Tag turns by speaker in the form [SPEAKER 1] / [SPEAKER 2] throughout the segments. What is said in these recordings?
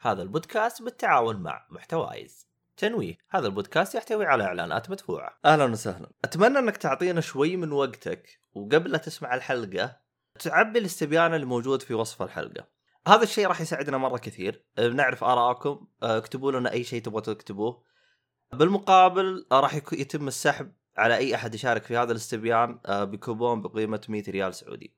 [SPEAKER 1] هذا البودكاست بالتعاون مع محتوايز تنويه هذا البودكاست يحتوي على اعلانات مدفوعه اهلا وسهلا اتمنى انك تعطينا شوي من وقتك وقبل لا تسمع الحلقه تعبي الاستبيان اللي موجود في وصف الحلقه هذا الشيء راح يساعدنا مره كثير أه، بنعرف ارائكم أه، اكتبوا لنا اي شيء تبغوا تكتبوه بالمقابل آه، راح يك- يتم السحب على اي احد يشارك في هذا الاستبيان آه، بكوبون بقيمه 100 ريال سعودي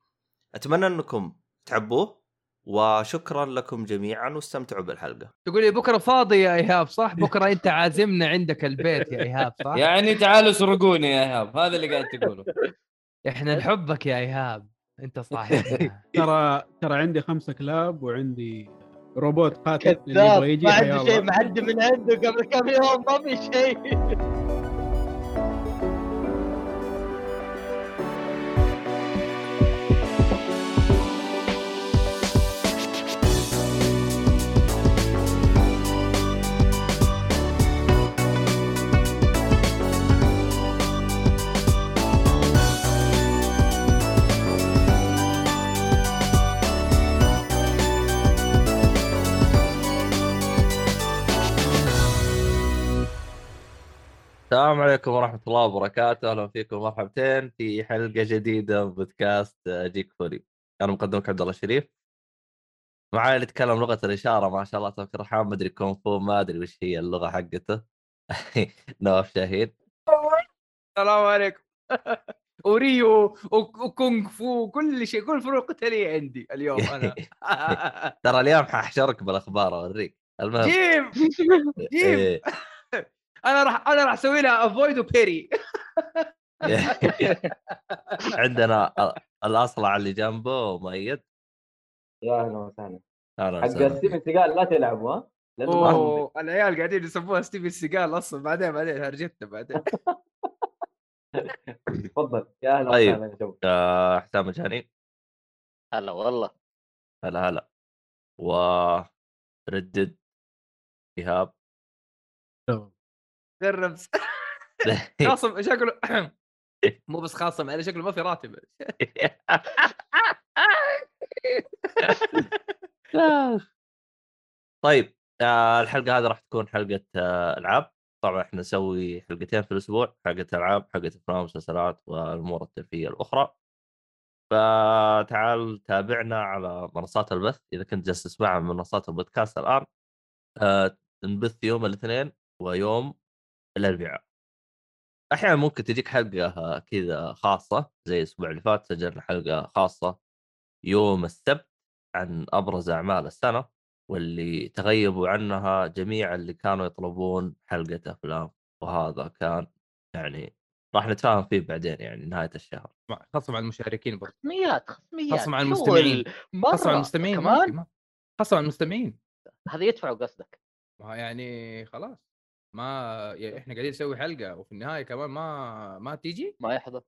[SPEAKER 1] اتمنى انكم تعبوه وشكرا لكم جميعا واستمتعوا بالحلقه
[SPEAKER 2] تقول لي بكره فاضي يا ايهاب صح؟ بكره انت عازمنا عندك البيت يا ايهاب صح؟
[SPEAKER 3] يعني تعالوا سرقوني يا ايهاب هذا اللي قاعد تقوله
[SPEAKER 2] احنا نحبك يا ايهاب انت صاحبنا
[SPEAKER 4] إيه.
[SPEAKER 5] ترى ترى عندي خمسة كلاب وعندي روبوت قاتل اللي
[SPEAKER 4] كذاب
[SPEAKER 5] يبغى يجي
[SPEAKER 4] ما عنده شيء
[SPEAKER 5] حيالله
[SPEAKER 4] معدي من عنده قبل كم يوم ما في شيء
[SPEAKER 1] السلام عليكم ورحمه الله وبركاته اهلا فيكم مرحبتين في حلقه جديده من بودكاست آه، جيك فولي انا مقدمك عبد الله الشريف معاي اللي يتكلم لغه الاشاره ما شاء الله تبارك الرحمن ما ادري كونغ فو ما ادري وش هي اللغه حقته نواف شاهين
[SPEAKER 2] السلام عليكم وريو وك- وكونغ فو وكل شيء كل فروق قتاليه عندي اليوم انا
[SPEAKER 1] ترى اليوم ححشرك بالاخبار اوريك المهم
[SPEAKER 2] جيم جيم
[SPEAKER 1] إيه.
[SPEAKER 2] انا راح انا راح اسوي لها افويد وبيري
[SPEAKER 1] عندنا ال- الاصلع اللي جنبه ميت
[SPEAKER 6] يا اهلا وسهلا
[SPEAKER 1] اهلا
[SPEAKER 6] حق
[SPEAKER 1] وسهلا
[SPEAKER 6] ستيفن سيجال لا تلعبوا ها؟ لأنه ما-
[SPEAKER 2] أوه، العيال قاعدين يسموها ستيفن سيجال اصلا بعدين بعدين هرجتنا بعدين
[SPEAKER 6] تفضل يا اهلا
[SPEAKER 1] طيب.
[SPEAKER 6] وسهلا يا شباب
[SPEAKER 1] آه، حسام الجهني
[SPEAKER 4] هلا والله
[SPEAKER 1] هلا هلا و ردد ايهاب
[SPEAKER 2] درب خاصم شكله مو بس خاصم انا شكله ما في راتب
[SPEAKER 1] طيب آه، الحلقه هذه راح تكون حلقه آه، العاب طبعا احنا نسوي حلقتين في الاسبوع حلقه العاب حلقه افلام ومسلسلات والامور الترفيهيه الاخرى فتعال تابعنا على منصات البث اذا كنت جالس تسمعها من منصات البودكاست الان آه، نبث يوم الاثنين ويوم الاربعاء احيانا ممكن تجيك حلقه آه، كذا خاصه زي الاسبوع اللي فات سجلنا حلقه خاصه يوم السبت عن ابرز اعمال السنه واللي تغيبوا عنها جميع اللي كانوا يطلبون حلقه افلام وهذا كان يعني راح نتفاهم فيه بعدين يعني نهايه الشهر
[SPEAKER 2] خاصم على المشاركين برضه
[SPEAKER 4] خصميات خصميات
[SPEAKER 2] خصم على
[SPEAKER 4] شو
[SPEAKER 2] المستمعين.
[SPEAKER 4] ال- مرة
[SPEAKER 2] خاصم على المستمعين ما في-
[SPEAKER 4] كمان
[SPEAKER 2] ما- خاصم على المستمعين
[SPEAKER 4] هذا يدفع قصدك
[SPEAKER 2] ما يعني خلاص ما يعني احنا قاعدين نسوي حلقه وفي النهايه كمان ما ما تيجي
[SPEAKER 4] ما يحضر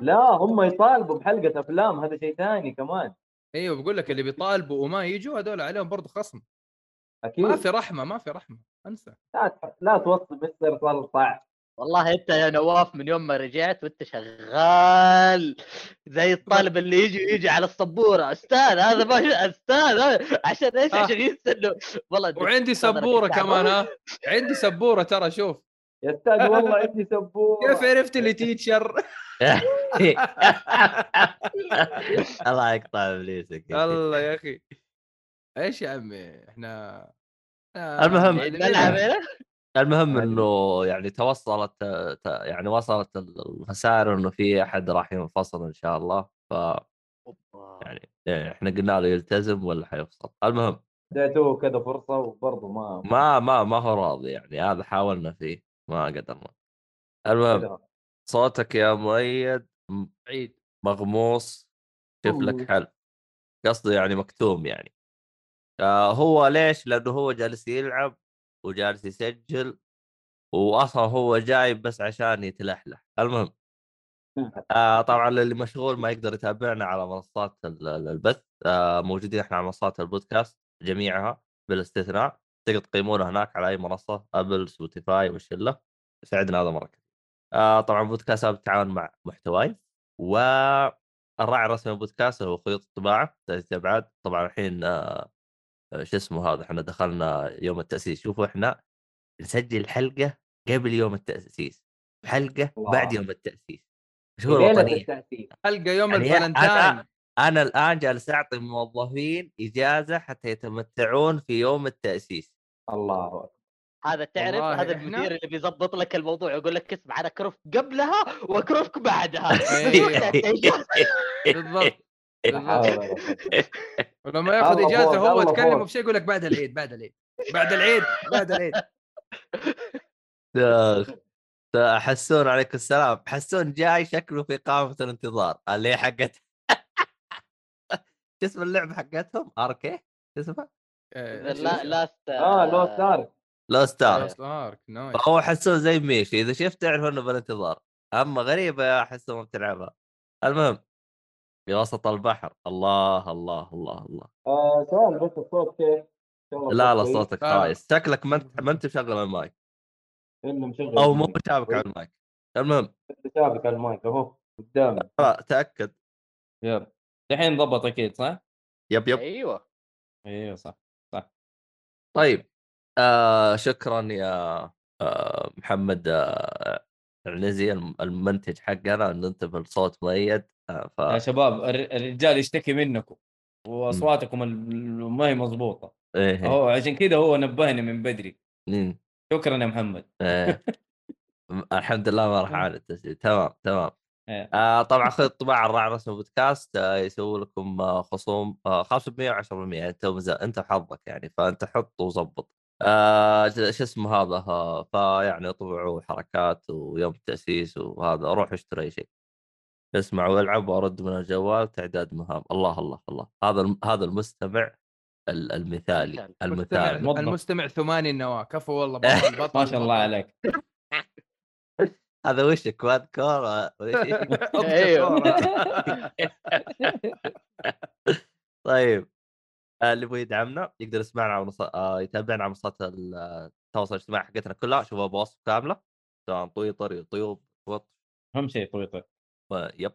[SPEAKER 6] لا هم يطالبوا بحلقه افلام هذا شيء ثاني كمان
[SPEAKER 2] ايوه بقول لك اللي بيطالبوا وما يجوا هذول عليهم برضه خصم
[SPEAKER 6] اكيد
[SPEAKER 4] أيوة.
[SPEAKER 2] ما في رحمه ما في رحمه انسى
[SPEAKER 6] لا, ت- لا توصل مستر صلصع
[SPEAKER 4] والله انت يا نواف من يوم ما رجعت وانت شغال زي الطالب اللي يجي يجي على السبوره استاذ هذا ما استاذ هذا- عشان ايش
[SPEAKER 2] آه.
[SPEAKER 4] عشان يستنوا والله إنك
[SPEAKER 2] وعندي
[SPEAKER 4] صدرك
[SPEAKER 2] سبوره
[SPEAKER 4] يتعب.
[SPEAKER 2] كمان ها عندي سبوره ترى شوف
[SPEAKER 6] يا استاذ والله عندي سبوره
[SPEAKER 2] كيف عرفت اللي تيتشر
[SPEAKER 1] الله يقطع ابليسك يا أخي.
[SPEAKER 2] الله يا اخي ايش يا عمي احنا إحنا
[SPEAKER 1] المهم.
[SPEAKER 2] يعني-
[SPEAKER 4] نلعب هنا
[SPEAKER 1] المهم انه يعني توصلت ت- يعني وصلت الخسائر انه في احد راح ينفصل ان شاء الله ف
[SPEAKER 4] أوبا.
[SPEAKER 1] يعني إيه، احنا قلنا له يلتزم ولا حيفصل المهم
[SPEAKER 6] اديتوه كذا فرصه وبرضه ما
[SPEAKER 1] ما ما ما هو راضي يعني هذا حاولنا فيه ما قدرنا المهم
[SPEAKER 6] قدروا.
[SPEAKER 1] صوتك يا مؤيد م-
[SPEAKER 2] عيد
[SPEAKER 1] مغموس شوف لك
[SPEAKER 5] مغموس.
[SPEAKER 1] حل قصدي يعني مكتوم يعني آه هو ليش؟ لانه هو جالس يلعب وجالس يسجل واصلا هو جاي بس عشان يتلحلح المهم آه طبعا اللي مشغول ما يقدر يتابعنا على منصات ال- ال- البث آه موجودين احنا على منصات البودكاست جميعها بالاستثناء تقدر تقيمونا هناك على اي منصه ابل سبوتيفاي والشله يساعدنا هذا مره كثير. آه طبعا بودكاست هذا بالتعاون مع محتواي والراعي الرسمي للبودكاست هو خيوط الطباعه ثلاثة ابعاد طبعا الحين آه آه، شو اسمه هذا احنا دخلنا يوم التاسيس شوفوا احنا نسجل حلقه قبل يوم التاسيس حلقه
[SPEAKER 6] الله.
[SPEAKER 1] بعد يوم التاسيس شو
[SPEAKER 6] ليلة
[SPEAKER 1] الوطنيه
[SPEAKER 6] التأسيس
[SPEAKER 2] حلقه يوم
[SPEAKER 1] يعني
[SPEAKER 2] الفالنتاين
[SPEAKER 1] أنا- انا الان جالس اعطي الموظفين اجازه حتى يتمتعون في يوم التاسيس
[SPEAKER 6] الله أكبر.
[SPEAKER 4] هذا تعرف
[SPEAKER 2] والله
[SPEAKER 4] هذا
[SPEAKER 2] إحنا-
[SPEAKER 4] المدير اللي بيظبط لك الموضوع يقول لك اسمع انا كرفك قبلها واكرفك بعدها
[SPEAKER 2] أيوه. بالضبط
[SPEAKER 1] إيه.
[SPEAKER 6] لا حول ولا قوة.
[SPEAKER 2] ولما ياخذ
[SPEAKER 6] الله
[SPEAKER 2] اجازه
[SPEAKER 6] فوق،
[SPEAKER 2] هو
[SPEAKER 6] الله
[SPEAKER 2] تكلمه
[SPEAKER 6] فوق.
[SPEAKER 2] بشيء يقول لك بعد العيد بعد العيد بعد العيد بعد العيد
[SPEAKER 1] آخ. تا- حسون عليكم السلام حسون جاي شكله في قائمه الانتظار اللي هي حقت شو اسم اللعبه حقتهم اركي شو اسمها
[SPEAKER 2] آه،
[SPEAKER 4] لا لاست
[SPEAKER 6] اه
[SPEAKER 3] آه،
[SPEAKER 6] لو ستار
[SPEAKER 1] لو ستار
[SPEAKER 2] Lost Ark، نايس.
[SPEAKER 1] فهو حسون زي ميشي اذا شفت تعرف انه بالانتظار اما غريبه يا حسون ما بتلعبها المهم في وسط البحر الله الله الله الله
[SPEAKER 6] آه سؤال بس الصوت كيف؟ إن شاء الله
[SPEAKER 1] لا لا
[SPEAKER 6] الصوت كويس.
[SPEAKER 1] صوتك
[SPEAKER 2] لا، لا.
[SPEAKER 1] خايس شكلك ما انت ما انت مشغل المايك
[SPEAKER 6] انه مشغل
[SPEAKER 1] او مو متابع على المايك المهم آه،
[SPEAKER 6] متابع على المايك اهو قدامي
[SPEAKER 1] لا، تاكد
[SPEAKER 3] يب الحين ضبط اكيد صح؟
[SPEAKER 1] يب يب
[SPEAKER 2] أيوة. أيوه.
[SPEAKER 4] ايوه
[SPEAKER 3] ايوه صح
[SPEAKER 1] طيب آه شكرا يا آه محمد آه عنزي الم- المنتج حقنا ان انت بالصوت مؤيد آه ف
[SPEAKER 3] يا شباب الر- الرجال يشتكي منكم واصواتكم ال- ما هي مضبوطه
[SPEAKER 1] إيه.
[SPEAKER 3] هو عشان كذا هو نبهني من بدري
[SPEAKER 1] مم.
[SPEAKER 3] شكرا يا محمد
[SPEAKER 1] إيه. م- الحمد لله ما راح اعاني التسجيل تمام تمام
[SPEAKER 3] إيه.
[SPEAKER 1] آه طبعا خذ طباعه الراعي الرسمي بودكاست آه يسوي لكم آه خصوم آه 5% و10% انت ومز- انت وحظك يعني فانت حط وظبط آه ج- شو اسمه هذا آه فيعني طبعوا حركات ويوم التاسيس وهذا روح اشتري اي شيء اسمع والعب وارد من الجوال تعداد مهام الله الله الله هذا الم- هذا المستمع ال- المثالي
[SPEAKER 4] المثال.
[SPEAKER 2] المستمع
[SPEAKER 1] المثالي
[SPEAKER 3] موظف.
[SPEAKER 2] المستمع ثماني النواه كفو والله بطل بطل
[SPEAKER 3] ما شاء الله عليك
[SPEAKER 1] هذا وش كواد كورة وإيش-
[SPEAKER 4] ايوه
[SPEAKER 1] طيب آه، اللي يبغى يدعمنا يقدر يسمعنا على منص... آه، يتابعنا على منصات ال- آه، التواصل الاجتماعي حقتنا كلها شوفها بوصف كامله سواء تويتر يوتيوب وات
[SPEAKER 3] اهم شيء تويتر
[SPEAKER 1] و- طيب، يب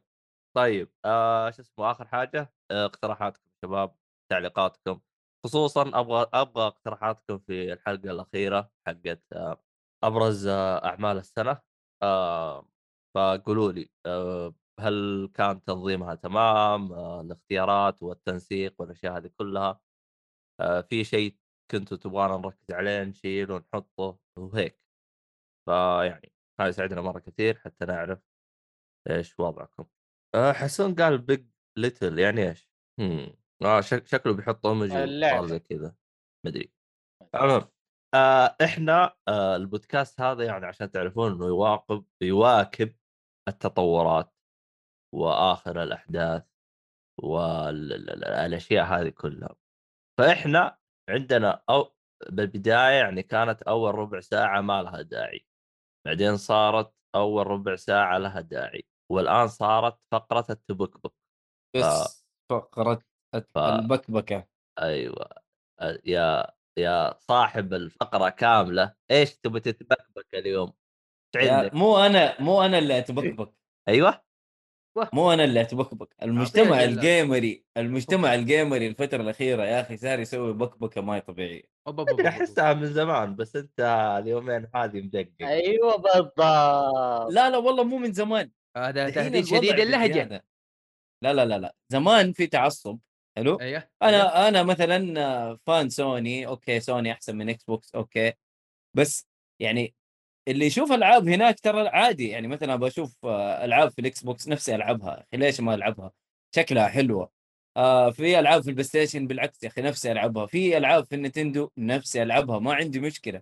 [SPEAKER 1] طيب آه شو اسمه اخر حاجه آه اقتراحاتكم شباب تعليقاتكم خصوصا ابغى ابغى اقتراحاتكم في الحلقه الاخيره حقت آه ابرز آه اعمال السنه آه فقولوا لي آه هل كان تنظيمها تمام آه الاختيارات والتنسيق والاشياء هذه كلها آه في شيء كنتوا تبغانا نركز عليه نشيله ونحطه وهيك فيعني هذا يساعدنا مره كثير حتى نعرف ايش وضعكم؟ آه حسون قال بيج ليتل يعني ايش؟ هم. اه شك شكله بيحط ايموجي
[SPEAKER 4] اللعبة.
[SPEAKER 1] صار زي كذا مدري المهم آه احنا آه البودكاست هذا يعني عشان تعرفون انه يواكب يواكب التطورات واخر الاحداث والاشياء هذه كلها فاحنا عندنا او بالبدايه يعني كانت اول ربع ساعه ما لها داعي بعدين صارت اول ربع ساعه لها داعي والان صارت فقره التبكبك
[SPEAKER 3] بس فقره الت-
[SPEAKER 1] آه. ف-
[SPEAKER 3] البكبكه
[SPEAKER 1] ايوه أ- يا يا صاحب الفقره كامله ايش تبي تتبكبك اليوم؟ إيش
[SPEAKER 3] يا-
[SPEAKER 1] عندك؟
[SPEAKER 3] مو انا مو انا اللي اتبكبك
[SPEAKER 1] ايوه
[SPEAKER 3] مو انا اللي اتبكبك المجتمع
[SPEAKER 2] أعطيه جلة.
[SPEAKER 3] الجيمري المجتمع الجيمري الفتره الاخيره يا اخي صار يسوي بكبكه ما هي طبيعيه
[SPEAKER 2] أوب، أوب، أوب،
[SPEAKER 1] أدري،
[SPEAKER 2] أوب، أوب.
[SPEAKER 1] احسها من زمان بس انت اليومين هذه مدقق
[SPEAKER 4] ايوه
[SPEAKER 1] آه.
[SPEAKER 4] بالضبط
[SPEAKER 3] لا لا والله مو من زمان
[SPEAKER 2] هذا
[SPEAKER 3] دحين
[SPEAKER 2] آه، تهديد
[SPEAKER 3] الوضع
[SPEAKER 2] شديد اللهجه
[SPEAKER 3] بزيادة. لا لا لا لا زمان في تعصب حلو
[SPEAKER 2] ايوه أيوه.
[SPEAKER 3] انا انا مثلا آه، فان سوني اوكي سوني احسن من اكس بوكس اوكي بس يعني اللي يشوف العاب هناك ترى عادي يعني مثلا بشوف آه، العاب في الاكس بوكس نفسي العبها يا أخي ليش ما العبها شكلها حلوه آه في العاب في البلاي ستيشن بالعكس يا اخي نفسي العبها في العاب في النتندو نفسي العبها ما عندي مشكله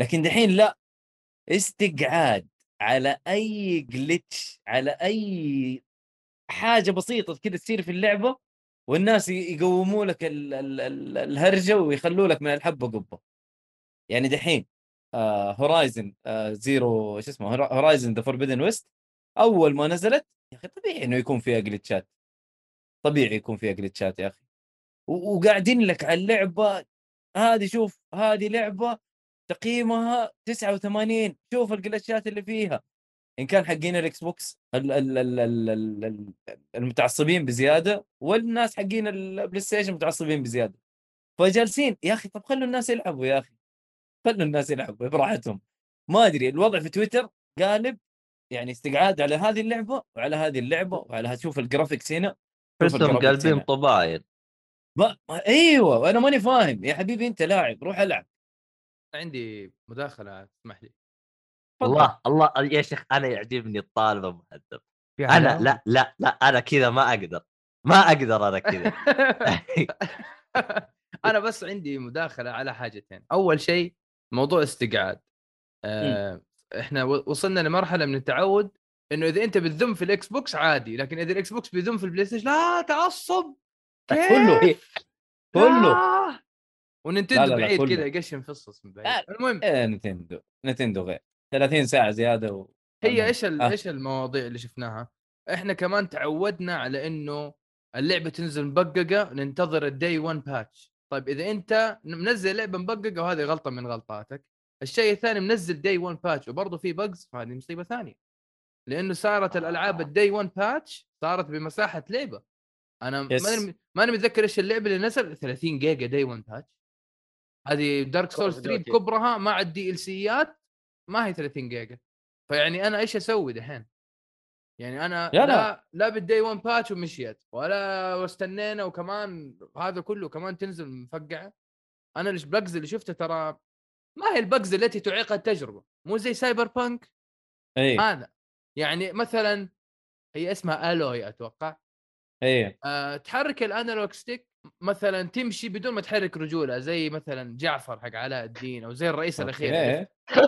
[SPEAKER 3] لكن دحين لا استقعاد على اي جلتش على اي حاجه بسيطه كذا تصير في اللعبه والناس ي- يقوموا لك ال ال ال الهرجه ويخلوا لك من الحبه قبه يعني دحين آه هورايزن آه زيرو شو اسمه هورا- هورايزن ذا فوربدن ويست اول ما نزلت يا اخي طبيعي انه يكون فيها جلتشات طبيعي يكون فيها جلتشات يا اخي و- وقاعدين لك على اللعبه هذه شوف هذه لعبه تقييمها 89 شوف الجلتشات اللي فيها ان كان حقين الاكس بوكس ال- ال- ال- ال- ال- ال- المتعصبين بزياده والناس حقين البلاي ستيشن متعصبين بزياده فجالسين يا اخي طب خلوا الناس يلعبوا يا اخي خلوا الناس يلعبوا براحتهم ما ادري الوضع في تويتر قالب يعني استقعاد على هذه اللعبه وعلى هذه اللعبه وعلى شوف الجرافيكس هنا شوف
[SPEAKER 1] كلهم
[SPEAKER 3] الجرافيكس
[SPEAKER 1] قلبين
[SPEAKER 3] هنا.
[SPEAKER 1] طباين
[SPEAKER 3] ما... ما- ايوه انا ماني فاهم يا حبيبي انت لاعب روح العب
[SPEAKER 2] عندي مداخله اسمح لي
[SPEAKER 3] تفضل.
[SPEAKER 1] الله الله يا شيخ انا يعجبني الطالب المهذب
[SPEAKER 2] في
[SPEAKER 1] انا
[SPEAKER 2] علاقة؟
[SPEAKER 1] لا لا لا انا كذا ما اقدر ما اقدر انا كذا
[SPEAKER 2] انا بس عندي مداخله على حاجتين اول شيء موضوع استقعاد
[SPEAKER 3] إمم.
[SPEAKER 2] آه احنا و- وصلنا لمرحله من التعود انه اذا انت بتذم في الاكس بوكس عادي لكن اذا الاكس بوكس بيذم في البلاي ستيشن لا تعصب كيف؟
[SPEAKER 3] كله كله
[SPEAKER 2] لا. وننتندو
[SPEAKER 3] لا، لا، لا،
[SPEAKER 2] بعيد
[SPEAKER 3] كله.
[SPEAKER 2] كذا يقشم في الصص من بعيد
[SPEAKER 3] لا.
[SPEAKER 2] المهم
[SPEAKER 3] إيه، نتندو نتندو غير 30 ساعه زياده و...
[SPEAKER 2] هي ايش ال-
[SPEAKER 3] آه.
[SPEAKER 2] ايش المواضيع اللي شفناها؟ احنا كمان تعودنا على انه اللعبه تنزل مبققه ننتظر الدي 1 باتش، طيب اذا انت منزل لعبه مبققه وهذه غلطه من غلطاتك، الشيء الثاني منزل دي 1 باتش وبرضه في بجز فهذه مصيبه ثانيه. لانه صارت الالعاب الدي 1 باتش صارت بمساحه لعبه. انا
[SPEAKER 3] Yes.
[SPEAKER 2] ماني ماني متذكر ايش اللعبه اللي نزل 30 جيجا دي 1 باتش. هذه دارك
[SPEAKER 4] Call of
[SPEAKER 2] سولز 3
[SPEAKER 4] Duty.
[SPEAKER 2] بكبرها مع الدي ال سيات ما هي 30 جيجا. فيعني انا ايش اسوي دحين؟ يعني انا
[SPEAKER 3] لا، لا.
[SPEAKER 2] لا لا, لا بالدي 1 باتش ومشيت ولا واستنينا وكمان هذا كله كمان تنزل مفقعه انا الش- البجز اللي شفته ترى ما هي البجز التي تعيق التجربه مو زي سايبر بانك
[SPEAKER 3] اي
[SPEAKER 2] هذا يعني مثلا هي اسمها الوي اتوقع
[SPEAKER 3] اي
[SPEAKER 2] أه تحرك الانالوج ستيك مثلا تمشي بدون ما تحرك رجولها زي مثلا جعفر حق علاء الدين او زي الرئيس الاخير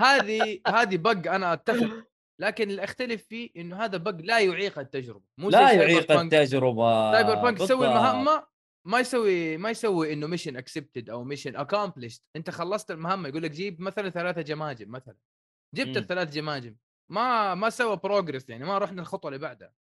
[SPEAKER 2] هذه هذه بق انا اتفق لكن اللي اختلف فيه انه هذا بق لا يعيق التجربه مو
[SPEAKER 3] لا
[SPEAKER 2] زي
[SPEAKER 3] يعيق
[SPEAKER 2] سايبر بانك.
[SPEAKER 3] التجربه
[SPEAKER 2] سايبر بانك تسوي
[SPEAKER 3] بالضبط.
[SPEAKER 2] المهمه ما يسوي ما يسوي انه ميشن اكسبتد او ميشن اكومبلشت انت خلصت المهمه يقول لك جيب مثلا ثلاثه جماجم مثلا جبت
[SPEAKER 3] مم.
[SPEAKER 2] الثلاث جماجم ما ما سوى بروجرس يعني ما رحنا الخطوه اللي بعدها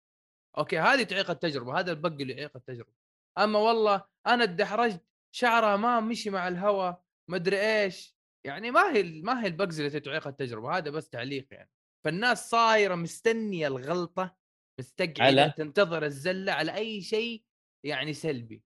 [SPEAKER 2] اوكي هذه تعيق التجربه هذا البق اللي يعيق التجربه اما والله انا اتدحرجت شعرها ما مشي مع الهواء مدري ايش يعني ما هي ما هي البجز اللي تعيق التجربه هذا بس تعليق يعني فالناس صايره مستنيه الغلطه مستقعده
[SPEAKER 3] على؟
[SPEAKER 2] تنتظر الزله على اي شيء يعني سلبي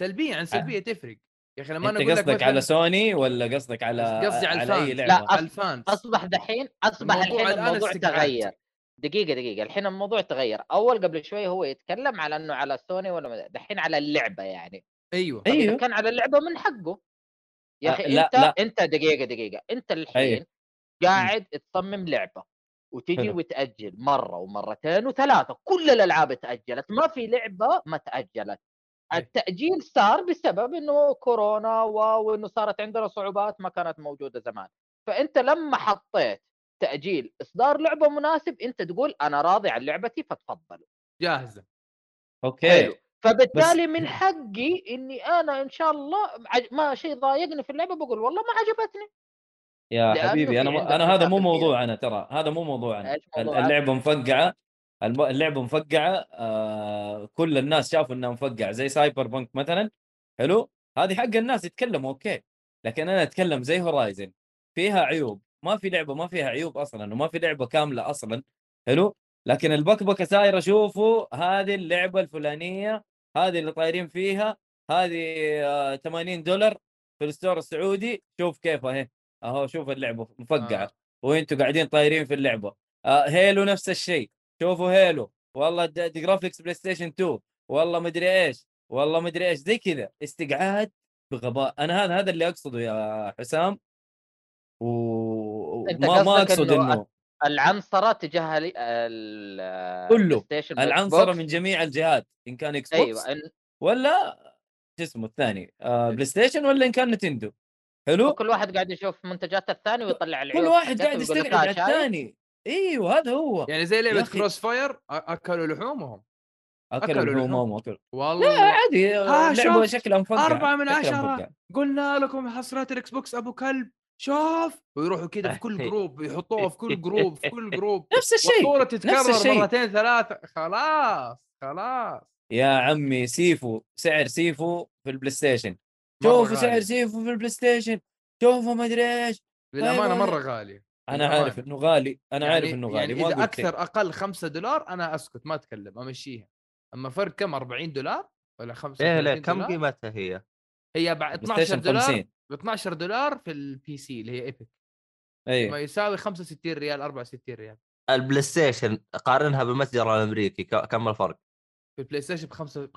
[SPEAKER 2] سلبيه عن سلبيه تفرق يا اخي لما انا
[SPEAKER 3] انت
[SPEAKER 2] اقول لك
[SPEAKER 3] أه. قصدك
[SPEAKER 2] مثلاً-
[SPEAKER 3] على سوني ولا قصدك على
[SPEAKER 2] قصدي على
[SPEAKER 3] على اي
[SPEAKER 2] الفانز.
[SPEAKER 3] لعبه؟
[SPEAKER 2] على الفانز
[SPEAKER 4] اصبح دحين اصبح
[SPEAKER 2] الموضوع
[SPEAKER 4] الحين
[SPEAKER 2] الآن
[SPEAKER 4] الموضوع
[SPEAKER 2] استقعاد.
[SPEAKER 4] تغير دقيقه دقيقه الحين الموضوع تغير اول قبل شوي هو يتكلم على انه على سوني ولا ما- دحين على اللعبه يعني
[SPEAKER 2] ايوه
[SPEAKER 4] طب إذا
[SPEAKER 3] أيوه.
[SPEAKER 4] كان على اللعبه من حقه يا
[SPEAKER 3] آه،
[SPEAKER 4] اخي
[SPEAKER 3] لا،
[SPEAKER 4] انت
[SPEAKER 3] لا.
[SPEAKER 4] انت دقيقه دقيقه انت الحين
[SPEAKER 3] أيوه.
[SPEAKER 4] قاعد تصمم لعبه وتجي
[SPEAKER 3] حلو.
[SPEAKER 4] وتاجل مره ومرتين وثلاثه كل الالعاب تاجلت ما في لعبه ما تاجلت
[SPEAKER 2] أيوه.
[SPEAKER 4] التاجيل صار بسبب انه كورونا و- وانه صارت عندنا صعوبات ما كانت موجوده زمان فانت لما حطيت تاجيل اصدار لعبه مناسب انت تقول انا راضي عن لعبتي فتفضلوا
[SPEAKER 2] جاهزه
[SPEAKER 3] اوكي
[SPEAKER 4] حلو. فبالتالي من حقي اني انا ان شاء الله عج- ما شيء ضايقني في اللعبه بقول والله ما عجبتني
[SPEAKER 3] يا
[SPEAKER 4] لأنه
[SPEAKER 3] حبيبي
[SPEAKER 4] في
[SPEAKER 3] انا
[SPEAKER 4] عندك
[SPEAKER 3] ما- انا هذا مو
[SPEAKER 4] 9%
[SPEAKER 3] موضوع انا ترى هذا مو موضوع انا
[SPEAKER 4] إيش
[SPEAKER 3] ال-
[SPEAKER 4] موضوعك؟
[SPEAKER 3] اللعبه مفقعه الب- اللعبه مفقعه آه كل الناس شافوا انها مفقعه زي سايبر بنك مثلا حلو هذه حق الناس يتكلموا اوكي لكن انا اتكلم زي هورايزن فيها عيوب ما في لعبه ما فيها عيوب اصلا وما في لعبه كامله اصلا حلو لكن البكبكه سايره شوفوا هذه اللعبه الفلانيه هذه اللي طايرين فيها هذه آه 80 دولار في الستور السعودي شوف كيف اهي اهو شوف اللعبه مفقعه
[SPEAKER 2] آه.
[SPEAKER 3] وانتوا قاعدين طايرين في اللعبه آه هيلو نفس الشيء شوفوا هيلو والله د- د- جرافيكس بلاي ستيشن 2 والله مدري ايش والله مدري ايش زي كذا استقعاد بغباء انا هذا هذا اللي اقصده يا حسام و
[SPEAKER 4] أنت
[SPEAKER 3] ما ما
[SPEAKER 4] قصدك
[SPEAKER 3] اقصد
[SPEAKER 4] إنه
[SPEAKER 3] انه
[SPEAKER 4] العنصره تجاه ال- ال-
[SPEAKER 3] كله.
[SPEAKER 4] PlayStation والإكس
[SPEAKER 3] العنصره
[SPEAKER 4] بوكس.
[SPEAKER 3] من جميع الجهات ان كان اكس بوكس
[SPEAKER 4] ايوه إن
[SPEAKER 3] ولا شو اسمه الثاني
[SPEAKER 4] أيوة.
[SPEAKER 3] آه بلاي ستيشن ولا ان كان نتندو حلو
[SPEAKER 4] كل واحد قاعد يشوف منتجات الثاني ويطلع العيوب
[SPEAKER 3] كل واحد
[SPEAKER 4] حقته
[SPEAKER 3] قاعد
[SPEAKER 4] ويقول لك
[SPEAKER 3] يستقعد على
[SPEAKER 4] "آه، شايف؟
[SPEAKER 3] الثاني ايوه هذا هو
[SPEAKER 2] يعني زي لعبه
[SPEAKER 3] أخي.
[SPEAKER 2] كروس فاير اكلوا لحومهم
[SPEAKER 3] اكلوا
[SPEAKER 2] أكلوا
[SPEAKER 3] لحومهم
[SPEAKER 2] لحوم.
[SPEAKER 3] اكلوا لا
[SPEAKER 2] والله
[SPEAKER 3] عادي آه،
[SPEAKER 2] ها،
[SPEAKER 3] لعبه
[SPEAKER 2] شفت؟
[SPEAKER 3] شكلها مفقع
[SPEAKER 2] أربعة من
[SPEAKER 3] شكلها
[SPEAKER 2] عشرة.
[SPEAKER 3] مفقع.
[SPEAKER 2] قلنا لكم حصريات الاكس بوكس ابو كلب شوف ويروحوا كده في كل جروب يحطوها في كل جروب في كل جروب
[SPEAKER 3] نفس الشيء
[SPEAKER 2] والصوره تتكرر
[SPEAKER 3] الشيء.
[SPEAKER 2] مرتين ثلاثه خلاص خلاص
[SPEAKER 3] يا عمي سيفو سعر سيفو في البلاي ستيشن
[SPEAKER 2] مرة
[SPEAKER 3] شوفوا
[SPEAKER 2] غالي.
[SPEAKER 3] سعر سيفو في البلاي ستيشن شوفوا ما ادري ايش
[SPEAKER 2] للامانه
[SPEAKER 3] أيوة.
[SPEAKER 2] مره غالي
[SPEAKER 3] انا عارف انه غالي انا عارف انه غالي
[SPEAKER 2] يعني
[SPEAKER 3] ما
[SPEAKER 2] اذا
[SPEAKER 3] اقول شيء
[SPEAKER 2] اكثر اقل 5 دولار انا اسكت ما اتكلم امشيها اما فرق كم 40 دولار ولا 5
[SPEAKER 3] إيه،
[SPEAKER 1] ايه ليه كم قيمتها هي؟
[SPEAKER 2] هي ب 12
[SPEAKER 3] ستيشن
[SPEAKER 2] دولار
[SPEAKER 3] 50
[SPEAKER 2] ب 12 دولار في البي سي اللي هي ايبك ما
[SPEAKER 3] ايوه
[SPEAKER 2] يساوي 65 ريال 64 ريال
[SPEAKER 1] البلاي ستيشن قارنها بالمتجر الامريكي ك- كم الفرق؟
[SPEAKER 2] في البلاي ستيشن ب 50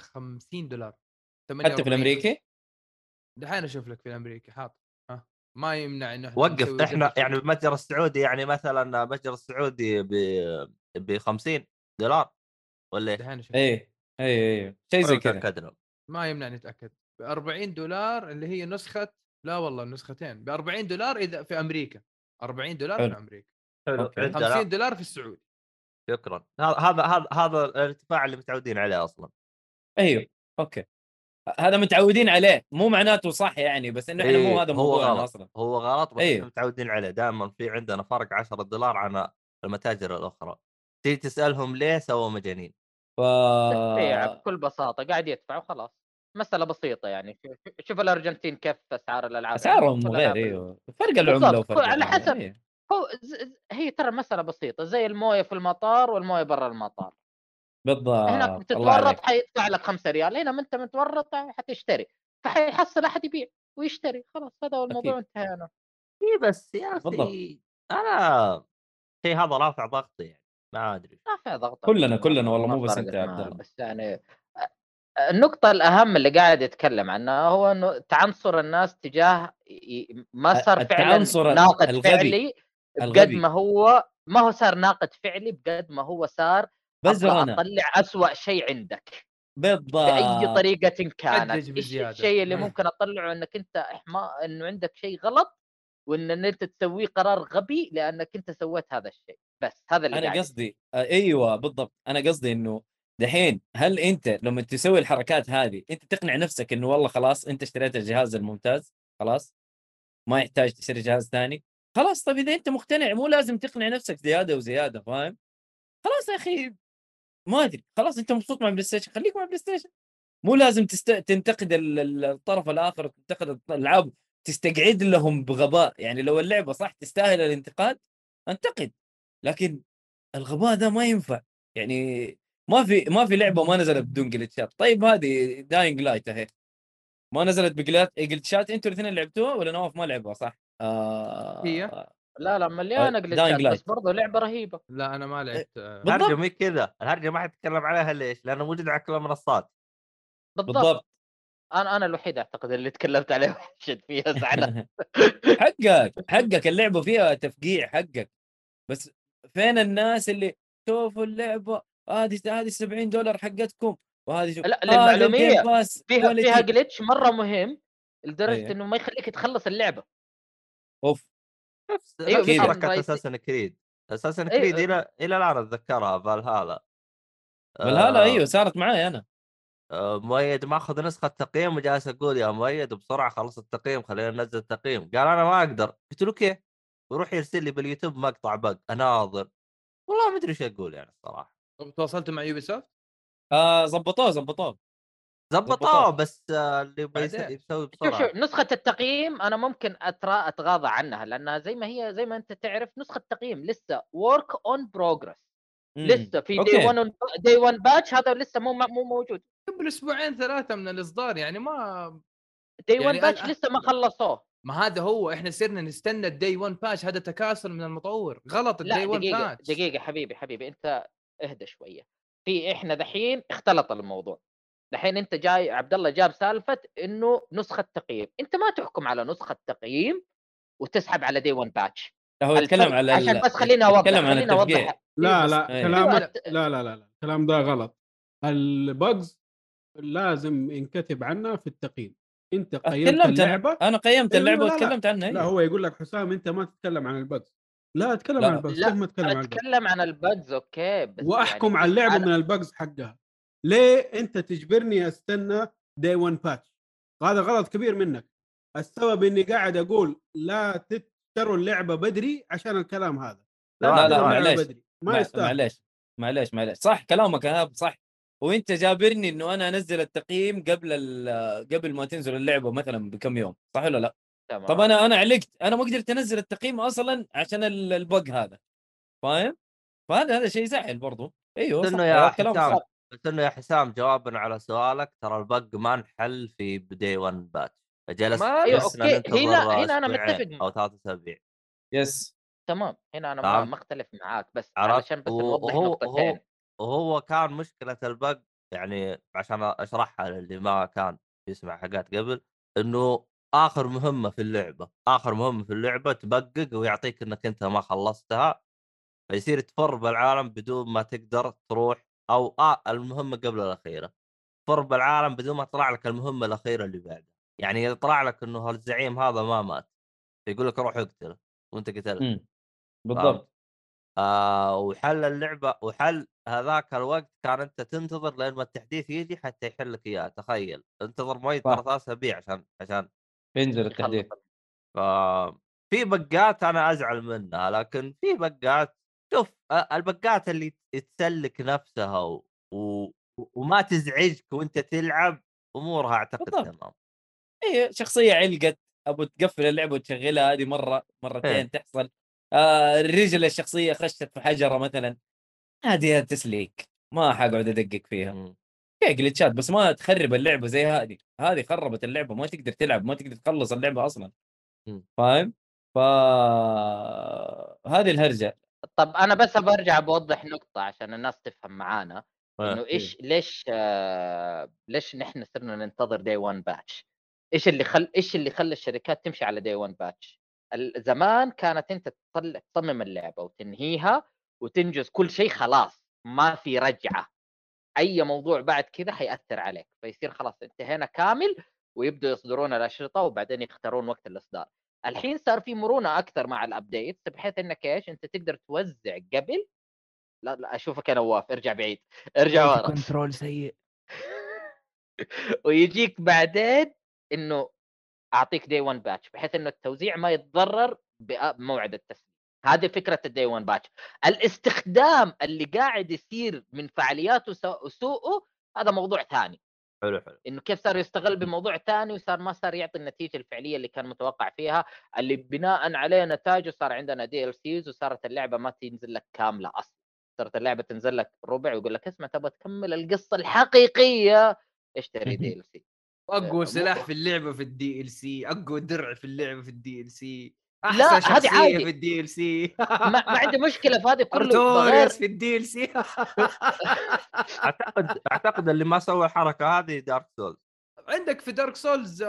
[SPEAKER 2] دولار
[SPEAKER 3] حتى في
[SPEAKER 2] 48.
[SPEAKER 3] الامريكي
[SPEAKER 2] دحين اشوف لك في الامريكي حاط ها ما يمنع انه إحنا
[SPEAKER 1] وقف
[SPEAKER 2] نسوي
[SPEAKER 1] احنا
[SPEAKER 2] research.
[SPEAKER 1] يعني المتجر السعودي يعني مثلا المتجر السعودي ب ب 50 دولار ولا إيه؟
[SPEAKER 2] دحين اشوف
[SPEAKER 3] ايوه ايوه ايوه شيء زي كذا
[SPEAKER 1] تأكدنا.
[SPEAKER 2] ما يمنع نتاكد ب 40 دولار اللي هي نسخه لا والله نسختين ب 40 دولار اذا في امريكا 40 دولار
[SPEAKER 3] حلو.
[SPEAKER 2] في امريكا
[SPEAKER 1] حلو
[SPEAKER 3] أوكي.
[SPEAKER 1] عندنا.
[SPEAKER 2] 50 دولار في السعودي
[SPEAKER 1] شكرا هذا هذا هذا هذا الارتفاع اللي متعودين عليه اصلا
[SPEAKER 3] ايوه اوكي هذا متعودين عليه مو معناته صح يعني بس انه احنا
[SPEAKER 1] إيه،
[SPEAKER 3] مو هذا
[SPEAKER 1] هو
[SPEAKER 3] موضوعنا
[SPEAKER 1] غلط.
[SPEAKER 3] اصلا
[SPEAKER 1] هو غلط بس
[SPEAKER 3] أيوه.
[SPEAKER 1] احنا متعودين عليه دائما في عندنا فرق 10 دولار عن المتاجر الاخرى تيجي تسالهم ليه سووا مجانين
[SPEAKER 3] ف
[SPEAKER 4] تقطيع إيه،
[SPEAKER 3] آه.
[SPEAKER 4] بكل بساطه قاعد يدفع وخلاص مساله بسيطه يعني شوف- شوف الارجنتين كيف يعني اسعار الالعاب
[SPEAKER 3] اسعارهم
[SPEAKER 4] كلها
[SPEAKER 3] غير
[SPEAKER 4] بال-
[SPEAKER 3] ايوه فرق العمله
[SPEAKER 4] بالضبط،
[SPEAKER 3] وفرق
[SPEAKER 4] على
[SPEAKER 3] العملة،
[SPEAKER 4] حسب.
[SPEAKER 3] أيوه.
[SPEAKER 4] هو ز... ز- هي ترى مساله بسيطه زي المويه في المطار والمويه برا المطار
[SPEAKER 3] بالضبط
[SPEAKER 4] هناك
[SPEAKER 3] آه، الله عليك.
[SPEAKER 4] بتتورط حيدفع لك 5 ريال هنا ما انت متورط حتشتري فحيحصل احد يبيع ويشتري خلاص هذا هو الموضوع انتهينا
[SPEAKER 1] اي إيه بس يا اخي
[SPEAKER 3] بالضبط.
[SPEAKER 1] انا شيء هذا رافع ضغطي يعني ما ادري
[SPEAKER 4] رافع ضغط
[SPEAKER 3] كلنا- كلنا والله
[SPEAKER 4] ما
[SPEAKER 3] مو بس
[SPEAKER 4] فرقت
[SPEAKER 3] أنت يا عبد
[SPEAKER 4] معاه،
[SPEAKER 3] الله.
[SPEAKER 4] بس يعني أ- النقطة الأهم اللي قاعد يتكلم عنها هو أنه تعنصر الناس تجاه ي- ما
[SPEAKER 3] الت-
[SPEAKER 4] صار فعلا
[SPEAKER 3] التعنصر ال-
[SPEAKER 4] ناقد
[SPEAKER 3] الغبي.
[SPEAKER 4] فعلي بقد
[SPEAKER 3] الغبي.
[SPEAKER 4] ما هو ما هو صار ناقد فعلي بقد ما هو صار أبغى
[SPEAKER 3] بزرنا
[SPEAKER 4] أطلع أسوأ شيء عندك بأي
[SPEAKER 3] بالضبط
[SPEAKER 4] طريقة كانت
[SPEAKER 2] آه. حجج
[SPEAKER 4] إيش
[SPEAKER 2] بزيادة. إيه.
[SPEAKER 4] الشيء اللي
[SPEAKER 2] مم.
[SPEAKER 4] ممكن أطلعه أنك أنت إحما أنه عندك شيء غلط وان إن انت تسويه قرار غبي لانك انت سويت هذا الشيء بس هذا اللي
[SPEAKER 3] انا
[SPEAKER 4] قاعد
[SPEAKER 3] قصدي آه، ايوه بالضبط انا قصدي انه دحين هل انت لما تسوي الحركات هذه انت تقنع نفسك انه والله خلاص انت اشتريت الجهاز الممتاز خلاص ما يحتاج تشتري جهاز ثاني خلاص طب اذا انت مقتنع مو لازم تقنع نفسك زياده وزياده فاهم خلاص يا اخي ما ادري خلاص انت مبسوط مع البلاي ستيشن خليك مع البلاي ستيشن مو لازم تست... تنتقد ال- ال- الطرف الاخر وتنتقد الط- الالعاب تستقعد لهم بغباء يعني لو اللعبه صح تستاهل الانتقاد انتقد لكن الغباء ده ما ينفع يعني ما في ما في لعبه ما نزلت بدون جلتشات طيب هذه داينج لايت اهي ما نزلت بجلات جلتشات انتوا الاثنين لعبتوها ولا نواف ما لعبها صح؟ آه...
[SPEAKER 2] هي؟
[SPEAKER 4] لا لا مليانه
[SPEAKER 3] آه،
[SPEAKER 4] جلتشات
[SPEAKER 3] Dying Light.
[SPEAKER 4] بس برضه لعبه رهيبه
[SPEAKER 2] لا انا ما لعبت آه،
[SPEAKER 3] بالضبط.
[SPEAKER 1] الهرجه مي كذا الهرجه ما حد يتكلم عليها ليش؟ لانه موجود على كل المنصات
[SPEAKER 4] بالضبط,
[SPEAKER 3] بالضبط
[SPEAKER 4] انا انا الوحيد اعتقد اللي تكلمت عليه وحشد فيها زعلان
[SPEAKER 3] حقك حقك اللعبه فيها تفقيع حقك بس فين الناس اللي شوفوا اللعبه هذه هذه 70 دولار حقتكم وهذه شوف
[SPEAKER 4] لا،
[SPEAKER 3] هذا Game
[SPEAKER 4] للمعلومية،
[SPEAKER 3] Pass
[SPEAKER 4] فيها فيها
[SPEAKER 3] quality.
[SPEAKER 4] جلتش مره مهم لدرجه
[SPEAKER 2] إيه.
[SPEAKER 3] أيوه.
[SPEAKER 4] انه ما يخليك تخلص اللعبه
[SPEAKER 3] اوف
[SPEAKER 1] نفس
[SPEAKER 4] أيوة،
[SPEAKER 1] نفس
[SPEAKER 3] بس
[SPEAKER 4] طبعاً
[SPEAKER 1] حركه
[SPEAKER 4] رايت-
[SPEAKER 1] اساسن كريد اساسن
[SPEAKER 3] أيوه،
[SPEAKER 4] أيوة.
[SPEAKER 1] كريد الى الى الان اتذكرها فالهالا
[SPEAKER 3] بالهلا
[SPEAKER 1] آه،
[SPEAKER 3] ايوه صارت معي انا
[SPEAKER 1] آه، مؤيد ماخذ نسخه تقييم وجالس اقول يا مؤيد بسرعه خلص التقييم خلينا ننزل التقييم قال انا ما اقدر قلت له كيف ويروح يرسل لي باليوتيوب مقطع بق اناظر والله ما ادري ايش اقول يعني الصراحه
[SPEAKER 2] طب تواصلتوا مع يوبي سوفت
[SPEAKER 3] آه زبطوه زبطوه
[SPEAKER 1] زبطوه
[SPEAKER 3] زبطوه.
[SPEAKER 1] بس آه، اللي يبغى يس-
[SPEAKER 2] بعدين.
[SPEAKER 1] يسوي
[SPEAKER 4] شوف
[SPEAKER 1] بسرعه
[SPEAKER 4] شوف نسخه التقييم انا ممكن اترا اتغاضى عنها لانها زي ما هي زي ما انت تعرف نسخه التقييم لسه ورك اون بروجرس
[SPEAKER 3] مم.
[SPEAKER 4] لسه في دي
[SPEAKER 3] أوكي.
[SPEAKER 4] 1 دي 1 باتش هذا لسه مو مو موجود
[SPEAKER 2] قبل اسبوعين ثلاثه من الاصدار يعني ما
[SPEAKER 4] دي 1
[SPEAKER 2] يعني
[SPEAKER 4] باتش
[SPEAKER 2] الآن-
[SPEAKER 4] لسه ما خلصوه
[SPEAKER 2] ما هذا هو احنا صرنا نستنى الدي 1 باتش هذا تكاسل من المطور غلط
[SPEAKER 4] لا
[SPEAKER 2] الدي 1
[SPEAKER 4] دقيقه
[SPEAKER 2] باتش
[SPEAKER 4] دقيقه حبيبي حبيبي انت اهدى شويه في احنا دحين اختلط الموضوع دحين انت جاي عبد الله جاب سالفه انه نسخه تقييم انت ما تحكم على نسخه تقييم وتسحب على دي 1 باتش
[SPEAKER 3] هو يتكلم
[SPEAKER 4] الفرق-
[SPEAKER 3] على
[SPEAKER 4] عشان بس خليني اوضح
[SPEAKER 3] يتكلم عن
[SPEAKER 4] خليني اوضح
[SPEAKER 3] التفقيع.
[SPEAKER 4] إيه.
[SPEAKER 5] لا لا
[SPEAKER 3] أيوة.
[SPEAKER 5] كلامك
[SPEAKER 4] أيوة.
[SPEAKER 5] لا لا لا لا الكلام ده غلط البجز لازم ينكتب عنها في التقييم انت قيمت
[SPEAKER 3] اتكلمت
[SPEAKER 5] اللعبه
[SPEAKER 3] انا انا قيمت
[SPEAKER 5] أيوة،
[SPEAKER 3] اللعبه
[SPEAKER 5] لا، لا.
[SPEAKER 3] وتكلمت عنها
[SPEAKER 5] لا
[SPEAKER 3] أيوة.
[SPEAKER 5] هو يقول لك حسام انت ما تتكلم عن البجز لا اتكلم
[SPEAKER 3] لا،
[SPEAKER 5] عن البجز
[SPEAKER 4] لا،
[SPEAKER 5] كيف ما اتكلم عن البجز
[SPEAKER 4] اتكلم عن البجز اوكي بس
[SPEAKER 5] واحكم
[SPEAKER 4] يعني
[SPEAKER 5] على اللعبه
[SPEAKER 4] أنا-
[SPEAKER 5] من البجز حقها ليه انت تجبرني استنى دي 1 باتش هذا غلط كبير منك السبب اني قاعد اقول لا تشتروا اللعبه بدري عشان الكلام هذا
[SPEAKER 1] لا، لا،
[SPEAKER 5] تشتروا اللعبة
[SPEAKER 3] معليش.
[SPEAKER 5] بدري ما
[SPEAKER 3] مع-
[SPEAKER 5] يستاهل
[SPEAKER 3] معليش معليش معليش صح كلامك هاب صح وانت جابرني انه انا انزل التقييم قبل ال- قبل ما تنزل اللعبه مثلا بكم يوم صح ولا لا؟
[SPEAKER 4] تمام.
[SPEAKER 3] طب انا انا علقت انا ما قدرت انزل التقييم اصلا عشان ال- البق هذا فاهم؟ فهذا هذا شيء يزعل برضه ايوه
[SPEAKER 1] قلت
[SPEAKER 3] صح
[SPEAKER 1] انه يا
[SPEAKER 3] كلامك
[SPEAKER 1] حسام
[SPEAKER 3] صح
[SPEAKER 1] قلت له يا حسام جوابا على سؤالك ترى البق ما انحل في بداي 1 باتش فجلس
[SPEAKER 2] ما-
[SPEAKER 4] أيوة،
[SPEAKER 1] جلسنا
[SPEAKER 4] أوكي.
[SPEAKER 1] ننتظر
[SPEAKER 4] هنا- هنا أنا
[SPEAKER 1] أسبوعين
[SPEAKER 4] متفق
[SPEAKER 1] او ثلاث اسابيع
[SPEAKER 3] يس
[SPEAKER 4] تمام هنا انا ما
[SPEAKER 1] تمام.
[SPEAKER 4] ما اختلف معاك بس
[SPEAKER 1] عرفت؟
[SPEAKER 4] علشان بس نوضح
[SPEAKER 1] وهو-
[SPEAKER 4] نقطتين
[SPEAKER 1] وهو- وهو كان مشكله البق يعني عشان اشرحها للي ما كان يسمع حاجات قبل انه اخر مهمه في اللعبه اخر مهمه في اللعبه تبقق ويعطيك انك انت ما خلصتها فيصير تفر بالعالم بدون ما تقدر تروح او آه المهمه قبل الاخيره تفر بالعالم بدون ما تطلع لك المهمه الاخيره اللي بعدها يعني يطلع لك انه الزعيم هذا ما مات يقول لك روح اقتله وانت قتلت
[SPEAKER 3] مم. بالضبط
[SPEAKER 1] آه وحل اللعبه وحل هذاك الوقت كان انت تنتظر لين ما التحديث يجي حتى يحل لك اياه تخيل انتظر ما
[SPEAKER 3] صح.
[SPEAKER 1] ترى ثلاث اسابيع عشان عشان
[SPEAKER 3] ينزل
[SPEAKER 4] يخلص
[SPEAKER 3] التحديث
[SPEAKER 1] ف في بقات انا ازعل منها لكن في بقات شوف آه، البقات اللي تسلك نفسها و... و... وما تزعجك وانت تلعب امورها اعتقد
[SPEAKER 3] بالضبط.
[SPEAKER 1] تمام
[SPEAKER 3] اي شخصيه إيه، علقت ابو تقفل اللعبه وتشغلها هذه مره مرتين
[SPEAKER 1] إيه.
[SPEAKER 3] تحصل آه رجل الشخصيه خشت في حجره مثلا هذه تسليك ما حقعد ادقق فيها
[SPEAKER 1] مم.
[SPEAKER 3] في جلتشات بس ما تخرب اللعبه زي هذه هذه خربت اللعبه ما تقدر تلعب ما تقدر تخلص اللعبه اصلا
[SPEAKER 1] م.
[SPEAKER 3] فاهم ف هذه الهرجه
[SPEAKER 4] طب انا بس برجع بوضح نقطه عشان الناس تفهم معانا
[SPEAKER 1] آه،
[SPEAKER 4] انه ايش ليش آه ليش نحن صرنا ننتظر داي 1 باتش ايش اللي خل ايش اللي خلى الشركات تمشي على داي 1 باتش زمان كانت انت تطل- تصمم اللعبه وتنهيها وتنجز كل شيء خلاص ما في رجعه اي موضوع بعد كذا حياثر عليك فيصير خلاص انتهينا كامل ويبدوا يصدرون الاشرطه وبعدين يختارون وقت الاصدار الحين صار في مرونه اكثر مع الابديت بحيث انك ايش انت تقدر توزع قبل لا لا اشوفك يا نواف ارجع بعيد
[SPEAKER 2] إيه،
[SPEAKER 4] ارجع ورا
[SPEAKER 2] كنترول سيء
[SPEAKER 4] ويجيك بعدين انه اعطيك دي 1 باتش بحيث انه التوزيع ما يتضرر بموعد التسليم هذه فكره الدي 1 باتش الاستخدام اللي قاعد يصير من فعالياته سو- وسوءه هذا موضوع ثاني
[SPEAKER 1] حلو حلو
[SPEAKER 4] انه كيف صار يستغل بموضوع ثاني وصار ما صار يعطي النتيجه الفعليه اللي كان متوقع فيها اللي بناء عليه نتائجه صار عندنا دي ال سيز وصارت اللعبه ما تنزل لك كامله اصلا صارت اللعبه تنزل لك ربع ويقول لك اسمع تبغى تكمل القصه الحقيقيه اشتري دي ال سي
[SPEAKER 2] اقوى
[SPEAKER 4] آه، مو-
[SPEAKER 2] سلاح في اللعبه في الدي ال سي اقوى درع في اللعبه في الدي ال سي
[SPEAKER 4] لا،
[SPEAKER 2] احسن
[SPEAKER 4] هذه
[SPEAKER 2] شخصيه
[SPEAKER 4] عادي.
[SPEAKER 2] في الدي ال سي
[SPEAKER 4] ما, ما عندي مشكله في هذه كله غير
[SPEAKER 2] ارتوريوس في الدي ال سي
[SPEAKER 1] اعتقد اعتقد اللي ما سوى الحركه هذه دارك سولز
[SPEAKER 2] عندك في دارك سولز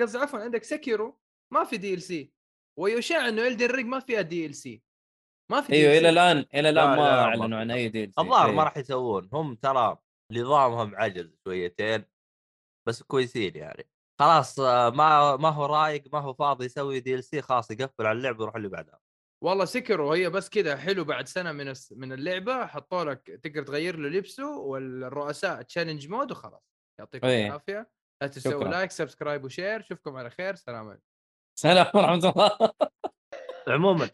[SPEAKER 2] قصدي عفوا عندك سكيرو ما في دي ال سي ويشاع انه الدن ريج ما فيها دي ال سي ما في
[SPEAKER 3] ايوه
[SPEAKER 2] DLC.
[SPEAKER 3] الى الان الى
[SPEAKER 1] لا،
[SPEAKER 3] الان
[SPEAKER 1] إلى
[SPEAKER 3] ما
[SPEAKER 1] الآن ما
[SPEAKER 3] اعلنوا
[SPEAKER 1] في.
[SPEAKER 3] عن اي ديل
[SPEAKER 1] الظاهر ما راح يسوون هم ترى نظامهم عجز شويتين بس كويسين يعني خلاص آه، ما ما هو رايق ما هو فاضي يسوي دي ال سي خلاص يقفل على اللعبه ويروح اللي بعدها
[SPEAKER 2] والله سكروا هي بس كذا حلو بعد سنه من الس... من اللعبه حطوا لك تقدر تغير له لبسه والرؤساء تشالنج مود وخلاص يعطيكم
[SPEAKER 3] إيه.
[SPEAKER 2] العافيه لا تنسوا
[SPEAKER 3] شكراً.
[SPEAKER 2] لايك سبسكرايب وشير اشوفكم على خير سلام عليكم
[SPEAKER 3] سلام ورحمه الله
[SPEAKER 1] عموما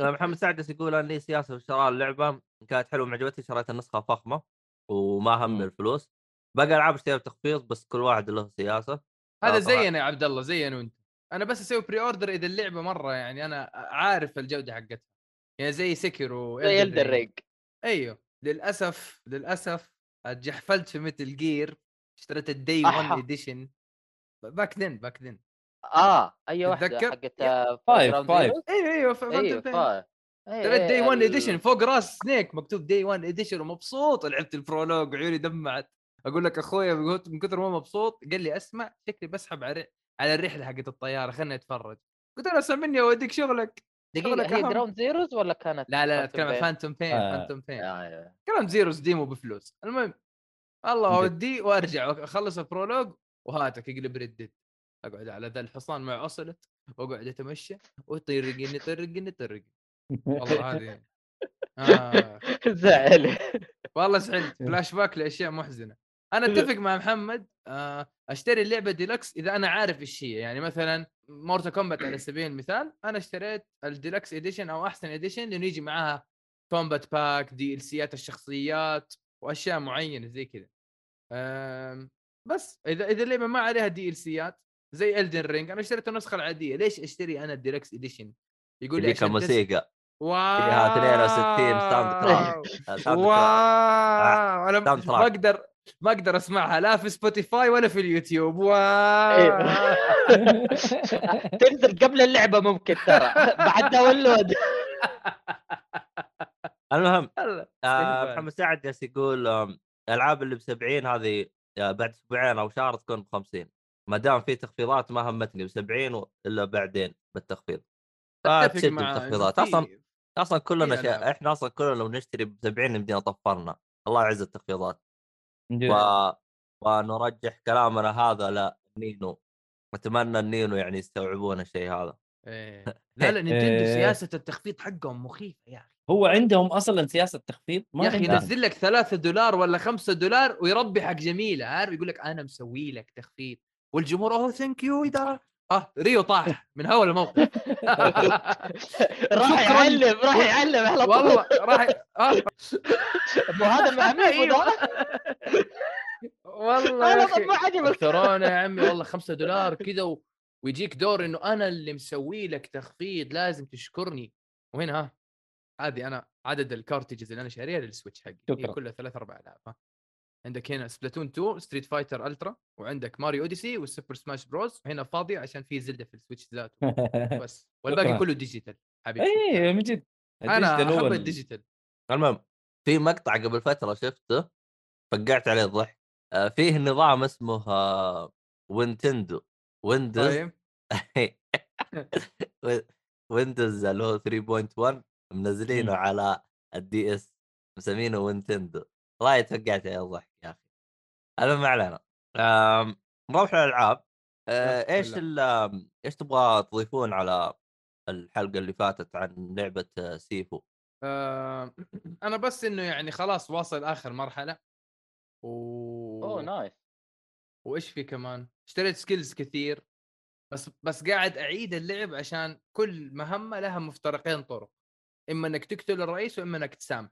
[SPEAKER 1] آه، محمد سعدس يقول انا لي سياسه في شراء اللعبه إن كانت حلوه ومعجبتني شريت النسخه فخمه وما هم
[SPEAKER 3] مم.
[SPEAKER 1] الفلوس باقي العاب اشتريها بتخفيض بس كل واحد له سياسه
[SPEAKER 2] هذا
[SPEAKER 1] آه، طبعاً.
[SPEAKER 2] زينا يا عبد الله زينا وانت انا بس اسوي بري اوردر اذا اللعبه مره يعني انا عارف الجوده حقتها يعني زي سكرو
[SPEAKER 4] زي الدريج
[SPEAKER 2] ايوه للاسف للاسف اتجحفلت في متل جير اشتريت الدي
[SPEAKER 4] أحا.
[SPEAKER 2] 1 اديشن باك ذن باك ذن
[SPEAKER 4] اه اي واحده
[SPEAKER 2] تتذكر؟
[SPEAKER 4] حقت
[SPEAKER 2] يا.
[SPEAKER 4] آه،
[SPEAKER 3] فايف،
[SPEAKER 4] Ground
[SPEAKER 3] فايف.
[SPEAKER 4] Zeroes؟
[SPEAKER 2] ايوه ايوه فهمت
[SPEAKER 4] ايوه
[SPEAKER 2] الفكرة.
[SPEAKER 4] فايف
[SPEAKER 2] ترى
[SPEAKER 4] إيه،
[SPEAKER 2] داي 1 اديشن
[SPEAKER 4] اديشن
[SPEAKER 2] فوق راس سنيك مكتوب داي 1 اديشن ومبسوط لعبت البرولوج وعيوني دمعت اقول لك اخويا من كت- من كثر ما مبسوط قال لي اسمع شكلي بسحب على الرح- على الرحله حقت الطياره خلنا اتفرج قلت له اسمع مني اوديك شغلك
[SPEAKER 4] دقيقه
[SPEAKER 2] شغلك
[SPEAKER 4] هي
[SPEAKER 2] أهم.
[SPEAKER 4] جراوند زيروز ولا كانت
[SPEAKER 2] لا لا لا
[SPEAKER 4] Phantom
[SPEAKER 2] اتكلم عن
[SPEAKER 4] Pain؟
[SPEAKER 2] فانتوم بين
[SPEAKER 3] آه.
[SPEAKER 2] فانتوم بين
[SPEAKER 4] آه، أيوة.
[SPEAKER 2] كلام زيروز ديمو بفلوس المهم الله
[SPEAKER 3] جد.
[SPEAKER 2] اودي وارجع اخلص البرولوج وهاتك اقلب ردد اقعد على ذا الحصان مع اوسلت واقعد اتمشى وطرقني طرقني طرقني والله هذه آه.
[SPEAKER 4] زعل
[SPEAKER 2] والله زعلت فلاش باك لاشياء محزنه انا اتفق مع محمد آه، اشتري اللعبه ديلكس اذا انا عارف ايش هي يعني مثلا مورتا كومبات على سبيل المثال انا اشتريت الديلكس اديشن او احسن اديشن لانه يجي معاها كومبات باك دي ال سيات الشخصيات واشياء معينه زي كذا آم، بس اذا اذا اللعبه ما عليها دي ال سيات زي الدن رينج انا اشتريت النسخه العاديه ليش اشتري انا الديلكس اديشن يقول لي
[SPEAKER 1] يجيك
[SPEAKER 2] عشان تس-
[SPEAKER 1] الموسيقى
[SPEAKER 2] واو
[SPEAKER 1] فيها 62 ساوند تراك. ساوند كلاود.
[SPEAKER 3] آه،
[SPEAKER 2] واو انا
[SPEAKER 1] ساوند
[SPEAKER 2] ما
[SPEAKER 1] تراك.
[SPEAKER 2] اقدر ما اقدر اسمعها لا في سبوتيفاي ولا في اليوتيوب واو
[SPEAKER 4] إيه. تنزل قبل اللعبه ممكن ترى بعد داونلود
[SPEAKER 1] المهم
[SPEAKER 2] يلا
[SPEAKER 1] آه
[SPEAKER 2] استهبال.
[SPEAKER 1] محمد سعد جالس يقول آم، الالعاب اللي ب 70 هذه آه، بعد اسبوعين او شهر تكون ب 50 ما دام في تخفيضات ما همتني ب 70 و- الا بعدين بالتخفيض آه،
[SPEAKER 2] أتفق
[SPEAKER 3] آه،
[SPEAKER 1] فتشد
[SPEAKER 2] معاه،
[SPEAKER 1] بالتخفيضات
[SPEAKER 2] إنه
[SPEAKER 1] اصلا
[SPEAKER 2] في-
[SPEAKER 1] اصلا كلنا
[SPEAKER 2] في
[SPEAKER 1] شا...
[SPEAKER 2] ألعاب.
[SPEAKER 1] احنا اصلا كلنا لو نشتري ب 70 يمدينا طفرنا الله يعز التخفيضات و... ونرجح كلامنا هذا لا نينو اتمنى النينو يعني يستوعبون الشيء هذا
[SPEAKER 2] إيه. لا لا نينتندو
[SPEAKER 3] إيه.
[SPEAKER 2] سياسه التخفيض حقهم مخيفه يا اخي
[SPEAKER 3] هو عندهم اصلا سياسه تخفيض ما
[SPEAKER 2] يا اخي
[SPEAKER 3] عندهم.
[SPEAKER 2] ينزل لك 3 دولار ولا 5 دولار ويربحك جميله عارف يقول لك انا مسوي لك تخفيض والجمهور اوه ثانك يو اذا اه ريو طاح من هوا الموقف
[SPEAKER 4] راح
[SPEAKER 2] شكراً.
[SPEAKER 4] يعلم راح يعلم على طول
[SPEAKER 2] والله راح اه
[SPEAKER 4] مو هذا معميم
[SPEAKER 2] أيوة.
[SPEAKER 4] ولا؟
[SPEAKER 2] والله يا
[SPEAKER 4] لا
[SPEAKER 2] اخي
[SPEAKER 4] لا ما عجبك
[SPEAKER 2] ترانا يا عمي والله 5 دولار كذا و... ويجيك دور انه انا اللي مسوي لك تخفيض لازم تشكرني وين ها هذه انا عدد الكارتجز اللي انا شاريها للسويتش حقي هي
[SPEAKER 3] شكراً.
[SPEAKER 2] كلها ثلاث اربع العاب ها. عندك هنا سبلاتون 2 ستريت فايتر الترا وعندك ماريو اوديسي والسوبر سماش بروز هنا فاضيه عشان في زلده في السويتش ذاته بس والباقي
[SPEAKER 3] شكراً. إيه،
[SPEAKER 2] كله ديجيتال حبيبي
[SPEAKER 3] اي من جد
[SPEAKER 2] انا
[SPEAKER 3] الديجيتال هو
[SPEAKER 2] احب
[SPEAKER 3] ال-
[SPEAKER 2] الديجيتال
[SPEAKER 1] المهم في مقطع قبل فتره شفته فقعت عليه الضحك آه، فيه نظام اسمه آه، وينتندو ويندوز
[SPEAKER 2] طيب
[SPEAKER 1] ويندوز اللي هو 3.1 منزلينه
[SPEAKER 3] مم.
[SPEAKER 1] على الدي اس مسمينه وينتندو والله توقعت عليه الضحك يا اخي المهم ما علينا آم، نروح للالعاب آه،
[SPEAKER 2] يلا،
[SPEAKER 1] ايش
[SPEAKER 2] بسم
[SPEAKER 1] ال- آم، ايش تبغى تضيفون على الحلقه اللي فاتت عن لعبه آه، سيفو
[SPEAKER 2] آه، انا بس انه يعني خلاص واصل اخر مرحله و
[SPEAKER 4] اوه نايس
[SPEAKER 2] وايش في كمان اشتريت سكيلز كثير بس بس قاعد اعيد اللعب عشان كل مهمه لها مفترقين طرق اما انك تقتل الرئيس واما انك تسامح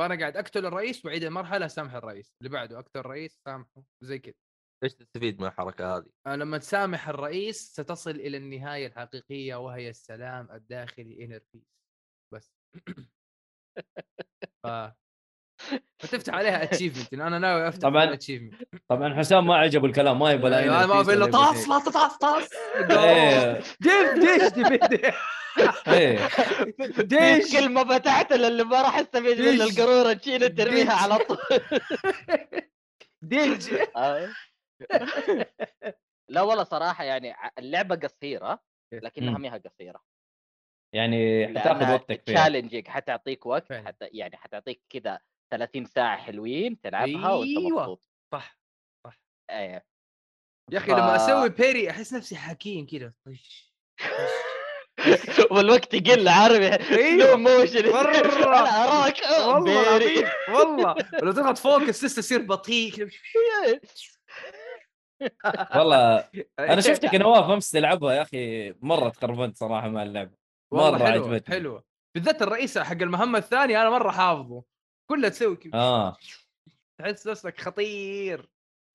[SPEAKER 2] فانا قاعد اقتل الرئيس واعيد المرحله اسامح الرئيس اللي بعده اقتل الرئيس سامحه زي كذا
[SPEAKER 1] ايش تستفيد من الحركه هذه
[SPEAKER 2] آه، لما تسامح الرئيس ستصل الى النهايه الحقيقيه وهي السلام الداخلي انر بيس بس ف... فتفتح عليها اتشيفمنت انا ناوي افتح
[SPEAKER 3] طبعاً.
[SPEAKER 2] اتشيفمنت
[SPEAKER 3] طبعا حسام ما عجبه الكلام ما يبغى
[SPEAKER 1] أيوة،
[SPEAKER 2] انا
[SPEAKER 3] لا
[SPEAKER 2] أيوة، ما
[SPEAKER 3] NFT
[SPEAKER 2] ابي الا
[SPEAKER 3] ولا يبغى
[SPEAKER 2] طاس
[SPEAKER 3] شيء.
[SPEAKER 2] لا طاس طاس
[SPEAKER 3] إيه،
[SPEAKER 2] ديف ديش
[SPEAKER 3] إيه.
[SPEAKER 4] إيه،
[SPEAKER 2] ديش
[SPEAKER 4] كلمه فتحت اللي ما راح استفيد منها
[SPEAKER 2] ديش.
[SPEAKER 4] القاروره تشيلها ترميها
[SPEAKER 2] ديش.
[SPEAKER 4] على طول
[SPEAKER 2] ديش
[SPEAKER 4] آه. لا والله صراحه يعني ع- اللعبه قصيره
[SPEAKER 2] إيه.
[SPEAKER 4] لكن
[SPEAKER 2] إمم.
[SPEAKER 3] مم.
[SPEAKER 4] اهميها قصيره
[SPEAKER 3] يعني حتاخذ وقتك فيها
[SPEAKER 4] تشالنجينج حتعطيك وقت
[SPEAKER 2] فعلاً.
[SPEAKER 4] حتى يعني حتعطيك كذا 30 ساعه حلوين تلعبها وانت
[SPEAKER 2] أيوة.
[SPEAKER 4] مبسوط
[SPEAKER 2] صح
[SPEAKER 4] ايه
[SPEAKER 2] يا اخي لما
[SPEAKER 4] ف-
[SPEAKER 2] اسوي
[SPEAKER 3] آه.
[SPEAKER 2] بيري احس نفسي حكيم كذا طش.
[SPEAKER 4] والوقت يقل عارف
[SPEAKER 2] أيوة.
[SPEAKER 4] سلو موشن
[SPEAKER 2] مرة.
[SPEAKER 4] انا اراك
[SPEAKER 2] والله
[SPEAKER 4] بيري.
[SPEAKER 2] العظيم والله ولو تضغط فوكس لسه يصير بطيء إيه، كذا.
[SPEAKER 3] والله انا شفتك يا نواف امس تلعبها يا اخي مره تخربنت صراحه مع اللعبه
[SPEAKER 2] والله
[SPEAKER 3] مرة
[SPEAKER 2] حلوة،
[SPEAKER 3] عجبتني.
[SPEAKER 2] حلوة بالذات الرئيس حق المهمة الثانية أنا مرة حافظه كلها تسوي كذا
[SPEAKER 3] اه
[SPEAKER 2] تحس نفسك خطير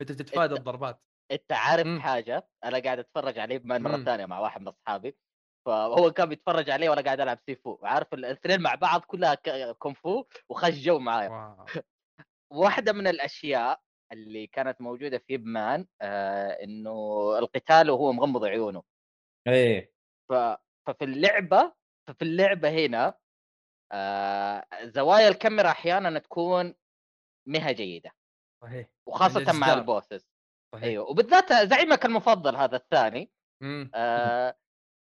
[SPEAKER 2] أنت بتتفادى
[SPEAKER 3] إيه.
[SPEAKER 4] أنت-
[SPEAKER 2] الضربات
[SPEAKER 4] انت عارف
[SPEAKER 2] مم.
[SPEAKER 4] حاجه انا قاعد اتفرج عليه بما إن مره
[SPEAKER 2] مم.
[SPEAKER 4] ثانيه مع واحد من اصحابي فهو كان بيتفرج عليه وانا قاعد العب سيفو عارف الاثنين مع بعض كلها ك- كونغ فو وخش جو معايا
[SPEAKER 2] واو
[SPEAKER 4] واحده من الاشياء اللي كانت موجوده في بمان آه انه القتال وهو مغمض عيونه
[SPEAKER 3] ايه
[SPEAKER 4] ف... ففي اللعبه ففي اللعبه هنا آه زوايا الكاميرا احيانا تكون مها جيده
[SPEAKER 2] صحيح
[SPEAKER 4] وخاصه مع
[SPEAKER 2] الإصدار.
[SPEAKER 4] البوسز
[SPEAKER 2] صحيح
[SPEAKER 4] ايوه وبالذات زعيمك المفضل هذا الثاني
[SPEAKER 2] مم.
[SPEAKER 4] آه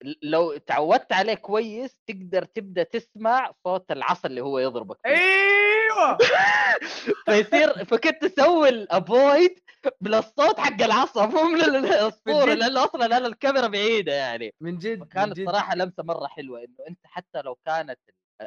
[SPEAKER 4] ل- لو تعودت عليه كويس تقدر تبدا تسمع صوت العصا اللي هو يضربك فيه.
[SPEAKER 2] ايوه
[SPEAKER 4] فيصير فكنت تسوي الافويد من الصوت حق العصا مو من ال- الاسطوره
[SPEAKER 2] بالجد.
[SPEAKER 4] لانه اصلا انا الكاميرا بعيده يعني
[SPEAKER 2] من جد من
[SPEAKER 4] كانت
[SPEAKER 2] جد.
[SPEAKER 4] صراحه لمسه مره حلوه انه انت حتى لو كانت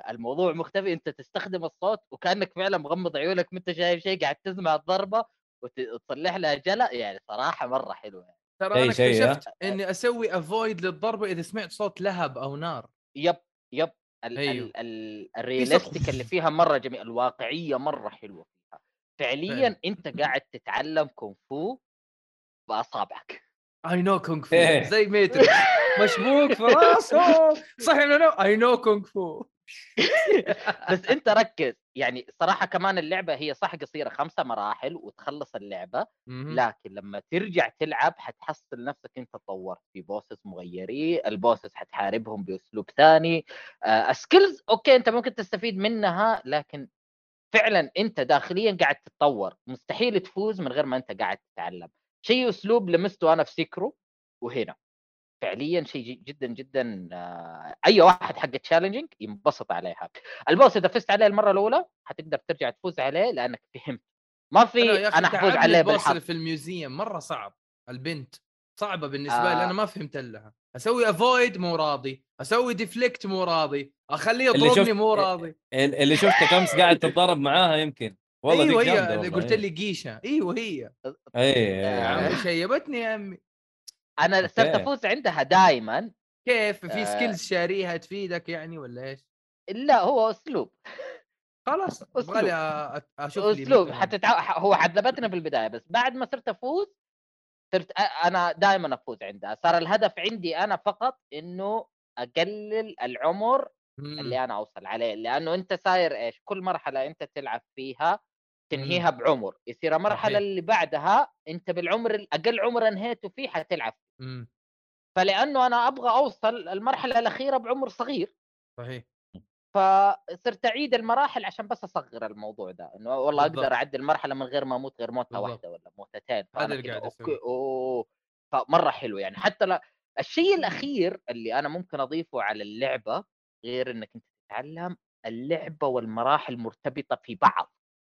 [SPEAKER 4] الموضوع مختفي انت تستخدم الصوت وكانك فعلا مغمض عيونك ما انت شايف شيء قاعد تسمع الضربه وت- وتصلح لها جلا يعني صراحه مره حلوه يعني.
[SPEAKER 2] ترى
[SPEAKER 3] أي
[SPEAKER 2] انا
[SPEAKER 3] شيء، آه. ها؟
[SPEAKER 2] اكتشفت اني اسوي افويد للضربه اذا سمعت صوت لهب او نار
[SPEAKER 4] يب يب ال
[SPEAKER 2] أيوه.
[SPEAKER 4] ال ال الريالستيك اللي فيها مره جميل الواقعيه مره حلوه فيها فعليا
[SPEAKER 2] فعلاً.
[SPEAKER 4] انت قاعد تتعلم كونغ فو باصابعك
[SPEAKER 2] اي نو كونغ فو
[SPEAKER 3] إيه.
[SPEAKER 2] زي ميتريكس مشبوك في راسه صحي من النوم اي نو كونغ فو
[SPEAKER 4] بس انت ركز يعني صراحه كمان اللعبه هي صح قصيره خمسة مراحل وتخلص اللعبه
[SPEAKER 2] مهم.
[SPEAKER 4] لكن لما ترجع تلعب حتحصل نفسك انت تطورت في بوسس مغيري البوسس حتحاربهم باسلوب ثاني آه، السكيلز اوكي انت ممكن تستفيد منها لكن فعلا انت داخليا قاعد تتطور مستحيل تفوز من غير ما انت قاعد تتعلم شيء اسلوب لمسته انا في سيكرو وهنا فعليا شيء جي- جدا جدا آه، اي واحد حق تشالنجينج ينبسط عليها البوس اذا فزت عليه المره الاولى حتقدر ترجع تفوز عليه لانك فهمت ما في
[SPEAKER 2] يا أخي
[SPEAKER 4] انا حفوز
[SPEAKER 2] تعبني
[SPEAKER 4] طيب، عليه
[SPEAKER 2] البوس
[SPEAKER 4] بالحظ
[SPEAKER 2] اللي في الميوزيوم مره صعب البنت صعبه بالنسبه لي
[SPEAKER 4] آه.
[SPEAKER 2] انا ما فهمت لها اسوي افويد مو راضي اسوي ديفليكت مو راضي اخليه
[SPEAKER 3] اللي
[SPEAKER 2] يضربني
[SPEAKER 3] شفت- إيه،
[SPEAKER 2] مو راضي
[SPEAKER 3] ال- اللي شفتك امس قاعد تتضارب معاها يمكن والله
[SPEAKER 2] ايوه
[SPEAKER 3] ذيك جامدة
[SPEAKER 2] هي اللي
[SPEAKER 3] والله.
[SPEAKER 2] قلت لي قيشه ايوه هي
[SPEAKER 3] إيه، إيه،
[SPEAKER 2] يا
[SPEAKER 3] إيه.
[SPEAKER 2] عمي شيبتني يا عمي
[SPEAKER 4] انا صرت
[SPEAKER 3] أوكي.
[SPEAKER 4] افوز عندها دائما
[SPEAKER 2] كيف في
[SPEAKER 4] آه.
[SPEAKER 2] سكيلز شاريها تفيدك يعني ولا ايش؟
[SPEAKER 4] لا هو اسلوب
[SPEAKER 2] خلاص
[SPEAKER 4] أسلوب.
[SPEAKER 2] ابغى لي أ- أ- اشوف لي
[SPEAKER 4] اسلوب
[SPEAKER 2] مثلاً.
[SPEAKER 4] حتتع... هو عذبتنا في البدايه بس بعد ما صرت افوز صرت أ- انا دائما افوز عندها صار الهدف عندي انا فقط انه اقلل العمر
[SPEAKER 2] مم.
[SPEAKER 4] اللي انا اوصل عليه لانه انت صاير ايش كل مرحله انت تلعب فيها تنهيها بعمر يصير المرحله
[SPEAKER 2] صحيح.
[SPEAKER 4] اللي بعدها انت بالعمر الاقل عمر انهيته فيه حتلعب
[SPEAKER 2] مم.
[SPEAKER 4] فلانه انا ابغى اوصل المرحله الاخيره بعمر صغير
[SPEAKER 2] صحيح
[SPEAKER 4] فصرت اعيد المراحل عشان بس اصغر الموضوع ده انه والله
[SPEAKER 2] بالضبط.
[SPEAKER 4] اقدر اعدي المرحله من غير ما اموت غير موته
[SPEAKER 2] بالضبط.
[SPEAKER 4] واحده ولا موتتين
[SPEAKER 2] هذا
[SPEAKER 4] فأنا
[SPEAKER 2] اللي
[SPEAKER 4] كده
[SPEAKER 2] قاعد
[SPEAKER 4] أوكي-
[SPEAKER 2] أسويه.
[SPEAKER 4] أوه. فمره حلو يعني حتى لا الشيء الاخير اللي انا ممكن اضيفه على اللعبه غير انك انت تتعلم اللعبه والمراحل مرتبطه في بعض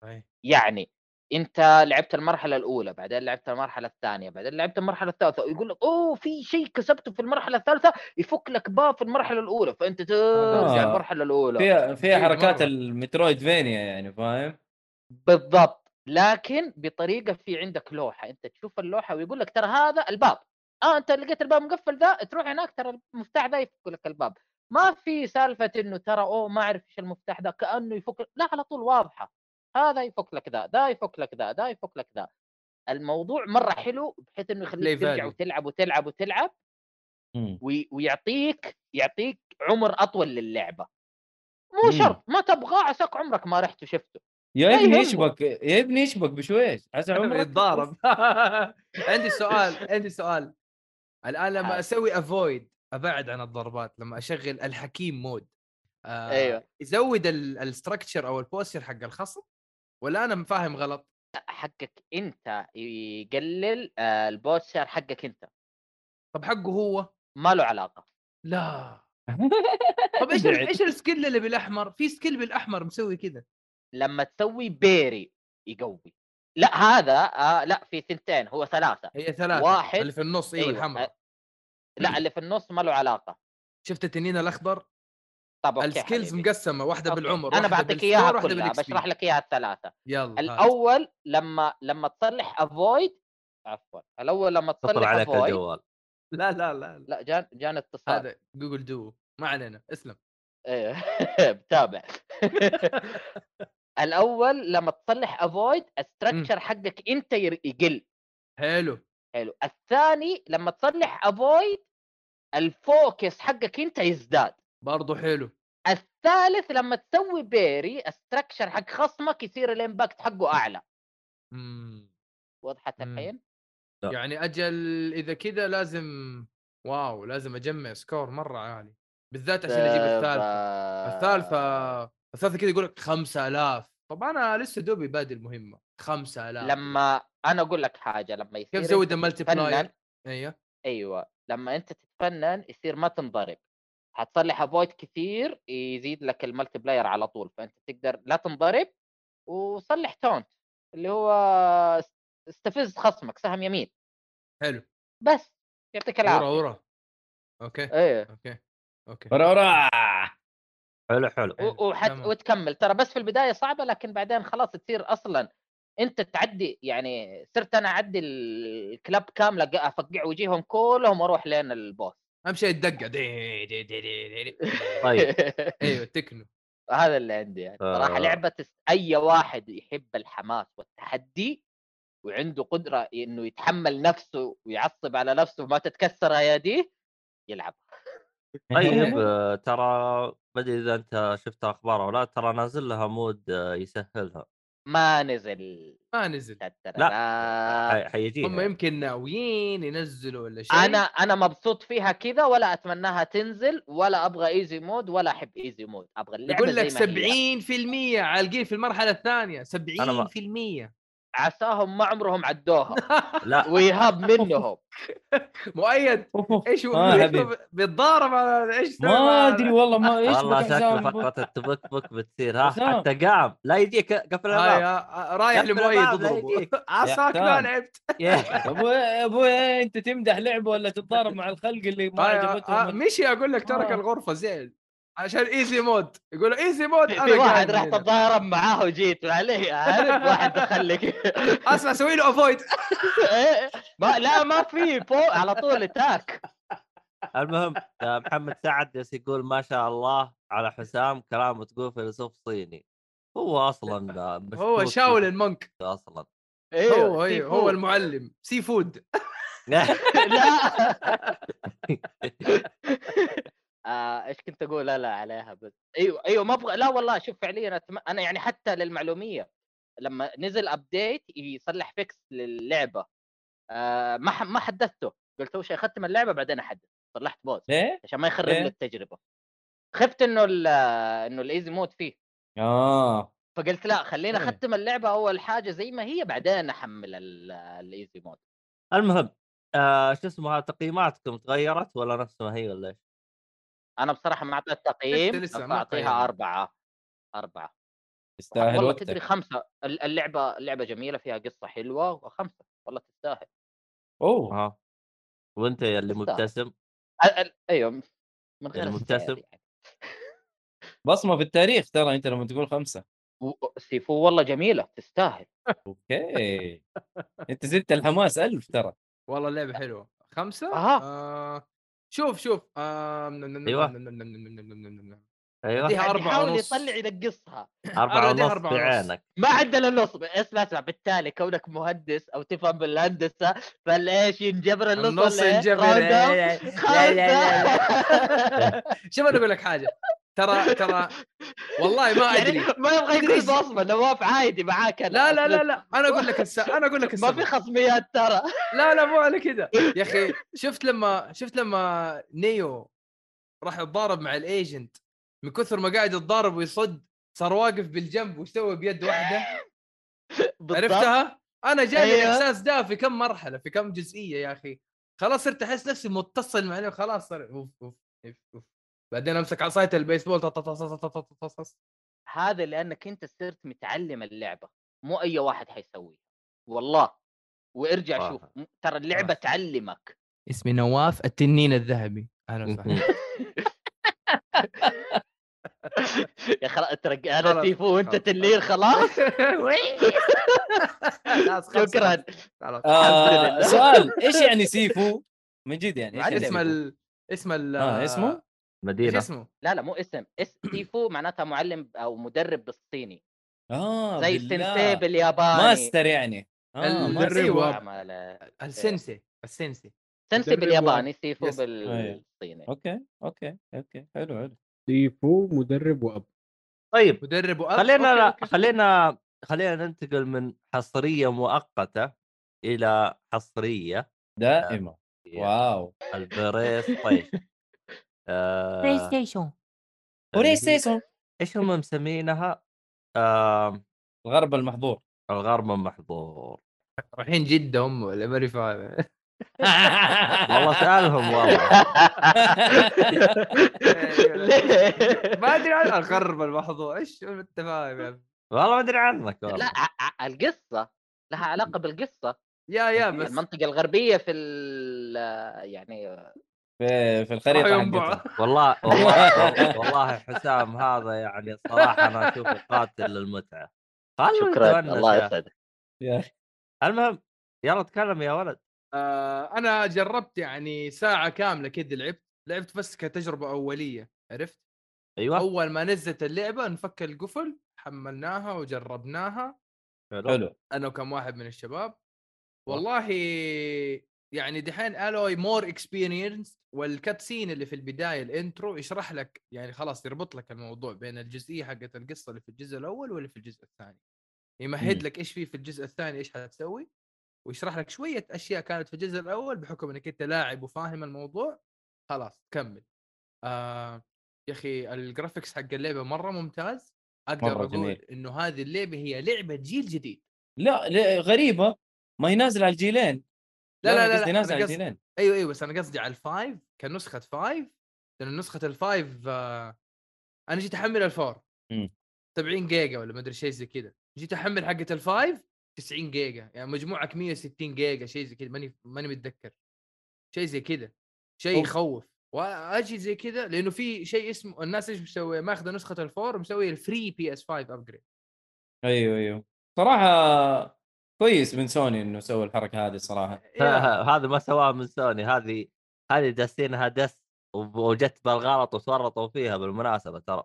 [SPEAKER 2] صحيح
[SPEAKER 4] يعني انت لعبت المرحله الاولى بعدين لعبت المرحله الثانيه بعدين لعبت المرحله الثالثه ويقول لك اوه في شيء كسبته في المرحله الثالثه يفك لك باب في المرحله الاولى فانت
[SPEAKER 3] آه.
[SPEAKER 4] ترجع المرحله الاولى
[SPEAKER 3] فيها فيها
[SPEAKER 2] أكيد
[SPEAKER 3] حركات
[SPEAKER 2] أيوة، مرة.
[SPEAKER 3] المترويد فينيا يعني فاهم؟
[SPEAKER 4] بالضبط لكن بطريقه في عندك لوحه انت تشوف اللوحه ويقول لك ترى هذا الباب اه انت لقيت الباب مقفل ذا تروح هناك ترى المفتاح ذا يفك لك الباب ما في سالفه انه ترى اوه ما اعرف ايش المفتاح ذا كانه يفك لا على طول واضحه هذا يفك لك ذا ذا يفك لك ذا ذا يفك لك ذا الموضوع مره حلو بحيث انه يخليك
[SPEAKER 2] Play
[SPEAKER 4] ترجع
[SPEAKER 2] value.
[SPEAKER 4] وتلعب وتلعب وتلعب
[SPEAKER 3] مم.
[SPEAKER 4] وي- ويعطيك يعطيك عمر اطول للعبه
[SPEAKER 3] مم.
[SPEAKER 4] مو شرط ما تبغاه عساك عمرك ما رحت وشفته
[SPEAKER 3] يا
[SPEAKER 4] لا
[SPEAKER 3] ابني
[SPEAKER 4] يهمه.
[SPEAKER 3] يشبك يا ابني يشبك بشويش عسى عمرك
[SPEAKER 2] يتضارب عندي سؤال عندي سؤال الان لما
[SPEAKER 4] هذا.
[SPEAKER 2] اسوي افويد ابعد عن الضربات لما اشغل الحكيم مود آه
[SPEAKER 4] أيوة.
[SPEAKER 2] يزود الستركتشر او البوستر حق الخصم ولا انا فاهم غلط
[SPEAKER 4] حقك انت يقلل آه، البوستر حقك انت
[SPEAKER 2] طب حقه هو
[SPEAKER 4] ما له علاقه
[SPEAKER 2] لا طب ايش
[SPEAKER 3] بعد.
[SPEAKER 2] ايش السكيل اللي بالاحمر في سكيل بالاحمر مسوي كذا
[SPEAKER 4] لما تسوي بيري يقوي لا هذا آه لا في ثنتين هو ثلاثه
[SPEAKER 2] هي ثلاثه
[SPEAKER 4] واحد.
[SPEAKER 2] اللي في النص ايوه,
[SPEAKER 4] أيوة.
[SPEAKER 2] الحمراء
[SPEAKER 4] لا اللي في النص ما له علاقه
[SPEAKER 2] شفت التنين الاخضر
[SPEAKER 4] طب اوكي
[SPEAKER 2] السكيلز
[SPEAKER 4] حبيبي.
[SPEAKER 2] مقسمه واحده
[SPEAKER 4] أوكي.
[SPEAKER 2] بالعمر
[SPEAKER 4] انا
[SPEAKER 2] واحدة
[SPEAKER 4] بعطيك
[SPEAKER 2] بالستور،
[SPEAKER 4] اياها
[SPEAKER 2] واحدة
[SPEAKER 4] كلها
[SPEAKER 2] بالXP.
[SPEAKER 4] بشرح لك اياها الثلاثه
[SPEAKER 2] يلا الأول
[SPEAKER 4] الاول لما لما تصلح افويد عفوا الاول لما
[SPEAKER 1] اتصل
[SPEAKER 4] تصلح
[SPEAKER 1] عليك
[SPEAKER 4] افويد
[SPEAKER 1] الجوال
[SPEAKER 2] لا لا لا
[SPEAKER 4] لا جان جان اتصال
[SPEAKER 2] هذا جوجل دو ما علينا اسلم
[SPEAKER 4] ايه بتابع الاول لما تصلح افويد الستركتشر حقك انت ير- يقل
[SPEAKER 2] حلو
[SPEAKER 4] حلو الثاني لما تصلح افويد الفوكس حقك انت يزداد
[SPEAKER 2] برضو حلو
[SPEAKER 4] الثالث لما تسوي بيري الستركشر حق خصمك يصير الامباكت حقه اعلى
[SPEAKER 2] مم.
[SPEAKER 4] وضحت
[SPEAKER 2] مم.
[SPEAKER 4] الحين
[SPEAKER 1] لا.
[SPEAKER 2] يعني اجل اذا كذا لازم واو لازم اجمع سكور مره عالي بالذات عشان اجيب
[SPEAKER 4] آه،
[SPEAKER 2] الثالثه الثالثه الثالثه كذا يقول لك 5000 طب انا لسه دوبي بادي المهمه 5000
[SPEAKER 4] لما انا اقول لك حاجه لما يصير
[SPEAKER 2] كيف زود
[SPEAKER 4] أنت
[SPEAKER 2] الملتي
[SPEAKER 4] تتفنن
[SPEAKER 2] بلاير ايوه
[SPEAKER 4] ايوه لما انت تتفنن يصير ما تنضرب حتصلح افويد كثير يزيد لك الملتي بلاير على طول فانت تقدر لا تنضرب وصلح تونت اللي هو است- استفز خصمك سهم يمين
[SPEAKER 2] حلو
[SPEAKER 4] بس يعطيك
[SPEAKER 2] ورا
[SPEAKER 4] العافيه
[SPEAKER 2] ورا اوكي
[SPEAKER 4] ايه
[SPEAKER 2] اوكي اوكي
[SPEAKER 3] ورا ورا
[SPEAKER 1] حلو حلو
[SPEAKER 2] حلو،
[SPEAKER 4] و- وحت...
[SPEAKER 2] تمام.
[SPEAKER 4] وتكمل ترى بس في البدايه صعبه لكن بعدين خلاص تصير اصلا انت تعدي يعني صرت انا اعدي ال- الكلاب كامله ق- افقع وجيههم كلهم واروح لين البوس
[SPEAKER 2] امشي اتدقى دي دي دي دي دي.
[SPEAKER 1] طيب
[SPEAKER 2] ايوه تكنو
[SPEAKER 4] هذا اللي عندي يعني صراحه
[SPEAKER 1] آه.
[SPEAKER 4] لعبه تس- اي واحد يحب الحماس والتحدي وعنده قدره انه يتحمل نفسه ويعصب على نفسه وما تتكسر اياديه يلعب
[SPEAKER 2] أيوة.
[SPEAKER 1] طيب آه، ترى ما ادري اذا انت شفت اخبارها ولا ترى نازل لها مود آه، يسهلها
[SPEAKER 4] ما نزل
[SPEAKER 2] ما نزل
[SPEAKER 1] لا.
[SPEAKER 2] آه،
[SPEAKER 4] لا
[SPEAKER 1] حي- حيجيها
[SPEAKER 2] هم يمكن ناويين ينزلوا ولا شيء
[SPEAKER 4] انا انا مبسوط فيها كذا ولا اتمناها تنزل ولا ابغى ايزي مود ولا احب ايزي مود ابغى اللعبه
[SPEAKER 2] يقول لك
[SPEAKER 4] زي ما هي.
[SPEAKER 2] 70% عالقين في المرحله الثانيه 70%
[SPEAKER 4] عساهم ما عمرهم عدوها
[SPEAKER 1] لا
[SPEAKER 4] ويهاب منهم
[SPEAKER 2] مؤيد
[SPEAKER 3] أوف.
[SPEAKER 2] ايش هو
[SPEAKER 3] آه،
[SPEAKER 2] آه
[SPEAKER 3] حبيبي.
[SPEAKER 2] بيتضارب على ايش سوى
[SPEAKER 3] ما
[SPEAKER 2] على-
[SPEAKER 3] ادري والله ما ايش
[SPEAKER 1] والله
[SPEAKER 3] بك حسام؟
[SPEAKER 1] شكله فقره التبكبك بتصير ها
[SPEAKER 3] حسام.
[SPEAKER 1] حتى قام لا يجيك قفل
[SPEAKER 2] هاي،
[SPEAKER 1] الباب
[SPEAKER 2] آه، رايح
[SPEAKER 1] قفل
[SPEAKER 2] لمؤيد
[SPEAKER 1] الباب، لا
[SPEAKER 2] اضربه
[SPEAKER 1] يجيك.
[SPEAKER 2] عساك ما
[SPEAKER 3] حسام.
[SPEAKER 2] لعبت
[SPEAKER 1] يا-
[SPEAKER 3] ابوي ابوي انت تمدح لعبه ولا تتضارب مع الخلق اللي ما
[SPEAKER 2] هاي، آه،
[SPEAKER 3] عجبتهم
[SPEAKER 2] مشي اقول لك ترك
[SPEAKER 3] آه.
[SPEAKER 2] الغرفه زين عشان ايزي مود يقول ايزي مود
[SPEAKER 4] في واحد
[SPEAKER 2] قاعد
[SPEAKER 4] رحت
[SPEAKER 2] هنا.
[SPEAKER 4] اتضارب معاه وجيت عليه عارف واحد دخلك
[SPEAKER 2] اسمع سوي له افويد
[SPEAKER 4] إيه، ما لا ما في فوق على طول اتاك
[SPEAKER 1] المهم آه، محمد سعد جالس يقول ما شاء الله على حسام كلام تقول فيلسوف صيني هو اصلا آه،
[SPEAKER 2] هو
[SPEAKER 1] مشكوك
[SPEAKER 2] شاولن مونك
[SPEAKER 1] فيه اصلا
[SPEAKER 4] ايوه
[SPEAKER 2] هو
[SPEAKER 4] في
[SPEAKER 2] هي-
[SPEAKER 4] فوق.
[SPEAKER 2] هو المعلم سي فود
[SPEAKER 4] لا آه، ايش كنت اقول لا لا عليها بس ايوه ايوه ما ابغى لا والله شوف فعليا أتم... انا يعني حتى للمعلوميه لما نزل ابديت يصلح فيكس للعبه آه ما ح... ما حدثته قلت اول شيء اختم اللعبه بعدين احدث صلحت بوز
[SPEAKER 3] ليه؟
[SPEAKER 4] عشان ما يخرب
[SPEAKER 2] إيه.
[SPEAKER 3] ليه؟
[SPEAKER 4] لي التجربه خفت انه ال... انه الايزي مود فيه
[SPEAKER 3] اه
[SPEAKER 4] فقلت لا خليني
[SPEAKER 3] إيه.
[SPEAKER 4] اختم اللعبه اول حاجه زي ما هي بعدين احمل ال- الايزي مود
[SPEAKER 1] المهم آه شو اسمه تقييماتكم تغيرت ولا نفس ما هي ولا ايش؟
[SPEAKER 4] انا بصراحه ما اعطيت تقييم
[SPEAKER 2] لسه ما طيب. قيمت.
[SPEAKER 4] اعطيها اربعه اربعه
[SPEAKER 3] يستاهل
[SPEAKER 4] والله تدري
[SPEAKER 3] وقتك
[SPEAKER 4] خمسه ال- اللعبه اللعبه جميله فيها قصه حلوه وخمسه والله تستاهل
[SPEAKER 3] اوه
[SPEAKER 1] ها وانت يا اللي
[SPEAKER 4] تستاهل.
[SPEAKER 1] مبتسم
[SPEAKER 4] ال- ال- ايوه من غير
[SPEAKER 1] المبتسم.
[SPEAKER 4] السعر يعني.
[SPEAKER 3] بصمه في التاريخ ترى انت لما تقول خمسه
[SPEAKER 4] و- سيفو والله جميله تستاهل
[SPEAKER 3] اوكي انت زدت الحماس ألف ترى
[SPEAKER 2] والله اللعبه حلوه خمسه
[SPEAKER 4] أها. أيوه.
[SPEAKER 2] آه شوف شوف آه نم- نم- نم-
[SPEAKER 1] أيوة.
[SPEAKER 2] نم- نم- نم- نم- نم- نم- نم.
[SPEAKER 1] ايوه
[SPEAKER 2] أديها
[SPEAKER 4] يعني
[SPEAKER 2] أربعة
[SPEAKER 4] يحاول
[SPEAKER 2] ونص.
[SPEAKER 4] يطلع ينقصها
[SPEAKER 1] أربعة
[SPEAKER 2] أديها
[SPEAKER 1] ونص
[SPEAKER 2] أربعة
[SPEAKER 1] في
[SPEAKER 2] ونص.
[SPEAKER 1] عينك
[SPEAKER 4] ما عندنا النصب اسمع اسمع بالتالي كونك مهندس او تفهم بالهندسه فالايش ينجبر النص
[SPEAKER 2] النص
[SPEAKER 4] ولا إيه؟
[SPEAKER 2] ينجبر
[SPEAKER 4] خمسة.
[SPEAKER 2] لا- لا- لا- لا- لا.
[SPEAKER 4] خمسة
[SPEAKER 2] شوف انا اقول لك حاجه ترى ترى والله ما
[SPEAKER 4] يعني
[SPEAKER 2] ادري
[SPEAKER 4] ما يبغى
[SPEAKER 2] أدري
[SPEAKER 4] يقول
[SPEAKER 2] إيش-
[SPEAKER 4] بصمة نواف عادي معاك أنا
[SPEAKER 2] لا لا لا
[SPEAKER 4] أسلم.
[SPEAKER 2] لا انا اقول لك الس... انا اقول لك
[SPEAKER 4] ما في
[SPEAKER 2] السبب
[SPEAKER 4] خصميات ترى
[SPEAKER 2] لا لا مو على كذا يا اخي شفت لما شفت لما نيو راح يتضارب مع الايجنت من كثر ما قاعد يتضارب ويصد صار واقف بالجنب وسوى بيد واحده
[SPEAKER 4] بالضبط.
[SPEAKER 2] عرفتها؟ انا جاي
[SPEAKER 4] أيوة.
[SPEAKER 2] أيوة. الاحساس ده في كم مرحله في كم جزئيه يا اخي خلاص صرت احس نفسي متصل مع خلاص صار اوف اوف اوف, أوف. بعدين امسك عصايه البيسبول طط- طط- طط- طط- طط- طط- طط.
[SPEAKER 4] هذا لأنك أنت صرت متعلم اللعبة مو أي واحد حيسويها والله وارجع
[SPEAKER 1] آه.
[SPEAKER 4] شوف م- ترى اللعبة
[SPEAKER 1] آه.
[SPEAKER 4] تعلمك
[SPEAKER 2] اسمي نواف التنين الذهبي اهلا وسهلا
[SPEAKER 4] يا خلاص ترى
[SPEAKER 2] خلاص،
[SPEAKER 4] أنا تيفو وأنت
[SPEAKER 2] خلاص.
[SPEAKER 4] تنين خلاص
[SPEAKER 2] خلاص، خلاص،
[SPEAKER 4] شكرا
[SPEAKER 2] خلاص.
[SPEAKER 4] الحمد
[SPEAKER 3] آه
[SPEAKER 4] لله.
[SPEAKER 3] سؤال ايش يعني سيفو؟ من جد يعني ايش
[SPEAKER 2] بعد
[SPEAKER 3] يعني
[SPEAKER 2] اسم
[SPEAKER 3] سيفو؟
[SPEAKER 2] ال... اسم ال
[SPEAKER 3] آه، اسمه؟
[SPEAKER 2] ايش
[SPEAKER 1] مدينة
[SPEAKER 2] اسمه؟
[SPEAKER 4] لا لا مو اسم اس تيفو معناتها معلم أو مدرب بالصيني
[SPEAKER 3] اه
[SPEAKER 4] زي
[SPEAKER 3] بالله.
[SPEAKER 4] سنسي بالياباني
[SPEAKER 3] ماستر يعني اه
[SPEAKER 2] ال-
[SPEAKER 3] ماستر.
[SPEAKER 2] أيوة.
[SPEAKER 4] عمل-
[SPEAKER 2] السنسي السنسي
[SPEAKER 4] سنسي
[SPEAKER 5] مدرب
[SPEAKER 4] بالياباني سيفو
[SPEAKER 2] يس. أيوه.
[SPEAKER 4] بالصيني
[SPEAKER 3] اوكي اوكي اوكي حلو حلو
[SPEAKER 5] سيفو مدرب واب
[SPEAKER 1] طيب
[SPEAKER 2] مدرب وأب
[SPEAKER 1] خلينا
[SPEAKER 2] أوكي،
[SPEAKER 1] لا
[SPEAKER 2] أوكي.
[SPEAKER 1] خلينا خلينا ننتقل من حصرية مؤقتة إلى حصرية
[SPEAKER 3] دائما
[SPEAKER 1] في
[SPEAKER 3] واو
[SPEAKER 1] البلاي ستيشن طيب. آه،
[SPEAKER 7] ستيشن
[SPEAKER 1] اللي
[SPEAKER 3] وري
[SPEAKER 1] هي-
[SPEAKER 3] ستيشن
[SPEAKER 1] ايش هم مسمينها؟ آه،
[SPEAKER 3] الغرب المحظور
[SPEAKER 1] الغرب المحظور
[SPEAKER 2] رايحين جده هم ولا ماني فاهم
[SPEAKER 1] والله سالهم والله
[SPEAKER 4] ليه؟
[SPEAKER 2] ما ادري عن الغرب المحظور ايش انت فاهم يا
[SPEAKER 1] والله ما ادري عنك
[SPEAKER 4] لا
[SPEAKER 2] آه.
[SPEAKER 1] والله
[SPEAKER 4] ع- ع- القصه لها علاقه بالقصه
[SPEAKER 2] يا يا بس
[SPEAKER 4] المنطقه الغربيه في ال يعني
[SPEAKER 3] في في
[SPEAKER 2] راحوا
[SPEAKER 3] الخريطه
[SPEAKER 2] ينبعوا.
[SPEAKER 3] حقتهم
[SPEAKER 1] والله والله والله حسام هذا يعني صراحه انا اشوفه قاتل للمتعه خلوا
[SPEAKER 4] شكرا
[SPEAKER 1] يتونس
[SPEAKER 4] الله
[SPEAKER 1] يا
[SPEAKER 4] يسعدك
[SPEAKER 3] يا اخي
[SPEAKER 1] المهم يلا تكلم يا ولد
[SPEAKER 2] آه انا جربت يعني ساعه كامله كذا لعبت لعبت بس كتجربه اوليه عرفت
[SPEAKER 1] ايوه
[SPEAKER 2] اول ما نزلت اللعبه نفك القفل حملناها وجربناها
[SPEAKER 1] حلو
[SPEAKER 3] حلو آه.
[SPEAKER 2] انا وكم واحد من الشباب والله يعني دحين الوي مور اكسبيرينس والكت سين اللي في البدايه الانترو يشرح لك يعني خلاص يربط لك الموضوع بين الجزئيه حقت القصه اللي في الجزء الاول واللي في الجزء الثاني يمهد
[SPEAKER 3] مم.
[SPEAKER 2] لك ايش في في الجزء الثاني ايش حتسوي ويشرح لك شويه اشياء كانت في الجزء الاول بحكم انك انت لاعب وفاهم الموضوع خلاص كمل آه يا اخي الجرافيكس حق اللعبه مره ممتاز اقدر
[SPEAKER 3] مرة
[SPEAKER 2] اقول
[SPEAKER 3] جميل.
[SPEAKER 2] انه هذه اللعبه هي لعبه جيل جديد
[SPEAKER 3] لا لا، غريبه ما ينازل على الجيلين
[SPEAKER 2] لا لا لا,
[SPEAKER 3] قصدي
[SPEAKER 2] لا,
[SPEAKER 3] نازل
[SPEAKER 2] لا,
[SPEAKER 3] على
[SPEAKER 2] لا, لا
[SPEAKER 3] الجيلين
[SPEAKER 2] ايوه ايوه بس انا قصدي على الفايف كنسخه فايف لان نسخه الفايف آه، انا جيت احمل الفور
[SPEAKER 3] مم.
[SPEAKER 2] 70 جيجا ولا ما ادري شيء زي كذا جيت احمل حقه الفايف 90 جيجا يعني مجموعك 160 جيجا شيء زي كذا ماني ماني متذكر شيء زي كذا شيء
[SPEAKER 3] أوف.
[SPEAKER 2] يخوف واجي زي كذا لانه في شيء اسمه الناس ايش مسويه ماخذه نسخه الفور ومسويه الفري بي اس 5 ابجريد
[SPEAKER 3] ايوه ايوه صراحه كويس من سوني انه سوى الحركه هذه صراحه
[SPEAKER 2] إيه.
[SPEAKER 1] هذا ما سواها من سوني هذه هذه داسينها دس وب- وجت بالغلط وسرطوا فيها بالمناسبه ترى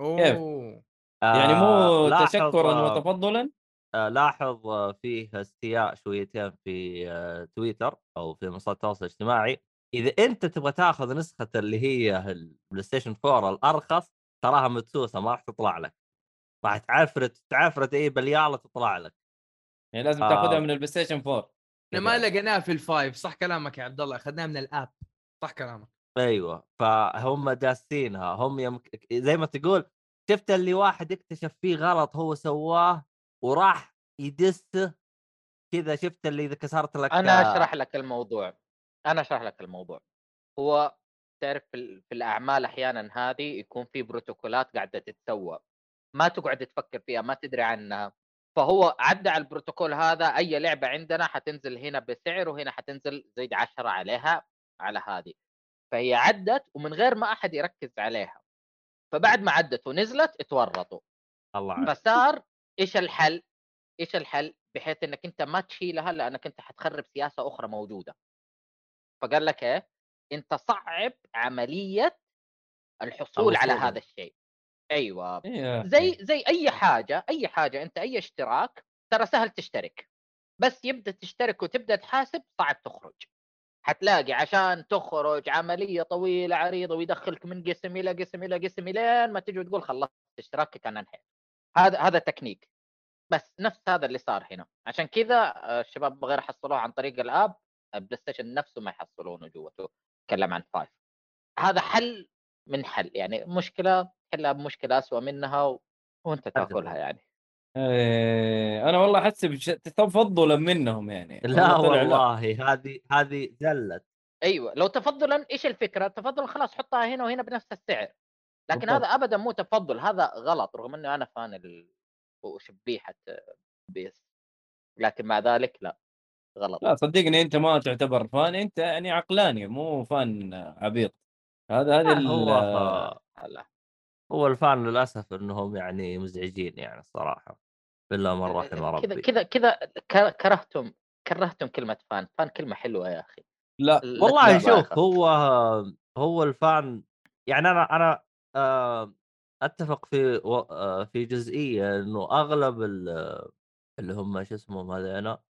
[SPEAKER 2] اوه
[SPEAKER 1] آه،
[SPEAKER 3] يعني مو
[SPEAKER 1] لاحظ-
[SPEAKER 3] تشكرا
[SPEAKER 1] آه،
[SPEAKER 3] وتفضلا
[SPEAKER 1] آه، لاحظ آه، فيه استياء شويتين في آه، تويتر او في منصات التواصل الاجتماعي اذا انت تبغى تاخذ نسخه اللي هي البلاي ستيشن 4 الارخص تراها مدسوسه ما راح تطلع لك راح تعفرت تعفرت اي بالياله تطلع لك
[SPEAKER 3] يعني لازم
[SPEAKER 1] آه.
[SPEAKER 3] تاخذها من البلاي ستيشن 4
[SPEAKER 2] احنا ما لقيناه في الفايف صح كلامك يا عبد الله اخذناه من الاب صح كلامك
[SPEAKER 1] ايوه فهم داسينها هم يمك... زي ما تقول شفت اللي واحد اكتشف فيه غلط هو سواه وراح يدسه كذا شفت اللي اذا كسرت لك
[SPEAKER 4] انا اشرح لك الموضوع انا اشرح لك الموضوع هو تعرف في ال- في الاعمال احيانا هذه يكون في بروتوكولات قاعده تتسوى ما تقعد تفكر فيها ما تدري عنها فهو عدى على البروتوكول هذا اي لعبه عندنا حتنزل هنا بسعر وهنا حتنزل زيد 10 عليها على هذه فهي عدت ومن غير ما احد يركز عليها فبعد ما عدت ونزلت اتورطوا
[SPEAKER 1] آه، الله عليك
[SPEAKER 4] فصار ايش الحل؟ ايش الحل؟ بحيث انك انت ما تشيلها لانك انت حتخرب سياسه اخرى موجوده. فقال لك ايه؟ انت صعب عمليه الحصول على
[SPEAKER 1] الوصول.
[SPEAKER 4] هذا الشيء. ايوه
[SPEAKER 3] إيه.
[SPEAKER 4] زي زي اي حاجه اي حاجه انت اي اشتراك ترى سهل تشترك بس يبدا تشترك وتبدا تحاسب صعب تخرج حتلاقي عشان تخرج عمليه طويله عريضه ويدخلك من قسم الى قسم الى قسم لين ما تجي وتقول خلصت اشتراكك انا انهيت هذا هذا تكنيك بس نفس هذا اللي صار هنا عشان كذا آه، الشباب بغير يحصلوه عن طريق الاب البلاي ستيشن نفسه ما يحصلونه جوته تكلم عن فايف هذا حل من حل يعني مشكله تحلها بمشكله اسوء منها و... وانت تاكلها يعني
[SPEAKER 3] إيه. انا والله احس بش- تفضلا منهم يعني
[SPEAKER 1] لا
[SPEAKER 3] طلع
[SPEAKER 1] والله هذه هذه زلت
[SPEAKER 4] ايوه لو تفضلا ايش الفكره؟ تفضلا خلاص حطها هنا وهنا بنفس السعر لكن
[SPEAKER 3] بالضبط.
[SPEAKER 4] هذا ابدا مو تفضل هذا غلط رغم انه انا فان ال... وشبيحه بيس لكن مع ذلك لا غلط
[SPEAKER 3] لا صدقني انت ما تعتبر فان انت يعني عقلاني مو فان عبيط هذا هذا ال-
[SPEAKER 1] هو
[SPEAKER 4] لا
[SPEAKER 1] هو الفان للاسف انهم يعني مزعجين يعني الصراحه بالله من رحم
[SPEAKER 4] آه، كذا
[SPEAKER 1] ربي
[SPEAKER 4] كذا كذا كر- كرهتم كرهتم كلمه فان فان كلمه حلوه يا اخي
[SPEAKER 3] لا
[SPEAKER 4] لا
[SPEAKER 1] والله
[SPEAKER 4] تلعبها يا
[SPEAKER 1] شوف
[SPEAKER 4] أخي.
[SPEAKER 1] هو هو الفان يعني انا انا آه، اتفق في و- آه، في جزئيه انه اغلب ال- اللي هم شو اسمهم هذينا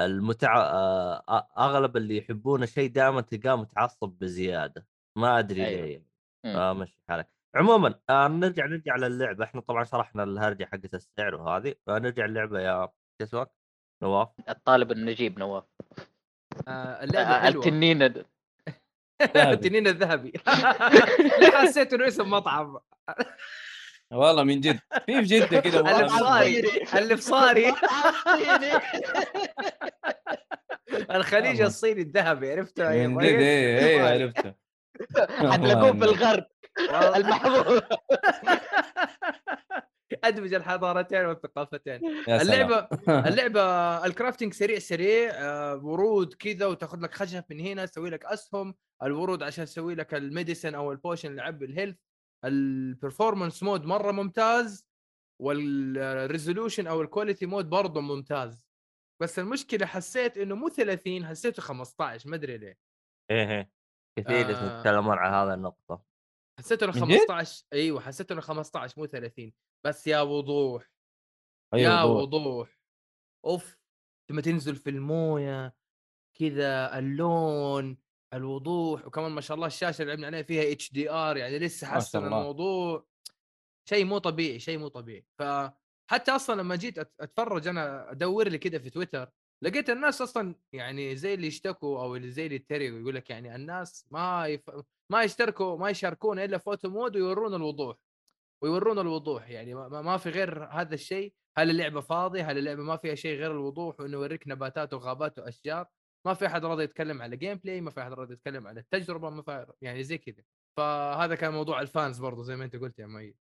[SPEAKER 1] المتع آه، آه، اغلب اللي يحبون الشيء دائما تلقاه متعصب بزياده ما ادري
[SPEAKER 4] أيوة.
[SPEAKER 1] أيوه. ليه
[SPEAKER 4] مم.
[SPEAKER 1] فمشي حالك عموما آه نرجع نرجع للعبه احنا طبعا شرحنا الهرجه حقت السعر وهذه فنرجع اللعبه يا شو اسمك نواف
[SPEAKER 4] الطالب النجيب نواف
[SPEAKER 2] آه
[SPEAKER 4] آه،
[SPEAKER 2] اللعبه حلوه
[SPEAKER 4] التنين ال-
[SPEAKER 3] ذهبي.
[SPEAKER 2] التنين الذهبي حسيت انه اسم مطعم
[SPEAKER 3] والله من جد في في جده كذا مطعم
[SPEAKER 2] ألف صاري الفصاري الخليج
[SPEAKER 4] آه.
[SPEAKER 3] والله.
[SPEAKER 2] الصيني الذهبي عرفته
[SPEAKER 3] اسمه.
[SPEAKER 2] يا
[SPEAKER 3] من جد
[SPEAKER 2] طيب؟
[SPEAKER 3] ايه ايه عرفته
[SPEAKER 4] حتلاقوه في الغرب
[SPEAKER 2] والله.
[SPEAKER 4] المحظوظ
[SPEAKER 2] ادمج الحضارتين والثقافتين
[SPEAKER 3] يا سلام.
[SPEAKER 2] اللعبه اللعبه الكرافتنج سريع سريع آه، ورود كذا وتاخذ لك خشب من هنا تسوي لك اسهم الورود عشان تسوي لك الميديسن او البوشن اللي يعبي الهيلث البرفورمانس مود مره ممتاز والريزولوشن او الكواليتي مود برضه ممتاز بس المشكله حسيت انه مو 30 حسيته 15 ما ادري ليه
[SPEAKER 1] ايه ايه كثير
[SPEAKER 2] آه.
[SPEAKER 1] يتكلمون عن هذا النقطه
[SPEAKER 2] حسيت انه
[SPEAKER 3] من جد؟
[SPEAKER 2] 15 ايوه حسيت انه 15 مو 30 بس يا وضوح
[SPEAKER 3] أيوة
[SPEAKER 2] يا
[SPEAKER 3] والله.
[SPEAKER 2] وضوح اوف لما تنزل في المويه كذا اللون الوضوح وكمان ما شاء الله الشاشه اللي لعبنا عليها فيها اتش دي ار يعني لسه
[SPEAKER 3] ما شاء
[SPEAKER 2] حسن
[SPEAKER 3] الله.
[SPEAKER 2] الموضوع شيء مو طبيعي شيء مو طبيعي فحتى اصلا لما جيت أت- اتفرج انا ادور لي كذا في تويتر لقيت الناس اصلا يعني زي اللي يشتكوا او اللي زي اللي يتريقوا يقول لك يعني الناس ما يف... ما يشتركوا ما يشاركون الا في اوتو مود ويورونا الوضوح ويورونا الوضوح يعني ما- ما ما في غير هذا الشيء هل اللعبه فاضيه هل اللعبه ما فيها شيء غير الوضوح وانه يوريك نباتات وغابات واشجار ما في احد راضي يتكلم على جيم بلاي ما في احد راضي يتكلم على التجربه ما في يعني زي كذا فهذا كان موضوع الفانز برضو زي ما انت قلت يا مؤيد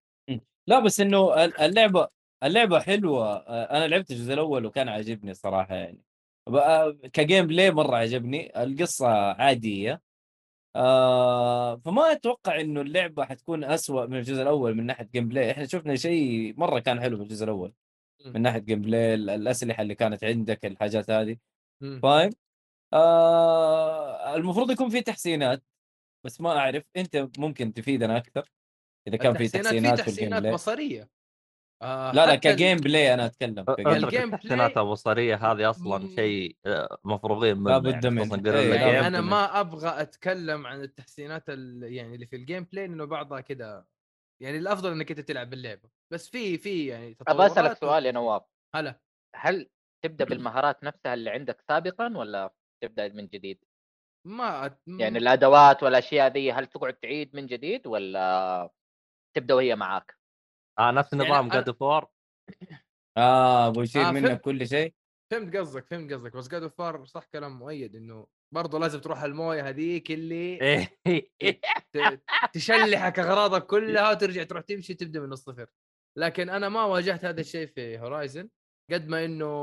[SPEAKER 3] لا بس انه ال- اللعبه اللعبه حلوه آه، انا لعبت الجزء الاول وكان عاجبني صراحه يعني بقى- كجيم بلاي مره عجبني القصه عاديه آه فما اتوقع انه اللعبه حتكون أسوأ من الجزء الاول من ناحيه جيم بلاي احنا شفنا شيء مره كان حلو في الجزء الاول
[SPEAKER 2] مم.
[SPEAKER 3] من ناحيه جيم بلاي ال- الاسلحه اللي كانت عندك الحاجات هذه
[SPEAKER 2] مم.
[SPEAKER 3] فاهم آه المفروض يكون في تحسينات بس ما اعرف انت ممكن تفيدنا اكثر اذا كان في تحسينات
[SPEAKER 2] في
[SPEAKER 3] في الجيم
[SPEAKER 2] تحسينات
[SPEAKER 3] بلاي
[SPEAKER 2] بصريه آه
[SPEAKER 3] لا لا
[SPEAKER 2] حتى ال-
[SPEAKER 3] كجيم بلاي انا اتكلم كجيم
[SPEAKER 2] الجيم
[SPEAKER 1] اترك
[SPEAKER 2] بلاي-
[SPEAKER 1] التحسينات البصريه هذه اصلا
[SPEAKER 2] مم.
[SPEAKER 1] شيء آه، مفروغين منه
[SPEAKER 3] لا بد
[SPEAKER 1] يعني
[SPEAKER 3] منه.
[SPEAKER 1] خصوصا
[SPEAKER 3] إيه،
[SPEAKER 1] قرينا
[SPEAKER 3] لا
[SPEAKER 2] يعني
[SPEAKER 3] بد
[SPEAKER 1] جيم
[SPEAKER 2] انا
[SPEAKER 3] منه.
[SPEAKER 2] ما ابغى اتكلم عن التحسينات ال- يعني اللي في الجيم بلاي لانه بعضها كذا يعني الافضل انك انت تلعب اللعبه بس في في يعني
[SPEAKER 4] ابغى اسالك
[SPEAKER 2] تطورات و-
[SPEAKER 4] سؤال يا نواف
[SPEAKER 2] هلا
[SPEAKER 4] هل تبدا بالمهارات نفسها اللي عندك سابقا ولا تبدا من جديد؟
[SPEAKER 2] ما أت...
[SPEAKER 4] يعني الادوات والاشياء ذي هل تقعد تعيد من جديد ولا تبدا وهي معاك؟
[SPEAKER 1] آه نفس
[SPEAKER 2] يعني
[SPEAKER 1] نظام
[SPEAKER 2] أنا-
[SPEAKER 1] جاد فور
[SPEAKER 3] اه ابو
[SPEAKER 2] آه،
[SPEAKER 3] يشيل منك
[SPEAKER 2] فهمت.
[SPEAKER 3] كل شيء
[SPEAKER 2] فهمت قصدك فهمت قصدك بس جاد فار صح كلام مؤيد انه برضه لازم تروح المويه هذيك اللي
[SPEAKER 1] إيه. يعني
[SPEAKER 2] ت- تشلحك اغراضك كلها وترجع تروح تمشي تبدا من الصفر لكن انا ما واجهت هذا الشيء في هورايزن قد ما انه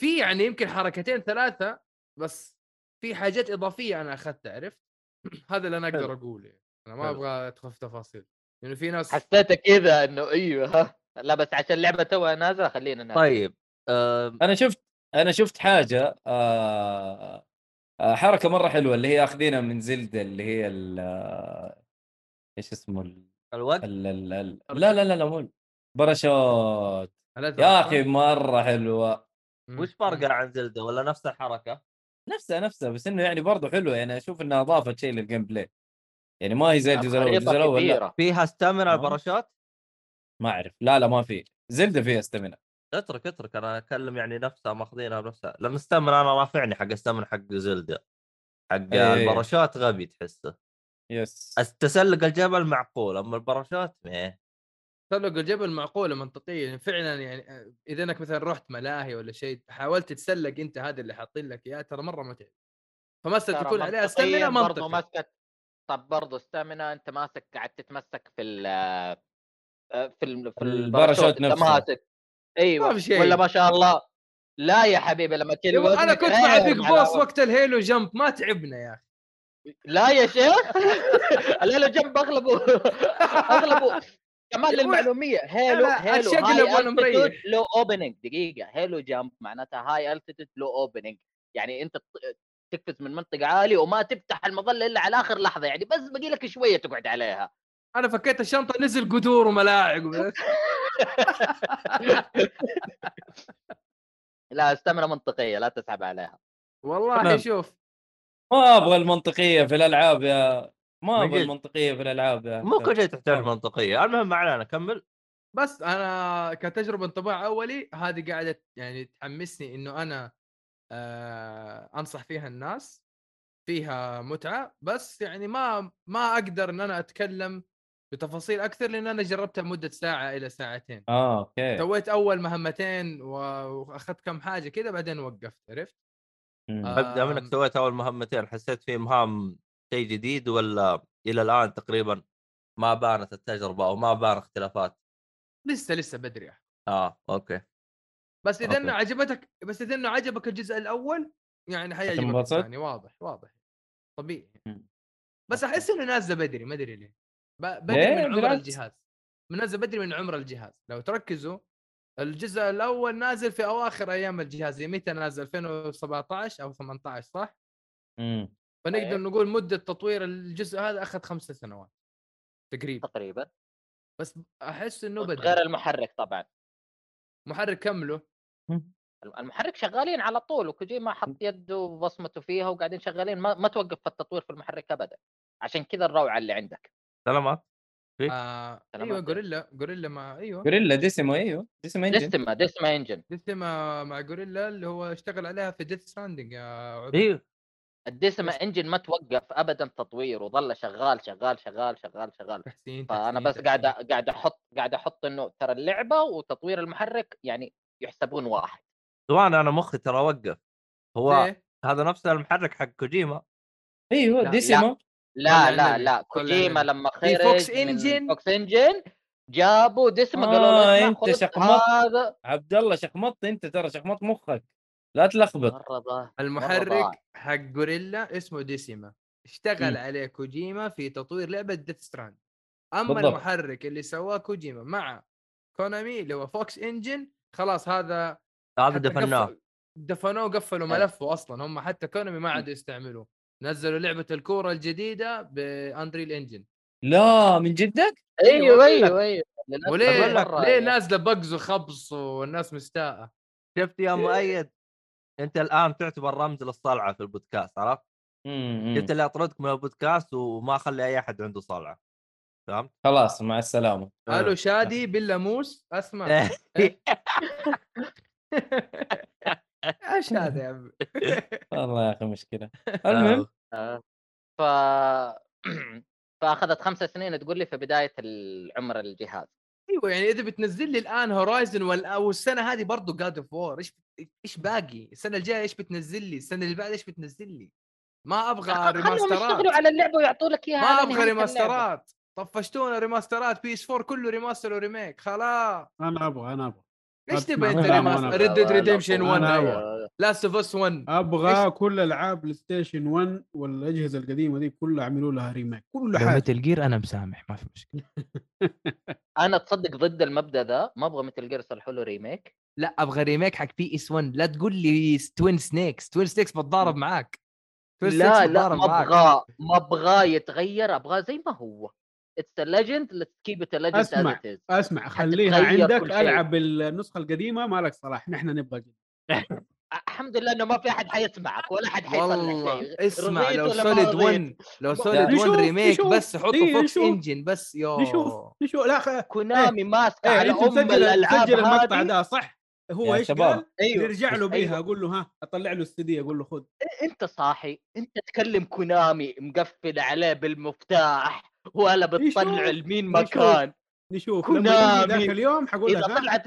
[SPEAKER 2] في يعني يمكن حركتين ثلاثه بس في حاجات اضافيه انا اخذتها عرفت هذا اللي انا اقدر اقوله يعني. انا ما
[SPEAKER 1] حلو.
[SPEAKER 2] ابغى ادخل في تفاصيل لانه في ناس
[SPEAKER 4] حسيتك كذا انه ايوه ها. لا بس عشان اللعبه توها نازله خلينا نازل.
[SPEAKER 1] طيب آه،
[SPEAKER 3] انا شفت انا شفت حاجه آه آه حركه مره حلوه اللي هي اخذينها من زلدة اللي هي ال- آه، ايش اسمه ال
[SPEAKER 1] الوقت
[SPEAKER 3] ال ال ال لا لا لا لا مو باراشوت
[SPEAKER 2] الأذرع،
[SPEAKER 3] يا
[SPEAKER 2] صح؟
[SPEAKER 3] اخي مره حلوه
[SPEAKER 2] مم.
[SPEAKER 1] وش
[SPEAKER 2] مم.
[SPEAKER 1] فرقها عن زلدة ولا نفس الحركه؟
[SPEAKER 3] نفسها نفسها بس انه يعني برضه حلوه يعني اشوف انها اضافت شيء للجيم بلاي يعني ما هي زي الجزء الاول الجزء
[SPEAKER 4] خريطه
[SPEAKER 3] الاول لا
[SPEAKER 4] كبيره
[SPEAKER 1] فيها استامنا
[SPEAKER 3] آه.
[SPEAKER 1] الباراشوت؟
[SPEAKER 3] ما اعرف لا لا ما في زلدة فيها استمنة
[SPEAKER 1] اترك اترك انا اتكلم يعني نفسها ماخذينها بنفسها لان استامنا انا رافعني حق استامنا حق زلدة حق
[SPEAKER 3] إيه.
[SPEAKER 1] الباراشوت غبي تحسه
[SPEAKER 3] يس
[SPEAKER 1] التسلق الجبل معقول اما الباراشوت ميه
[SPEAKER 2] تسلق الجبل معقوله منطقيه يعني فعلا يعني آه، اذا انك مثلا رحت ملاهي ولا شيء حاولت تتسلق انت هذا اللي حاطين لك اياه ترى مره متعب فمثلا
[SPEAKER 4] ترى
[SPEAKER 2] تكون عليها
[SPEAKER 4] منطقياً
[SPEAKER 2] استمنه
[SPEAKER 4] طيب برضو
[SPEAKER 2] منطقي
[SPEAKER 4] ماسكت طب برضه استامنا انت ماسك قاعد تتمسك في ال آه، في ال
[SPEAKER 3] الباراشوت
[SPEAKER 4] في الباراشوت انت
[SPEAKER 3] نفسه.
[SPEAKER 4] ماسك ايوه
[SPEAKER 2] ما في شيء.
[SPEAKER 4] ولا ما شاء الله لا يا حبيبي لما كل
[SPEAKER 2] يبا انا
[SPEAKER 4] وزنك-
[SPEAKER 2] كنت
[SPEAKER 4] إيه
[SPEAKER 2] مع بيج
[SPEAKER 4] الحلاوة.
[SPEAKER 2] بوس وقت الهيلو جمب ما تعبنا يا اخي
[SPEAKER 4] لا يا شيخ لا لا جنب اغلبه اغلبه كمان
[SPEAKER 2] يقول-
[SPEAKER 4] للمعلوميه هيلو
[SPEAKER 2] أنا
[SPEAKER 4] هيلو
[SPEAKER 2] أتشقلب وأنا مريح.
[SPEAKER 4] لو اوبننج دقيقه هيلو جامب معناتها هاي التيتود لو اوبننج يعني انت ت- تقفز من منطقه عاليه وما تفتح المظله الا على اخر لحظه يعني بس بقي لك شويه تقعد عليها
[SPEAKER 2] انا فكيت الشنطه نزل قدور وملاعق وب-
[SPEAKER 4] لا استمنه منطقيه لا تسحب عليها
[SPEAKER 2] والله
[SPEAKER 3] تمام.
[SPEAKER 2] شوف
[SPEAKER 3] ما ابغى المنطقيه في الالعاب يا ما
[SPEAKER 1] من
[SPEAKER 3] ابغى
[SPEAKER 1] جد.
[SPEAKER 3] المنطقيه في الالعاب يا
[SPEAKER 1] مو كل شيء تحتاج
[SPEAKER 3] آه.
[SPEAKER 1] منطقيه المهم ما علينا كمل
[SPEAKER 2] بس انا كتجربه انطباع اولي هذه قاعده يعني تحمسني انه انا آه انصح فيها الناس فيها متعه بس يعني ما ما اقدر ان انا اتكلم بتفاصيل اكثر لان انا جربتها مده ساعه الى ساعتين
[SPEAKER 3] اه اوكي
[SPEAKER 2] سويت اول مهمتين و- واخذت كم حاجه كذا بعدين وقفت عرفت
[SPEAKER 3] مم.
[SPEAKER 2] آه.
[SPEAKER 1] ابدا منك
[SPEAKER 2] آم.
[SPEAKER 1] طيب، سويت اول مهمتين حسيت في مهام شيء جديد ولا الى الان تقريبا ما بانت التجربه او ما بان اختلافات
[SPEAKER 2] لسه لسه بدري يا
[SPEAKER 1] اه اوكي
[SPEAKER 2] بس اذا
[SPEAKER 1] أوكي.
[SPEAKER 2] انه عجبتك بس اذا انه عجبك الجزء الاول يعني حيعجبك
[SPEAKER 3] حتنبسط؟
[SPEAKER 2] الثاني واضح واضح طبيعي
[SPEAKER 3] مم.
[SPEAKER 2] بس
[SPEAKER 3] أوكي.
[SPEAKER 2] احس انه نازله بدري ما ادري ليه ب-
[SPEAKER 3] ليه؟
[SPEAKER 2] بدري من عمر
[SPEAKER 3] بالعكس.
[SPEAKER 2] الجهاز من نازله بدري من عمر الجهاز لو تركزوا الجزء الاول نازل في اواخر ايام الجهاز يعني متى نازل 2017 او 18 صح؟
[SPEAKER 3] مم. أيوه.
[SPEAKER 2] فنقدر
[SPEAKER 4] طيب.
[SPEAKER 2] نقول مده تطوير الجزء هذا اخذ خمسة سنوات تقريبا
[SPEAKER 4] تقريبا
[SPEAKER 2] بس احس انه بدري
[SPEAKER 4] غير المحرك طبعا
[SPEAKER 2] محرك كمله
[SPEAKER 3] مم.
[SPEAKER 4] المحرك شغالين على طول وكوجيما حط يده وبصمته فيها وقاعدين شغالين ما, ما توقف في التطوير في المحرك ابدا عشان كذا الروعه اللي عندك
[SPEAKER 1] سلامات
[SPEAKER 3] إيه.
[SPEAKER 2] آه
[SPEAKER 4] سلامات.
[SPEAKER 2] ايوه جوريلا جوريلا مع ايوه
[SPEAKER 3] جوريلا ديسيمو ايوه ديسيمو انجن
[SPEAKER 4] ديستما ديستما انجن
[SPEAKER 2] ديسما مع جوريلا اللي هو اشتغل عليها في ديث ستراندنج يا عود
[SPEAKER 1] ايوه
[SPEAKER 4] الديسما انجن ما توقف ابدا تطوير وظل شغال شغال شغال شغال شغال
[SPEAKER 2] تحسين
[SPEAKER 4] فانا
[SPEAKER 2] تحسين،
[SPEAKER 4] آه، بس قاعد
[SPEAKER 2] تحسين.
[SPEAKER 4] قاعد احط قاعد احط انه ترى اللعبه وتطوير المحرك يعني يحسبون واحد
[SPEAKER 1] سواء انا مخي ترى وقف هو
[SPEAKER 2] ليه؟
[SPEAKER 1] هذا نفس المحرك حق كوجيما
[SPEAKER 4] لا،
[SPEAKER 3] ايوه ديسيمو
[SPEAKER 4] لا
[SPEAKER 2] طلع
[SPEAKER 4] لا
[SPEAKER 2] النبي،
[SPEAKER 4] لا
[SPEAKER 2] طلع
[SPEAKER 4] كوجيما
[SPEAKER 2] النبي.
[SPEAKER 4] لما
[SPEAKER 2] في
[SPEAKER 4] خرج
[SPEAKER 2] فوكس
[SPEAKER 4] من
[SPEAKER 2] إنجن.
[SPEAKER 4] فوكس انجن جابوا دسمه قالوا
[SPEAKER 3] آه،
[SPEAKER 4] له اسمع،
[SPEAKER 3] أنت
[SPEAKER 4] خذ
[SPEAKER 3] شخمط.
[SPEAKER 4] هذا
[SPEAKER 3] عبد الله شخمطت انت ترى شخمط مخك لا
[SPEAKER 1] آه.
[SPEAKER 3] تلخبط
[SPEAKER 4] مره ضاع ضاع.
[SPEAKER 2] المحرك حق جوريلا اسمه ديسيما اشتغل
[SPEAKER 3] مم.
[SPEAKER 2] عليه كوجيما في تطوير لعبه ديث ستراند اما
[SPEAKER 3] بالضبط.
[SPEAKER 2] بالضبط. المحرك اللي سواه كوجيما مع كونامي اللي هو فوكس انجن خلاص هذا
[SPEAKER 1] هذا
[SPEAKER 2] حتى
[SPEAKER 1] دفناه إيه.
[SPEAKER 2] قف- دفنوه وقفلوا
[SPEAKER 4] أي.
[SPEAKER 2] ملفه اصلا هم حتى كونامي ما عادوا يستعملوه نزلوا لعبه الكوره الجديده باندريل انجن
[SPEAKER 3] لا من جدك
[SPEAKER 4] ايوه
[SPEAKER 2] أقول
[SPEAKER 4] ايوه ايوه للأسف
[SPEAKER 2] أيوة، وليه
[SPEAKER 4] مرة
[SPEAKER 2] ليه
[SPEAKER 4] يعني.
[SPEAKER 2] نازله بقز وخبص والناس مستاءه
[SPEAKER 1] شفت
[SPEAKER 2] إيه.
[SPEAKER 1] يا مؤيد انت الان تعتبر رمز للصلعه في البودكاست عرفت؟
[SPEAKER 2] إمم.
[SPEAKER 3] مم، مم.
[SPEAKER 1] انت اللي اطردك من البودكاست وما اخلي اي احد عنده صلعه فهمت؟
[SPEAKER 3] خلاص مع السلامه
[SPEAKER 1] آه.
[SPEAKER 2] الو شادي باللاموس
[SPEAKER 1] إيه.
[SPEAKER 2] اسمع ايش هذا يا عمي
[SPEAKER 3] والله يا اخي مشكله المهم
[SPEAKER 4] آه. ف فاخذت خمس سنين تقول لي في بدايه العمر الجهاز
[SPEAKER 2] ايوه يعني اذا بتنزل لي الان هورايزن والسنه هذه برضه جاد اوف وور ايش ايش باقي السنه الجايه ايش بتنزل لي السنه اللي بعد ايش بتنزل لي ما ابغى
[SPEAKER 4] خلهم
[SPEAKER 2] ريماسترات
[SPEAKER 4] يشتغلوا على اللعبه ويعطوا لك اياها
[SPEAKER 2] يعني ما
[SPEAKER 4] على
[SPEAKER 2] ابغى
[SPEAKER 4] نهاية اللعبة.
[SPEAKER 2] ريماسترات طفشتونا ريماسترات بي اس 4 كله ريماستر وريميك خلاص
[SPEAKER 5] انا ابغى انا ابغى
[SPEAKER 2] ليش
[SPEAKER 5] أسمع
[SPEAKER 2] تبغى انت
[SPEAKER 5] منها وأنا
[SPEAKER 2] ريماستر
[SPEAKER 5] أبغى.
[SPEAKER 2] ريد ديد
[SPEAKER 4] لا، لا،
[SPEAKER 2] ريديمشن
[SPEAKER 4] طبعاً.
[SPEAKER 2] 1
[SPEAKER 5] أنا
[SPEAKER 2] ايوه
[SPEAKER 5] أبغى.
[SPEAKER 2] لاست اوف اس 1
[SPEAKER 5] ابغى كل العاب بلاي ستيشن 1 والاجهزه القديمه دي كلها اعملوا لها ريميك كل حاجه
[SPEAKER 2] جير انا مسامح ما في مشكله
[SPEAKER 4] انا تصدق ضد المبدا ذا ما ابغى مثل جير صلحوا له ريميك
[SPEAKER 2] لا ابغى ريميك حق بي اس 1 لا تقول لي توين سنيكس توين سنيكس بتضارب معاك Twin
[SPEAKER 4] لا
[SPEAKER 2] Snakes
[SPEAKER 4] لا
[SPEAKER 2] بتضارب
[SPEAKER 4] ما
[SPEAKER 2] معاك.
[SPEAKER 4] ابغاه ما ابغاه يتغير ابغاه زي ما هو اتس ليجند ليتس كيب ات ليجند
[SPEAKER 5] أسمع. اسمع خليها
[SPEAKER 4] حتتغير
[SPEAKER 5] عندك
[SPEAKER 4] كل شيء.
[SPEAKER 5] العب النسخه القديمه مالك صلاح نحن نبغى جديد.
[SPEAKER 4] الحمد لله انه ما في احد حيسمعك ولا احد حيصلح
[SPEAKER 2] والله إيه،
[SPEAKER 4] شيء
[SPEAKER 2] اسمع
[SPEAKER 4] رضيت
[SPEAKER 2] لو
[SPEAKER 4] ولا ما
[SPEAKER 2] سوليد
[SPEAKER 4] رضيت؟
[SPEAKER 2] 1 لو
[SPEAKER 4] ما-
[SPEAKER 2] سوليد 1
[SPEAKER 5] نشوف-
[SPEAKER 2] ريميك
[SPEAKER 5] نشوف.
[SPEAKER 2] بس حطوا
[SPEAKER 5] إيه،
[SPEAKER 2] فوكس
[SPEAKER 5] نشوف.
[SPEAKER 2] انجن بس يو
[SPEAKER 5] نشوف نشوف لا خ...
[SPEAKER 4] كونامي ماسكه
[SPEAKER 5] ايه
[SPEAKER 4] على
[SPEAKER 5] انت
[SPEAKER 4] ام
[SPEAKER 5] مسجل
[SPEAKER 4] الالعاب
[SPEAKER 5] مسجل المقطع
[SPEAKER 4] هذه.
[SPEAKER 5] ده صح؟ هو
[SPEAKER 3] يا
[SPEAKER 5] ايش
[SPEAKER 3] شباب.
[SPEAKER 5] قال؟
[SPEAKER 4] ايوه
[SPEAKER 5] نرجع له بيها
[SPEAKER 4] أيوة.
[SPEAKER 5] اقول له ها اطلع له السي دي اقول له خذ
[SPEAKER 4] انت صاحي انت تكلم كونامي مقفل عليه بالمفتاح ولا بتطلع
[SPEAKER 5] يشوف،
[SPEAKER 4] لمين
[SPEAKER 5] يشوف.
[SPEAKER 4] مكان
[SPEAKER 5] نشوف لما
[SPEAKER 4] كونامي.
[SPEAKER 5] تجي ذاك اليوم حقول
[SPEAKER 4] اذا
[SPEAKER 5] لك ها
[SPEAKER 4] طلعت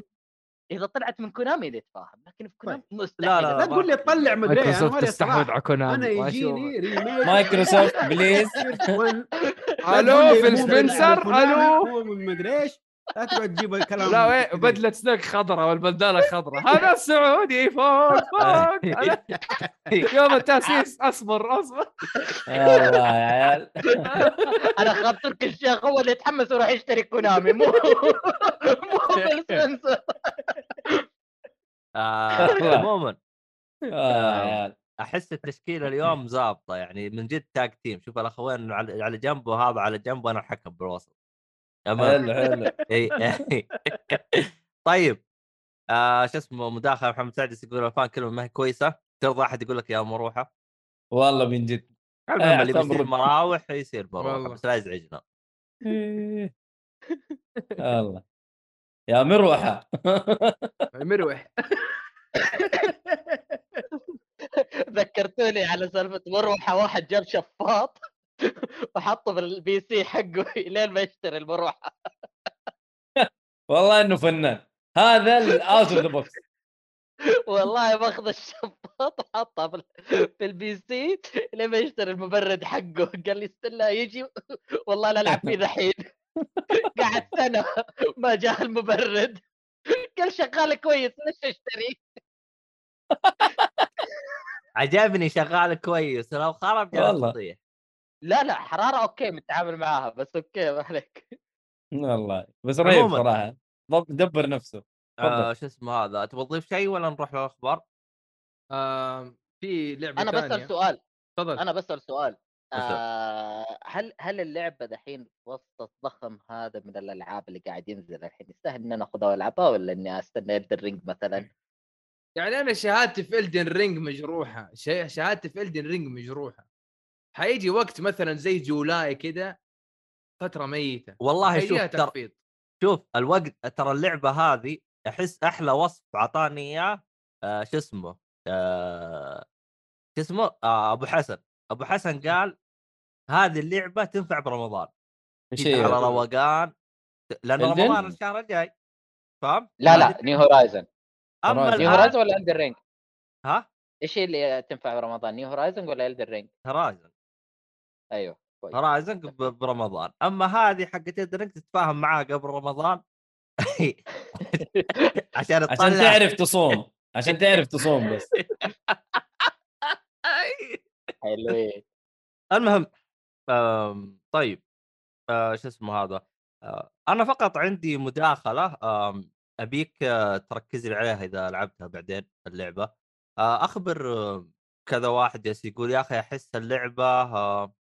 [SPEAKER 4] اذا طلعت من كونامي نتفاهم لكن في كونامي مستحيل
[SPEAKER 1] لا، لا،
[SPEAKER 5] لا تقول لي طلع مدري إيه، انا مالي صلاح.
[SPEAKER 2] كونامي
[SPEAKER 5] انا
[SPEAKER 2] ما
[SPEAKER 5] يجيني ريميك
[SPEAKER 3] مايكروسوفت بليز
[SPEAKER 5] بليز
[SPEAKER 2] الو فيل سبنسر الو
[SPEAKER 5] هو من مدري ايش لا تقعد تجيب الكلام
[SPEAKER 2] لا وين بدلة سنك خضراء والبدالة خضراء هذا السعودي فوق فوق أنا- يوم التأسيس اصبر اصبر
[SPEAKER 3] والله يا عيال
[SPEAKER 4] انا خاطرك الشيخ هو اللي يتحمس ويروح يشتري كونامي مو مو فيل سبنسر.
[SPEAKER 1] آه، عموما آه.
[SPEAKER 3] والله يا عيال
[SPEAKER 1] احس التشكيله اليوم ظابطه يعني من جد تاج تيم شوف الاخوين على على جنب وهذا على جنب وانا الحكم بالوسط تمام
[SPEAKER 3] حلو حلو
[SPEAKER 1] إي. طيب آه شو اسمه مداخله محمد سعد يقول الفان كلمه ما هي كويسه ترضى احد يقول لك يا مروحه
[SPEAKER 3] والله من جد إيه،
[SPEAKER 1] المهم اللي
[SPEAKER 3] أعتبر.
[SPEAKER 1] بيصير مراوح يصير مروحه
[SPEAKER 2] والله.
[SPEAKER 1] بس لا يزعجنا
[SPEAKER 3] إيه. والله يا مروحه
[SPEAKER 2] مروح
[SPEAKER 4] ذكرتوني على سالفه مروحه واحد جاب شفاط وحطه في البي سي حقه لين ما يشتري المروحه
[SPEAKER 3] والله انه فنان هذا الاوت اوف ذا بوكس
[SPEAKER 4] والله باخذ الشفاط وحطها في ال- في البي سي لين ما يشتري المبرد حقه قال لي استنى يجي والله لا العب فيه دحين قعد سنه ما جاء المبرد قال شغال كويس ليش اشتري
[SPEAKER 1] عجبني شغال كويس لو خرب جالس
[SPEAKER 3] والله.
[SPEAKER 1] تطيح
[SPEAKER 4] لا لا حراره اوكي متعامل معاها بس اوكي ما عليك
[SPEAKER 3] والله بس رهيب
[SPEAKER 1] عموماً.
[SPEAKER 3] صراحه ضب- دبر نفسه تفضل.
[SPEAKER 1] آه شو اسمه هذا تبغى تضيف شيء ولا نروح للاخبار؟
[SPEAKER 2] آم، في لعبة
[SPEAKER 4] انا بسال
[SPEAKER 2] طيب، ثانية. طيب.
[SPEAKER 4] سؤال
[SPEAKER 2] تفضل
[SPEAKER 4] انا بسال سؤال
[SPEAKER 1] بسأل.
[SPEAKER 4] آه هل هل اللعبه دحين وسط الضخم هذا من الالعاب اللي قاعد ينزل الحين يستاهل ان انا اخذها والعبها ولا اني استنى الدرينج مثلا
[SPEAKER 2] يعني انا شهادتي في الدن رينج مجروحه شي- شهادتي في الدن رينج مجروحه حيجي وقت مثلا زي جولاي كده فتره ميته
[SPEAKER 1] والله شوف
[SPEAKER 2] حيجيها
[SPEAKER 1] ترى
[SPEAKER 2] تخفيض
[SPEAKER 1] شوف الوقت ترى اللعبه هذه احس احلى وصف اعطاني اياه آه، شو اسمه آه، شو اسمه آه، ابو حسن ابو حسن
[SPEAKER 4] إيه.
[SPEAKER 1] قال هذه اللعبه تنفع برمضان
[SPEAKER 3] ايش
[SPEAKER 1] تجي
[SPEAKER 3] هي؟
[SPEAKER 1] على روقان لان
[SPEAKER 3] Elden
[SPEAKER 1] رمضان
[SPEAKER 3] Ring.
[SPEAKER 1] الشهر الجاي فاهم؟
[SPEAKER 4] لا
[SPEAKER 1] هذه-
[SPEAKER 4] لا نيو هورايزن
[SPEAKER 1] اما
[SPEAKER 3] Horizon.
[SPEAKER 4] نيو
[SPEAKER 1] الآن-
[SPEAKER 4] هورايزن ولا الدر رينج
[SPEAKER 1] ها
[SPEAKER 4] ايش هي اللي تنفع برمضان نيو هورايزن ولا الدر رينج
[SPEAKER 1] هورايزن
[SPEAKER 4] طيب. ايوه كويس
[SPEAKER 1] هورايزن
[SPEAKER 4] طيب.
[SPEAKER 1] ب- برمضان اما هذه حقت درينك تتفاهم معاها قبل رمضان عشان
[SPEAKER 3] عشان
[SPEAKER 1] تطلع-
[SPEAKER 3] تعرف تصوم عشان تعرف تصوم بس
[SPEAKER 4] حلوين
[SPEAKER 1] المهم آم، طيب آه، شو اسمه هذا آه، انا فقط عندي مداخله آم، ابيك آه، تركز لي عليها اذا لعبتها بعدين اللعبه آه، اخبر آه، كذا واحد جالس يقول يا اخي احس اللعبه آه،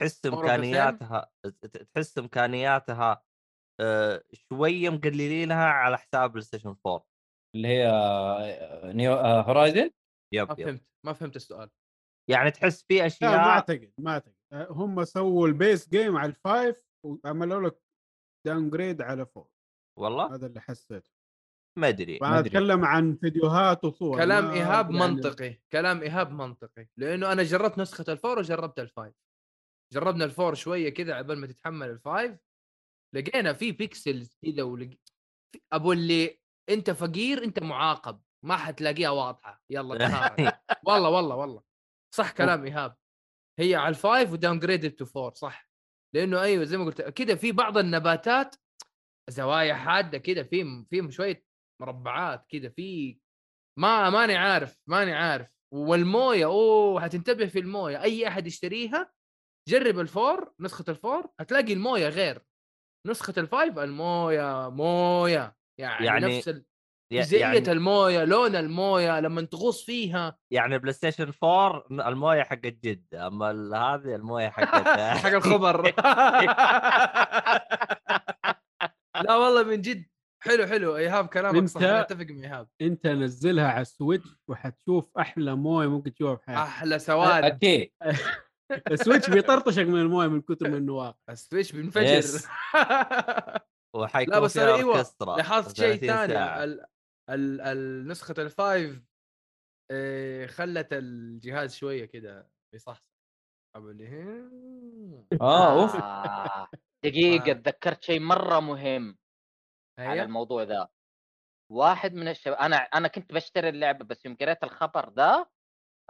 [SPEAKER 1] تحس
[SPEAKER 2] of the same؟
[SPEAKER 1] امكانياتها ت- ت- تحس امكانياتها آه، شويه مقللينها على حساب بلاي ستيشن 4
[SPEAKER 3] اللي هي آه، نيو آه، هورايزن
[SPEAKER 1] يب
[SPEAKER 2] ما
[SPEAKER 1] يب
[SPEAKER 2] فهمت ما فهمت السؤال
[SPEAKER 1] يعني تحس في
[SPEAKER 5] لا ما
[SPEAKER 1] اشياء
[SPEAKER 5] اعتقد ما اعتقد أه، هم سووا البيس جيم على الفايف وعملوا لك داون جريد على فوق
[SPEAKER 1] والله
[SPEAKER 5] هذا اللي حسيته
[SPEAKER 1] ما ادري
[SPEAKER 5] فانا
[SPEAKER 3] أدري.
[SPEAKER 5] اتكلم عن فيديوهات وصور
[SPEAKER 2] كلام
[SPEAKER 5] ما يعني
[SPEAKER 2] ايهاب
[SPEAKER 5] أدري عن-
[SPEAKER 2] منطقي كلام ايهاب منطقي لانه انا جربت نسخه الفور وجربت الفايف جربنا الفور شويه كذا عبال ما تتحمل الفايف لقينا في بيكسلز كذا ولق... في- ابو اللي انت فقير انت معاقب ما حتلاقيها واضحه يلا تخارج. والله والله والله صح كلام ايهاب هي على الفايف وداون جريدد تو فور صح لانه ايوه زي ما قلت كذا في بعض النباتات زوايا حاده كذا في في شويه مربعات كذا في ما ماني عارف ماني عارف والمويه اوه حتنتبه في المويه اي احد يشتريها جرب الفور نسخه الفور هتلاقي المويه غير نسخه الفايف المويه مويه يعني,
[SPEAKER 1] يعني-
[SPEAKER 2] يعني نفس ال...
[SPEAKER 1] يع-
[SPEAKER 2] جزئيه المويه لون المويه لما تغوص فيها
[SPEAKER 1] يعني بلاي ستيشن 4 المويه حقت جده اما ال- هذه المويه حقت
[SPEAKER 2] حق الخبر لا والله من جد حلو حلو ايهاب كلامك صح انا
[SPEAKER 5] ممتاز.
[SPEAKER 2] اتفق مع ايهاب
[SPEAKER 5] انت نزلها على السويتش وحتشوف احلى مويه ممكن تشوفها في حياتك
[SPEAKER 2] احلى سواد
[SPEAKER 3] اكيد
[SPEAKER 2] آه.
[SPEAKER 5] السويتش بيطرطشك من المويه من كثر من انه واقع
[SPEAKER 2] السويتش
[SPEAKER 3] يس.
[SPEAKER 2] بينفجر
[SPEAKER 1] وحيكون
[SPEAKER 2] لا، بس أنا إيوه،
[SPEAKER 1] اوركسترا
[SPEAKER 2] لاحظت شيء
[SPEAKER 1] 30
[SPEAKER 2] ثاني
[SPEAKER 1] ساعة.
[SPEAKER 2] ال... ال... ال... نسخه الفايف إيه، خلت الجهاز شويه كده بصح ابو اللي هي-
[SPEAKER 3] اه اوف
[SPEAKER 4] آه، دقيقه
[SPEAKER 2] آه.
[SPEAKER 4] تذكرت شيء مره مهم على
[SPEAKER 2] هيا.
[SPEAKER 4] الموضوع ذا واحد من الشباب انا انا كنت بشتري اللعبه بس يوم قريت الخبر ذا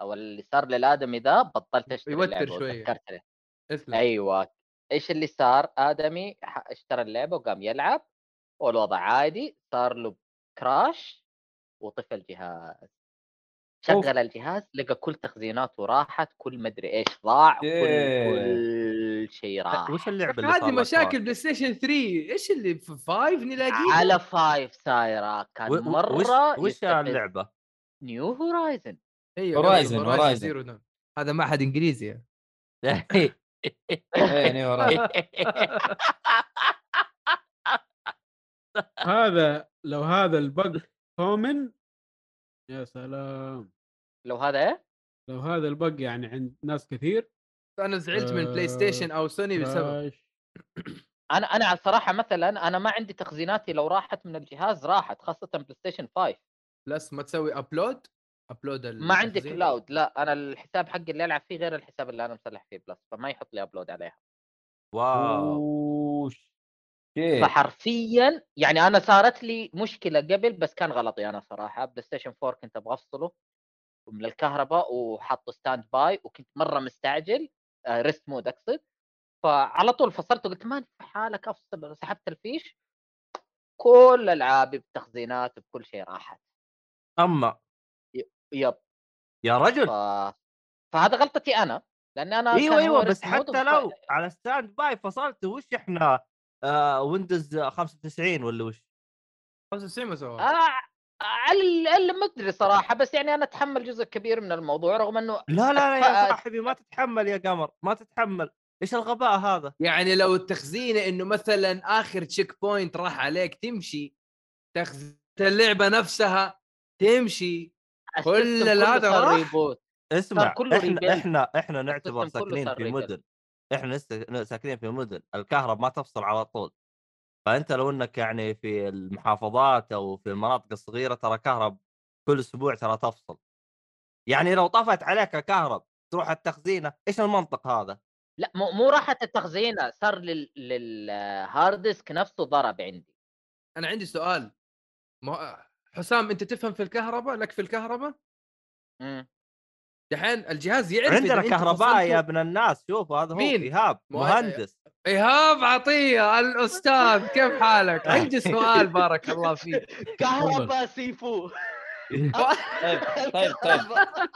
[SPEAKER 4] او اللي صار للادمي ذا بطلت اشتري
[SPEAKER 2] يوتر
[SPEAKER 4] اللعبه
[SPEAKER 2] شوية.
[SPEAKER 4] وتذكرت ليه.
[SPEAKER 1] نعم.
[SPEAKER 2] اسلم
[SPEAKER 4] ايوه ايش اللي صار ادمي ح- اشترى اللعبه وقام يلعب والوضع عادي صار له كراش وطفى الجهاز
[SPEAKER 3] أوف.
[SPEAKER 4] شغل الجهاز لقى كل تخزيناته راحت كل مدري ايش ضاع كل,
[SPEAKER 3] ياه.
[SPEAKER 4] كل شيء راح
[SPEAKER 1] وش اللعبه اللي طيب. صار
[SPEAKER 2] هذه
[SPEAKER 1] لك
[SPEAKER 2] مشاكل
[SPEAKER 1] مرة؟
[SPEAKER 2] بلاي ستيشن 3 ايش اللي في 5 نلاقيه
[SPEAKER 4] على فايف سايره كان
[SPEAKER 1] و- و- وش-
[SPEAKER 4] مره
[SPEAKER 1] وش اللعبه؟
[SPEAKER 4] نيو هورايزن
[SPEAKER 2] ايوه
[SPEAKER 3] Horizon،
[SPEAKER 2] قبل
[SPEAKER 3] Horizon.
[SPEAKER 2] Zero Dawn. هذا معهد انجليزي
[SPEAKER 3] إيه، نيو هورايزن.
[SPEAKER 5] هذا لو هذا البق كومن يا سلام
[SPEAKER 4] لو هذا ايه
[SPEAKER 5] لو هذا البق يعني عند ناس كثير
[SPEAKER 2] انا زعلت
[SPEAKER 1] آه،
[SPEAKER 2] من بلاي ستيشن او سوني إيه بسبب
[SPEAKER 5] فاش-
[SPEAKER 4] انا انا الصراحه مثلا انا ما عندي تخزيناتي لو راحت من الجهاز راحت خاصه بلاي ستيشن 5
[SPEAKER 2] بلس ما تسوي ابلود ابلود
[SPEAKER 4] ما عندي كلاود لا انا الحساب حقي اللي العب فيه غير الحساب اللي انا مصلح فيه بلس فما يحط لي ابلود عليها
[SPEAKER 1] واو
[SPEAKER 3] أوش.
[SPEAKER 1] إيه.
[SPEAKER 3] شيت.
[SPEAKER 4] فحرفيا يعني انا صارت لي مشكله قبل بس كان غلطي انا صراحه بلاي ستيشن 4 كنت ابغى افصله من الكهرباء وحطه ستاند باي وكنت مره مستعجل آه، ريست مود اقصد فعلى طول فصلته قلت ما في حالك افصل سحبت الفيش كل العابي بتخزينات بكل شيء راحت
[SPEAKER 1] اما
[SPEAKER 4] يب
[SPEAKER 1] يا رجل
[SPEAKER 4] ف... فهذا غلطتي انا لان انا
[SPEAKER 1] ايوه
[SPEAKER 4] آه، كان هو
[SPEAKER 1] ايوه بس
[SPEAKER 4] ريست مود
[SPEAKER 1] حتى
[SPEAKER 4] وف-
[SPEAKER 1] لو على ستاند باي فصلت وش احنا آه ويندوز 95 ولا وش؟
[SPEAKER 2] 95 ما سواه
[SPEAKER 4] آه، على اللي ما ادري صراحه بس يعني انا اتحمل جزء كبير من الموضوع رغم انه
[SPEAKER 1] لا لا لا يا
[SPEAKER 4] أتفقد.
[SPEAKER 1] صاحبي ما تتحمل يا قمر ما تتحمل ايش الغباء هذا؟
[SPEAKER 2] يعني لو التخزينه انه مثلا اخر تشيك بوينت راح عليك تمشي تخزين اللعبه نفسها تمشي كل
[SPEAKER 4] السيستم كله
[SPEAKER 2] هذا
[SPEAKER 4] صار
[SPEAKER 2] راح.
[SPEAKER 4] ريبوت
[SPEAKER 1] اسمع
[SPEAKER 4] صار كله
[SPEAKER 1] احنا
[SPEAKER 4] ريبيلد.
[SPEAKER 1] احنا احنا نعتبر
[SPEAKER 4] السيستم كله
[SPEAKER 1] ساكنين
[SPEAKER 4] صار
[SPEAKER 1] في
[SPEAKER 4] ريبيلد.
[SPEAKER 1] مدن احنا نست- ن- ساكنين في مدن الكهرب ما تفصل على طول فانت لو انك يعني في المحافظات او في المناطق الصغيره ترى كهرب كل اسبوع ترى تفصل يعني لو طفت عليك الكهرب تروح التخزينه ايش المنطق هذا؟
[SPEAKER 4] لا مو مو راحت التخزينه صار لل... للهارد ديسك نفسه ضرب عندي
[SPEAKER 2] انا عندي سؤال ما حسام انت تفهم في الكهرباء لك في الكهرباء
[SPEAKER 4] مم.
[SPEAKER 2] دحين الجهاز يعرف إذا
[SPEAKER 1] عندنا
[SPEAKER 2] أنت
[SPEAKER 1] كهرباء يا
[SPEAKER 2] فصلته.
[SPEAKER 1] ابن الناس شوف هذا هو
[SPEAKER 2] مين؟
[SPEAKER 1] ايهاب
[SPEAKER 2] مو-
[SPEAKER 1] مهندس
[SPEAKER 2] ايهاب عطيه الاستاذ كيف حالك؟ عندي سؤال بارك الله فيك
[SPEAKER 4] كهرباء سيفو
[SPEAKER 3] طيب طيب طيب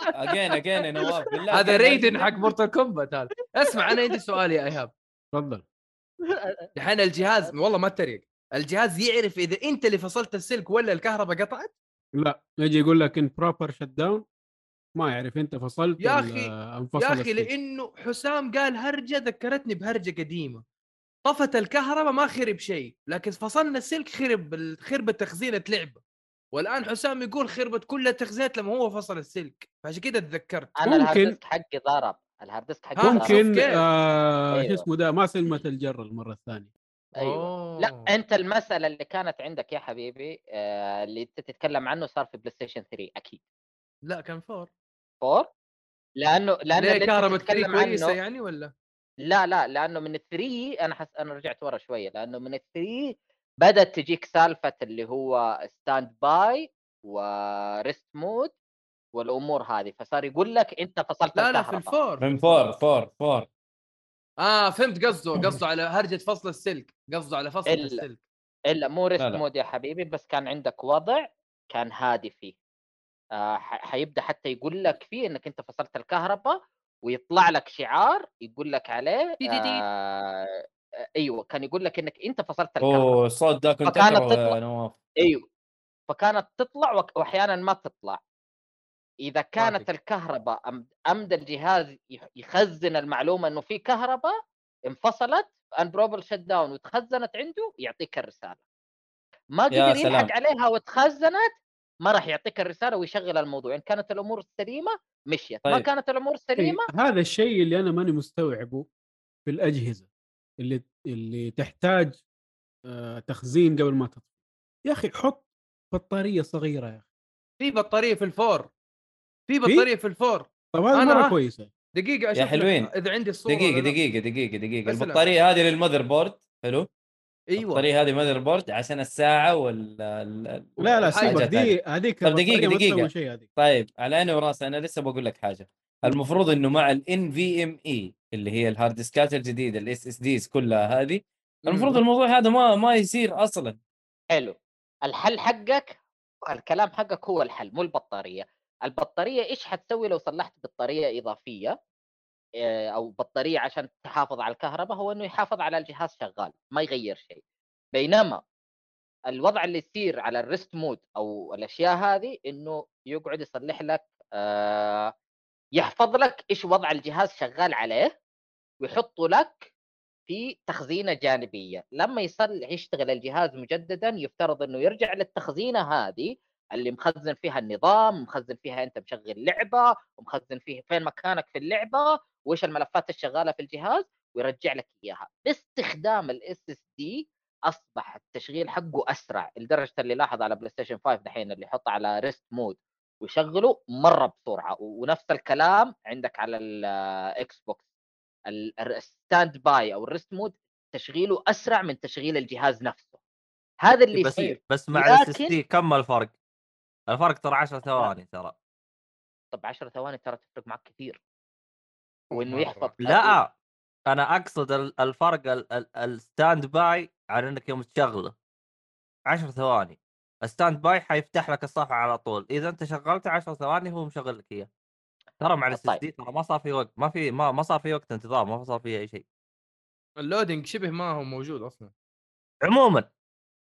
[SPEAKER 3] اجين اجين يا نواف بالله
[SPEAKER 2] هذا ريدن حق مورتال كومبات هذا اسمع انا عندي سؤال يا ايهاب
[SPEAKER 5] تفضل
[SPEAKER 2] دحين الجهاز والله ما اتريق الجهاز يعرف اذا انت اللي فصلت السلك ولا الكهرباء قطعت
[SPEAKER 5] لا يجي يقول لك ان بروبر شت داون ما يعرف انت فصلت
[SPEAKER 2] يا
[SPEAKER 5] ولا
[SPEAKER 2] أخي-
[SPEAKER 5] انفصل
[SPEAKER 2] يا اخي
[SPEAKER 5] السلك.
[SPEAKER 2] لانه حسام قال هرجه ذكرتني بهرجه قديمه طفت الكهرباء ما خرب شيء لكن فصلنا السلك خرب ال- خربت تخزينه لعبه والان حسام يقول خربت كل التخزينات لما هو فصل السلك فعشان كذا تذكرت
[SPEAKER 4] انا الهارد
[SPEAKER 5] ممكن.
[SPEAKER 4] ديسك حقي ضرب الهارد ديسك حقي
[SPEAKER 2] ها؟ أيوه.
[SPEAKER 4] ضرب.
[SPEAKER 2] شوف
[SPEAKER 5] ممكن
[SPEAKER 2] كيف.
[SPEAKER 5] آه شو
[SPEAKER 4] أيوة.
[SPEAKER 5] اسمه ده ما سلمت الجره المره الثانيه
[SPEAKER 4] ايوه لا انت المساله اللي كانت عندك يا حبيبي آه، اللي انت تتكلم عنه صار في بلاي ستيشن 3 اكيد
[SPEAKER 2] لا كان فور
[SPEAKER 4] 4 لانه لانه
[SPEAKER 2] ليه
[SPEAKER 4] اللي أنت
[SPEAKER 2] كهرباء تري
[SPEAKER 4] تتكلم
[SPEAKER 2] كويسه
[SPEAKER 4] عنه
[SPEAKER 2] يعني ولا
[SPEAKER 4] لا لا لانه من 3 انا حس... انا رجعت ورا شويه لانه من 3 بدات تجيك سالفه اللي هو ستاند باي وريست مود والامور هذه فصار يقول لك انت فصلت
[SPEAKER 2] لا لا في
[SPEAKER 4] الكهرباء.
[SPEAKER 2] الفور
[SPEAKER 3] من فور فور فور
[SPEAKER 2] اه فهمت قصده قصده على هرجه فصل السلك قصده على فصل
[SPEAKER 4] إلا.
[SPEAKER 2] السلك
[SPEAKER 4] الا مو ريست
[SPEAKER 3] لا لا.
[SPEAKER 4] مود يا حبيبي بس كان عندك وضع كان هادي فيه آه ح- حيبدا حتى يقول لك فيه انك انت فصلت الكهرباء ويطلع لك شعار يقول لك عليه
[SPEAKER 2] دي دي دي.
[SPEAKER 4] آه ايوه كان يقول لك انك انت فصلت الكهرباء
[SPEAKER 3] اوه الصوت ده كنت
[SPEAKER 4] فكانت
[SPEAKER 3] اكرهه
[SPEAKER 4] تطلع.
[SPEAKER 3] يا نواف
[SPEAKER 4] ايوه فكانت تطلع وك- واحيانا ما تطلع اذا كانت
[SPEAKER 2] صادق.
[SPEAKER 4] الكهرباء أم- امد الجهاز يح- يخزن المعلومه انه في كهرباء انفصلت انبروبل شت داون وتخزنت عنده يعطيك الرساله ما
[SPEAKER 3] يا
[SPEAKER 4] قدر
[SPEAKER 3] سلام.
[SPEAKER 4] يلحق عليها وتخزنت ما راح يعطيك الرساله ويشغل الموضوع ان كانت الامور سليمه مشيت ما
[SPEAKER 3] طيب.
[SPEAKER 4] كانت الامور
[SPEAKER 5] أخي،
[SPEAKER 4] سليمه
[SPEAKER 5] هذا الشيء اللي انا ماني مستوعبه في الاجهزه اللي اللي تحتاج آه، تخزين قبل ما تطفي يا اخي حط بطاريه صغيره يا اخي
[SPEAKER 2] في بطاريه في الفور في بطاريه في الفور
[SPEAKER 5] طب هذه
[SPEAKER 2] أنا-
[SPEAKER 5] مره كويسه
[SPEAKER 2] دقيقه اشوف لك
[SPEAKER 3] حلوين.
[SPEAKER 2] اذا عندي الصوره ولا
[SPEAKER 3] دقيقه
[SPEAKER 2] لا.
[SPEAKER 3] دقيقه دقيقه دقيقه
[SPEAKER 2] أسلم.
[SPEAKER 3] البطاريه هذه للمذر بورد حلو
[SPEAKER 2] ايوه
[SPEAKER 3] البطاريه هذه مذر بورد عشان الساعه وال ال- ال-
[SPEAKER 5] لا لا
[SPEAKER 3] والحاجات
[SPEAKER 5] سيبك
[SPEAKER 3] هذه.
[SPEAKER 5] دي هذيك
[SPEAKER 3] طب
[SPEAKER 5] البطارية
[SPEAKER 3] دقيقة،
[SPEAKER 5] ما
[SPEAKER 3] دقيقة.
[SPEAKER 5] تسوي شيء هذيك
[SPEAKER 3] طيب على عيني وراسي انا لسه بقول لك حاجه المفروض انه مع الان في ام اي E اللي هي الهارد ديسكات الجديده الاس اس ديز كلها هذه المفروض الموضوع هذا ما ما يصير اصلا
[SPEAKER 4] حلو الحل حقك الكلام حقك هو الحل مو البطاريه البطاريه ايش حتسوي لو صلحت بطاريه اضافيه آه، او بطاريه عشان تحافظ على الكهرباء هو انه يحافظ على الجهاز شغال ما يغير شيء بينما الوضع اللي يصير على الريست مود او الاشياء هذه انه يقعد يصلح لك آه، يحفظ لك ايش وضع الجهاز شغال عليه ويحطه لك في تخزينه جانبيه لما يصلح يشتغل الجهاز مجددا يفترض انه يرجع للتخزينه هذه اللي مخزن فيها النظام مخزن فيها انت مشغل لعبه ومخزن فيه فين مكانك في اللعبه وايش الملفات الشغاله في الجهاز ويرجع لك اياها باستخدام الاس اس دي اصبح التشغيل حقه اسرع لدرجه اللي لاحظ على بلاي ستيشن 5 دحين اللي يحط على ريست مود ويشغله مره بسرعه و- ونفس الكلام عندك على الاكس بوكس الستاند باي او الريست مود تشغيله اسرع من تشغيل الجهاز نفسه هذا اللي
[SPEAKER 1] بس
[SPEAKER 4] يصير
[SPEAKER 1] بس مع
[SPEAKER 4] طيب. لكن-
[SPEAKER 1] الاس دي كم الفرق؟ الفرق ترى 10 ثواني ترى
[SPEAKER 4] طب 10 ثواني ترى تفرق معك كثير وانه
[SPEAKER 2] مرة.
[SPEAKER 4] يحفظ
[SPEAKER 1] لا انا اقصد ال- الفرق ال- ال- الستاند باي على انك يوم تشغله 10 ثواني الستاند باي حيفتح لك الصفحه على طول اذا انت شغلته 10 ثواني هو مشغل لك اياه ترى مع الاس
[SPEAKER 4] طيب.
[SPEAKER 1] دي ترى ما صار في وقت ما في ما, ما صار في وقت انتظار ما صار في اي شيء
[SPEAKER 2] اللودينج شبه ما هو موجود اصلا
[SPEAKER 1] عموما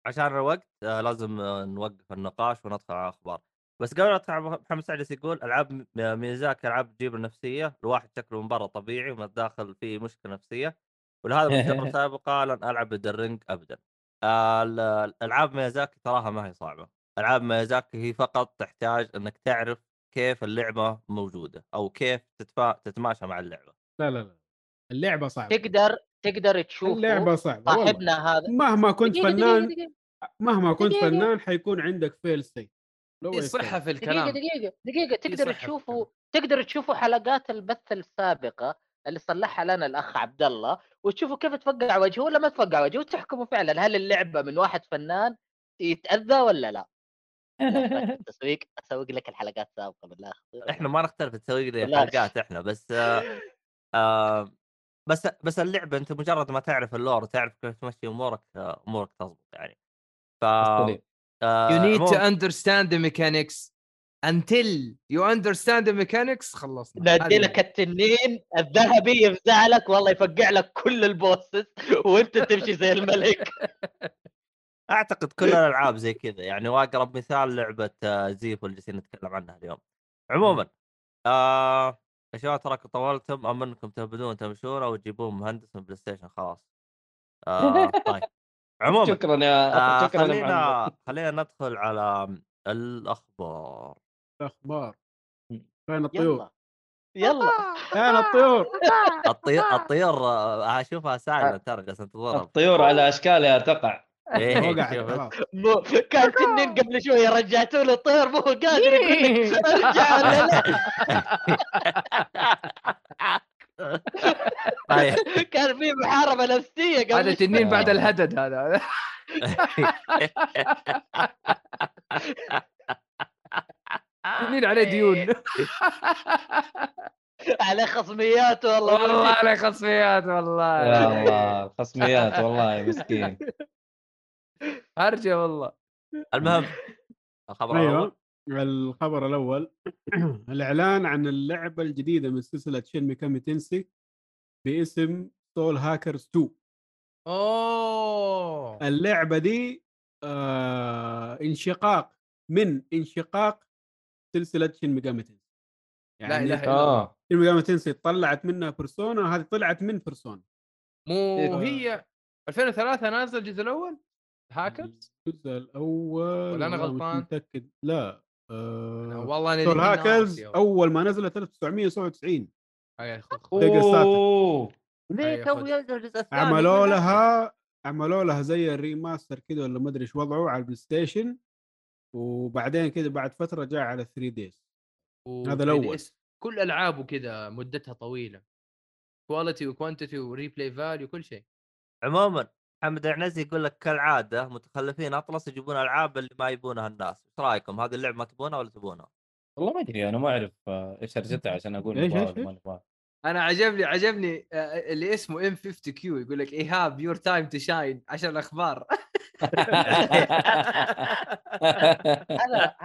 [SPEAKER 1] عشان الوقت آه، لازم آه، نوقف النقاش وندخل على الاخبار بس قبل ندخل على محمد سعد يقول العاب م- آه، ميزاكي العاب تجيب النفسيه الواحد شكله من برا طبيعي ومن الداخل فيه مشكله نفسيه ولهذا من تجارب سابقه لن العب الدرينج ابدا آه، ال- الالعاب ميزاكي تراها ما هي صعبه العاب ميازاكي هي فقط تحتاج انك تعرف كيف اللعبه موجوده او كيف تتفا... تتماشى مع اللعبه
[SPEAKER 5] لا لا لا اللعبه صعبه
[SPEAKER 4] طيب، تقدر تقدر تشوف
[SPEAKER 5] اللعبه صعبه والله.
[SPEAKER 4] صاحبنا هذا
[SPEAKER 5] مهما كنت
[SPEAKER 4] دقيقة، دقيقة،
[SPEAKER 5] فنان
[SPEAKER 4] دقيقة،
[SPEAKER 5] مهما كنت
[SPEAKER 4] دقيقة.
[SPEAKER 5] فنان حيكون عندك فيل سيف
[SPEAKER 2] في صحه في
[SPEAKER 4] دقيقه
[SPEAKER 2] الكلام
[SPEAKER 4] دقيقه دقيقه تقدر
[SPEAKER 2] صحة في الكلام.
[SPEAKER 4] تشوفه تقدر تشوفوا حلقات البث السابقه اللي صلحها لنا الاخ عبد الله وتشوفوا كيف تفقع وجهه ولا ما تفقع وجهه وتحكموا فعلا هل اللعبه من واحد فنان يتاذى ولا لا تسويق اسوق لك الحلقات السابقه بالله
[SPEAKER 1] احنا ما نختلف تسوي لي
[SPEAKER 4] والله.
[SPEAKER 1] حلقات احنا بس آه آه بس بس اللعبه انت مجرد ما تعرف اللور تعرف كيف تمشي امورك آه، امورك تضبط يعني ف
[SPEAKER 3] مختلف.
[SPEAKER 1] آه،
[SPEAKER 2] يو نيد تو
[SPEAKER 1] عموماً-
[SPEAKER 2] اندرستاند ذا ميكانكس until you understand the mechanics خلصنا
[SPEAKER 4] نادي لك التنين الذهبي يفزع لك والله يفقع لك كل البوسس وانت تمشي زي الملك
[SPEAKER 1] اعتقد كل الالعاب زي كذا يعني واقرب مثال لعبه آه، زيفو اللي جالسين نتكلم عنها اليوم عموما آه يا شباب تراكم طولتم ام انكم تهبدون تمشون او تجيبون مهندس من بلاي ستيشن خلاص آه طيب عموما
[SPEAKER 3] شكرا يا
[SPEAKER 1] آه
[SPEAKER 3] شكرا يا محمد.
[SPEAKER 1] خلينا خلينا ندخل على الاخبار
[SPEAKER 5] الاخبار فين الطيور؟
[SPEAKER 4] يلا يلا
[SPEAKER 5] فين الطيور؟
[SPEAKER 1] الطيور الطيور آه، اشوفها سالفه ترى جالسه تضرب
[SPEAKER 3] الطيور على اشكالها تقع
[SPEAKER 1] إيه،
[SPEAKER 5] وقعت
[SPEAKER 1] شوف.
[SPEAKER 5] خلاص
[SPEAKER 4] مو كان تنين قبل شويه رجعته له طير مو قادر يقول
[SPEAKER 1] إيه.
[SPEAKER 4] لك ارجع ولا لا
[SPEAKER 1] طيب
[SPEAKER 4] كان في محاربه نفسيه قبل
[SPEAKER 2] هذا
[SPEAKER 4] شوي.
[SPEAKER 2] تنين بعد الهدد هذا تنين عليه ديون
[SPEAKER 4] على خصميات
[SPEAKER 2] والله
[SPEAKER 4] والله
[SPEAKER 2] عليه خصميات
[SPEAKER 3] يا
[SPEAKER 2] والله
[SPEAKER 3] الله الخصميات والله مسكين
[SPEAKER 2] هرجه والله
[SPEAKER 1] المهم الخبر الاول
[SPEAKER 5] ايوه
[SPEAKER 2] أيوه.
[SPEAKER 5] الخبر الاول الاعلان عن اللعبه الجديده من سلسله شين ميكامي تنسي باسم سول هاكرز 2
[SPEAKER 2] اوه
[SPEAKER 5] اللعبه دي آه انشقاق من انشقاق سلسله شين ميكامي تنسي يعني
[SPEAKER 2] لا اله الا
[SPEAKER 5] آه،
[SPEAKER 2] الله
[SPEAKER 3] اه
[SPEAKER 5] شين ميكامي تنسي طلعت منها بيرسونا هذه طلعت من بيرسونا
[SPEAKER 2] مو هي 2003 نازل الجزء الاول هاكرز
[SPEAKER 5] الجزء الاول
[SPEAKER 2] ولا أنا
[SPEAKER 5] والله مش
[SPEAKER 2] غلطان؟
[SPEAKER 5] متاكد لا آه
[SPEAKER 2] والله انا
[SPEAKER 5] سول
[SPEAKER 2] الاتنين
[SPEAKER 5] هاكرز
[SPEAKER 2] ناسي والله.
[SPEAKER 5] اول ما نزلت 1997
[SPEAKER 2] أي خ- خ-
[SPEAKER 3] اوه
[SPEAKER 1] ليه
[SPEAKER 2] أيوة،
[SPEAKER 1] تو
[SPEAKER 2] خذ.
[SPEAKER 1] ينزل الجزء الثاني
[SPEAKER 5] عملوا
[SPEAKER 1] كذا؟
[SPEAKER 5] لها عملوا لها زي الريماستر كده ولا ما ادري ايش وضعه على البلاي ستيشن وبعدين كده بعد فتره جاء على 3 دايز
[SPEAKER 2] و
[SPEAKER 5] هذا الأول.
[SPEAKER 2] 3DS. يعني كل العابه كذا مدتها طويله كواليتي وكوانتيتي وريبلاي فاليو كل شيء
[SPEAKER 1] عموما محمد العنزي يقول لك كالعاده متخلفين اطلس يجيبون العاب اللي ما يبونها الناس ايش رايكم هذه اللعبه ما تبونها ولا تبونها
[SPEAKER 3] والله ما ادري انا ما اعرف آه، ايش رجعتها عشان اقول
[SPEAKER 5] إيش-
[SPEAKER 3] نبغاها
[SPEAKER 5] إيش-
[SPEAKER 3] ولا ما نبغاها
[SPEAKER 2] انا عجبني عجبني آه، اللي اسمه ام 50 كيو يقول لك ايهاب يور تايم تو شاين عشان الاخبار
[SPEAKER 4] انا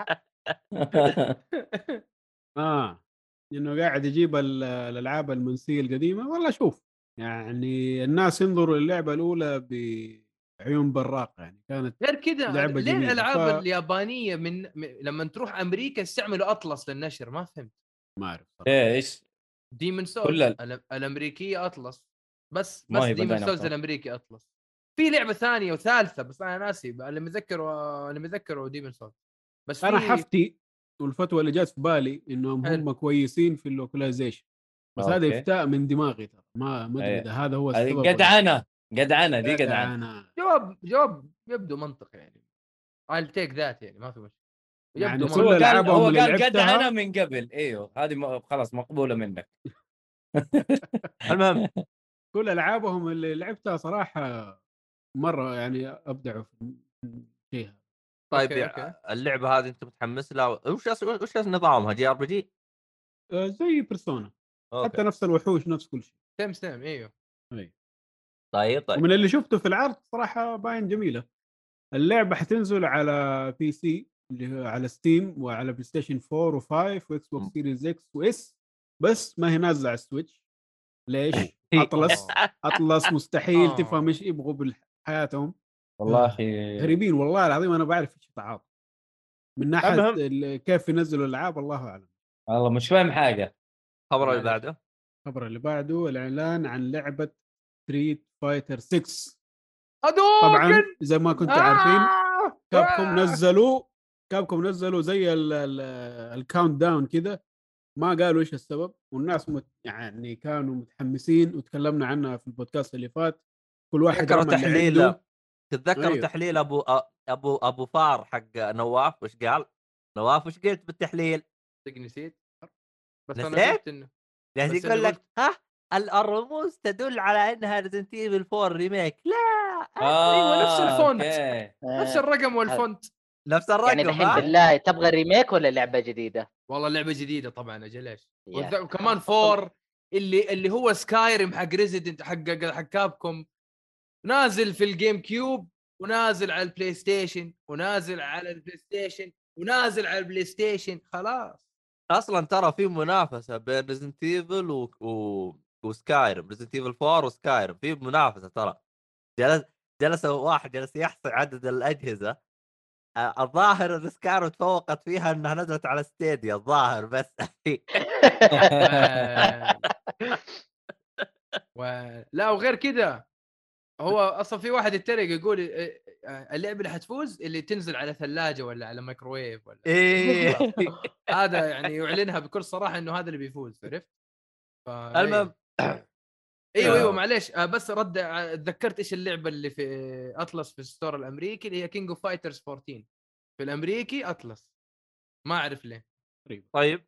[SPEAKER 5] اه انه قاعد يجيب ال- الالعاب المنسيه القديمه والله شوف يعني الناس ينظروا للعبه الاولى بعيون براقه يعني كانت
[SPEAKER 2] غير كذا
[SPEAKER 5] لعبة
[SPEAKER 2] ليه
[SPEAKER 5] جميلة.
[SPEAKER 2] الالعاب
[SPEAKER 5] ف-
[SPEAKER 2] اليابانيه من م- لما تروح امريكا يستعملوا اطلس للنشر ما فهمت
[SPEAKER 5] ما اعرف صراحة.
[SPEAKER 3] ايه ايش
[SPEAKER 2] ديمون
[SPEAKER 3] كل
[SPEAKER 2] سولز
[SPEAKER 3] ال-
[SPEAKER 2] الامريكيه اطلس بس
[SPEAKER 3] ما
[SPEAKER 2] بس
[SPEAKER 3] هي
[SPEAKER 2] ديمون
[SPEAKER 3] بدأنا
[SPEAKER 2] سولز
[SPEAKER 3] بصراحة.
[SPEAKER 2] الامريكي اطلس في لعبه ثانيه وثالثه بس انا ناسي اللي متذكره اللي متذكره ديمون سولز بس
[SPEAKER 5] انا
[SPEAKER 2] في-
[SPEAKER 5] حفتي والفتوى اللي جات في بالي انهم
[SPEAKER 2] حلو.
[SPEAKER 5] هم كويسين في اللوكلايزيشن بس هذا
[SPEAKER 3] أوكي.
[SPEAKER 5] افتاء من دماغي ترى ما ما ادري
[SPEAKER 3] إيه.
[SPEAKER 5] اذا هذا هو السبب ولا-
[SPEAKER 3] جدعنه جدعنه دي جدعنه
[SPEAKER 5] جدعنه
[SPEAKER 2] جواب جواب يبدو منطقي يعني I'll take that يعني ما في مشكله
[SPEAKER 5] يعني
[SPEAKER 2] يبدو
[SPEAKER 5] كل
[SPEAKER 3] هو
[SPEAKER 2] منطقي
[SPEAKER 5] الألعاب
[SPEAKER 3] قال
[SPEAKER 5] ألعابهم
[SPEAKER 3] هو
[SPEAKER 5] اللي
[SPEAKER 3] قال
[SPEAKER 5] لعبتها-
[SPEAKER 3] جدعنه من قبل ايوه هذه م- خلاص مقبوله منك
[SPEAKER 1] المهم
[SPEAKER 5] كل العابهم اللي لعبتها صراحه مره يعني ابدعوا في- فيها
[SPEAKER 1] طيب
[SPEAKER 2] أوكي،
[SPEAKER 1] يا-
[SPEAKER 2] أوكي.
[SPEAKER 1] اللعبه هذه انت متحمس لها وش أص- وش نظامها جي ار بي جي؟
[SPEAKER 5] آه، زي بيرسونا حتى
[SPEAKER 1] اوكي
[SPEAKER 5] نفس الوحوش نفس كل شيء
[SPEAKER 2] سيم سيم ايوه
[SPEAKER 1] طيب طيب
[SPEAKER 5] ومن اللي شفته في العرض صراحه باين جميله اللعبه حتنزل على بي سي اللي هو على ستيم وعلى بلاي ستيشن 4 و5 واكس
[SPEAKER 1] م.
[SPEAKER 5] بوكس سيريز اكس واس بس ما هي نازله على السويتش ليش؟ اطلس اطلس مستحيل
[SPEAKER 2] آه.
[SPEAKER 5] تفهم ايش يبغوا بحياتهم
[SPEAKER 3] والله
[SPEAKER 5] غريبين والله العظيم انا بعرف ايش تعاطى من ناحيه
[SPEAKER 1] المهم.
[SPEAKER 5] ال- كيف ينزلوا الالعاب الله اعلم
[SPEAKER 3] والله مش فاهم حاجه
[SPEAKER 1] الخبر اللي
[SPEAKER 5] معلش.
[SPEAKER 1] بعده
[SPEAKER 5] الخبر اللي بعده الاعلان عن لعبه ستريت فايتر 6
[SPEAKER 2] ادوكن آه،
[SPEAKER 5] طبعا زي ما كنتوا عارفين كابكم نزلوا كابكم نزلوا زي الكاونت داون كذا ما قالوا ايش السبب والناس مت يعني كانوا متحمسين وتكلمنا عنها في البودكاست اللي فات كل واحد
[SPEAKER 1] تذكروا
[SPEAKER 5] رمى اللي
[SPEAKER 1] تحليله.
[SPEAKER 5] عنده.
[SPEAKER 1] تتذكر
[SPEAKER 5] أيوه.
[SPEAKER 1] أيوه. تحليل ابو أ- ابو ابو فار حق نواف وش قال؟ نواف وش قلت بالتحليل؟
[SPEAKER 2] صدق نسيت بس
[SPEAKER 1] نسيت؟
[SPEAKER 2] انا قلت انه بس
[SPEAKER 1] جالس
[SPEAKER 2] اللي
[SPEAKER 1] يقول لك
[SPEAKER 2] قلت-
[SPEAKER 1] ها الرموز تدل على انها ريزنت ايفل 4 ريميك لا
[SPEAKER 2] أيوة، نفس الفونت.
[SPEAKER 3] آه، أوكي.
[SPEAKER 4] آه.
[SPEAKER 2] نفس الرقم والفونت
[SPEAKER 1] نفس الرقم
[SPEAKER 4] يعني الحين
[SPEAKER 1] ها؟
[SPEAKER 4] بالله تبغى ريميك ولا لعبه جديده؟
[SPEAKER 2] والله لعبه جديده طبعا اجل ايش
[SPEAKER 4] يا
[SPEAKER 2] والذ- وكمان فور اللي اللي هو سكايرم حق ريزيدنت حق حق كابكم نازل في الجيم كيوب ونازل على البلاي ستيشن ونازل على البلاي ستيشن ونازل على البلاي ستيشن خلاص
[SPEAKER 1] اصلا ترى في منافسه بين ريزنت ايفل و... و... وسكايرم ريزنت ايفل 4 وسكايرم في منافسه ترى جلس جلس واحد جلس يحصي عدد الاجهزه آه، الظاهر ان سكايرم تفوقت فيها انها نزلت على ستيديا الظاهر بس
[SPEAKER 2] و... لا وغير كذا هو اصلا في واحد يتريق يقول إيه، آه، اللعبه اللي حتفوز اللي تنزل على ثلاجه ولا على ميكروويف ولا
[SPEAKER 1] ايه
[SPEAKER 2] هذا يعني يعلنها بكل صراحه انه هذا اللي بيفوز عرفت؟ ف-
[SPEAKER 1] المهم
[SPEAKER 2] ايوه
[SPEAKER 1] آه.
[SPEAKER 2] ايوه معليش آه، بس رد آه، تذكرت ايش اللعبه اللي في آه، اطلس في الستور الامريكي اللي هي كينج اوف فايترز 14 في الامريكي اطلس ما اعرف ليه
[SPEAKER 1] طيب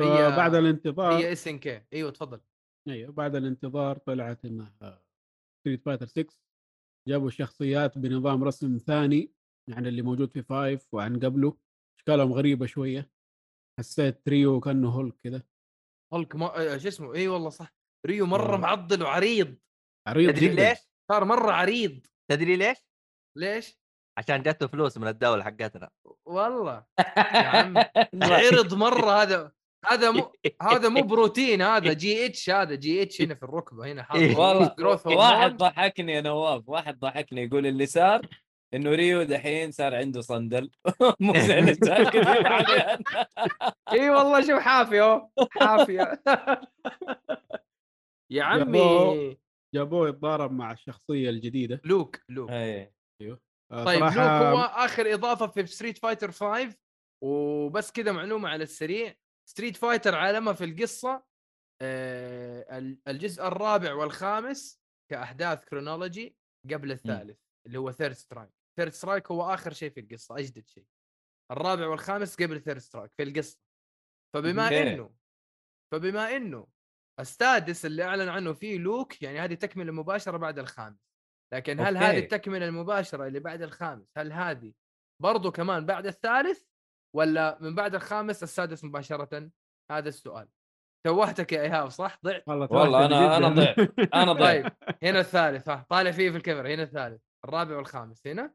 [SPEAKER 2] هي
[SPEAKER 5] فبعد الانتظار
[SPEAKER 2] هي
[SPEAKER 1] آه.
[SPEAKER 2] اس ان كي ايوه تفضل
[SPEAKER 5] ايوه بعد الانتظار طلعت آه، انها ستريت فايتر 6 جابوا شخصيات بنظام رسم ثاني عن اللي موجود في فايف وعن قبله اشكالهم غريبه شويه حسيت تريو كانه هولك كذا
[SPEAKER 2] هولك ما آه، شو اسمه اي والله صح ريو
[SPEAKER 1] آه.
[SPEAKER 2] مره
[SPEAKER 5] والله.
[SPEAKER 2] معضل وعريض
[SPEAKER 5] عريض
[SPEAKER 1] تدري
[SPEAKER 5] جداً.
[SPEAKER 1] ليش؟
[SPEAKER 2] صار مره عريض
[SPEAKER 1] تدري ليش؟
[SPEAKER 2] ليش؟
[SPEAKER 1] عشان جاته فلوس من الدوله حقتنا
[SPEAKER 2] والله يا عم عرض مره هذا هذا مو هذا مو بروتين هذا جي اتش هذا جي اتش هنا في الركبه هنا حاطط
[SPEAKER 3] والله
[SPEAKER 2] جروث
[SPEAKER 3] واحد ضحكني يا نواف واحد ضحكني يقول اللي صار انه ريو دحين صار عنده صندل مو زي اللي صار كثير عليه.
[SPEAKER 2] اي والله شوف حافي اهو حافيه يا عمي
[SPEAKER 5] يابا. جابوه يتضارب مع الشخصيه الجديده
[SPEAKER 2] لوك لوك
[SPEAKER 3] إيه.
[SPEAKER 5] آه،
[SPEAKER 2] طيب لوك
[SPEAKER 5] صراحة
[SPEAKER 2] هو اخر اضافه في ستريت فايتر 5 وبس كذا معلومه على السريع ستريت فايتر عالمها في القصه آه، ال- الجزء الرابع والخامس كاحداث كرونولوجي قبل الثالث اللي هو ثيرد سترايك ثيرد سترايك هو اخر شيء في القصه اجدد شيء الرابع والخامس قبل ثيرد سترايك في القصه فبما
[SPEAKER 3] أوكي.
[SPEAKER 2] انه فبما انه السادس اللي اعلن عنه فيه لوك يعني هذه تكمله مباشره بعد الخامس لكن هل هذه
[SPEAKER 3] أوكي.
[SPEAKER 2] التكمله المباشره اللي بعد الخامس هل هذه برضو كمان بعد الثالث ولا من بعد الخامس السادس مباشره هذا السؤال توهتك يا ايهاب صح ضعت
[SPEAKER 3] والله
[SPEAKER 5] تراكتي
[SPEAKER 3] انا انا
[SPEAKER 5] جداً.
[SPEAKER 3] ضيع انا ضيع
[SPEAKER 2] طيب هنا الثالث ها طالع فيه في الكاميرا هنا الثالث الرابع والخامس هنا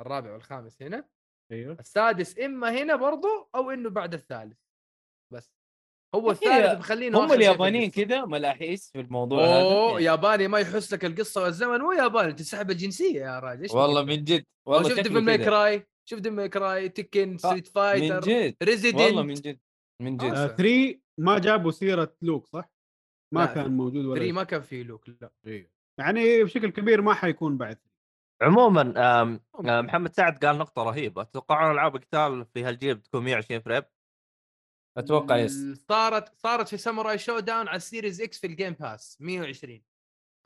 [SPEAKER 2] الرابع والخامس هنا
[SPEAKER 5] ايوه
[SPEAKER 2] السادس اما هنا برضو او انه بعد الثالث بس هو
[SPEAKER 3] هي-
[SPEAKER 2] الثالث مخلينه
[SPEAKER 3] هم
[SPEAKER 2] آخر شيء في
[SPEAKER 3] اليابانيين
[SPEAKER 2] القصة.
[SPEAKER 3] كذا ملاحيس في الموضوع
[SPEAKER 2] اوه
[SPEAKER 3] هذا إيه.
[SPEAKER 2] ياباني ما يحس لك القصه والزمن مو ياباني تسحب الجنسيه يا راجل إيش بك
[SPEAKER 3] والله
[SPEAKER 2] أنت؟
[SPEAKER 3] من جد
[SPEAKER 2] أو
[SPEAKER 3] والله
[SPEAKER 2] شفت
[SPEAKER 3] شكله
[SPEAKER 2] في
[SPEAKER 3] كذا. آه،
[SPEAKER 2] ماي شفت في ماي تكن ستريت
[SPEAKER 3] من
[SPEAKER 2] فايتر
[SPEAKER 3] جد والله من
[SPEAKER 2] ريزيدنت
[SPEAKER 3] جد من
[SPEAKER 2] آه،
[SPEAKER 3] جد
[SPEAKER 5] 3 ما جابوا سيره لوك صح؟ ما
[SPEAKER 2] لا،
[SPEAKER 5] كان موجود ولا
[SPEAKER 2] 3
[SPEAKER 5] شيء.
[SPEAKER 2] ما كان فيه لوك لا
[SPEAKER 5] أيوه. يعني بشكل كبير ما حيكون بعد
[SPEAKER 1] عموما آم، آم، محمد سعد قال نقطه رهيبه تتوقعون العاب القتال في هالجيل بتكون 120 فريم
[SPEAKER 3] اتوقع يس
[SPEAKER 2] صارت صارت في ساموراي شو داون على السيريز اكس في الجيم باس 120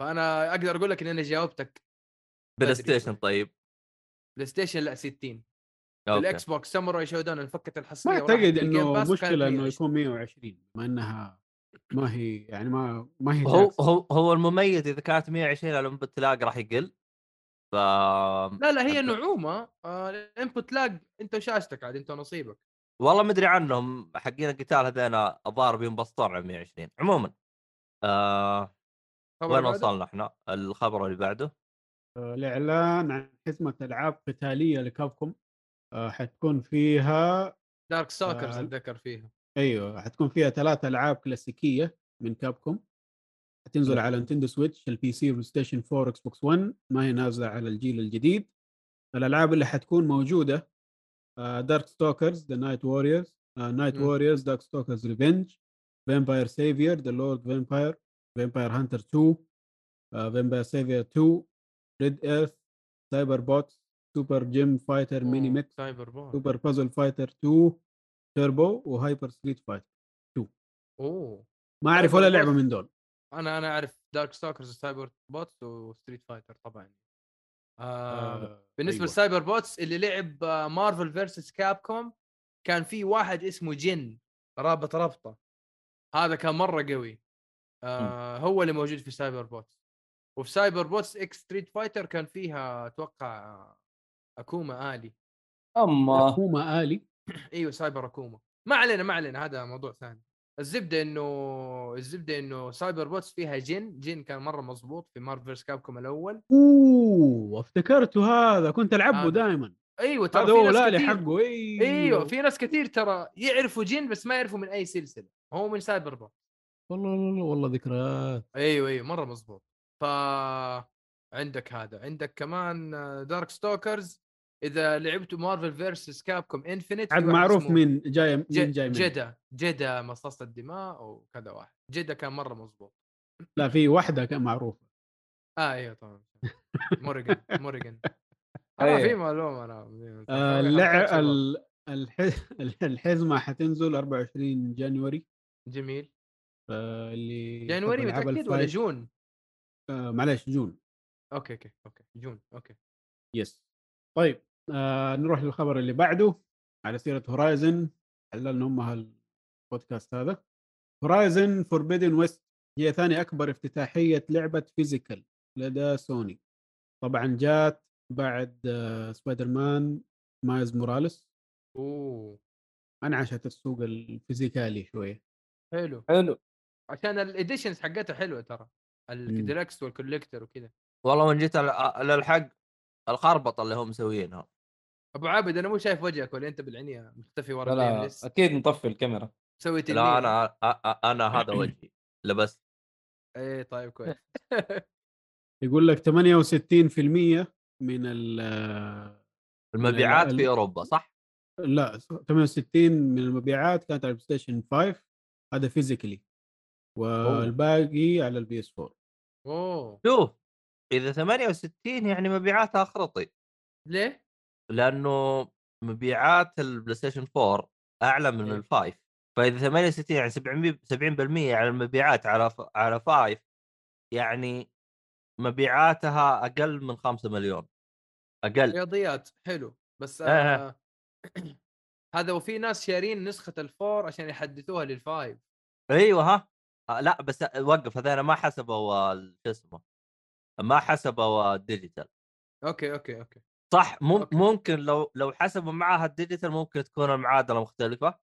[SPEAKER 2] فانا اقدر اقول لك ان انا جاوبتك
[SPEAKER 1] بلاي
[SPEAKER 2] بدري
[SPEAKER 1] ستيشن طيب
[SPEAKER 2] بلاي ستيشن لا 60
[SPEAKER 1] اوكي
[SPEAKER 2] الاكس بوكس ساموراي شو داون انفكت الحصريه
[SPEAKER 5] ما
[SPEAKER 2] وراحت
[SPEAKER 5] اعتقد
[SPEAKER 2] للجيم باس وكانت
[SPEAKER 5] انه مشكله انه
[SPEAKER 2] 120.
[SPEAKER 5] يكون 120 بما انها ما هي يعني ما ما هي
[SPEAKER 1] هو
[SPEAKER 5] جاكسون.
[SPEAKER 1] هو هو المميز اذا كانت 120 الانبتلاق راح يقل ف
[SPEAKER 2] لا لا هي
[SPEAKER 1] أنت-
[SPEAKER 2] نعومه آه، الانبوت لاج انت وشاشتك عاد انت ونصيبك
[SPEAKER 1] والله مدري عنهم حقين القتال هذين الظاهر بينبسطون على 120 عموما آه
[SPEAKER 2] خبر
[SPEAKER 1] وين
[SPEAKER 2] بعده؟
[SPEAKER 1] وصلنا احنا الخبر اللي بعده
[SPEAKER 5] آه، الاعلان عن حزمه العاب قتاليه لكابكم آه، حتكون فيها
[SPEAKER 2] دارك ساكرز
[SPEAKER 5] آه.
[SPEAKER 2] اتذكر فيها
[SPEAKER 5] ايوه حتكون فيها ثلاث العاب كلاسيكيه من كابكم حتنزل على نتندو سويتش البي سي بلاي ستيشن 4 اكس بوكس 1 ما هي نازله على الجيل الجديد الالعاب اللي حتكون آه، موجوده دارك ستوكرز ذا نايت ووريرز نايت
[SPEAKER 2] مم.
[SPEAKER 5] ووريرز دارك ستوكرز ريفنج فامباير سيفير ذا لورد فامباير فامباير هانتر آه، 2 فامباير سيفير 2 ريد ايرث سايبر بوكس سوبر جيم فايتر ميني ميكس
[SPEAKER 2] سايبر بورن
[SPEAKER 5] سوبر بازل فايتر 2 توربو وهايبر ستريت فايتر
[SPEAKER 2] اوه
[SPEAKER 5] ما اعرف ولا لعبه من دول
[SPEAKER 2] انا انا اعرف دارك ستوكرز وسايبر بوتس وستريت فايتر طبعا آه بالنسبه أيوة.
[SPEAKER 5] أيوة.
[SPEAKER 2] لسايبر بوتس اللي لعب آه، مارفل فيرسس كاب كوم كان في واحد اسمه جن رابط ربطه هذا كان مره قوي آه هو اللي موجود في سايبر بوتس وفي سايبر بوتس اكس ستريت فايتر كان فيها اتوقع آه، اكوما الي
[SPEAKER 3] اما
[SPEAKER 5] حكومه الي
[SPEAKER 2] ايوه سايبر اكوما ما علينا ما علينا هذا موضوع ثاني الزبده انه الزبده انه سايبر بوتس فيها جن جن كان مره مظبوط في مارفل فيرس كاب كوم الاول
[SPEAKER 5] اوه افتكرته هذا كنت العبه
[SPEAKER 2] هذا.
[SPEAKER 5] دائما
[SPEAKER 2] ايوه ترى
[SPEAKER 5] هذا
[SPEAKER 2] في
[SPEAKER 5] هو
[SPEAKER 2] ناس
[SPEAKER 5] لا
[SPEAKER 2] كثير-
[SPEAKER 5] لي حقه ايوه
[SPEAKER 2] ايوه في ناس كثير ترى يعرفوا جن بس ما يعرفوا من اي سلسله هو من سايبر بوك
[SPEAKER 5] والله والله والله ذكريات
[SPEAKER 2] ايوه ايوه مره مظبوط ف عندك هذا عندك كمان دارك ستوكرز اذا لعبتوا مارفل فيرسس كابكوم انفينيت
[SPEAKER 5] عاد معروف مين جاي مين جاي من
[SPEAKER 2] جدا جدا مصاصة الدماء وكذا واحد جدا كان مره مظبوط
[SPEAKER 5] لا في واحده كان معروفه
[SPEAKER 2] اه ايوه طبعا موريجان موريجان
[SPEAKER 3] أيوه.
[SPEAKER 2] انا في معلومه انا
[SPEAKER 5] آه، اللع- ال- الح- الحزمه حتنزل 24 جانيوري
[SPEAKER 2] جميل
[SPEAKER 5] اللي
[SPEAKER 2] جانوري متاكد ولا جون؟
[SPEAKER 5] معلش آه، جون
[SPEAKER 2] اوكي اوكي اوكي جون اوكي
[SPEAKER 5] يس طيب آه نروح للخبر اللي بعده على سيره هورايزن حللنا هم هالبودكاست هذا هورايزن فوربيدن ويست هي ثاني اكبر افتتاحيه لعبه فيزيكال لدى سوني طبعا جات بعد آه سبايدر مان مايز موراليس
[SPEAKER 2] اوه
[SPEAKER 5] انعشت السوق الفيزيكالي شويه
[SPEAKER 2] حلو
[SPEAKER 3] حلو
[SPEAKER 2] عشان الاديشنز حقتها حلوه ترى الديلكس والكوليكتر وكذا
[SPEAKER 1] والله وان جيت على- للحق الخربطه اللي هم مسوينها
[SPEAKER 2] ابو عابد انا مو شايف وجهك ولا انت بالعنيه مختفي ورا
[SPEAKER 3] لا لا
[SPEAKER 2] البلاي
[SPEAKER 3] اكيد مطفي الكاميرا
[SPEAKER 2] مسوي تنين
[SPEAKER 1] لا انا أ- أ- انا هذا وجهي لبس
[SPEAKER 2] ايه طيب كويس
[SPEAKER 5] يقول لك 68% من ال آه،
[SPEAKER 1] المبيعات
[SPEAKER 5] ال-
[SPEAKER 1] في اوروبا صح؟
[SPEAKER 5] لا 68 من المبيعات كانت على البلاي ستيشن 5 هذا فيزيكلي والباقي على البي اس 4
[SPEAKER 2] اوه
[SPEAKER 1] شوف اذا 68 يعني مبيعاتها خرطي
[SPEAKER 2] ليه؟
[SPEAKER 1] لانه مبيعات البلاي ستيشن 4 اعلى من
[SPEAKER 2] إيه.
[SPEAKER 1] الفايف فاذا 68 يعني 70 70% على المبيعات على ف... على فايف يعني مبيعاتها اقل من 5 مليون اقل
[SPEAKER 2] رياضيات حلو بس
[SPEAKER 1] آه.
[SPEAKER 2] آه هذا وفي ناس شارين نسخه الفور عشان يحدثوها للفايف
[SPEAKER 1] ايوه ها آه، لا بس وقف هذول ما حسبوا ال- شو اسمه ما حسبوا الديجيتال
[SPEAKER 2] اوكي اوكي اوكي
[SPEAKER 1] صح مم...
[SPEAKER 2] أوكي.
[SPEAKER 1] ممكن لو لو حسبوا معاها الديجيتال ممكن تكون المعادله مختلفه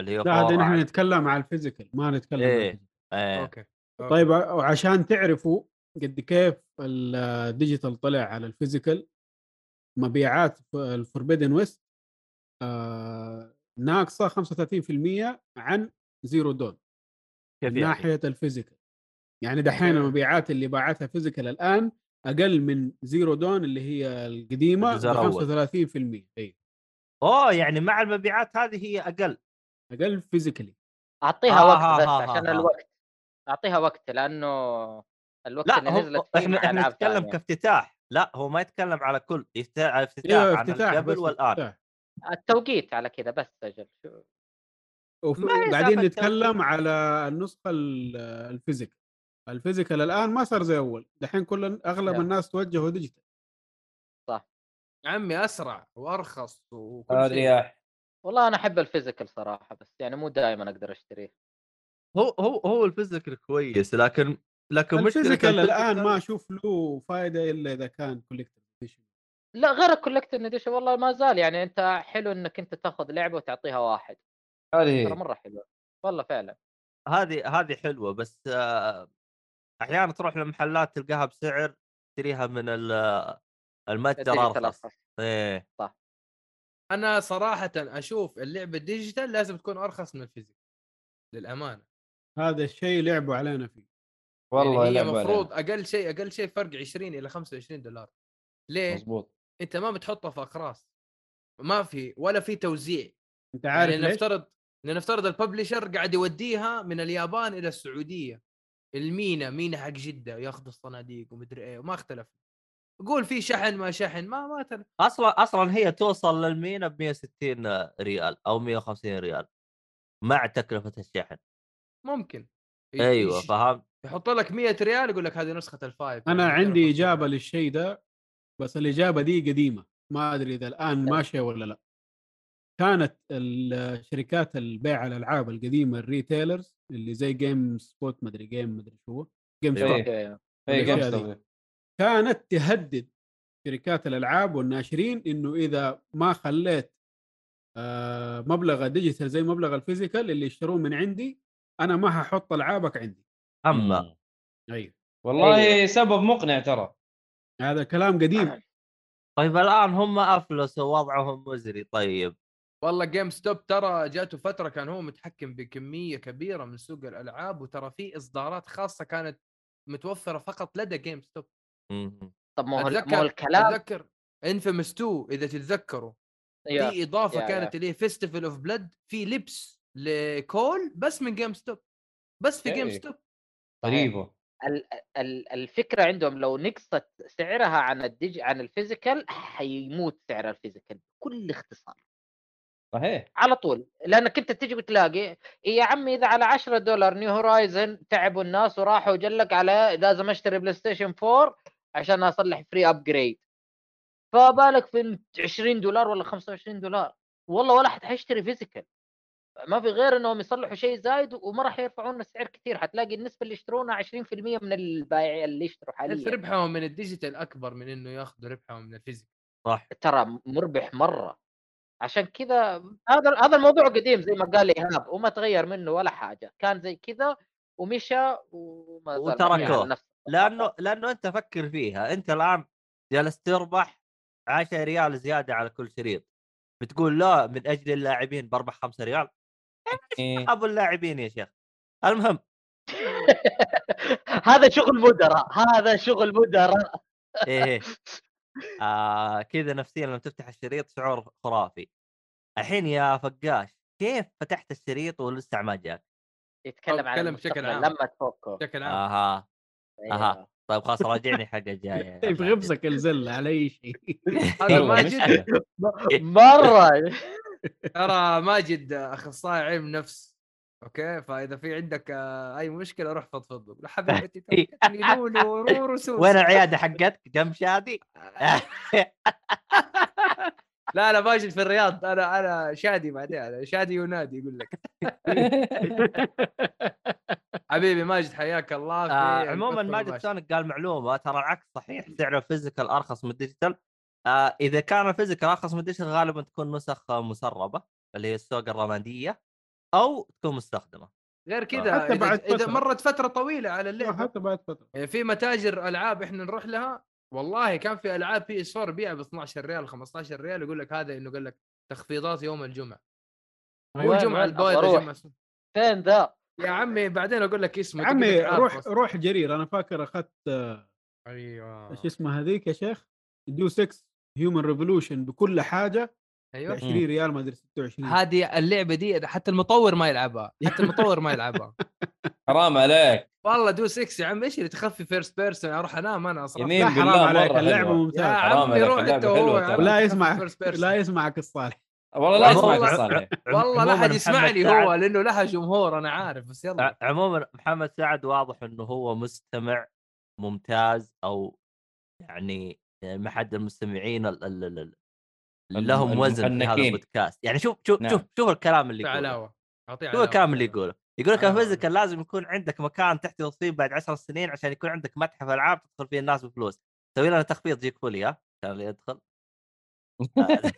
[SPEAKER 1] اللي هي
[SPEAKER 5] لا هذا
[SPEAKER 1] 4
[SPEAKER 5] نحن
[SPEAKER 1] على-
[SPEAKER 5] نتكلم على الفيزيكال ما نتكلم على
[SPEAKER 1] إيه.
[SPEAKER 5] الديجيتال.
[SPEAKER 1] إيه.
[SPEAKER 2] اوكي أوكي.
[SPEAKER 5] طيب ع- وعشان تعرفوا قد كيف ال- الديجيتال طلع على الفيزيكال مبيعات الفوربيدن ويست آه، ناقصه 35% عن زيرو دون
[SPEAKER 1] كيف
[SPEAKER 5] من
[SPEAKER 1] يعني؟
[SPEAKER 5] ناحيه الفيزيكال يعني دحين
[SPEAKER 2] آه.
[SPEAKER 5] المبيعات اللي باعتها فيزيكال الان اقل من زيرو دون اللي هي القديمه
[SPEAKER 1] الجزء الأول.
[SPEAKER 5] ب 35% اي
[SPEAKER 1] اوه يعني مع المبيعات هذه هي اقل
[SPEAKER 5] اقل فيزيكالي
[SPEAKER 1] آه،
[SPEAKER 4] اعطيها
[SPEAKER 1] آه،
[SPEAKER 4] وقت بس
[SPEAKER 1] آه،
[SPEAKER 4] عشان
[SPEAKER 1] آه، آه.
[SPEAKER 4] الوقت اعطيها وقت لانه الوقت
[SPEAKER 1] لا
[SPEAKER 4] اللي
[SPEAKER 1] هو
[SPEAKER 4] نزلت فيه
[SPEAKER 1] احنا
[SPEAKER 4] مع
[SPEAKER 1] احنا
[SPEAKER 4] ألعاب
[SPEAKER 1] نتكلم
[SPEAKER 4] ثانية.
[SPEAKER 1] كافتتاح لا هو ما يتكلم على كل يفت- على افتتاح
[SPEAKER 5] ايوه
[SPEAKER 1] عن
[SPEAKER 5] افتتاح
[SPEAKER 1] قبل
[SPEAKER 5] بس
[SPEAKER 1] والان
[SPEAKER 5] افتتاح.
[SPEAKER 4] التوقيت على كذا بس اجل شو-
[SPEAKER 5] وف-
[SPEAKER 1] ما هي
[SPEAKER 5] وبعدين
[SPEAKER 1] سالفة
[SPEAKER 5] نتكلم على النسخه ال- الفيزيكال الفيزيكال الان ما صار زي اول دحين كل اغلب
[SPEAKER 4] لا.
[SPEAKER 5] الناس توجهوا ديجيتال
[SPEAKER 2] عمي اسرع وارخص وكل
[SPEAKER 5] آه،
[SPEAKER 2] شيء
[SPEAKER 3] الرياح
[SPEAKER 4] والله انا احب الفيزيكال صراحه بس يعني مو دائما اقدر اشتريه
[SPEAKER 1] هو هو هو الفيزيكال كويس لكن لكن مشكلة طيب؟
[SPEAKER 5] الفيزيكال الان
[SPEAKER 1] الفيزيكال-
[SPEAKER 5] ما اشوف له فائده الا اذا كان كوليكتر
[SPEAKER 4] لا غير الكولكتر اديشن والله ما زال يعني انت حلو انك انت تاخذ لعبه وتعطيها واحد
[SPEAKER 2] إيه.
[SPEAKER 4] ترى
[SPEAKER 3] هذه
[SPEAKER 4] مره حلوه والله فعلا
[SPEAKER 1] هذه هذه حلوة بس آه، احيانا تروح لمحلات تلقاها بسعر تشتريها من ال- المتجر
[SPEAKER 4] الديجيتال
[SPEAKER 1] ارخص
[SPEAKER 4] أرخص.
[SPEAKER 1] ايه
[SPEAKER 2] انا صراحه اشوف اللعبه الديجيتال لازم تكون ارخص من الفيزيك للامانه
[SPEAKER 5] هذا الشيء لعبوا علينا فيه
[SPEAKER 3] والله
[SPEAKER 2] يعني هي
[SPEAKER 3] يلعب علينا.
[SPEAKER 2] المفروض اقل شيء اقل شيء فرق 20 الى 25 دولار ليه؟ مزبوط.
[SPEAKER 3] مظبوط
[SPEAKER 2] انت ما بتحطها في اقراص ما في ولا في توزيع
[SPEAKER 5] انت عارف
[SPEAKER 2] يعني
[SPEAKER 5] ليش؟
[SPEAKER 2] لنفترض لنفترض الببلشر قاعد يوديها من اليابان الى السعوديه المينا مينا حق جده ياخذ الصناديق ومدري ايه وما إيه اختلف قول في شحن ما شحن ما ما تر...
[SPEAKER 1] اصلا اصلا هي توصل للمينا ب 160 ريال او 150 ريال مع تكلفه الشحن
[SPEAKER 2] ممكن ي-
[SPEAKER 1] ايوه
[SPEAKER 5] أيوة،
[SPEAKER 2] يش-
[SPEAKER 1] فهمت
[SPEAKER 2] يحط لك 100 ريال يقول لك هذه نسخه الفايف يعني
[SPEAKER 5] انا
[SPEAKER 1] يعني
[SPEAKER 5] عندي اجابه للشيء ده بس الاجابه دي قديمه ما ادري اذا الان ماشيه ولا لا كانت ال- شركات البيع الالعاب القديمه الريتيلرز اللي زي جيم سبوت ما ادري جيم ما ادري شو هو جيم
[SPEAKER 1] أيوة.
[SPEAKER 5] ستوب
[SPEAKER 2] إيه.
[SPEAKER 4] اوكي
[SPEAKER 3] اي جيم
[SPEAKER 5] الأشياء دي.
[SPEAKER 3] ستوب.
[SPEAKER 5] كانت تهدد شركات الالعاب والناشرين انه اذا ما خليت آه، مبلغ الديجيتال زي مبلغ الفيزيكال اللي يشتروه من عندي انا ما هحط العابك عندي
[SPEAKER 1] اما
[SPEAKER 3] إمم.
[SPEAKER 5] ايوه
[SPEAKER 2] أيوه.
[SPEAKER 3] والله سبب مقنع ترى
[SPEAKER 5] هذا كلام قديم
[SPEAKER 1] طيب الان هم افلسوا وضعهم مزري طيب
[SPEAKER 2] والله جيم ستوب ترى جاته فتره كان هو متحكم بكميه كبيره من سوق الالعاب وترى في اصدارات خاصه كانت متوفره فقط لدى جيم ستوب
[SPEAKER 1] مهم.
[SPEAKER 4] طب ما هو ما هو
[SPEAKER 2] أتذكر-
[SPEAKER 4] الكلام
[SPEAKER 2] اتذكر انفيمس 2 اذا تتذكروا
[SPEAKER 4] يا.
[SPEAKER 2] في اضافه
[SPEAKER 4] يا-
[SPEAKER 2] كانت اللي هي فيستيفال اوف بلاد في لبس لكول بس من جيم ستوب بس في جيم
[SPEAKER 3] إيه.
[SPEAKER 2] ستوب
[SPEAKER 3] غريبه
[SPEAKER 4] ال- ال- الفكره عندهم لو نقصت سعرها عن الديج عن الفيزيكال حيموت سعر الفيزيكال بكل اختصار
[SPEAKER 3] صحيح
[SPEAKER 4] على طول لانك انت تجي تلاقي يا عمي اذا على 10 دولار نيو هورايزن تعبوا الناس وراحوا جلك على لازم اشتري بلاي ستيشن 4 عشان اصلح فري ابجريد فبالك في 20 دولار ولا 25 دولار والله ولا حد حيشتري فيزيكال ما في غير انهم يصلحوا شيء زايد وما راح يرفعون السعر كثير حتلاقي النسبه اللي يشترونها 20% من البائع اللي يشتروا
[SPEAKER 2] بس
[SPEAKER 4] حاليا
[SPEAKER 2] ربحهم من الديجيتال اكبر من انه ياخذوا ربحهم من الفيزيك
[SPEAKER 1] صح
[SPEAKER 4] ترى مربح مره عشان كذا هذا هذا الموضوع قديم زي ما قال ايهاب وما تغير منه ولا حاجه كان زي كذا ومشى وما زال ماشي على
[SPEAKER 1] وتركوه.
[SPEAKER 4] نفس
[SPEAKER 1] لانه لانه انت فكر فيها انت الان جالس تربح 10 ريال زياده على كل شريط بتقول لا من اجل اللاعبين بربح 5 ريال
[SPEAKER 3] إيه.
[SPEAKER 1] ابو اللاعبين يا شيخ المهم
[SPEAKER 4] هذا شغل مدراء هذا شغل مدراء
[SPEAKER 1] ايه إيه. آه كذا نفسيا لما تفتح الشريط شعور خرافي الحين يا فقاش كيف فتحت الشريط ولسه ما جاك؟
[SPEAKER 4] يتكلم عن
[SPEAKER 2] أتكلم بشكل
[SPEAKER 4] المستقبل
[SPEAKER 2] عام.
[SPEAKER 4] لما تفكه
[SPEAKER 2] بشكل عام
[SPEAKER 1] اها
[SPEAKER 4] أيوه.
[SPEAKER 1] طيب خلاص راجعني حق الجايه
[SPEAKER 5] في غبسك الزله على اي شيء
[SPEAKER 2] طيب
[SPEAKER 4] أيوة.
[SPEAKER 2] هذا
[SPEAKER 3] والله
[SPEAKER 2] ماجد
[SPEAKER 3] مشكلة.
[SPEAKER 4] إيه. مره
[SPEAKER 2] ترى ماجد اخصائي علم نفس اوكي فاذا في عندك آه، اي مشكله روح فضفض له. لا حبيبتي ترى كتني لولو ورور وسوس
[SPEAKER 1] وين العياده حقتك؟ جنب شادي؟
[SPEAKER 2] لا لا ماجد في الرياض انا انا شادي بعدين أنا شادي ينادي يقول لك حبيبي ماجد حياك الله في
[SPEAKER 1] آه
[SPEAKER 2] البث
[SPEAKER 1] عموما ماجد
[SPEAKER 2] المباشر.
[SPEAKER 1] سونيك قال معلومه ترى العكس صحيح سعر الفيزيكال ارخص من الديجيتال آه اذا كان الفيزيكال ارخص من الديجيتال غالبا تكون نسخ مسربه اللي هي السوق الرماديه او تكون مستخدمه
[SPEAKER 2] غير
[SPEAKER 5] حتى
[SPEAKER 2] كذا إذا-
[SPEAKER 5] بعد
[SPEAKER 2] اذا
[SPEAKER 5] فترة.
[SPEAKER 2] مرت فتره طويله على اللعبه
[SPEAKER 5] حتى بعد فتره
[SPEAKER 2] يعني في متاجر العاب احنا نروح لها والله كان في العاب بي اس 4 بيع ب 12 ريال 15 ريال يقول لك هذا انه قال لك تخفيضات يوم الجمعه مو
[SPEAKER 4] وين-
[SPEAKER 2] الجمعه
[SPEAKER 4] وين؟
[SPEAKER 2] البايظه
[SPEAKER 4] أبغى أروح.
[SPEAKER 2] الجمعة الس-
[SPEAKER 4] فين ذا
[SPEAKER 2] يا عمي بعدين اقول لك اسمه
[SPEAKER 5] يا
[SPEAKER 2] تقدر
[SPEAKER 5] عمي
[SPEAKER 2] تعرف
[SPEAKER 5] روح
[SPEAKER 2] أصلاً.
[SPEAKER 5] روح جرير انا فاكر اخذت
[SPEAKER 2] ايوه
[SPEAKER 5] شو اسمه هذيك يا شيخ ديو 6 هيومن ريفولوشن بكل حاجه ب
[SPEAKER 2] ايوه
[SPEAKER 5] 20 ريال ما ادري 26
[SPEAKER 2] هذه اللعبه دي إذا حتى المطور ما يلعبها حتى المطور ما يلعبها
[SPEAKER 3] حرام عليك
[SPEAKER 2] والله دو 6 يا عم ايش اللي تخفي فيرست بيرسون اروح انام انا اصلا
[SPEAKER 3] يمين
[SPEAKER 5] لا
[SPEAKER 3] بالله
[SPEAKER 5] حرام عليك
[SPEAKER 3] مرة
[SPEAKER 5] اللعبه
[SPEAKER 3] حلوة.
[SPEAKER 2] يا
[SPEAKER 5] ممتازه
[SPEAKER 3] حرام
[SPEAKER 2] عمي
[SPEAKER 3] عليك،
[SPEAKER 2] روح
[SPEAKER 3] اللعبة
[SPEAKER 2] انت وهو
[SPEAKER 3] حلوة
[SPEAKER 2] يا
[SPEAKER 3] ترى.
[SPEAKER 2] عمي،
[SPEAKER 5] ولا
[SPEAKER 2] تخفي
[SPEAKER 5] يسمعك
[SPEAKER 2] first person.
[SPEAKER 5] لا يسمعك الصالح
[SPEAKER 3] والله لا
[SPEAKER 1] والله-
[SPEAKER 3] اسمعك الصالح
[SPEAKER 2] والله لا
[SPEAKER 1] عموماً
[SPEAKER 2] حد يسمع
[SPEAKER 1] محمد
[SPEAKER 2] لي
[SPEAKER 1] سعد-
[SPEAKER 2] هو لانه لها جمهور انا عارف بس يلا
[SPEAKER 1] ع- عموما محمد سعد واضح انه هو مستمع ممتاز او يعني من احد المستمعين ال- ال- ال- ال-
[SPEAKER 3] الم-
[SPEAKER 1] لهم وزن في هذا
[SPEAKER 3] المحنكين.
[SPEAKER 1] البودكاست يعني شوف شوف
[SPEAKER 3] نعم.
[SPEAKER 1] شوف شوف الكلام اللي
[SPEAKER 2] في
[SPEAKER 1] يقوله
[SPEAKER 2] علاوه اعطيه
[SPEAKER 1] شوف
[SPEAKER 2] علاوه
[SPEAKER 1] الكلام اللي يقوله يقول لك
[SPEAKER 2] علاوة.
[SPEAKER 1] الفيزيكال لازم يكون عندك مكان تحت الصين بعد عشر سنين عشان يكون عندك متحف العاب تدخل فيه الناس بفلوس سوي لنا تخفيض جيك فولي ها كان اللي يدخل آه،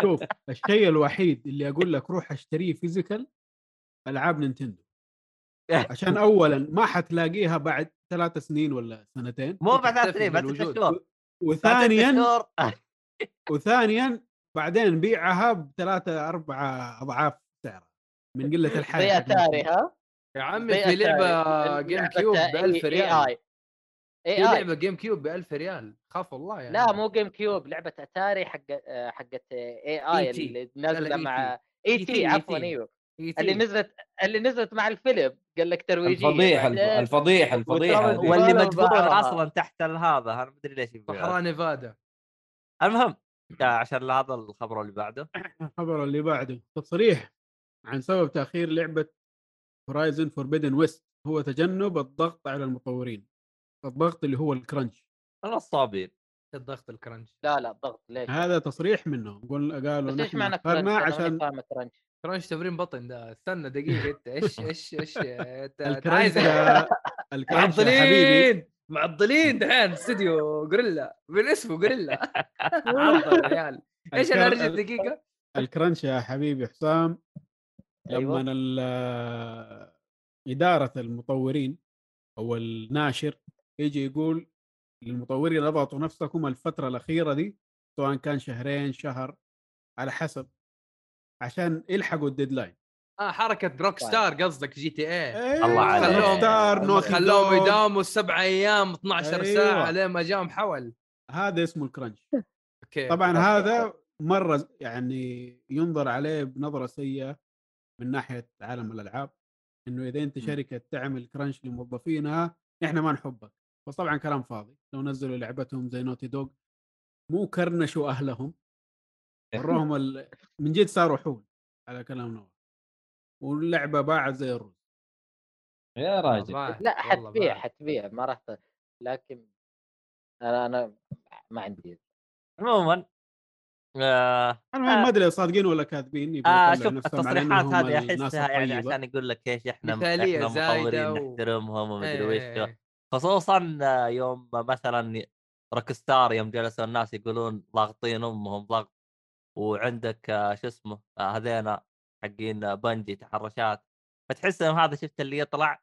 [SPEAKER 5] شوف الشيء الوحيد اللي اقول لك روح اشتريه فيزيكال العاب نينتندو عشان اولا ما حتلاقيها بعد ثلاث سنين ولا سنتين
[SPEAKER 1] مو بعد ثلاث
[SPEAKER 2] تختفي
[SPEAKER 1] سنين
[SPEAKER 2] من
[SPEAKER 1] بعد ست
[SPEAKER 2] الوجود.
[SPEAKER 1] شهور بعد ست
[SPEAKER 5] وثانيا
[SPEAKER 1] شهور
[SPEAKER 5] وثانيا بعدين بيعها بثلاثه اربعه اضعاف سعرها من يعني، قله الحاجه
[SPEAKER 4] زي اتاري ها
[SPEAKER 2] يا عمي في لعبه جيم كيوب ب 1000 ريال
[SPEAKER 4] اي
[SPEAKER 2] في
[SPEAKER 4] اي
[SPEAKER 2] لعبه جيم كيوب ب 1000 ريال خاف والله يعني
[SPEAKER 4] لا مو جيم كيوب لعبه اتاري حق آه، حقت اي اي
[SPEAKER 2] ET.
[SPEAKER 4] اللي
[SPEAKER 2] لا،
[SPEAKER 4] نازله
[SPEAKER 2] لا،
[SPEAKER 4] مع E
[SPEAKER 2] ET.
[SPEAKER 4] اي تي
[SPEAKER 2] ET.
[SPEAKER 4] عفوا ايوه اللي نزلت اللي نزلت مع الفيلم قال لك ترويجيه
[SPEAKER 3] الفضيحه الف-
[SPEAKER 4] بعدين-
[SPEAKER 3] الفضيحه
[SPEAKER 4] وترى-
[SPEAKER 3] الفضيحه
[SPEAKER 4] ولا
[SPEAKER 1] واللي مدفوع
[SPEAKER 4] بقى.
[SPEAKER 1] اصلا تحت هذا انا مدري ليش يبيعها.
[SPEAKER 2] صحراء نيفادا
[SPEAKER 1] المهم آه، عشان هذا الخبر اللي بعده
[SPEAKER 5] أه. الخبر اللي بعده تصريح عن سبب تاخير لعبه هورايزن فوربيدن ويست هو تجنب الضغط على المطورين الضغط اللي هو الكرنش
[SPEAKER 1] نصابين
[SPEAKER 2] الضغط الكرنش
[SPEAKER 4] لا لا الضغط ليش؟
[SPEAKER 5] هذا تصريح منهم قل قالوا
[SPEAKER 4] بس ايش
[SPEAKER 5] نحن
[SPEAKER 4] معنى
[SPEAKER 5] اخرنا
[SPEAKER 4] كرنش؟ أنا ماني
[SPEAKER 5] عشان
[SPEAKER 4] فاهم كرنش
[SPEAKER 2] كرنش تمرين بطن ده استنى دقيقه انت ايش ايش ايش انت أنت
[SPEAKER 5] الكرنش
[SPEAKER 2] عايز إيه؟
[SPEAKER 5] ده- الكرنش يا حبيبي
[SPEAKER 2] معضلين معضلين دحين استوديو غوريلا من اسمه غوريلا عضل العيال ايش
[SPEAKER 5] الكر-
[SPEAKER 2] الالرجي الدقيقه؟
[SPEAKER 5] الكرنش يا حبيبي حسام
[SPEAKER 1] أيوة.
[SPEAKER 5] لما ال- إدارة المطورين أو الناشر يجي يقول للمطورين اضغطوا نفسكم الفترة الأخيرة دي سواء كان شهرين شهر على حسب عشان يلحقوا الديدلاين
[SPEAKER 2] اه حركه
[SPEAKER 4] طيب.
[SPEAKER 2] روك ستار قصدك جي تي إيه. اي
[SPEAKER 1] الله عليك.
[SPEAKER 5] ستار
[SPEAKER 2] لما
[SPEAKER 5] إيه، نوتي
[SPEAKER 2] خلوهم
[SPEAKER 5] دوغ.
[SPEAKER 2] يداوموا سبع ايام 12
[SPEAKER 5] أيوة.
[SPEAKER 2] ساعه لين ما جاهم حول
[SPEAKER 5] هذا اسمه الكرنش
[SPEAKER 1] إيه،
[SPEAKER 2] اوكي
[SPEAKER 5] طبعا
[SPEAKER 1] آه.
[SPEAKER 5] هذا مرة يعني ينظر عليه بنظرة سيئة من ناحية عالم الألعاب انه اذا
[SPEAKER 1] إمم.
[SPEAKER 5] انت شركه تعمل كرنش لموظفينها احنا ما نحبك بس طبعا كلام فاضي لو نزلوا لعبتهم زي نوتي دوغ مو كرنشوا اهلهم وروهم ال... من جد صاروا حول على كلام نواف واللعبه باعت زي الرز
[SPEAKER 3] يا راجل
[SPEAKER 4] لا حتبيع حتبيع ما راح ت- لكن انا انا ما عندي
[SPEAKER 1] عموما آه
[SPEAKER 5] المهم ما ادري صادقين ولا كاذبين يبغوا
[SPEAKER 1] آه
[SPEAKER 5] يطلعوا
[SPEAKER 1] شوف
[SPEAKER 5] نفسهم على
[SPEAKER 1] التصريحات
[SPEAKER 5] إنهم
[SPEAKER 1] هذه
[SPEAKER 5] الناس
[SPEAKER 1] احسها يعني
[SPEAKER 5] الطيبة.
[SPEAKER 1] عشان يقول لك ايش احنا
[SPEAKER 2] مثالية
[SPEAKER 1] احنا
[SPEAKER 2] زايدة
[SPEAKER 1] مطورين
[SPEAKER 2] و-
[SPEAKER 1] نحترمهم
[SPEAKER 2] إيه،
[SPEAKER 1] ومدري
[SPEAKER 5] إيه.
[SPEAKER 1] ويش خصوصا آه، يوم مثلا روكستار يوم جلسوا الناس يقولون ضاغطين امهم ضغط وعندك آه، شو اسمه آه، هذينا حقين آه، بنجي تحرشات فتحس انه هذا شفت اللي يطلع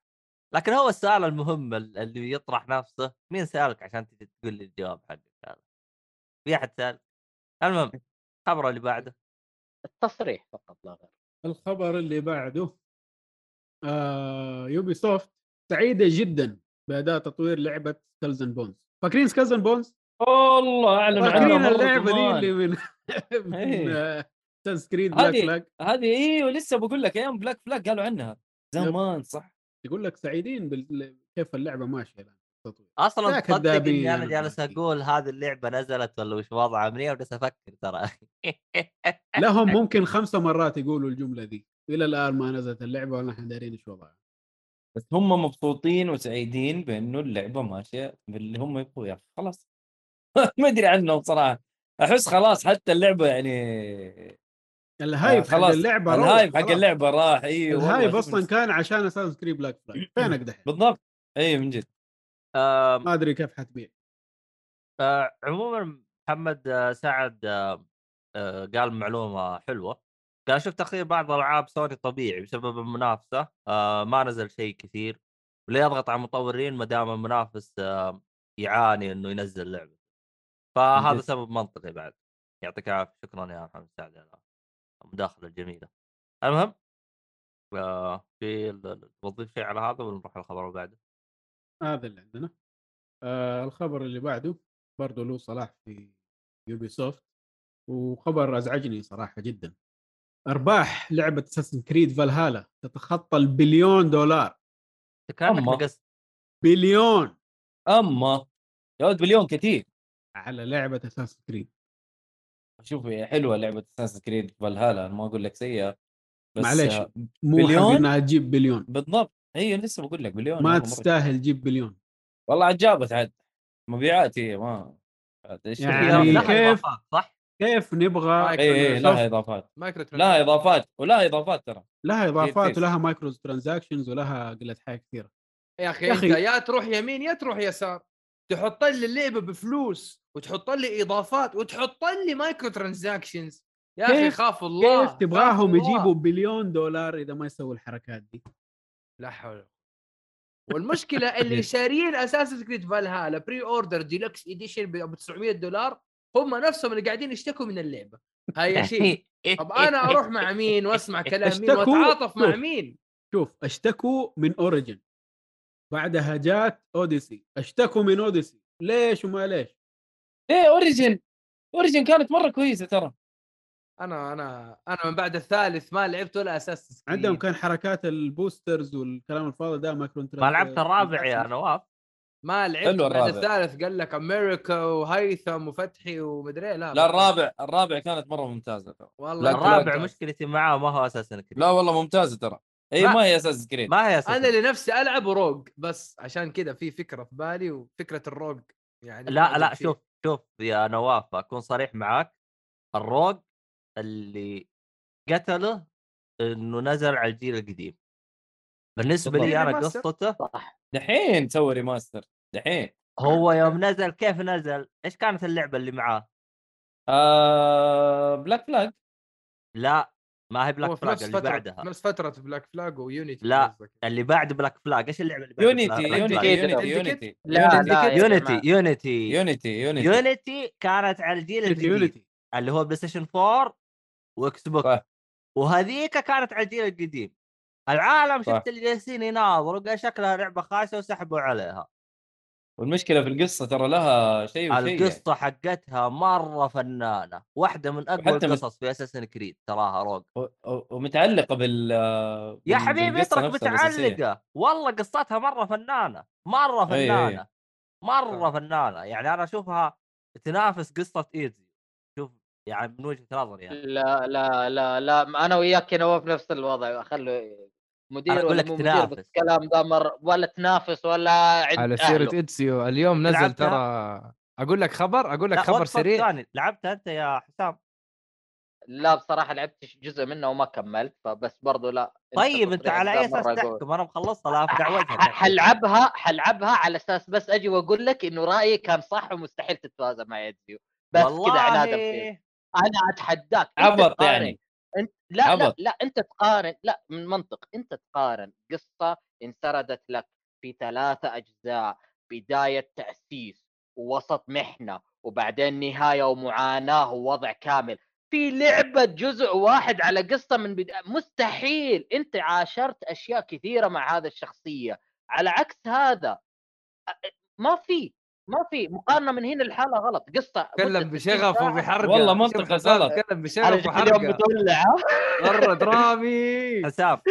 [SPEAKER 1] لكن هو السؤال المهم ال- اللي يطرح نفسه مين سالك عشان تجي تقول لي الجواب حقك هذا في احد سال المهم الخبر اللي بعده
[SPEAKER 4] التصريح فقط لا غير
[SPEAKER 5] الخبر اللي بعده آه يوبي سوفت سعيده جدا باداء تطوير لعبه سكلز اند بونز فاكرين سكلز اند بونز؟
[SPEAKER 3] والله اعلن
[SPEAKER 5] فاكرين
[SPEAKER 3] عنها مرة
[SPEAKER 5] اللعبه دي
[SPEAKER 3] زمان.
[SPEAKER 5] اللي من
[SPEAKER 3] إيه.
[SPEAKER 5] من سانس كريد بلاك
[SPEAKER 3] هذه-
[SPEAKER 5] فلاج
[SPEAKER 3] هذه ايوه لسه بقول لك ايام بلاك فلاك قالوا عنها زمان صح
[SPEAKER 5] يقول لك سعيدين بال... كيف اللعبه ماشيه الان التطوير
[SPEAKER 1] اصلا
[SPEAKER 5] يا
[SPEAKER 1] تصدق
[SPEAKER 5] كذابين
[SPEAKER 1] اني انا
[SPEAKER 5] يا
[SPEAKER 1] جالس
[SPEAKER 5] مجانين.
[SPEAKER 1] اقول هذه اللعبه نزلت ولا وش وضعها من يوم جالس افكر ترى
[SPEAKER 5] لهم ممكن خمسة مرات يقولوا الجمله دي الى الان ما نزلت اللعبه ولا احنا دارين ايش وضعها
[SPEAKER 3] بس هم مبسوطين وسعيدين بانه اللعبه ماشيه باللي هم يبغوا يا أخي، خلاص ما ادري عنهم صراحه احس خلاص حتى اللعبه يعني
[SPEAKER 5] الهايب حق
[SPEAKER 3] خلاص،
[SPEAKER 5] اللعبه روح،
[SPEAKER 3] الهايب حق
[SPEAKER 5] خلاص.
[SPEAKER 3] اللعبه راح اي والله
[SPEAKER 5] الهايب
[SPEAKER 3] شوف
[SPEAKER 5] اصلا
[SPEAKER 3] الناس-
[SPEAKER 5] كان عشان اساس كريد بلاك فلاج فينك دحين
[SPEAKER 3] بالضبط اي من جد
[SPEAKER 1] آم،
[SPEAKER 5] ما ادري كيف حتبيع
[SPEAKER 1] آه، عموما محمد آه، سعد آه، آه، قال معلومه حلوه قال شفت تاخير بعض العاب سوني طبيعي بسبب المنافسه آه، ما نزل شيء كثير ولا يضغط على المطورين ما دام المنافس آه، يعاني انه ينزل لعبه فهذا
[SPEAKER 3] جد.
[SPEAKER 1] سبب منطقي بعد يعطيك العافيه شكرا يا محمد سعد على المداخله الجميله المهم آه، في ال- توظيف شيء على هذا ولا نروح الخبر اللي بعده
[SPEAKER 5] هذا اللي عندنا آه الخبر اللي بعده برضه له صلاح في يوبي سوفت وخبر ازعجني صراحه جدا ارباح لعبه اساسن كريد فالهالا تتخطى البليون دولار
[SPEAKER 1] كانك
[SPEAKER 3] أما.
[SPEAKER 1] نقصت
[SPEAKER 5] بليون
[SPEAKER 3] اما يا ولد بليون كثير
[SPEAKER 5] على لعبه اساسن كريد
[SPEAKER 3] شوف هي حلوه لعبه اساس كريد فالهالا أنا ما اقول لك سيئه بس
[SPEAKER 5] معليش.
[SPEAKER 3] آه،
[SPEAKER 5] مو حق
[SPEAKER 3] بليون؟
[SPEAKER 5] انها تجيب بليون
[SPEAKER 3] بالضبط هي لسه بقول لك بليون
[SPEAKER 5] ما
[SPEAKER 3] والله مرة
[SPEAKER 5] تستاهل جيب بليون
[SPEAKER 3] كثير. والله عاد جابت عاد مبيعات هي ما عاد إيش
[SPEAKER 5] يعني
[SPEAKER 3] تبغى؟
[SPEAKER 1] هي لها
[SPEAKER 5] كيف؟
[SPEAKER 1] إضافات، صح؟
[SPEAKER 5] كيف نبغى
[SPEAKER 2] طيب.
[SPEAKER 3] اي اي لها
[SPEAKER 5] شوف.
[SPEAKER 3] اضافات
[SPEAKER 2] مايكرو
[SPEAKER 3] لها اضافات ولها اضافات ترى
[SPEAKER 5] لها اضافات
[SPEAKER 3] كيف؟
[SPEAKER 5] ولها مايكروز ترانزاكشنز ولها قله حياه كثيره
[SPEAKER 2] يا اخي
[SPEAKER 5] يا
[SPEAKER 2] انت
[SPEAKER 5] أخي.
[SPEAKER 2] يا تروح يمين يا تروح يسار تحط لي اللعبه بفلوس وتحط لي اضافات وتحط لي مايكرو ترانزاكشنز يا اخي
[SPEAKER 5] كيف-
[SPEAKER 2] خاف الله
[SPEAKER 5] كيف
[SPEAKER 2] خاف
[SPEAKER 5] تبغاهم
[SPEAKER 2] الله.
[SPEAKER 5] يجيبوا بليون دولار اذا ما يسووا الحركات دي
[SPEAKER 2] لا حول والمشكله اللي شاريين اساس كريد فالهالا بري اوردر ديلكس اديشن ب 900 دولار هم نفسهم اللي قاعدين يشتكوا من اللعبه هاي شيء
[SPEAKER 1] إيه،
[SPEAKER 2] طب انا اروح مع مين واسمع كلام مين
[SPEAKER 5] اشتكوا-
[SPEAKER 2] واتعاطف مع
[SPEAKER 5] شوف.
[SPEAKER 2] مين
[SPEAKER 5] شوف اشتكوا من اوريجن بعدها جات اوديسي اشتكوا من اوديسي ليش وما ليش
[SPEAKER 1] إيه،
[SPEAKER 3] ايه اوريجن اوريجن كانت مره كويسه ترى
[SPEAKER 2] انا انا انا من بعد الثالث ما لعبت ولا اساس
[SPEAKER 5] عندهم كان حركات البوسترز والكلام الفاضي ده مايكرو
[SPEAKER 1] ما لعبت الرابع يا نواف
[SPEAKER 2] ما لعبت
[SPEAKER 3] حلو
[SPEAKER 2] بعد
[SPEAKER 3] الرابع.
[SPEAKER 2] الثالث قال لك امريكا وهيثم وفتحي ومدري إيه، لا
[SPEAKER 3] لا الرابع الرابع كانت مره ممتازه ترى
[SPEAKER 2] والله
[SPEAKER 3] لا،
[SPEAKER 1] الرابع
[SPEAKER 2] ممتاز.
[SPEAKER 1] مشكلتي معاه ما هو اساسا كريد
[SPEAKER 3] لا والله ممتازه ترى اي
[SPEAKER 1] ما-
[SPEAKER 3] ما هي اساس كريد
[SPEAKER 1] ما هي اساسا
[SPEAKER 2] انا لنفسي العب روج بس عشان كذا في فكره في بالي وفكره الروج يعني
[SPEAKER 1] لا
[SPEAKER 2] أعجب
[SPEAKER 1] لا
[SPEAKER 2] فيه.
[SPEAKER 1] شوف شوف يا نواف اكون صريح معاك الروج اللي قتله انه نزل على الجيل القديم بالنسبه
[SPEAKER 3] بالضبط.
[SPEAKER 1] لي انا
[SPEAKER 2] ريماستر.
[SPEAKER 1] قصته
[SPEAKER 3] دحين سوى ريماستر دحين
[SPEAKER 1] هو يوم نزل كيف نزل؟ ايش كانت اللعبه اللي معاه؟
[SPEAKER 3] آه بلاك فلاج
[SPEAKER 1] لا ما هي
[SPEAKER 2] هو
[SPEAKER 1] بلاك
[SPEAKER 2] في
[SPEAKER 1] فلاج
[SPEAKER 2] نفس
[SPEAKER 1] اللي
[SPEAKER 2] فتره
[SPEAKER 1] بعدها
[SPEAKER 2] في نفس فتره بلاك فلاج ويونيتي
[SPEAKER 1] لا.
[SPEAKER 2] قصدك.
[SPEAKER 1] اللي بعد بلاك فلاج ايش اللعبه اللي بعد
[SPEAKER 3] يونيتي
[SPEAKER 1] بلاك
[SPEAKER 3] يونيتي
[SPEAKER 1] فلاج؟
[SPEAKER 2] Syndicate؟
[SPEAKER 3] يونيتي يونيتي
[SPEAKER 4] لا لا يا
[SPEAKER 1] يونيتي
[SPEAKER 4] جماعة.
[SPEAKER 1] يونيتي
[SPEAKER 3] يونيتي يونيتي
[SPEAKER 1] يونيتي كانت على الجيل الجديد
[SPEAKER 5] يونيتي
[SPEAKER 1] اللي هو بلاي ستيشن 4 واكس بوكس
[SPEAKER 3] صح.
[SPEAKER 1] وهذيك كانت على الجيل القديم العالم
[SPEAKER 3] صح.
[SPEAKER 1] شفت اللي جالسين يناظروا قال شكلها لعبه خايسه وسحبوا عليها
[SPEAKER 3] والمشكله في القصه ترى لها شيء وشيء يعني.
[SPEAKER 1] القصه حقتها مره فنانه واحده من اقوى
[SPEAKER 3] وحتى من-
[SPEAKER 1] القصص في اساسن كريد تراها روج
[SPEAKER 3] و- و- ومتعلقه بال
[SPEAKER 1] يا
[SPEAKER 3] بال-
[SPEAKER 1] حبيبي
[SPEAKER 3] بالقصة
[SPEAKER 1] اترك
[SPEAKER 3] نفسها الأساسية.
[SPEAKER 1] متعلقه والله قصتها مره فنانه مره
[SPEAKER 3] أي- أي.
[SPEAKER 1] فنانه مره
[SPEAKER 2] صح.
[SPEAKER 1] فنانه يعني انا اشوفها تنافس قصه ايزي شوف يعني من وجهه نظري يعني
[SPEAKER 4] لا لا لا لا ما انا وياك يا نواف نفس الوضع خلوا
[SPEAKER 1] أنا
[SPEAKER 4] مدير
[SPEAKER 1] أقول
[SPEAKER 4] ولا
[SPEAKER 1] لك
[SPEAKER 4] مو مدير
[SPEAKER 1] تنافس.
[SPEAKER 4] بالكلام ده مر ولا تنافس ولا عند
[SPEAKER 2] على
[SPEAKER 4] أهله.
[SPEAKER 2] سيره اتسيو اليوم
[SPEAKER 1] لعبتها؟
[SPEAKER 2] نزل ترى اقول لك خبر اقول لك
[SPEAKER 1] لا،
[SPEAKER 2] خبر
[SPEAKER 1] وقفة
[SPEAKER 2] سريع
[SPEAKER 1] ثانية. لعبتها انت يا حسام
[SPEAKER 4] لا بصراحه لعبت جزء منه وما كملت فبس برضو لا
[SPEAKER 1] طيب انت
[SPEAKER 4] تصريحك
[SPEAKER 1] على
[SPEAKER 4] ذا
[SPEAKER 1] اي
[SPEAKER 4] مرة
[SPEAKER 1] اساس
[SPEAKER 4] يقول.
[SPEAKER 1] تحكم انا مخلصها لا في دعوتها
[SPEAKER 4] حلعبها حلعبها على اساس بس اجي واقول لك انه رايي كان صح ومستحيل تتوازى مع يدزيو بس كذا
[SPEAKER 1] والله
[SPEAKER 4] عنادا فيه.
[SPEAKER 1] يعني
[SPEAKER 4] انا اتحداك انت
[SPEAKER 3] عبط
[SPEAKER 4] تقارن.
[SPEAKER 3] يعني
[SPEAKER 4] انت لا لا
[SPEAKER 3] عبط.
[SPEAKER 4] لا انت تقارن لا من منطق انت تقارن قصه انسردت لك في ثلاثه اجزاء بدايه تاسيس ووسط محنه وبعدين نهايه ومعاناه ووضع كامل في لعبه جزء واحد على قصه من بدا... مستحيل انت عاشرت اشياء كثيره مع هذا الشخصيه على عكس هذا أ- ما في ما في مقارنه من هنا الحاله غلط قصه
[SPEAKER 2] تكلم
[SPEAKER 4] مدة 60
[SPEAKER 2] بشغف
[SPEAKER 4] ساعة.
[SPEAKER 2] وبحرقه
[SPEAKER 3] والله
[SPEAKER 2] شوف
[SPEAKER 3] منطق
[SPEAKER 2] حسام
[SPEAKER 3] غلط.
[SPEAKER 2] تكلم
[SPEAKER 4] انا
[SPEAKER 2] بشغف
[SPEAKER 4] جيت اليوم
[SPEAKER 2] وحرقه
[SPEAKER 4] مدلع ها؟
[SPEAKER 2] مره درامي
[SPEAKER 1] حسام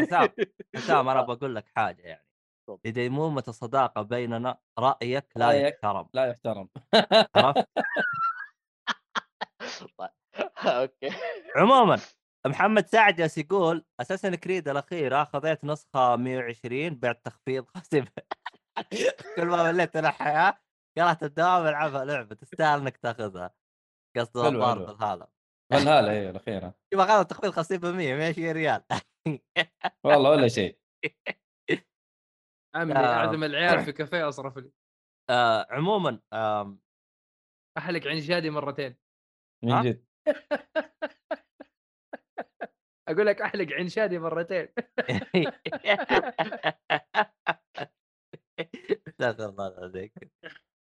[SPEAKER 1] حسام حسام انا
[SPEAKER 4] آه.
[SPEAKER 1] بقول لك حاجه يعني
[SPEAKER 4] تفضل.
[SPEAKER 1] لديمومة الصداقة بيننا رأيك لا
[SPEAKER 3] رأيك.
[SPEAKER 1] يحترم
[SPEAKER 3] لا يحترم
[SPEAKER 1] عرفت؟
[SPEAKER 4] اوكي
[SPEAKER 1] عموما محمد سعد جالس يقول اساسن كريد الاخيره خذيت نسخه 120 بعد تخفيض خسب كل ما مليت انا حياه كرهت الدوام العبها لعبه تستاهل انك تاخذها قصده
[SPEAKER 3] حلو،
[SPEAKER 1] الظاهر
[SPEAKER 3] حلو.
[SPEAKER 1] بالهذا
[SPEAKER 3] فالهالا هي الاخيره
[SPEAKER 1] شوف اخذ التخفيض 50% 120 ريال
[SPEAKER 3] والله ولا شيء
[SPEAKER 2] عمي
[SPEAKER 1] آه.
[SPEAKER 2] اعزم العيال في كافيه اصرف لي
[SPEAKER 1] آه، عموما آم،
[SPEAKER 2] احلق عن جادي مرتين
[SPEAKER 3] من
[SPEAKER 1] ها؟
[SPEAKER 3] جد
[SPEAKER 2] اقول لك احلق عن شادي مرتين
[SPEAKER 1] استغفر الله العظيم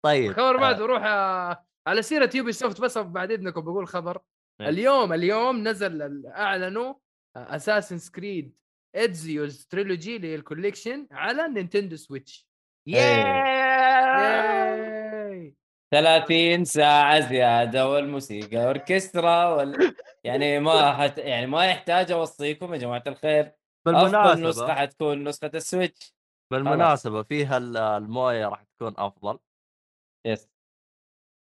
[SPEAKER 1] طيب
[SPEAKER 2] خبر بعد
[SPEAKER 1] آه،
[SPEAKER 2] بروح آه، على سيره يوبي سوفت بس بعد اذنكم بقول خبر
[SPEAKER 1] إيه.
[SPEAKER 2] اليوم اليوم نزل ال- آه، اعلنوا اساسن سكريد ادزيوز تريلوجي للكوليكشن على نينتندو سويتش
[SPEAKER 1] ياي.
[SPEAKER 2] ياي
[SPEAKER 3] 30 ساعه زياده والموسيقى اوركسترا وال... يعني ما حت... يعني ما يحتاج اوصيكم يا جماعه الخير افضل نسخه
[SPEAKER 1] بالمناسبه
[SPEAKER 3] حتكون نسخه السويتش
[SPEAKER 1] بالمناسبه فيها ال- المويه راح تكون افضل
[SPEAKER 3] يس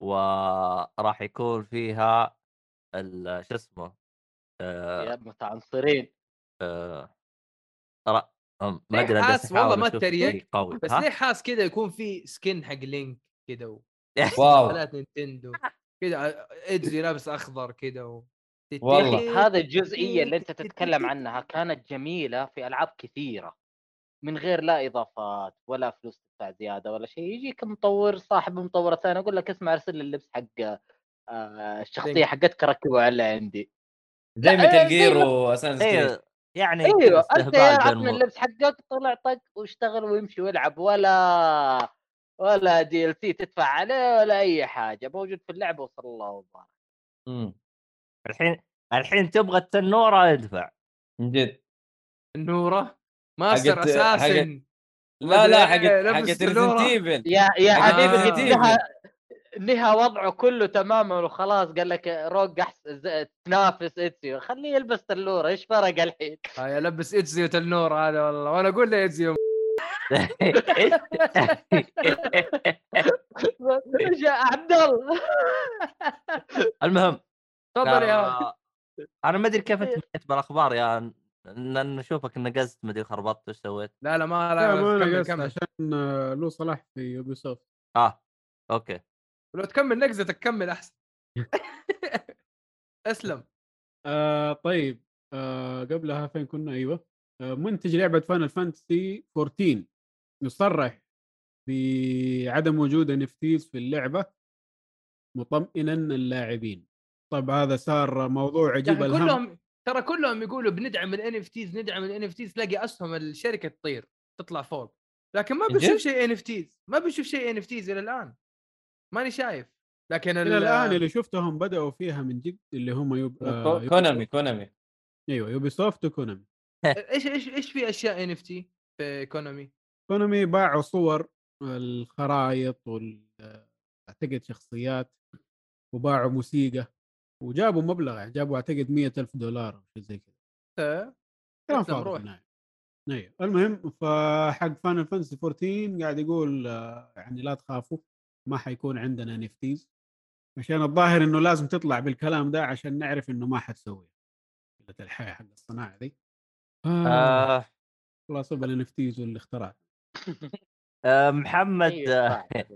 [SPEAKER 1] وراح يكون فيها ال- شو اسمه آه،
[SPEAKER 4] يا متعنصرين
[SPEAKER 1] آه، را- أم، ما
[SPEAKER 2] ليه
[SPEAKER 1] ادري أنا جالس
[SPEAKER 2] حاس؟ إيه، والله
[SPEAKER 1] أحاول
[SPEAKER 2] ما
[SPEAKER 1] أشوف
[SPEAKER 2] أتريق،
[SPEAKER 1] شيء قوي
[SPEAKER 2] بس
[SPEAKER 1] ها؟
[SPEAKER 2] ليه حاس كذا يكون في سكن حق لينك كذا و-
[SPEAKER 3] واو
[SPEAKER 2] حالات نينتندو كذا ادري لابس اخضر كذا و...
[SPEAKER 3] والله.
[SPEAKER 4] هذا الجزئيه اللي انت تتكلم عنها كانت جميله في العاب كثيره من غير لا اضافات ولا فلوس تدفع زياده ولا شيء يجيك مطور صاحب مطوره ثانيه يقول لك اسمع ارسل لي اللبس حق آه، الشخصيه حقتك ركبه على عندي
[SPEAKER 3] زي
[SPEAKER 4] لا، إيه،
[SPEAKER 3] مثل
[SPEAKER 4] زي
[SPEAKER 3] جير
[SPEAKER 4] ما- إيه.
[SPEAKER 3] واساسن كريد
[SPEAKER 1] ايوه يعني
[SPEAKER 2] أيوه،
[SPEAKER 1] كذا
[SPEAKER 4] ايوه انت
[SPEAKER 1] استهبال
[SPEAKER 4] يا
[SPEAKER 1] بين
[SPEAKER 4] عطني
[SPEAKER 1] مو-
[SPEAKER 4] اللبس حقك طلع طق واشتغل ويمشي ويلعب ولا ولا دي ال سي تدفع عليه ولا اي حاجه موجود في اللعبه وصلى الله وبارك
[SPEAKER 3] مم.
[SPEAKER 1] الحين الحين تبغى التنوره ادفع
[SPEAKER 3] من جد
[SPEAKER 2] النوره ماستر
[SPEAKER 3] حقت-
[SPEAKER 2] اساسن
[SPEAKER 3] لا
[SPEAKER 2] ومدري
[SPEAKER 3] لا
[SPEAKER 2] إيه،
[SPEAKER 3] حقت
[SPEAKER 2] لابس
[SPEAKER 3] حقت
[SPEAKER 2] سنورة.
[SPEAKER 3] ريزنت ايفل
[SPEAKER 1] آه،
[SPEAKER 4] يا يا
[SPEAKER 3] حقت
[SPEAKER 4] حبيبي
[SPEAKER 2] Resident
[SPEAKER 4] جبتها نهى وضعه كله تماما وخلاص قال لك روج أحس... ز- تنافس اتسيو خليه يلبس تلوره ايش فرق الحين؟
[SPEAKER 2] هاي البس اتزيو تلنور هذا والله وانا اقول له اتزيو
[SPEAKER 4] جاء عبد الله
[SPEAKER 1] المهم
[SPEAKER 2] تفضل يا هو.
[SPEAKER 1] آه، انا ما ادري كيف انت مشيت بالاخبار يا ن- لان اشوفك نقزت ما ادري خربطت وش سويت
[SPEAKER 2] لا لا ما
[SPEAKER 5] لا ما
[SPEAKER 2] لا
[SPEAKER 5] انا
[SPEAKER 2] كمل كمل
[SPEAKER 5] قصد عشان آه، له صلاح في يوبي سوفت
[SPEAKER 1] اه اوكي
[SPEAKER 2] لو تكمل نقزتك كمل احسن اسلم
[SPEAKER 5] آه طيب آه قبلها فين كنا ايوه آه منتج لعبه فاينل فانتسي 14 يصرح بعدم وجود NFTs في اللعبه مطمئنا اللاعبين طب هذا صار موضوع
[SPEAKER 2] يا
[SPEAKER 5] عجيب
[SPEAKER 2] اخي
[SPEAKER 5] الهم
[SPEAKER 2] كلهم ترى كلهم يقولوا بندعم الان اف تيز ندعم الان اف تيز تلاقي اسهم الشركه تطير تطلع فوق لكن ما
[SPEAKER 1] من جد؟
[SPEAKER 2] بنشوف شيء ان اف تيز ما بنشوف شيء ان اف تيز الى الان ماني شايف لكن ال-
[SPEAKER 5] الى الان اللي شفتهم بداوا فيها من جد اللي هم يوب... آه يوبي
[SPEAKER 3] كونامي كونامي
[SPEAKER 5] ايوه يوبي سوفت وكونامي
[SPEAKER 2] ايش ايش ايش في اشياء ان اف تي في ايكونومي
[SPEAKER 5] كونامي باعوا صور الخرائط وال اعتقد شخصيات وباعوا موسيقى وجابوا مبلغ يعني جابوا اعتقد مية ألف دولار او شيء زي كذا آه، كلام
[SPEAKER 2] أسلم،
[SPEAKER 5] فاضي
[SPEAKER 2] روح.
[SPEAKER 5] في النهاية. ايوه المهم فحق فان فانسي 14 قاعد يقول آه، يعني لا تخافوا ما حيكون عندنا نفتيز عشان الظاهر انه لازم تطلع بالكلام ده عشان نعرف انه ما حتسوي قله الحياه حق الصناعه دي آه
[SPEAKER 1] آه
[SPEAKER 5] الله يصب النفتيز واللي اخترعها
[SPEAKER 1] آه محمد
[SPEAKER 4] إيه،
[SPEAKER 1] آه
[SPEAKER 4] صح.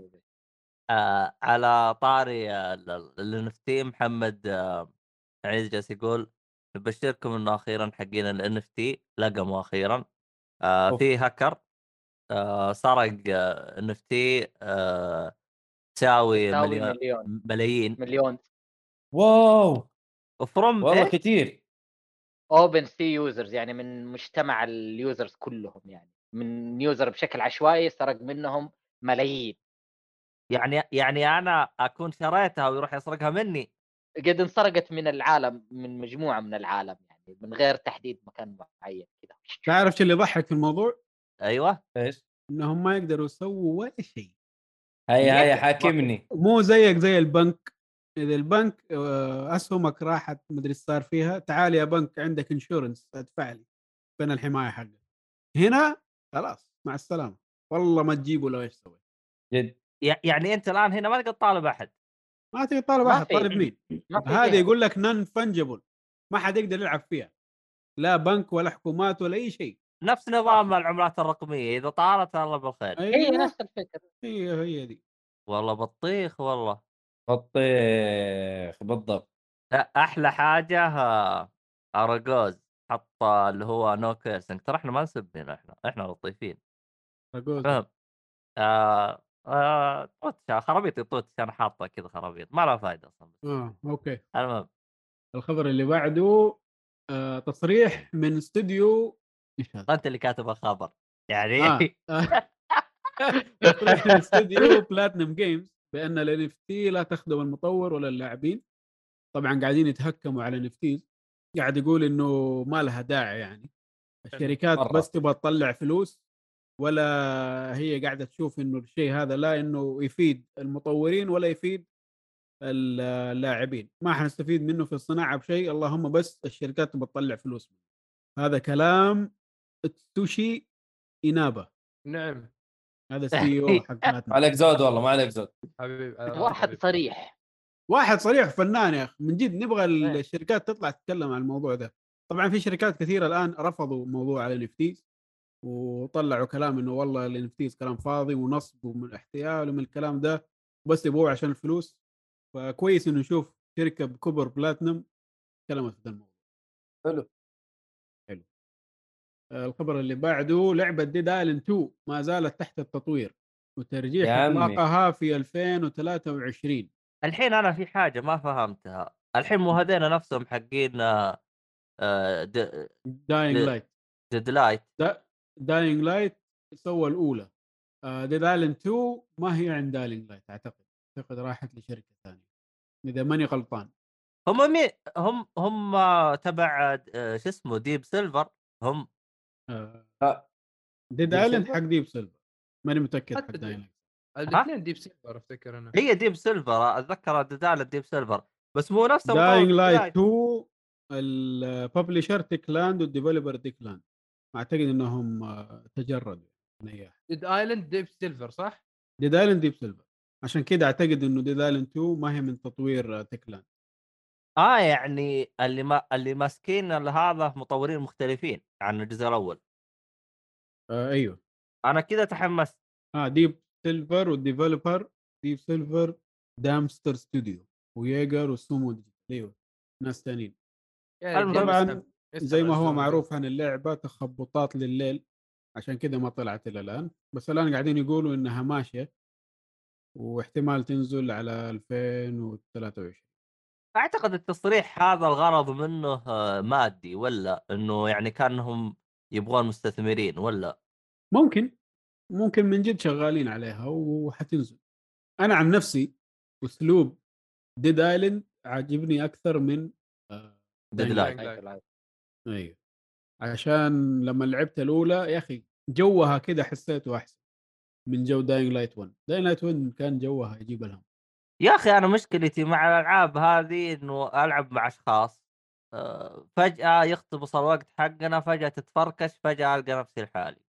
[SPEAKER 1] آه على طاري آه، النفتي محمد آه عزيز جالس يقول نبشركم انه اخيرا حقين النفتي لقموا اخيرا آه
[SPEAKER 3] أوف.
[SPEAKER 1] في هاكر آه سرق النفتي آه تساوي
[SPEAKER 4] تساوي
[SPEAKER 1] مليون
[SPEAKER 4] مليون
[SPEAKER 1] ملايين
[SPEAKER 4] مليون
[SPEAKER 3] واو
[SPEAKER 1] فروم
[SPEAKER 3] والله
[SPEAKER 4] إيه.
[SPEAKER 3] كثير
[SPEAKER 4] اوبن سي يوزرز يعني من مجتمع اليوزرز كلهم يعني من يوزر بشكل عشوائي سرق منهم ملايين
[SPEAKER 1] يعني يعني انا اكون شريتها ويروح يسرقها مني
[SPEAKER 4] قد انسرقت من العالم من مجموعه من العالم يعني من غير تحديد مكان معين كذا
[SPEAKER 5] تعرف شو اللي يضحك في الموضوع؟
[SPEAKER 1] ايوه
[SPEAKER 3] ايش
[SPEAKER 5] انهم ما يقدروا يسووا ولا شيء
[SPEAKER 3] هيا هيا
[SPEAKER 4] يحيى.
[SPEAKER 3] حاكمني
[SPEAKER 5] مو زيك زي البنك اذا البنك آه، اسهمك راحت مدري ايش صار فيها تعال يا بنك عندك انشورنس ادفع لي فين الحمايه حقك هنا خلاص مع السلامه والله ما تجيبه لو ايش سويت
[SPEAKER 3] جد
[SPEAKER 1] يع- يعني انت الان هنا ما تقدر تطالب احد
[SPEAKER 5] ما تبي تطالب
[SPEAKER 4] ما
[SPEAKER 5] احد
[SPEAKER 4] في.
[SPEAKER 5] طالب مين
[SPEAKER 4] ما في
[SPEAKER 5] هذا
[SPEAKER 4] جهة.
[SPEAKER 5] يقول لك نون فنجبل ما حد يقدر يلعب فيها لا بنك ولا حكومات ولا اي شيء
[SPEAKER 1] نفس نظام العملات الرقميه اذا طارت الله بالخير
[SPEAKER 4] هي
[SPEAKER 5] ايوه
[SPEAKER 4] إيه، نفس الفكره
[SPEAKER 5] هي هي دي
[SPEAKER 1] والله بطيخ والله
[SPEAKER 3] بطيخ بالضبط
[SPEAKER 1] لا احلى حاجه آه، اراجوز حط اللي هو نو كيرسنج ترى احنا ما نسب هنا احنا احنا لطيفين
[SPEAKER 5] أقول.
[SPEAKER 1] فهم آه آه طوتش خرابيط طوتش انا حاطه كذا خرابيط ما لها فائده اصلا
[SPEAKER 5] اه اوكي
[SPEAKER 1] المهم
[SPEAKER 5] الخبر اللي بعده آه تصريح من استوديو ايش هذا؟
[SPEAKER 1] انت اللي كاتب الخبر يعني
[SPEAKER 5] آه. آه. تصريح من استوديو بلاتنم جيمز بان ال NFT لا تخدم المطور ولا اللاعبين طبعا قاعدين يتهكموا على NFT قاعد يقول انه ما لها داعي يعني الشركات
[SPEAKER 3] مرة.
[SPEAKER 5] بس تبغى تطلع فلوس ولا هي قاعده تشوف انه الشيء هذا لا انه يفيد المطورين ولا يفيد ال- اللاعبين ما حنستفيد منه في الصناعه بشيء اللهم بس الشركات تبغى تطلع فلوس منه. هذا كلام تسوشي انابه
[SPEAKER 2] نعم
[SPEAKER 5] هذا سي او حق
[SPEAKER 3] ما
[SPEAKER 5] بلاتنم.
[SPEAKER 3] عليك زود والله ما عليك زود
[SPEAKER 2] حبيبي أنا
[SPEAKER 4] واحد
[SPEAKER 2] آه، حبيبي.
[SPEAKER 4] صريح
[SPEAKER 5] واحد صريح فنان يا اخي من جد نبغى
[SPEAKER 1] إيه.
[SPEAKER 5] الشركات تطلع تتكلم عن الموضوع ده طبعا في شركات كثيره الان رفضوا موضوع على NFTs وطلعوا كلام انه والله ال NFTs كلام فاضي ونصب ومن احتيال ومن الكلام ده بس يبغوه عشان الفلوس فكويس انه نشوف شركه بكبر بلاتنم تكلمت في ذا الموضوع
[SPEAKER 3] حلو.
[SPEAKER 5] حلو آه، الخبر اللي بعده لعبه ديد ايلاند 2 ما زالت تحت التطوير
[SPEAKER 3] يا
[SPEAKER 5] وترجيح
[SPEAKER 3] عمي.
[SPEAKER 5] اطلاقها في 2023
[SPEAKER 1] الحين انا في حاجه ما فهمتها الحين مو هذين نفسهم حقين آه،
[SPEAKER 5] داينج
[SPEAKER 1] ل-
[SPEAKER 5] لايت
[SPEAKER 1] ديد لايت
[SPEAKER 5] داينج لايت سوى آه، الاولى ديد ايلاند 2 ما هي عند داينج لايت اعتقد اعتقد راحت لشركه ثانيه اذا ماني غلطان
[SPEAKER 1] هم مي هم هم آه، تبع آه، شو اسمه ديب سيلفر هم
[SPEAKER 5] آه،
[SPEAKER 3] آه،
[SPEAKER 5] ديد
[SPEAKER 3] Deep
[SPEAKER 5] ايلاند
[SPEAKER 3] Silver؟
[SPEAKER 5] حق ديب سيلفر ماني متاكد حق
[SPEAKER 2] حتى
[SPEAKER 5] داينج
[SPEAKER 2] الاثنين ديب سيلفر افتكر انا
[SPEAKER 1] هي ديب سيلفر اتذكر دلالة ديب سيلفر بس مو نفس
[SPEAKER 5] داينج
[SPEAKER 1] مطور
[SPEAKER 5] لايت
[SPEAKER 1] Dying
[SPEAKER 5] 2 الببلشر تكلاند والديفلوبر ديكلاند اعتقد انهم آه، تجردوا من إياه.
[SPEAKER 2] ديد ايلاند ديب سيلفر صح؟
[SPEAKER 5] ديد ايلاند ديب سيلفر عشان كده اعتقد انه ديد ايلاند 2 ما هي من تطوير آه، تكلاند
[SPEAKER 1] اه يعني اللي ما اللي ماسكين ال- هذا مطورين مختلفين عن الجزء الاول
[SPEAKER 5] آه ايوه
[SPEAKER 1] انا كذا تحمست
[SPEAKER 5] اه ديب سيلفر والديفلوبر ديب سيلفر دامستر ستوديو وييجر وسومو ديجيتال. ايوه ناس ثانيين
[SPEAKER 2] يعني
[SPEAKER 1] المهم
[SPEAKER 2] ديب
[SPEAKER 5] طبعاً
[SPEAKER 2] سيلفر.
[SPEAKER 5] زي ما
[SPEAKER 2] استنى،
[SPEAKER 5] هو
[SPEAKER 2] استنى.
[SPEAKER 5] معروف عن اللعبه تخبطات لليل عشان كده ما طلعت الى الان بس الان قاعدين يقولوا انها ماشيه واحتمال تنزل على 2023
[SPEAKER 1] اعتقد التصريح هذا الغرض منه آه، مادي ولا انه يعني كانهم يبغون مستثمرين ولا
[SPEAKER 5] ممكن ممكن من جد شغالين عليها وحتنزل انا عن نفسي اسلوب ديد ايلاند عاجبني اكثر من آه،
[SPEAKER 1] ديد
[SPEAKER 5] Dying
[SPEAKER 1] لايت
[SPEAKER 5] Light. ايوه عشان لما لعبت الاولى يا اخي جوها كده حسيته احسن من جو داينج لايت 1 داينج لايت 1 كان جوها يجيب الهم
[SPEAKER 1] يا اخي انا مشكلتي مع الالعاب هذه انه العب مع اشخاص آه، فجأة يقتبس الوقت حقنا فجأة تتفركش فجأة القى نفسي لحالي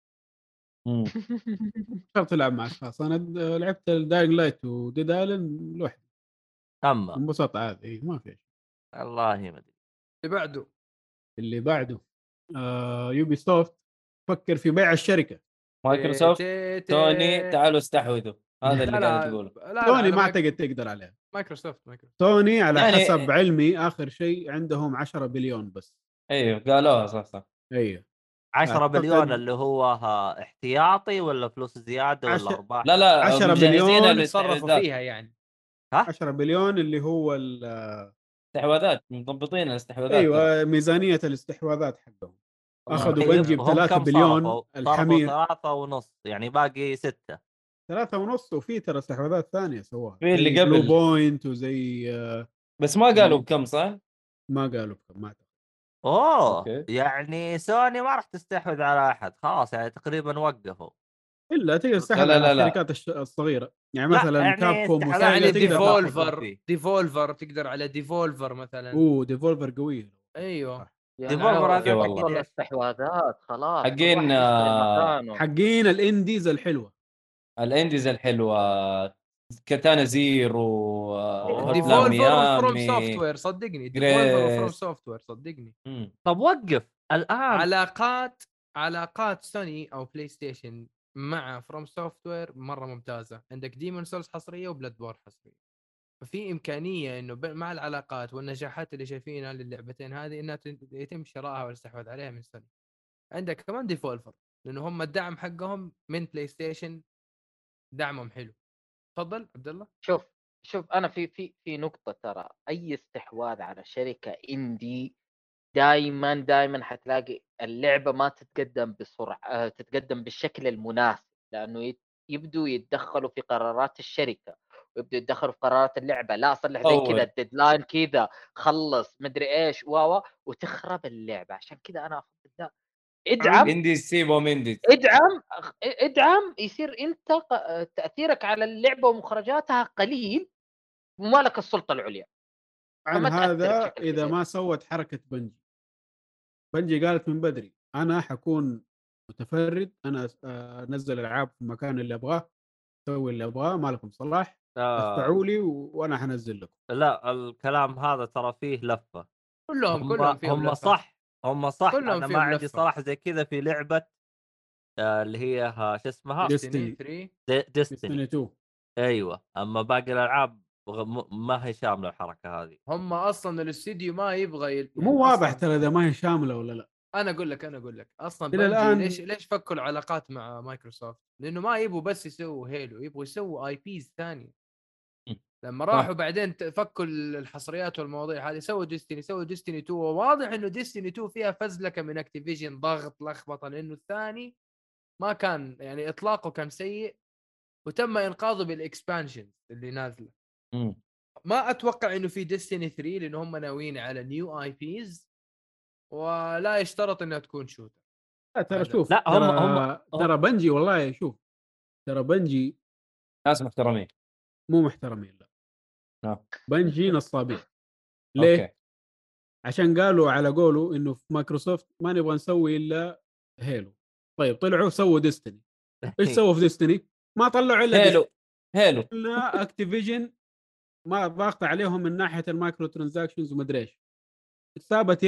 [SPEAKER 3] مم.
[SPEAKER 5] شرط تلعب مع اشخاص انا د- آه، لعبت داينج لايت وديد ايلاند لوحدي
[SPEAKER 2] آه.
[SPEAKER 1] اما
[SPEAKER 5] انبسطت عادي إيه، ما في شيء
[SPEAKER 1] والله ما ادري
[SPEAKER 2] اللي بعده
[SPEAKER 5] اللي بعده آه يوبي سوفت فكر في بيع الشركه
[SPEAKER 3] مايكروسوفت
[SPEAKER 2] تي- تي-
[SPEAKER 3] توني تعالوا استحوذوا هذا اللي
[SPEAKER 2] آه. لا، لا،
[SPEAKER 3] قاعد تقوله
[SPEAKER 2] لا، لا،
[SPEAKER 5] توني
[SPEAKER 2] أنا
[SPEAKER 5] ما
[SPEAKER 2] مايك-
[SPEAKER 5] اعتقد تقدر عليها
[SPEAKER 2] مايكروسوفت مايكروسوفت
[SPEAKER 5] توني على
[SPEAKER 3] يعني-
[SPEAKER 5] يعني حسب علمي اخر شيء عندهم 10 بليون بس
[SPEAKER 3] ايوه قالوها صح صح
[SPEAKER 5] ايوه
[SPEAKER 1] 10 بليون
[SPEAKER 5] أعتقد-
[SPEAKER 1] اللي هو ها، احتياطي ولا فلوس زياده ولا
[SPEAKER 5] عش-
[SPEAKER 1] ارباح
[SPEAKER 3] لا إيه، لا
[SPEAKER 5] 10
[SPEAKER 3] مجهزين
[SPEAKER 5] مليون
[SPEAKER 2] اللي تصرفوا
[SPEAKER 3] الاستحواذات.
[SPEAKER 2] فيها يعني
[SPEAKER 5] 10 بليون اللي هو ال-
[SPEAKER 3] استحواذات مضبطين الاستحواذات
[SPEAKER 5] ايوه ميزانيه الاستحواذات حقهم اخذوا
[SPEAKER 1] طيب،
[SPEAKER 5] بنجي ب
[SPEAKER 1] هم
[SPEAKER 5] 3
[SPEAKER 1] كم
[SPEAKER 5] بليون
[SPEAKER 1] صرفوا؟
[SPEAKER 5] الحمير
[SPEAKER 1] صرفوا ثلاثة ونص يعني باقي ستة
[SPEAKER 5] ثلاثة ونص وفي ترى استحواذات ثانية سواها
[SPEAKER 3] في اللي
[SPEAKER 5] زي بلو
[SPEAKER 3] قبل.
[SPEAKER 5] بوينت وزي آه،
[SPEAKER 3] بس ما قالوا بكم صح؟
[SPEAKER 5] ما قالوا بكم ما أعتقد.
[SPEAKER 1] اوه
[SPEAKER 3] أوكي.
[SPEAKER 1] يعني سوني ما راح تستحوذ على احد خلاص يعني تقريبا وقفوا
[SPEAKER 5] الا تقدر تستحوذ
[SPEAKER 3] لا،
[SPEAKER 5] على
[SPEAKER 3] لا، لا.
[SPEAKER 5] الشركات الش- الصغيرة يعني
[SPEAKER 1] لا،
[SPEAKER 5] مثلا
[SPEAKER 1] يعني
[SPEAKER 5] كاب كوم
[SPEAKER 1] استحواذ
[SPEAKER 5] وسيجا
[SPEAKER 2] يعني
[SPEAKER 1] على
[SPEAKER 5] تقدر تاخذ.
[SPEAKER 1] ديفولفر.
[SPEAKER 2] ديفولفر ديفولفر تقدر على ديفولفر مثلا
[SPEAKER 5] اوه ديفولفر قوية
[SPEAKER 2] ايوه
[SPEAKER 1] ديفولفر
[SPEAKER 3] أوكي
[SPEAKER 1] هذا
[SPEAKER 3] والله.
[SPEAKER 1] أكيد.
[SPEAKER 4] الاستحواذات خلاص كل
[SPEAKER 3] حقين،
[SPEAKER 4] واحد يشتري
[SPEAKER 3] آه،
[SPEAKER 4] مكانه.
[SPEAKER 5] حقين الانديز الحلوة
[SPEAKER 3] الانديز الحلوه كاتانا زيرو
[SPEAKER 2] آه.
[SPEAKER 1] أوه.
[SPEAKER 3] هوتلا
[SPEAKER 2] ديفولفر فروم
[SPEAKER 3] ميامي
[SPEAKER 2] سوفت وير صدقني ديفولفر فروم
[SPEAKER 3] Grace.
[SPEAKER 2] سوفت وير صدقني
[SPEAKER 3] مم.
[SPEAKER 1] طب وقف الان
[SPEAKER 2] علاقات علاقات سوني او بلاي ستيشن مع فروم سوفت وير مره ممتازه عندك ديمون سولز حصريه وبلاد بور حصريه ففي امكانيه انه ب- مع العلاقات والنجاحات اللي شايفينها للعبتين هذه انها تن- يتم شرائها والاستحواذ عليها من سوني عندك كمان ديفولفر لانه هم الدعم حقهم من بلاي ستيشن دعمهم حلو تفضل عبد الله
[SPEAKER 4] شوف شوف انا في في في نقطه ترى اي استحواذ على شركه اندي دائما دائما حتلاقي اللعبه ما تتقدم بسرعه آه، تتقدم بالشكل المناسب لانه يت- يبدوا يتدخلوا في قرارات الشركه ويبدوا يتدخلوا في قرارات اللعبه لا صلح زي
[SPEAKER 3] أول.
[SPEAKER 4] كذا الديدلاين كذا خلص مدري ايش واوا وتخرب اللعبه عشان كذا انا افضل لا ادعم
[SPEAKER 3] انديز سيبو منديز
[SPEAKER 4] ادعم أخ- ادعم يصير انت ق- تاثيرك على اللعبه ومخرجاتها قليل وما لك السلطه العليا
[SPEAKER 5] عن
[SPEAKER 4] فما تأثر
[SPEAKER 5] هذا
[SPEAKER 4] بشكل
[SPEAKER 5] اذا
[SPEAKER 4] كبير.
[SPEAKER 5] ما سوت حركه بنجي بنجي قالت من بدري انا حكون متفرد انا أس- آه، انزل العاب في المكان اللي ابغاه اسوي اللي ابغاه ما لكم صلاح
[SPEAKER 1] آه
[SPEAKER 5] ادفعوا لي و- وانا حنزل لكم
[SPEAKER 1] لا الكلام هذا ترى فيه لفة
[SPEAKER 2] كلهم كلهم
[SPEAKER 1] هم,
[SPEAKER 2] فيهم
[SPEAKER 1] هم
[SPEAKER 2] لفة.
[SPEAKER 1] صح هم صح
[SPEAKER 2] كلهم
[SPEAKER 1] انا
[SPEAKER 2] فيهم
[SPEAKER 1] ما عندي
[SPEAKER 2] لفة.
[SPEAKER 1] صراحة زي كذا في لعبة آه، اللي هي ها، شو اسمها
[SPEAKER 5] Destiny.
[SPEAKER 2] ديستني 3
[SPEAKER 1] ديستني
[SPEAKER 5] ديستني 2
[SPEAKER 1] ايوه اما باقي الالعاب غ- م- ما هي شامله الحركه هذه
[SPEAKER 2] هم اصلا الاستديو ما يبغى يل...
[SPEAKER 5] مو واضح
[SPEAKER 2] أصلاً-
[SPEAKER 5] ترى اذا ما هي شامله ولا لا
[SPEAKER 2] انا اقول لك انا اقول لك اصلا
[SPEAKER 5] إلى
[SPEAKER 2] بنجي
[SPEAKER 5] الآن-
[SPEAKER 2] ليش ليش فكوا العلاقات مع مايكروسوفت؟ لانه ما يبوا بس يسووا هيلو يبغوا يسووا اي بيز ثانيه
[SPEAKER 3] مم.
[SPEAKER 2] لما راحوا بعدين ت- فكوا ال- الحصريات والمواضيع هذه سووا ديستني سووا ديستني 2 وواضح انه ديستني 2 فيها فزلكه من اكتيفيجن ضغط لخبطه لانه الثاني ما كان يعني اطلاقه كان سيء وتم انقاذه بالاكسبانشن اللي نازله
[SPEAKER 3] مم.
[SPEAKER 2] ما اتوقع انه في ديستني 3 لان هم ناويين على نيو اي بيز ولا يشترط انها تكون شوتر
[SPEAKER 5] لا ترى
[SPEAKER 2] هذا.
[SPEAKER 5] شوف
[SPEAKER 1] لا، هم-
[SPEAKER 5] ترى- ترى بنجي والله شوف ترى بنجي
[SPEAKER 3] ناس محترمين
[SPEAKER 5] مو محترمين لا
[SPEAKER 1] آه.
[SPEAKER 3] نعم.
[SPEAKER 5] بنجي نصابين ليه؟
[SPEAKER 3] أوكي.
[SPEAKER 5] عشان قالوا على قوله انه في مايكروسوفت ما نبغى نسوي الا هيلو طيب طلعوا سووا ديستني ايش سووا في ديستني؟ ما طلعوا الا
[SPEAKER 3] هيلو هيلو
[SPEAKER 5] قلنا اكتيفيجن ما ضاغطه عليهم من ناحيه المايكرو ترانزاكشنز ومدري ايش سابت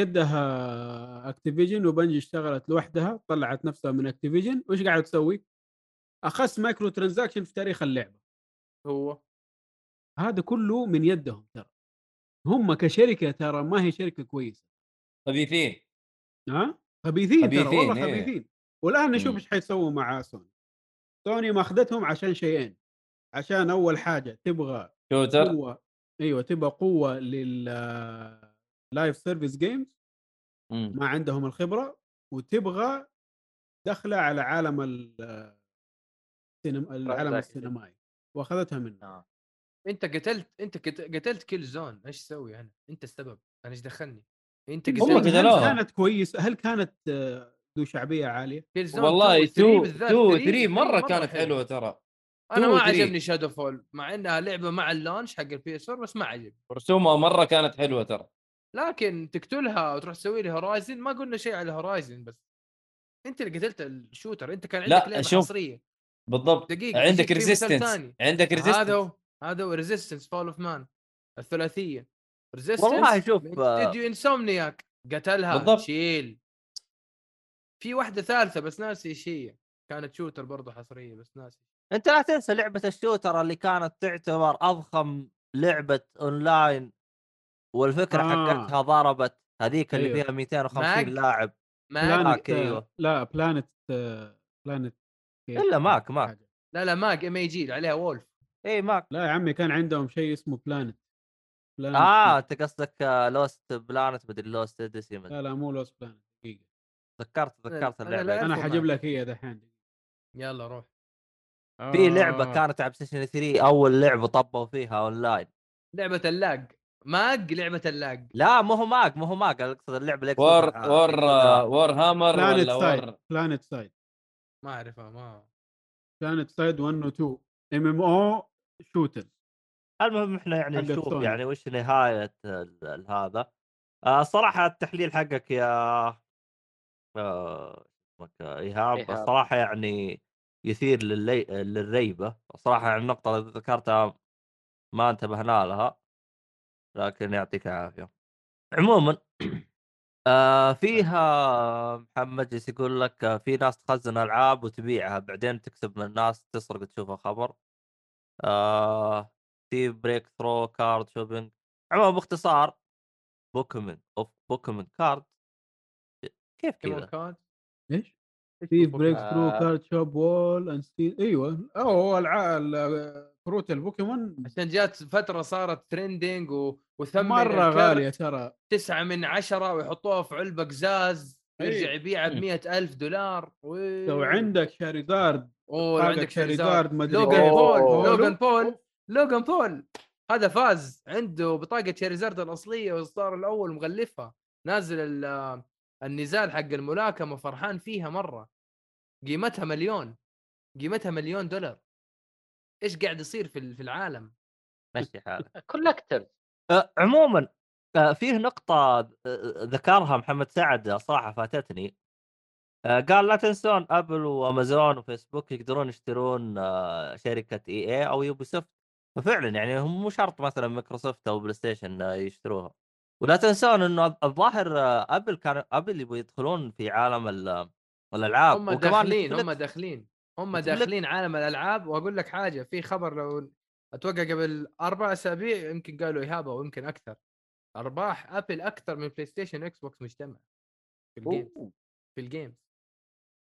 [SPEAKER 5] يدها اكتيفيجن وبنجي اشتغلت لوحدها طلعت نفسها من اكتيفيجن وايش قاعده تسوي؟ اخس مايكرو ترانزاكشن في تاريخ اللعبه
[SPEAKER 2] هو
[SPEAKER 5] هذا كله من يدهم ترى هم كشركه ترى ما هي شركه كويسه
[SPEAKER 3] خبيثين
[SPEAKER 5] ها خبيثين ترى
[SPEAKER 3] خبيثين،
[SPEAKER 5] والله
[SPEAKER 3] إيه.
[SPEAKER 5] خبيثين والان نشوف
[SPEAKER 3] مم.
[SPEAKER 5] ايش حيسووا مع سوني سوني ماخذتهم عشان شيئين عشان اول حاجه تبغى
[SPEAKER 3] شوتر
[SPEAKER 5] قوه ايوه تبغى قوه لل لايف سيرفيس جيمز
[SPEAKER 3] مم.
[SPEAKER 5] ما عندهم الخبره وتبغى دخله على عالم ال السينما- العالم
[SPEAKER 4] Transaction.
[SPEAKER 5] السينمائي واخذتها منه
[SPEAKER 2] انت قتلت انت قت- قتلت كل زون ايش اسوي انا؟ انت السبب انا ايش دخلني؟ انت
[SPEAKER 3] هم
[SPEAKER 5] هل
[SPEAKER 2] قتلت
[SPEAKER 3] قتلوها.
[SPEAKER 5] كانت كويسه هل كانت آه، ذو شعبيه عاليه؟
[SPEAKER 2] كل زون
[SPEAKER 3] والله
[SPEAKER 2] 2
[SPEAKER 3] تو
[SPEAKER 2] 3
[SPEAKER 3] تو 3 مره كانت حلوه ترى
[SPEAKER 2] انا
[SPEAKER 3] تو
[SPEAKER 2] ما
[SPEAKER 3] 3.
[SPEAKER 2] عجبني شادو فول مع انها لعبه مع اللونش حق البي اس 4 بس ما عجبني
[SPEAKER 3] رسومها مره كانت حلوه ترى
[SPEAKER 2] لكن تقتلها وتروح تسوي لي هورايزن ما قلنا شيء على هورايزن بس انت اللي قتلت الشوتر انت كان
[SPEAKER 3] لا،
[SPEAKER 2] عندك لعبه
[SPEAKER 3] شوف.
[SPEAKER 2] حصريه
[SPEAKER 3] بالضبط
[SPEAKER 2] دقيقه
[SPEAKER 3] عندك
[SPEAKER 2] أجيك في مثال
[SPEAKER 3] ريزيستنس
[SPEAKER 2] ثاني.
[SPEAKER 3] عندك
[SPEAKER 2] هذا
[SPEAKER 3] ريزيستنس
[SPEAKER 2] هو هذا هو ريزيستنس فول اوف مان الثلاثيه ريزيستنس
[SPEAKER 1] والله شوف، آه.
[SPEAKER 2] استديو انسومنياك قتلها
[SPEAKER 3] بالضبط.
[SPEAKER 2] شيل في واحده ثالثه بس ناسي ايش هي كانت شوتر برضه حصريه بس ناسي
[SPEAKER 1] انت لا تنسى لعبه الشوتر اللي كانت تعتبر اضخم لعبه اونلاين والفكره
[SPEAKER 5] آه.
[SPEAKER 1] آه. حقتها ضربت هذيك اللي
[SPEAKER 2] أيوه.
[SPEAKER 5] أيوة.
[SPEAKER 1] فيها 250
[SPEAKER 2] ماج؟
[SPEAKER 1] لاعب
[SPEAKER 2] ماج
[SPEAKER 1] لا.
[SPEAKER 5] بلانت
[SPEAKER 1] معك، أيوة.
[SPEAKER 5] لا بلانت بلانت
[SPEAKER 1] إلا معك، معك.
[SPEAKER 2] لا لا ماج ام اي جي عليها وولف
[SPEAKER 1] اي ماج
[SPEAKER 5] لا يا عمي كان عندهم شيء اسمه بلانت بلانت
[SPEAKER 1] اه انت قصدك لوست بلانت مدري لوست اديسي
[SPEAKER 5] لا لا مو لوس بلانت دقيقه
[SPEAKER 1] تذكرت
[SPEAKER 2] أنا-
[SPEAKER 1] تذكرت
[SPEAKER 2] آه. أنا
[SPEAKER 1] اللعبه
[SPEAKER 2] لا
[SPEAKER 1] هذه.
[SPEAKER 5] انا
[SPEAKER 2] ألف
[SPEAKER 5] حجيب
[SPEAKER 2] ومعك.
[SPEAKER 5] لك هي دحين
[SPEAKER 2] يلا روح
[SPEAKER 1] في لعبه
[SPEAKER 5] آه،
[SPEAKER 1] كانت على بلاي ستيشن 3 اول لعبه طبوا فيها اونلاين
[SPEAKER 2] لعبه اللاج ماج لعبه اللاج
[SPEAKER 1] لا مو هو ماج مو هو ماج أنا اقصد اللعبه اللي
[SPEAKER 3] وور
[SPEAKER 1] يقصدها-
[SPEAKER 3] وور
[SPEAKER 1] يقصدها-
[SPEAKER 5] آه،
[SPEAKER 3] وور هامر
[SPEAKER 5] بلانت
[SPEAKER 3] ولا
[SPEAKER 5] سايد
[SPEAKER 3] وور
[SPEAKER 5] بلانت سايد
[SPEAKER 2] ما اعرفها ما
[SPEAKER 5] بلانت سايد 1 و 2 ام ام او شوتر
[SPEAKER 1] المهم احنا يعني
[SPEAKER 5] حق
[SPEAKER 1] نشوف
[SPEAKER 5] السوني.
[SPEAKER 1] يعني وش نهايه ال- ال- هذا آه صراحه التحليل حقك يا آه، اسمك ايهاب
[SPEAKER 4] إيهاب.
[SPEAKER 1] الصراحه يعني يثير للي... للريبه صراحه يعني النقطه اللي ذكرتها ما انتبهنا لها لكن يعطيك العافيه عموما آه فيها محمد جالس يقول لك آه، في ناس تخزن العاب وتبيعها بعدين تكسب من الناس تسرق تشوفها خبر آه في بريك ثرو كارد شوبينج عموما باختصار بوكيمون اوف بوكيمون كارد كيف
[SPEAKER 2] كيمون
[SPEAKER 1] كذا؟
[SPEAKER 2] كارد
[SPEAKER 5] ايش؟
[SPEAKER 2] إيش
[SPEAKER 5] ثيف
[SPEAKER 2] بفكر؟
[SPEAKER 5] بريك ثرو
[SPEAKER 1] آه.
[SPEAKER 5] كارد شوب وول اند ايوه أو هو الع- ال- كروت البوكيمون
[SPEAKER 2] عشان جات فتره صارت ترندنج و... وثمن
[SPEAKER 5] مره
[SPEAKER 2] الكرت
[SPEAKER 5] غاليه ترى
[SPEAKER 2] تسعة من عشرة ويحطوها في علبة قزاز
[SPEAKER 5] أي.
[SPEAKER 2] يرجع يبيعها
[SPEAKER 3] مم.
[SPEAKER 2] بمئة ألف دولار وي-
[SPEAKER 5] إيه. لو عندك شاريزارد
[SPEAKER 2] أوه إيه. لو
[SPEAKER 5] طاقة
[SPEAKER 2] عندك
[SPEAKER 5] شاريزارد
[SPEAKER 2] شاريزارد
[SPEAKER 5] ما أدري
[SPEAKER 2] لوغان
[SPEAKER 5] إيه.
[SPEAKER 2] بول
[SPEAKER 5] أوه.
[SPEAKER 2] لوغان بول لوغان بول هذا فاز عنده بطاقة شاريزارد الأصلية والإصدار الأول مغلفها نازل ال- النزال حق الملاكمة فرحان فيها مرة قيمتها مليون قيمتها مليون دولار ايش قاعد يصير في ال- في العالم
[SPEAKER 1] مشي حالك
[SPEAKER 4] كولكتر
[SPEAKER 1] آه، عموما آه، فيه نقطة آه، ذكرها محمد سعد آه، صراحة فاتتني آه، قال لا تنسون ابل وامازون وفيسبوك يقدرون يشترون آه، شركة اي اي او يوبي سوفت ففعلا يعني هم مو شرط مثلا مايكروسوفت او بلاي ستيشن آه، يشتروها ولا تنسون انه الظاهر آه، ابل كان ابل يبغوا يدخلون في عالم ال- الالعاب
[SPEAKER 2] هم داخلين هم
[SPEAKER 1] نتفليكس-
[SPEAKER 2] داخلين هم
[SPEAKER 1] نتفليكس-
[SPEAKER 2] داخلين عالم الالعاب واقول لك حاجه في خبر لو اتوقع قبل اربع اسابيع يمكن قالوا ايهاب او يمكن اكثر ارباح ابل اكثر من بلاي ستيشن واكس بوكس مجتمع في الجيم
[SPEAKER 1] أوه.
[SPEAKER 2] في الجيم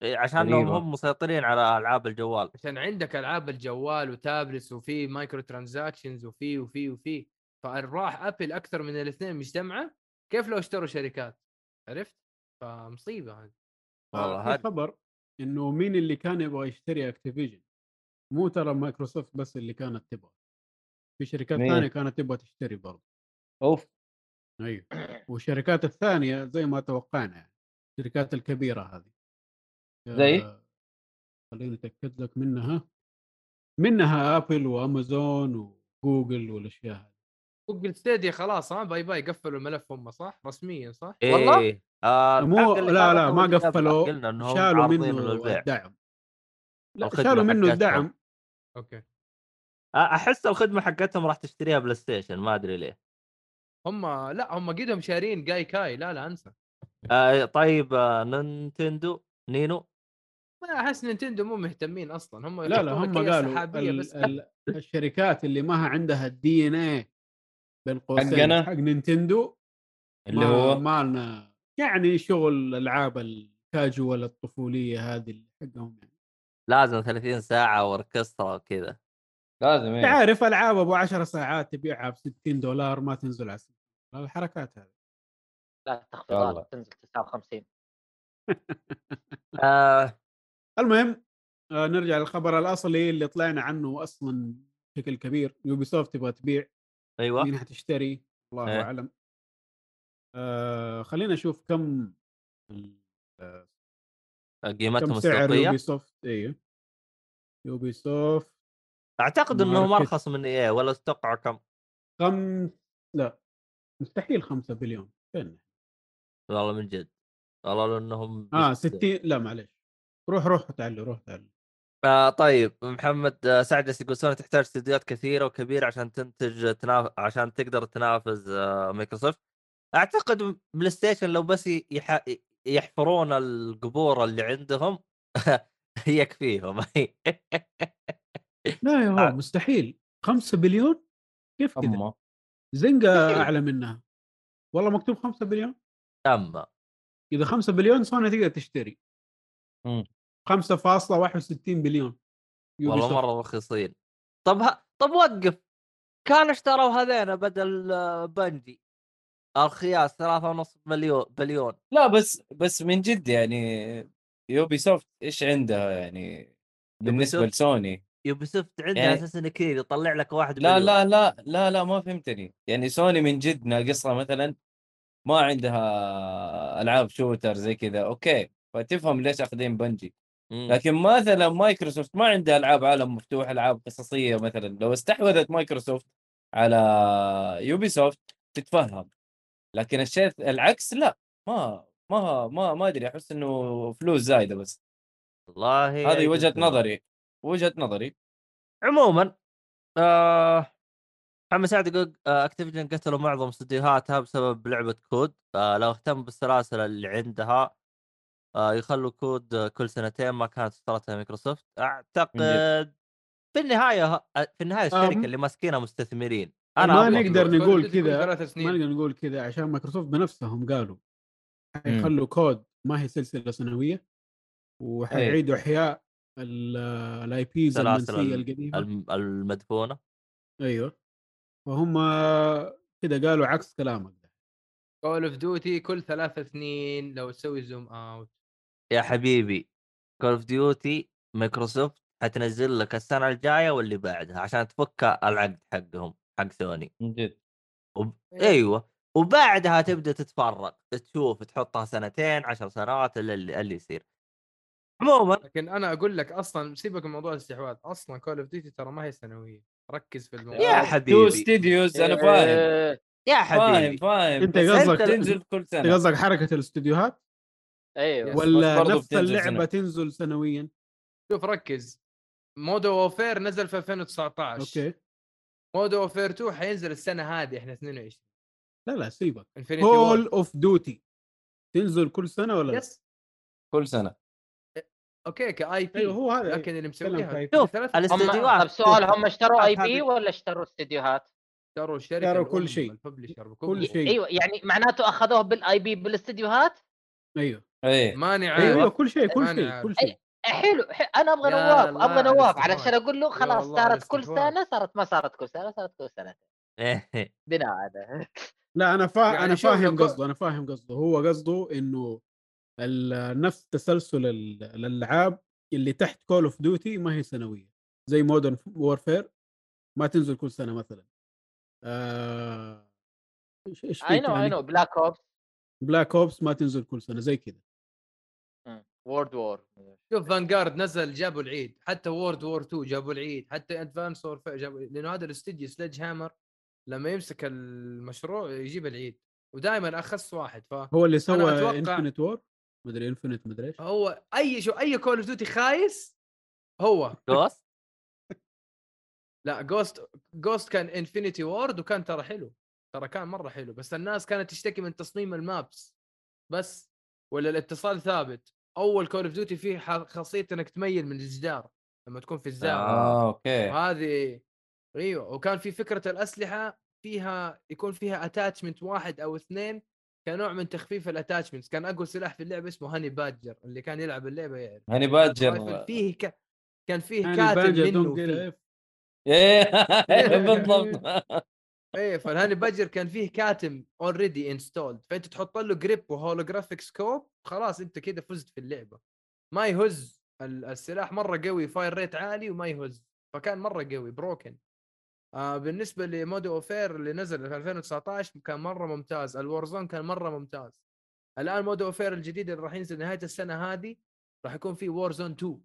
[SPEAKER 1] إيه، عشان انهم
[SPEAKER 3] غريبة.
[SPEAKER 1] هم مسيطرين على العاب الجوال
[SPEAKER 2] عشان عندك العاب الجوال وتابلس وفي مايكرو ترانزاكشنز وفي وفي وفي فارباح ابل اكثر من الاثنين مجتمعه كيف لو اشتروا شركات عرفت فمصيبه هذه
[SPEAKER 3] آه،
[SPEAKER 1] والله
[SPEAKER 5] في
[SPEAKER 1] هذه
[SPEAKER 5] خبر انه مين اللي كان يبغى يشتري اكتيفيجن مو ترى مايكروسوفت بس اللي كانت تبغى في شركات
[SPEAKER 3] مين؟
[SPEAKER 5] ثانيه كانت تبغى تشتري برضه
[SPEAKER 3] اوف
[SPEAKER 5] ايوه والشركات الثانيه زي ما توقعنا يعني الشركات الكبيره هذه
[SPEAKER 3] زي؟
[SPEAKER 5] آه، خليني اتاكد لك منها منها ابل وامازون وجوجل والاشياء هذه
[SPEAKER 2] جوجل ستيديا خلاص ها باي باي قفلوا الملف هم صح رسميا صح
[SPEAKER 1] إيه.
[SPEAKER 4] والله؟
[SPEAKER 1] آه
[SPEAKER 5] مو-
[SPEAKER 1] الحلقة اللي
[SPEAKER 5] لا- لا،
[SPEAKER 1] فاتت
[SPEAKER 5] ما
[SPEAKER 1] واللي قبلها
[SPEAKER 5] قفلوا،
[SPEAKER 1] قلنا انهم
[SPEAKER 5] شالوا
[SPEAKER 1] عارضينه
[SPEAKER 5] منه
[SPEAKER 1] للبيع
[SPEAKER 5] الدعم لا
[SPEAKER 1] الخدمة
[SPEAKER 5] شالوا منه
[SPEAKER 1] حقتهم.
[SPEAKER 5] الدعم
[SPEAKER 2] اوكي
[SPEAKER 1] آه، احس الخدمه حقتهم راح تشتريها بلاي ستيشن ما ادري ليه
[SPEAKER 2] هم لا هم قدهم شارين جاي كاي لا لا انسى
[SPEAKER 1] آه طيب آه نينتندو نينو
[SPEAKER 2] ما احس نينتندو مو مهتمين اصلا هم
[SPEAKER 5] لا لا
[SPEAKER 2] يحطون
[SPEAKER 5] هم
[SPEAKER 2] لك إياها
[SPEAKER 5] قالوا
[SPEAKER 2] سحابية بس
[SPEAKER 5] ال ال الشركات اللي ما عندها الدي ان اي بين قوسين
[SPEAKER 3] حقنا؟
[SPEAKER 5] حق نينتندو
[SPEAKER 3] اللي
[SPEAKER 5] ما-
[SPEAKER 3] هو
[SPEAKER 5] مالنا يعني شغل الالعاب الكاجوال الطفوليه هذه اللي حقهم يعني
[SPEAKER 1] لازم 30 ساعه واوركسترا وكذا
[SPEAKER 3] لازم إيه.
[SPEAKER 5] تعرف العاب ابو 10 ساعات تبيعها ب 60 دولار ما تنزل على السوق. الحركات هذه
[SPEAKER 4] لا
[SPEAKER 3] والله.
[SPEAKER 4] تخفيضات تنزل 59
[SPEAKER 1] آه
[SPEAKER 5] المهم آه، نرجع للخبر الاصلي اللي طلعنا عنه اصلا بشكل كبير يوبي سوفت تبغى تبيع
[SPEAKER 1] ايوه
[SPEAKER 5] مين حتشتري الله
[SPEAKER 1] إيه.
[SPEAKER 5] اعلم آه خلينا نشوف كم آه،
[SPEAKER 1] قيمتهم
[SPEAKER 5] كم سعر يوبي
[SPEAKER 1] السوقيه
[SPEAKER 5] سوفت ايوه يوبي سوفت
[SPEAKER 1] اعتقد انهم
[SPEAKER 5] ماركت.
[SPEAKER 1] ارخص من ايه ولا استقع كم
[SPEAKER 5] خم لا مستحيل 5 بليون فين
[SPEAKER 1] والله من جد والله لانهم
[SPEAKER 5] اه
[SPEAKER 1] بيشتروا.
[SPEAKER 5] 60 لا معلش روح روح تعالوا روح تعالوا
[SPEAKER 1] آه طيب محمد آه، سعدس يقول سوني تحتاج استديوهات كثيره وكبيره عشان تنتج تناف... عشان تقدر تنافس آه مايكروسوفت اعتقد بلاي ستيشن لو بس يح... يحفرون القبور اللي عندهم يكفيهم
[SPEAKER 5] لا يا
[SPEAKER 1] آه.
[SPEAKER 5] هو مستحيل 5 بليون كيف كذا
[SPEAKER 3] اما
[SPEAKER 5] زنقه اعلى منها والله مكتوب 5 بليون
[SPEAKER 1] اما
[SPEAKER 5] اذا 5 بليون سوني تقدر تشتري
[SPEAKER 3] مم.
[SPEAKER 5] 5.61 بليون يوبي
[SPEAKER 1] والله
[SPEAKER 5] سوفت.
[SPEAKER 1] مره رخيصين طب ه... طب وقف كان اشتروا هذين بدل آه، بنجي الخياس ثلاثة ونص مليون بليون
[SPEAKER 3] لا بس بس من جد يعني يوبي سوفت ايش عندها يعني بالنسبه
[SPEAKER 1] Ubisoft؟
[SPEAKER 3] لسوني
[SPEAKER 1] يوبي سوفت عندها
[SPEAKER 3] يعني-
[SPEAKER 1] يعني... اساسا كذا يطلع لك واحد
[SPEAKER 5] أيوه.
[SPEAKER 3] لا
[SPEAKER 1] مليون.
[SPEAKER 3] لا لا لا لا ما فهمتني يعني سوني من جد ناقصها مثلا ما عندها العاب شوتر زي كذا اوكي فتفهم ليش اخذين بنجي
[SPEAKER 1] مم.
[SPEAKER 3] لكن مثلا مايكروسوفت ما عندها العاب عالم مفتوح العاب قصصيه مثلا لو استحوذت مايكروسوفت على يوبي سوفت تتفهم لكن الشيء العكس لا ما ما ما ما ادري احس انه فلوس زايده بس
[SPEAKER 1] والله يعني
[SPEAKER 3] هذه
[SPEAKER 1] أي
[SPEAKER 3] وجهه
[SPEAKER 1] جد والله.
[SPEAKER 3] نظري وجهه نظري
[SPEAKER 1] عموما آه محمد سعد يقول آه، اكتيفجن قتلوا معظم استديوهاتها بسبب لعبه كود آه لو اهتم بالسلاسل اللي عندها آه يخلوا كود آه، كل سنتين ما كانت اشترتها مايكروسوفت اعتقد في النهايه ه- آه، في النهايه الشركه
[SPEAKER 5] م-
[SPEAKER 1] اللي ماسكينها مستثمرين
[SPEAKER 5] ما
[SPEAKER 1] أعرف
[SPEAKER 5] نقدر
[SPEAKER 1] أقول.
[SPEAKER 2] كل-
[SPEAKER 5] نقول
[SPEAKER 2] كل- كل
[SPEAKER 5] كذا،
[SPEAKER 2] ثلاث
[SPEAKER 5] ما
[SPEAKER 2] سنين
[SPEAKER 5] نقدر نقول كذا عشان مايكروسوفت بنفسهم قالوا
[SPEAKER 3] مم.
[SPEAKER 5] حيخلوا كود ما هي سلسله سنويه وحيعيدوا احياء الاي بيز
[SPEAKER 1] سلاسل
[SPEAKER 5] المنسيه
[SPEAKER 1] ال-
[SPEAKER 5] القديمه
[SPEAKER 1] الم- المدفونه
[SPEAKER 5] ايوه فهم كذا قالوا عكس كلامك ده.
[SPEAKER 2] كول اوف ديوتي كل ثلاث سنين لو تسوي زوم اوت
[SPEAKER 1] يا حبيبي كول اوف ديوتي مايكروسوفت حتنزل لك السنه الجايه واللي بعدها عشان تفك العقد حقهم حق سوني
[SPEAKER 3] من جد
[SPEAKER 1] وب... ايوه وبعدها تبدا تتفرق تشوف تحطها سنتين عشر سنوات إلا اللي اللي يصير عموما
[SPEAKER 2] لكن انا اقول لك اصلا سيبك من موضوع الاستحواذ اصلا كول اوف ديوتي ترى ما هي سنويه ركز في الموضوع
[SPEAKER 1] يا
[SPEAKER 3] تو
[SPEAKER 1] حبيبي
[SPEAKER 3] ستوديوز انا فاهم
[SPEAKER 4] إيه،
[SPEAKER 1] يا
[SPEAKER 3] فاهم
[SPEAKER 1] حبيبي
[SPEAKER 3] فاهم
[SPEAKER 5] أنت
[SPEAKER 3] بس
[SPEAKER 5] قصدك-
[SPEAKER 3] تنزل كل
[SPEAKER 5] انت
[SPEAKER 3] سنه
[SPEAKER 5] قصدك حركه الاستديوهات
[SPEAKER 4] ايوه
[SPEAKER 2] يس، وال-
[SPEAKER 5] ولا
[SPEAKER 3] برضو
[SPEAKER 5] نفس
[SPEAKER 3] بتنزل
[SPEAKER 5] اللعبه
[SPEAKER 3] سنة.
[SPEAKER 5] تنزل سنويا
[SPEAKER 2] شوف ركز مودو وفير نزل في 2019
[SPEAKER 5] اوكي
[SPEAKER 2] مودو وفير 2 حينزل السنه هذه احنا 22
[SPEAKER 5] لا لا سيبك
[SPEAKER 2] انفينيتي
[SPEAKER 5] كول اوف ديوتي تنزل كل سنه ولا لا؟
[SPEAKER 2] يس
[SPEAKER 3] كل سنه
[SPEAKER 2] اوكي كاي بي
[SPEAKER 5] ايوه هو هذا
[SPEAKER 2] لكن اللي
[SPEAKER 5] تكلم في
[SPEAKER 2] مسويها
[SPEAKER 5] IP.
[SPEAKER 1] شوف
[SPEAKER 2] ثلاث
[SPEAKER 4] هم
[SPEAKER 1] الاستديوهات
[SPEAKER 4] طب سؤال هم اشتروا اي
[SPEAKER 2] هذه-
[SPEAKER 4] بي ولا اشتروا استديوهات؟
[SPEAKER 2] اشتروا الشركه
[SPEAKER 5] اشتروا كل
[SPEAKER 2] الأم،
[SPEAKER 5] شيء.
[SPEAKER 2] الببلشر بكل
[SPEAKER 5] كل شيء
[SPEAKER 4] ايوه يعني معناته اخذوه بالاي بي بالاستديوهات؟
[SPEAKER 5] ايوه
[SPEAKER 3] ايه
[SPEAKER 2] ماني عارف
[SPEAKER 5] ايوه كل شيء كل
[SPEAKER 2] أيوه. أنا
[SPEAKER 5] شيء
[SPEAKER 2] عارف.
[SPEAKER 5] كل شيء
[SPEAKER 4] إيه، حلو, حلو انا ابغى
[SPEAKER 2] يا
[SPEAKER 4] نواف
[SPEAKER 2] الله
[SPEAKER 4] ابغى
[SPEAKER 2] على
[SPEAKER 4] نواف
[SPEAKER 2] الاستحواذ.
[SPEAKER 4] علشان اقول له
[SPEAKER 2] يا
[SPEAKER 4] خلاص
[SPEAKER 2] الله على
[SPEAKER 4] صارت كل
[SPEAKER 2] الاستحواذ.
[SPEAKER 4] سنه صارت ما صارت كل سنه صارت كل سنه بناء على
[SPEAKER 5] لا انا فا...
[SPEAKER 2] يعني
[SPEAKER 5] انا
[SPEAKER 2] شوف لو
[SPEAKER 5] فاهم
[SPEAKER 2] كو-
[SPEAKER 5] قصده انا فاهم قصده هو قصده انه ال- نفس تسلسل ال- الالعاب اللي تحت كول اوف ديوتي ما هي سنويه زي مودرن وورفير ما تنزل كل سنه مثلا آه، ايش ايش في
[SPEAKER 4] اي نو اي
[SPEAKER 5] ثاني
[SPEAKER 4] نو بلاك اوبس
[SPEAKER 5] بلاك اوبس ما تنزل كل سنه زي كذا
[SPEAKER 4] مم. وورد وور
[SPEAKER 2] شوف فانجارد نزل جابوا العيد حتى وورد وور 2 جابوا العيد حتى ادفانس وور جابوا لانه هذا الاستديو سلج هامر لما يمسك المشروع يجيب العيد ودائما اخص واحد ف
[SPEAKER 5] هو اللي سوى
[SPEAKER 2] أتوقع-
[SPEAKER 5] انفنت وور مدري انفنت مدري ايش
[SPEAKER 2] هو اي شو اي كول اوف ديوتي خايس هو
[SPEAKER 1] جوست
[SPEAKER 2] لا جوست جوست كان انفينيتي وورد وكان ترى حلو ترى كان مره حلو بس الناس كانت تشتكي من تصميم المابس بس ولا الاتصال ثابت اول كول اوف ديوتي فيه ح- خاصيه انك تميل من الجدار لما تكون في الزاويه
[SPEAKER 3] اه اوكي
[SPEAKER 2] وهذه ايوه وكان في فكره الاسلحه فيها يكون فيها اتاتشمنت واحد او اثنين كنوع من تخفيف الاتاتشمنتس كان اقوى سلاح في اللعبه اسمه هاني بادجر اللي كان يلعب اللعبه يعرف
[SPEAKER 3] هاني
[SPEAKER 2] الرايفل
[SPEAKER 3] بادجر
[SPEAKER 2] فيه ك... كان فيه
[SPEAKER 5] يعني
[SPEAKER 2] كاتب
[SPEAKER 5] بانجر
[SPEAKER 2] منه
[SPEAKER 5] دونت
[SPEAKER 2] فيه.
[SPEAKER 5] جيت-
[SPEAKER 3] إيه، بالضبط
[SPEAKER 2] ايه فالهاني بادجر كان فيه كاتم اوريدي انستولد فانت تحط له جريب وهولوجرافيك سكوب خلاص انت كده فزت في اللعبه ما يهز ال- السلاح مره قوي فاير ريت عالي وما يهز فكان مره قوي بروكن آه بالنسبه لمود اوفير اللي نزل في 2019 كان مره ممتاز الورزون كان مره ممتاز الان مود اوفير الجديد اللي راح ينزل نهايه السنه هذه راح يكون في وورزون 2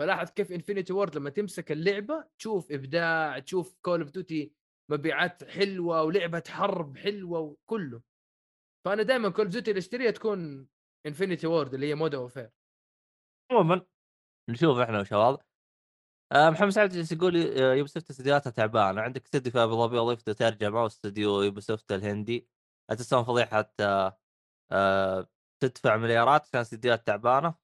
[SPEAKER 2] فلاحظ كيف انفينيتي وورد لما تمسك اللعبه تشوف ابداع تشوف كول اوف ديوتي مبيعات حلوه ولعبه حرب حلوه وكله فانا دائما كل ديوتي اللي اشتريها تكون انفينيتي وورد اللي هي مودا وفير
[SPEAKER 1] عموما نشوف احنا وشباب آه، محمد سعد جالس يقول آه، يوبي سوفت استديوهاتها تعبانه عندك استديو في ابو ظبي الله يفتح ترجع معه استديو يوبي سوفت الهندي لا تسوون فضيحه آه، آه، تدفع مليارات عشان استديوهات تعبانه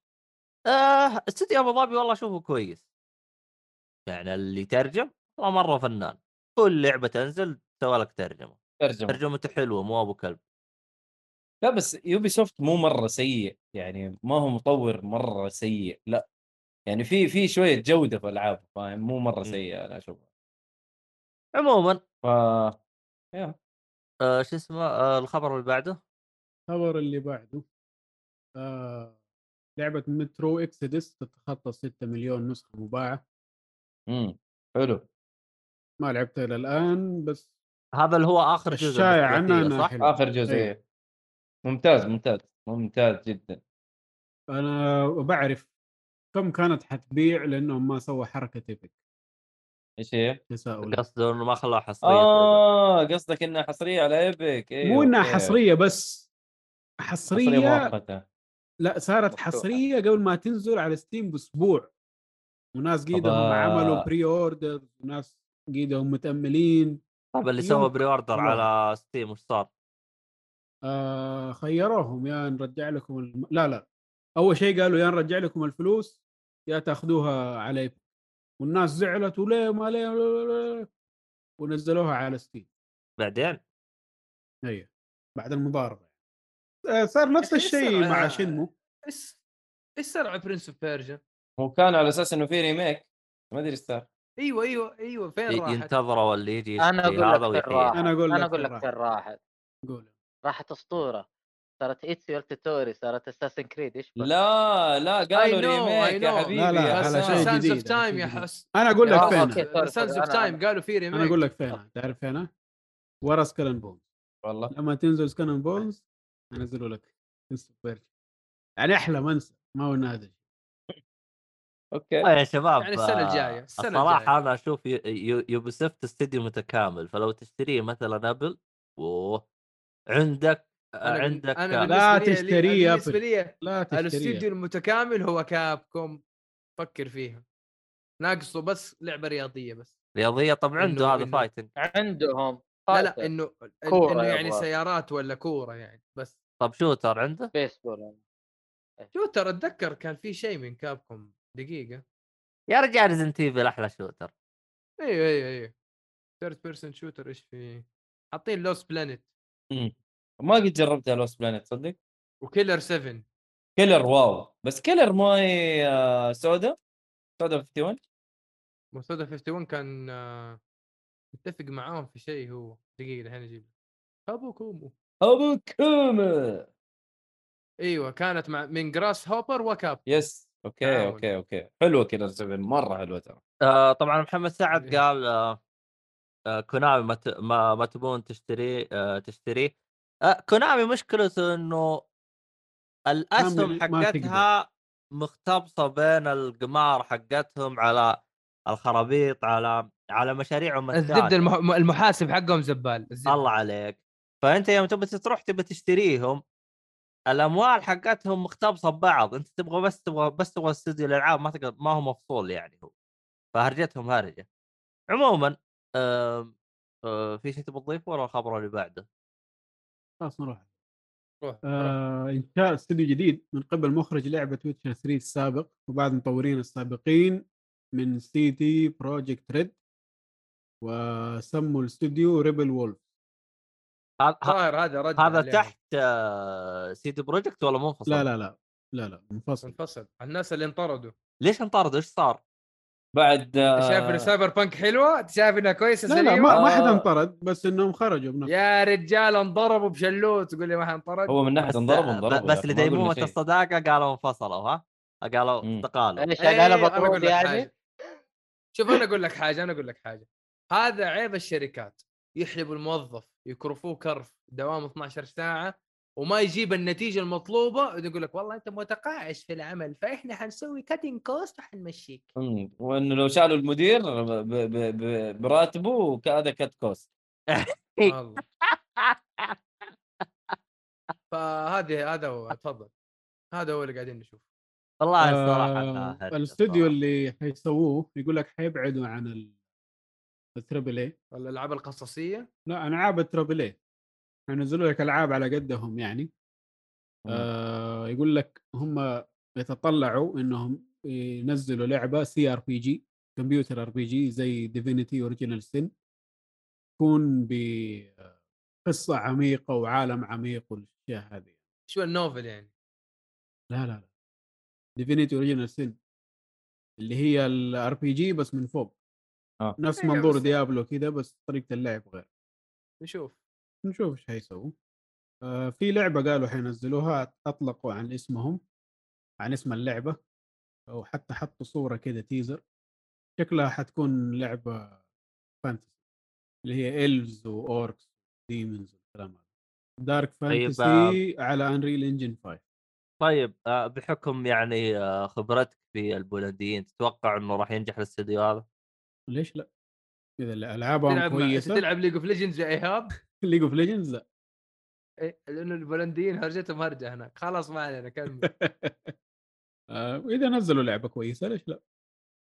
[SPEAKER 1] آه، استديو ابو ظبي والله اشوفه كويس يعني اللي ترجم والله مره فنان كل لعبه تنزل سوى لك ترجمه
[SPEAKER 3] ترجمه
[SPEAKER 1] ترجمته حلوه مو ابو كلب
[SPEAKER 3] لا بس يوبي سوفت مو مره سيء يعني ما هو مطور مره سيء لا يعني في في شويه جوده في العابه فاهم مو مره سيئه انا اشوفها
[SPEAKER 1] عموما
[SPEAKER 3] ف
[SPEAKER 1] آه، شو اسمه آه، الخبر اللي بعده
[SPEAKER 5] الخبر اللي بعده آه لعبه مترو اكسيدس تتخطى 6 مليون نسخه مباعه
[SPEAKER 3] امم حلو
[SPEAKER 5] ما لعبتها الى الان بس
[SPEAKER 1] هذا اللي هو اخر جزء
[SPEAKER 5] الشايع
[SPEAKER 1] من
[SPEAKER 5] عنها
[SPEAKER 1] الثلاثية،
[SPEAKER 5] انها
[SPEAKER 1] صح؟
[SPEAKER 5] حلوه
[SPEAKER 3] اخر جزء
[SPEAKER 5] أيوة.
[SPEAKER 3] إيه. ممتاز ممتاز ممتاز جدا
[SPEAKER 5] انا بعرف كم كانت حتبيع لانهم ما سووا حركه ايبك
[SPEAKER 3] ايش هي؟
[SPEAKER 5] تساؤل
[SPEAKER 1] قصده انه ما خلاها حصريه آه.
[SPEAKER 3] اه قصدك انها حصريه على ايبك ايوه
[SPEAKER 5] مو انها
[SPEAKER 3] أوكي.
[SPEAKER 5] حصريه بس حصريه
[SPEAKER 3] مؤقته
[SPEAKER 5] لا صارت
[SPEAKER 4] مفتوحة.
[SPEAKER 5] حصريه قبل ما تنزل على ستيم باسبوع وناس قيدهم
[SPEAKER 3] أبا.
[SPEAKER 5] عملوا بري اوردر وناس قيدهم متاملين
[SPEAKER 1] طيب اللي
[SPEAKER 5] يوم
[SPEAKER 1] سوى بري اوردر
[SPEAKER 5] خلوها.
[SPEAKER 1] على ستيم وش صار؟
[SPEAKER 5] آه خيروهم يا نرجع لكم الم... لا لا اول شيء قالوا يا نرجع لكم الفلوس يا تاخذوها على ايبك والناس زعلت وليه ما ليه لا- لا- لا- ونزلوها على ستيم
[SPEAKER 1] بعدين
[SPEAKER 5] ايوه بعد المضاربه آه، صار نفس
[SPEAKER 2] يا أخي
[SPEAKER 5] الشيء
[SPEAKER 2] يصير
[SPEAKER 5] مع
[SPEAKER 4] آه.
[SPEAKER 2] على-
[SPEAKER 5] شنمو
[SPEAKER 2] ايش ايش صار برنس اوف بيرجا؟
[SPEAKER 3] وكان على اساس انه في ريميك ما ادري ايش صار
[SPEAKER 2] ايوه ايوه ايوه فين
[SPEAKER 1] ي-
[SPEAKER 2] راحت؟
[SPEAKER 1] ينتظره اللي يجي
[SPEAKER 2] إيه،
[SPEAKER 4] انا
[SPEAKER 1] يشتري
[SPEAKER 4] اقول
[SPEAKER 1] هذا
[SPEAKER 4] لك فين
[SPEAKER 1] ويحييه
[SPEAKER 4] راحت
[SPEAKER 5] أنا أقول لك
[SPEAKER 4] انا اقول
[SPEAKER 5] فين راحت.
[SPEAKER 4] لك فين راحت
[SPEAKER 5] قول
[SPEAKER 4] راحت اسطوره صارت ايتسيو التتوري صارت اساسن كريد ايش بك؟
[SPEAKER 3] لا لا
[SPEAKER 2] I
[SPEAKER 3] قالوا
[SPEAKER 2] know,
[SPEAKER 3] ريميك
[SPEAKER 2] I
[SPEAKER 3] يا
[SPEAKER 2] know.
[SPEAKER 3] حبيبي
[SPEAKER 5] لا، لا،
[SPEAKER 3] يا
[SPEAKER 5] على
[SPEAKER 3] سام.
[SPEAKER 5] شيء
[SPEAKER 2] سانز اوف
[SPEAKER 5] جديد. على
[SPEAKER 2] تايم
[SPEAKER 5] شيء
[SPEAKER 2] يا
[SPEAKER 5] جديد.
[SPEAKER 2] حس
[SPEAKER 5] انا اقول لك
[SPEAKER 4] آه،
[SPEAKER 5] فين
[SPEAKER 4] أوكي.
[SPEAKER 2] سانز اوف
[SPEAKER 4] أنا-
[SPEAKER 2] تايم قالوا في ريميك
[SPEAKER 5] انا اقول لك فين تعرف فين ورا سكلن بونز
[SPEAKER 3] والله
[SPEAKER 5] لما تنزل سكلن بونز انزله لك انستا فيرجن. يعني احلم انسى ما هو نادر
[SPEAKER 3] اوكي
[SPEAKER 1] والله يا شباب
[SPEAKER 2] يعني السنة
[SPEAKER 1] آه،
[SPEAKER 2] الجاية، السنة
[SPEAKER 1] الصراحه
[SPEAKER 2] الجاية.
[SPEAKER 1] انا اشوف ي- ي- يوبي سوفت استديو متكامل فلو تشتريه مثلا ابل اوه عندك
[SPEAKER 2] انا بال-
[SPEAKER 1] عندك
[SPEAKER 2] انا
[SPEAKER 1] آه،
[SPEAKER 2] بالنسبه
[SPEAKER 5] لا
[SPEAKER 2] لي- لي
[SPEAKER 5] تشتريه يا
[SPEAKER 2] بالنسبه لي
[SPEAKER 5] لا تشتريه
[SPEAKER 2] الاستوديو المتكامل هو كابكوم فكر فيها ناقصه بس لعبه رياضيه بس
[SPEAKER 1] رياضيه طب عنده
[SPEAKER 2] إنه-
[SPEAKER 1] هذا
[SPEAKER 2] إنه-
[SPEAKER 1] فايتنج
[SPEAKER 4] عندهم
[SPEAKER 2] لا لا
[SPEAKER 4] فايتر،
[SPEAKER 2] انه إن-
[SPEAKER 4] كورة
[SPEAKER 2] انه
[SPEAKER 4] يا
[SPEAKER 2] يعني
[SPEAKER 4] أبو.
[SPEAKER 2] سيارات ولا كوره يعني بس
[SPEAKER 1] طب شوتر عنده
[SPEAKER 4] بيسبول
[SPEAKER 2] شوتر اتذكر كان في شيء من كابكم دقيقه
[SPEAKER 1] يا رجال ريزنت ايفل احلى شوتر
[SPEAKER 2] ايوه ايوه ايوه ثيرد بيرسون شوتر ايش في حاطين لوس بلانيت
[SPEAKER 3] مم. ما قد جربتها لوس بلانيت تصدق
[SPEAKER 2] وكيلر 7
[SPEAKER 3] كيلر واو بس كيلر ماي آه، سودا سودا 51
[SPEAKER 2] مسودا 51 كان آه، متفق معاهم في شيء هو دقيقه الحين اجيب ابو كومو
[SPEAKER 3] ابو كوما
[SPEAKER 2] ايوه كانت مع من جراس هوبر وكاب
[SPEAKER 3] يس اوكي
[SPEAKER 2] تعاون.
[SPEAKER 3] اوكي اوكي حلوه كيلر 7 مره حلوه ترى
[SPEAKER 1] آه طبعا محمد سعد
[SPEAKER 2] إيه.
[SPEAKER 1] قال آه آه كونامي ما ت- ما, ما تبون تشتري آه تشتريه آه كونامي مشكلته انه الاسهم
[SPEAKER 5] كامل ما تقدر.
[SPEAKER 1] حقتها مختبصه بين القمار حقتهم على الخرابيط على على مشاريعهم
[SPEAKER 2] الزبده
[SPEAKER 1] الثانية.
[SPEAKER 2] المح- المحاسب حقهم زبال الزبدة.
[SPEAKER 1] الله عليك فانت يوم تبي تروح تبي تشتريهم الاموال حقتهم مختبصه ببعض انت تبغى بس تبغى بس تبغى استوديو الالعاب ما تقدر ما هو مفصول يعني هو فهرجتهم هرجه عموما آم، آه في شيء تبغى تضيفه ولا الخبر اللي بعده؟
[SPEAKER 5] خلاص نروح
[SPEAKER 2] روح روح.
[SPEAKER 5] آه انشاء استوديو جديد من قبل مخرج لعبه ويتشر 3 السابق وبعض المطورين السابقين من سي تي بروجكت ريد وسموا الاستوديو ريبل وولف
[SPEAKER 1] هذا- ه-
[SPEAKER 2] الظاهر هذا رد
[SPEAKER 1] هذا
[SPEAKER 2] عليهم.
[SPEAKER 1] تحت آه، سيدي بروجكت ولا منفصل؟
[SPEAKER 5] لا لا لا لا لا منفصل
[SPEAKER 2] انفصل الناس اللي انطردوا
[SPEAKER 1] ليش انطردوا؟ ايش صار؟
[SPEAKER 3] بعد آه،
[SPEAKER 2] انت شايف ان سايبر بانك حلوه انت شايف انها كويسه
[SPEAKER 5] لا لا
[SPEAKER 2] سليمه
[SPEAKER 5] ما, ما حد
[SPEAKER 1] آه.
[SPEAKER 5] انطرد بس انهم خرجوا بنفسهم
[SPEAKER 2] يا رجال انضربوا بشلوت تقول لي ما انطرد
[SPEAKER 3] هو من ناحيه
[SPEAKER 1] بس- آه،
[SPEAKER 3] انضربوا انضربوا
[SPEAKER 1] بس
[SPEAKER 3] لكن ما قلنا
[SPEAKER 1] لديمومه
[SPEAKER 3] شيء.
[SPEAKER 1] الصداقه قالوا انفصلوا ها؟ قالوا
[SPEAKER 3] مم.
[SPEAKER 1] انتقالوا
[SPEAKER 4] ايش
[SPEAKER 2] إيه،
[SPEAKER 4] انا
[SPEAKER 2] أنا
[SPEAKER 4] بطرود
[SPEAKER 2] لك
[SPEAKER 4] يعني
[SPEAKER 2] حاجة. شوف انا اقول لك حاجه انا اقول لك حاجه هذا عيب الشركات يحلبوا الموظف يكرفوه كرف دوام 12 ساعه وما يجيب النتيجه المطلوبه يقول لك والله انت متقاعس في العمل فاحنا حنسوي كاتنج كوست وحنمشيك
[SPEAKER 3] مم. وانه لو شالوا المدير ب- ب- ب- براتبه كذا كت كوست
[SPEAKER 1] إيه.
[SPEAKER 2] والله فهذه هذا هو تفضل هذا هو اللي قاعدين نشوفه
[SPEAKER 1] والله الصراحه
[SPEAKER 5] آه،
[SPEAKER 1] إنها هرجة
[SPEAKER 5] الاستوديو
[SPEAKER 1] الصراحة.
[SPEAKER 5] اللي حيسووه يقول لك حيبعدوا عن ال- التربل اي
[SPEAKER 2] الالعاب القصصيه
[SPEAKER 5] لا العاب التربل اي حينزلوا لك العاب على قدهم يعني آه يقول لك هم يتطلعوا انهم ينزلوا لعبه سي ار بي جي كمبيوتر ار بي جي زي ديفينيتي اوريجينال سن تكون بقصه عميقه وعالم عميق والاشياء هذه
[SPEAKER 2] شو النوفل يعني
[SPEAKER 5] لا لا لا ديفينيتي اوريجينال سن اللي هي الار بي جي بس من فوق
[SPEAKER 3] آه.
[SPEAKER 5] نفس
[SPEAKER 2] أيوة
[SPEAKER 5] منظور
[SPEAKER 2] بس-
[SPEAKER 5] ديابلو كذا بس طريقه اللعب غير
[SPEAKER 2] نشوف
[SPEAKER 5] نشوف ايش حيسووا آه في لعبه قالوا حينزلوها اطلقوا عن اسمهم عن اسم اللعبه او حتى حطوا صوره كذا تيزر شكلها حتكون لعبه فانتسي اللي هي الفز واوركس ديمونز والكلام هذا دارك
[SPEAKER 1] طيب،
[SPEAKER 5] فانتسي
[SPEAKER 2] آه.
[SPEAKER 5] على انريل انجن 5
[SPEAKER 1] طيب آه، بحكم يعني آه، خبرتك في البولنديين تتوقع انه راح ينجح الاستوديو هذا؟
[SPEAKER 5] ليش لا؟ اذا العابهم
[SPEAKER 2] تلعب مع...
[SPEAKER 5] كويسه
[SPEAKER 2] تلعب ليج اوف ليجندز يا ايهاب
[SPEAKER 5] ليج اوف ليجندز لا
[SPEAKER 2] إيه، لانه البولنديين هرجتهم هرجه هناك خلاص ما علينا كمل
[SPEAKER 5] آه، واذا نزلوا لعبه كويسه ليش لا؟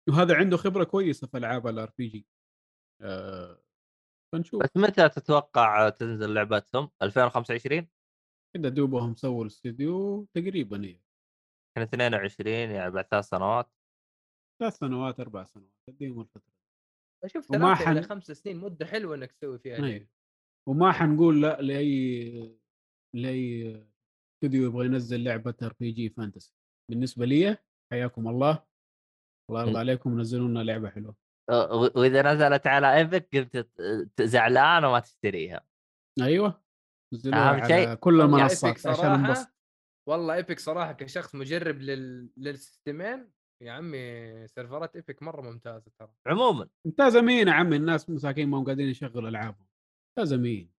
[SPEAKER 5] وهذا عنده خبره كويسه في العاب الار بي جي آه، فنشوف
[SPEAKER 1] بس متى تتوقع آه، تنزل لعبتهم؟ 2025
[SPEAKER 5] كذا دوبهم سووا الاستديو تقريبا هي
[SPEAKER 1] احنا 22 يعني بعد ثلاث سنوات
[SPEAKER 5] ثلاث سنوات اربع سنوات تديهم الفتره
[SPEAKER 2] اشوف
[SPEAKER 5] وما
[SPEAKER 2] ثلاثة الى
[SPEAKER 5] حن-
[SPEAKER 2] خمس سنين مده حلوه انك تسوي فيها
[SPEAKER 5] أيوة.
[SPEAKER 2] شيء.
[SPEAKER 5] وما حنقول لا لاي لاي استوديو يبغى ينزل لعبه ار بي جي فانتسي بالنسبه لي حياكم الله الله يرضى
[SPEAKER 1] م.
[SPEAKER 5] عليكم نزلوا لنا لعبه حلوه
[SPEAKER 1] آه، و- واذا نزلت على ايبك قمت ت- ت- زعلان وما تشتريها
[SPEAKER 5] ايوه نزلوها
[SPEAKER 1] أهم
[SPEAKER 5] على كل
[SPEAKER 2] والله
[SPEAKER 5] المنصات
[SPEAKER 2] إيبك
[SPEAKER 5] عشان
[SPEAKER 2] صراحة
[SPEAKER 5] انبسط
[SPEAKER 2] والله ايبك صراحه كشخص مجرب لل... للسيستمين يا عمي سيرفرات ايبك مره ممتازه ترى
[SPEAKER 1] عموما
[SPEAKER 5] ممتازه مين يا عمي الناس مساكين ما هم قاعدين يشغلوا العابهم ممتازه مين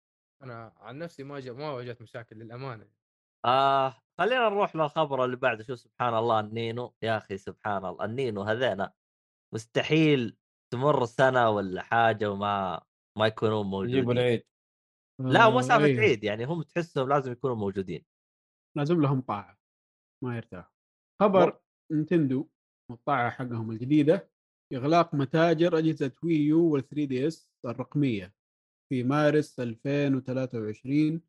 [SPEAKER 2] انا عن نفسي ما جا... ما واجهت مشاكل للامانه
[SPEAKER 1] آه خلينا نروح للخبر اللي بعده شوف سبحان الله النينو يا اخي سبحان الله النينو هذينا مستحيل تمر سنه ولا حاجه وما ما يكونون
[SPEAKER 3] يجيبوا
[SPEAKER 1] موجودين
[SPEAKER 3] العيد
[SPEAKER 1] لا
[SPEAKER 5] آه،
[SPEAKER 1] مو مسافه
[SPEAKER 5] أيوة.
[SPEAKER 1] عيد يعني هم تحسهم لازم يكونوا موجودين
[SPEAKER 5] لازم لهم طاعه ما يرتاح خبر نينتندو والطاعه حقهم الجديده اغلاق متاجر اجهزه وي يو وال3 دي اس الرقميه في مارس 2023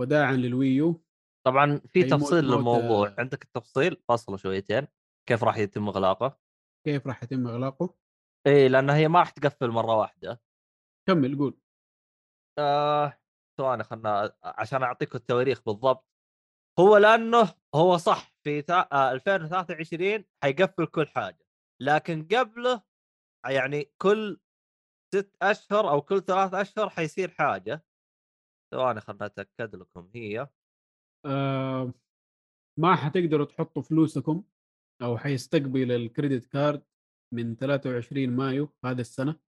[SPEAKER 5] وداعا للوي يو
[SPEAKER 1] طبعا في
[SPEAKER 5] أي موت-
[SPEAKER 1] تفصيل
[SPEAKER 5] موت-
[SPEAKER 1] للموضوع
[SPEAKER 5] آه.
[SPEAKER 1] عندك التفصيل فصله شويتين كيف راح يتم اغلاقه
[SPEAKER 5] كيف راح يتم اغلاقه
[SPEAKER 1] اي لان هي ما راح تقفل مره واحده
[SPEAKER 5] كمل قول
[SPEAKER 1] آه ثواني خلنا عشان اعطيكم التواريخ بالضبط هو لانه هو صح في تا... آه 2023 حيقفل كل حاجه لكن قبله يعني كل ست اشهر او كل ثلاث اشهر حيصير حاجه ثواني خلنا اتاكد لكم هي
[SPEAKER 5] آه ما حتقدروا تحطوا فلوسكم او حيستقبل الكريدت كارد من 23 مايو هذا السنه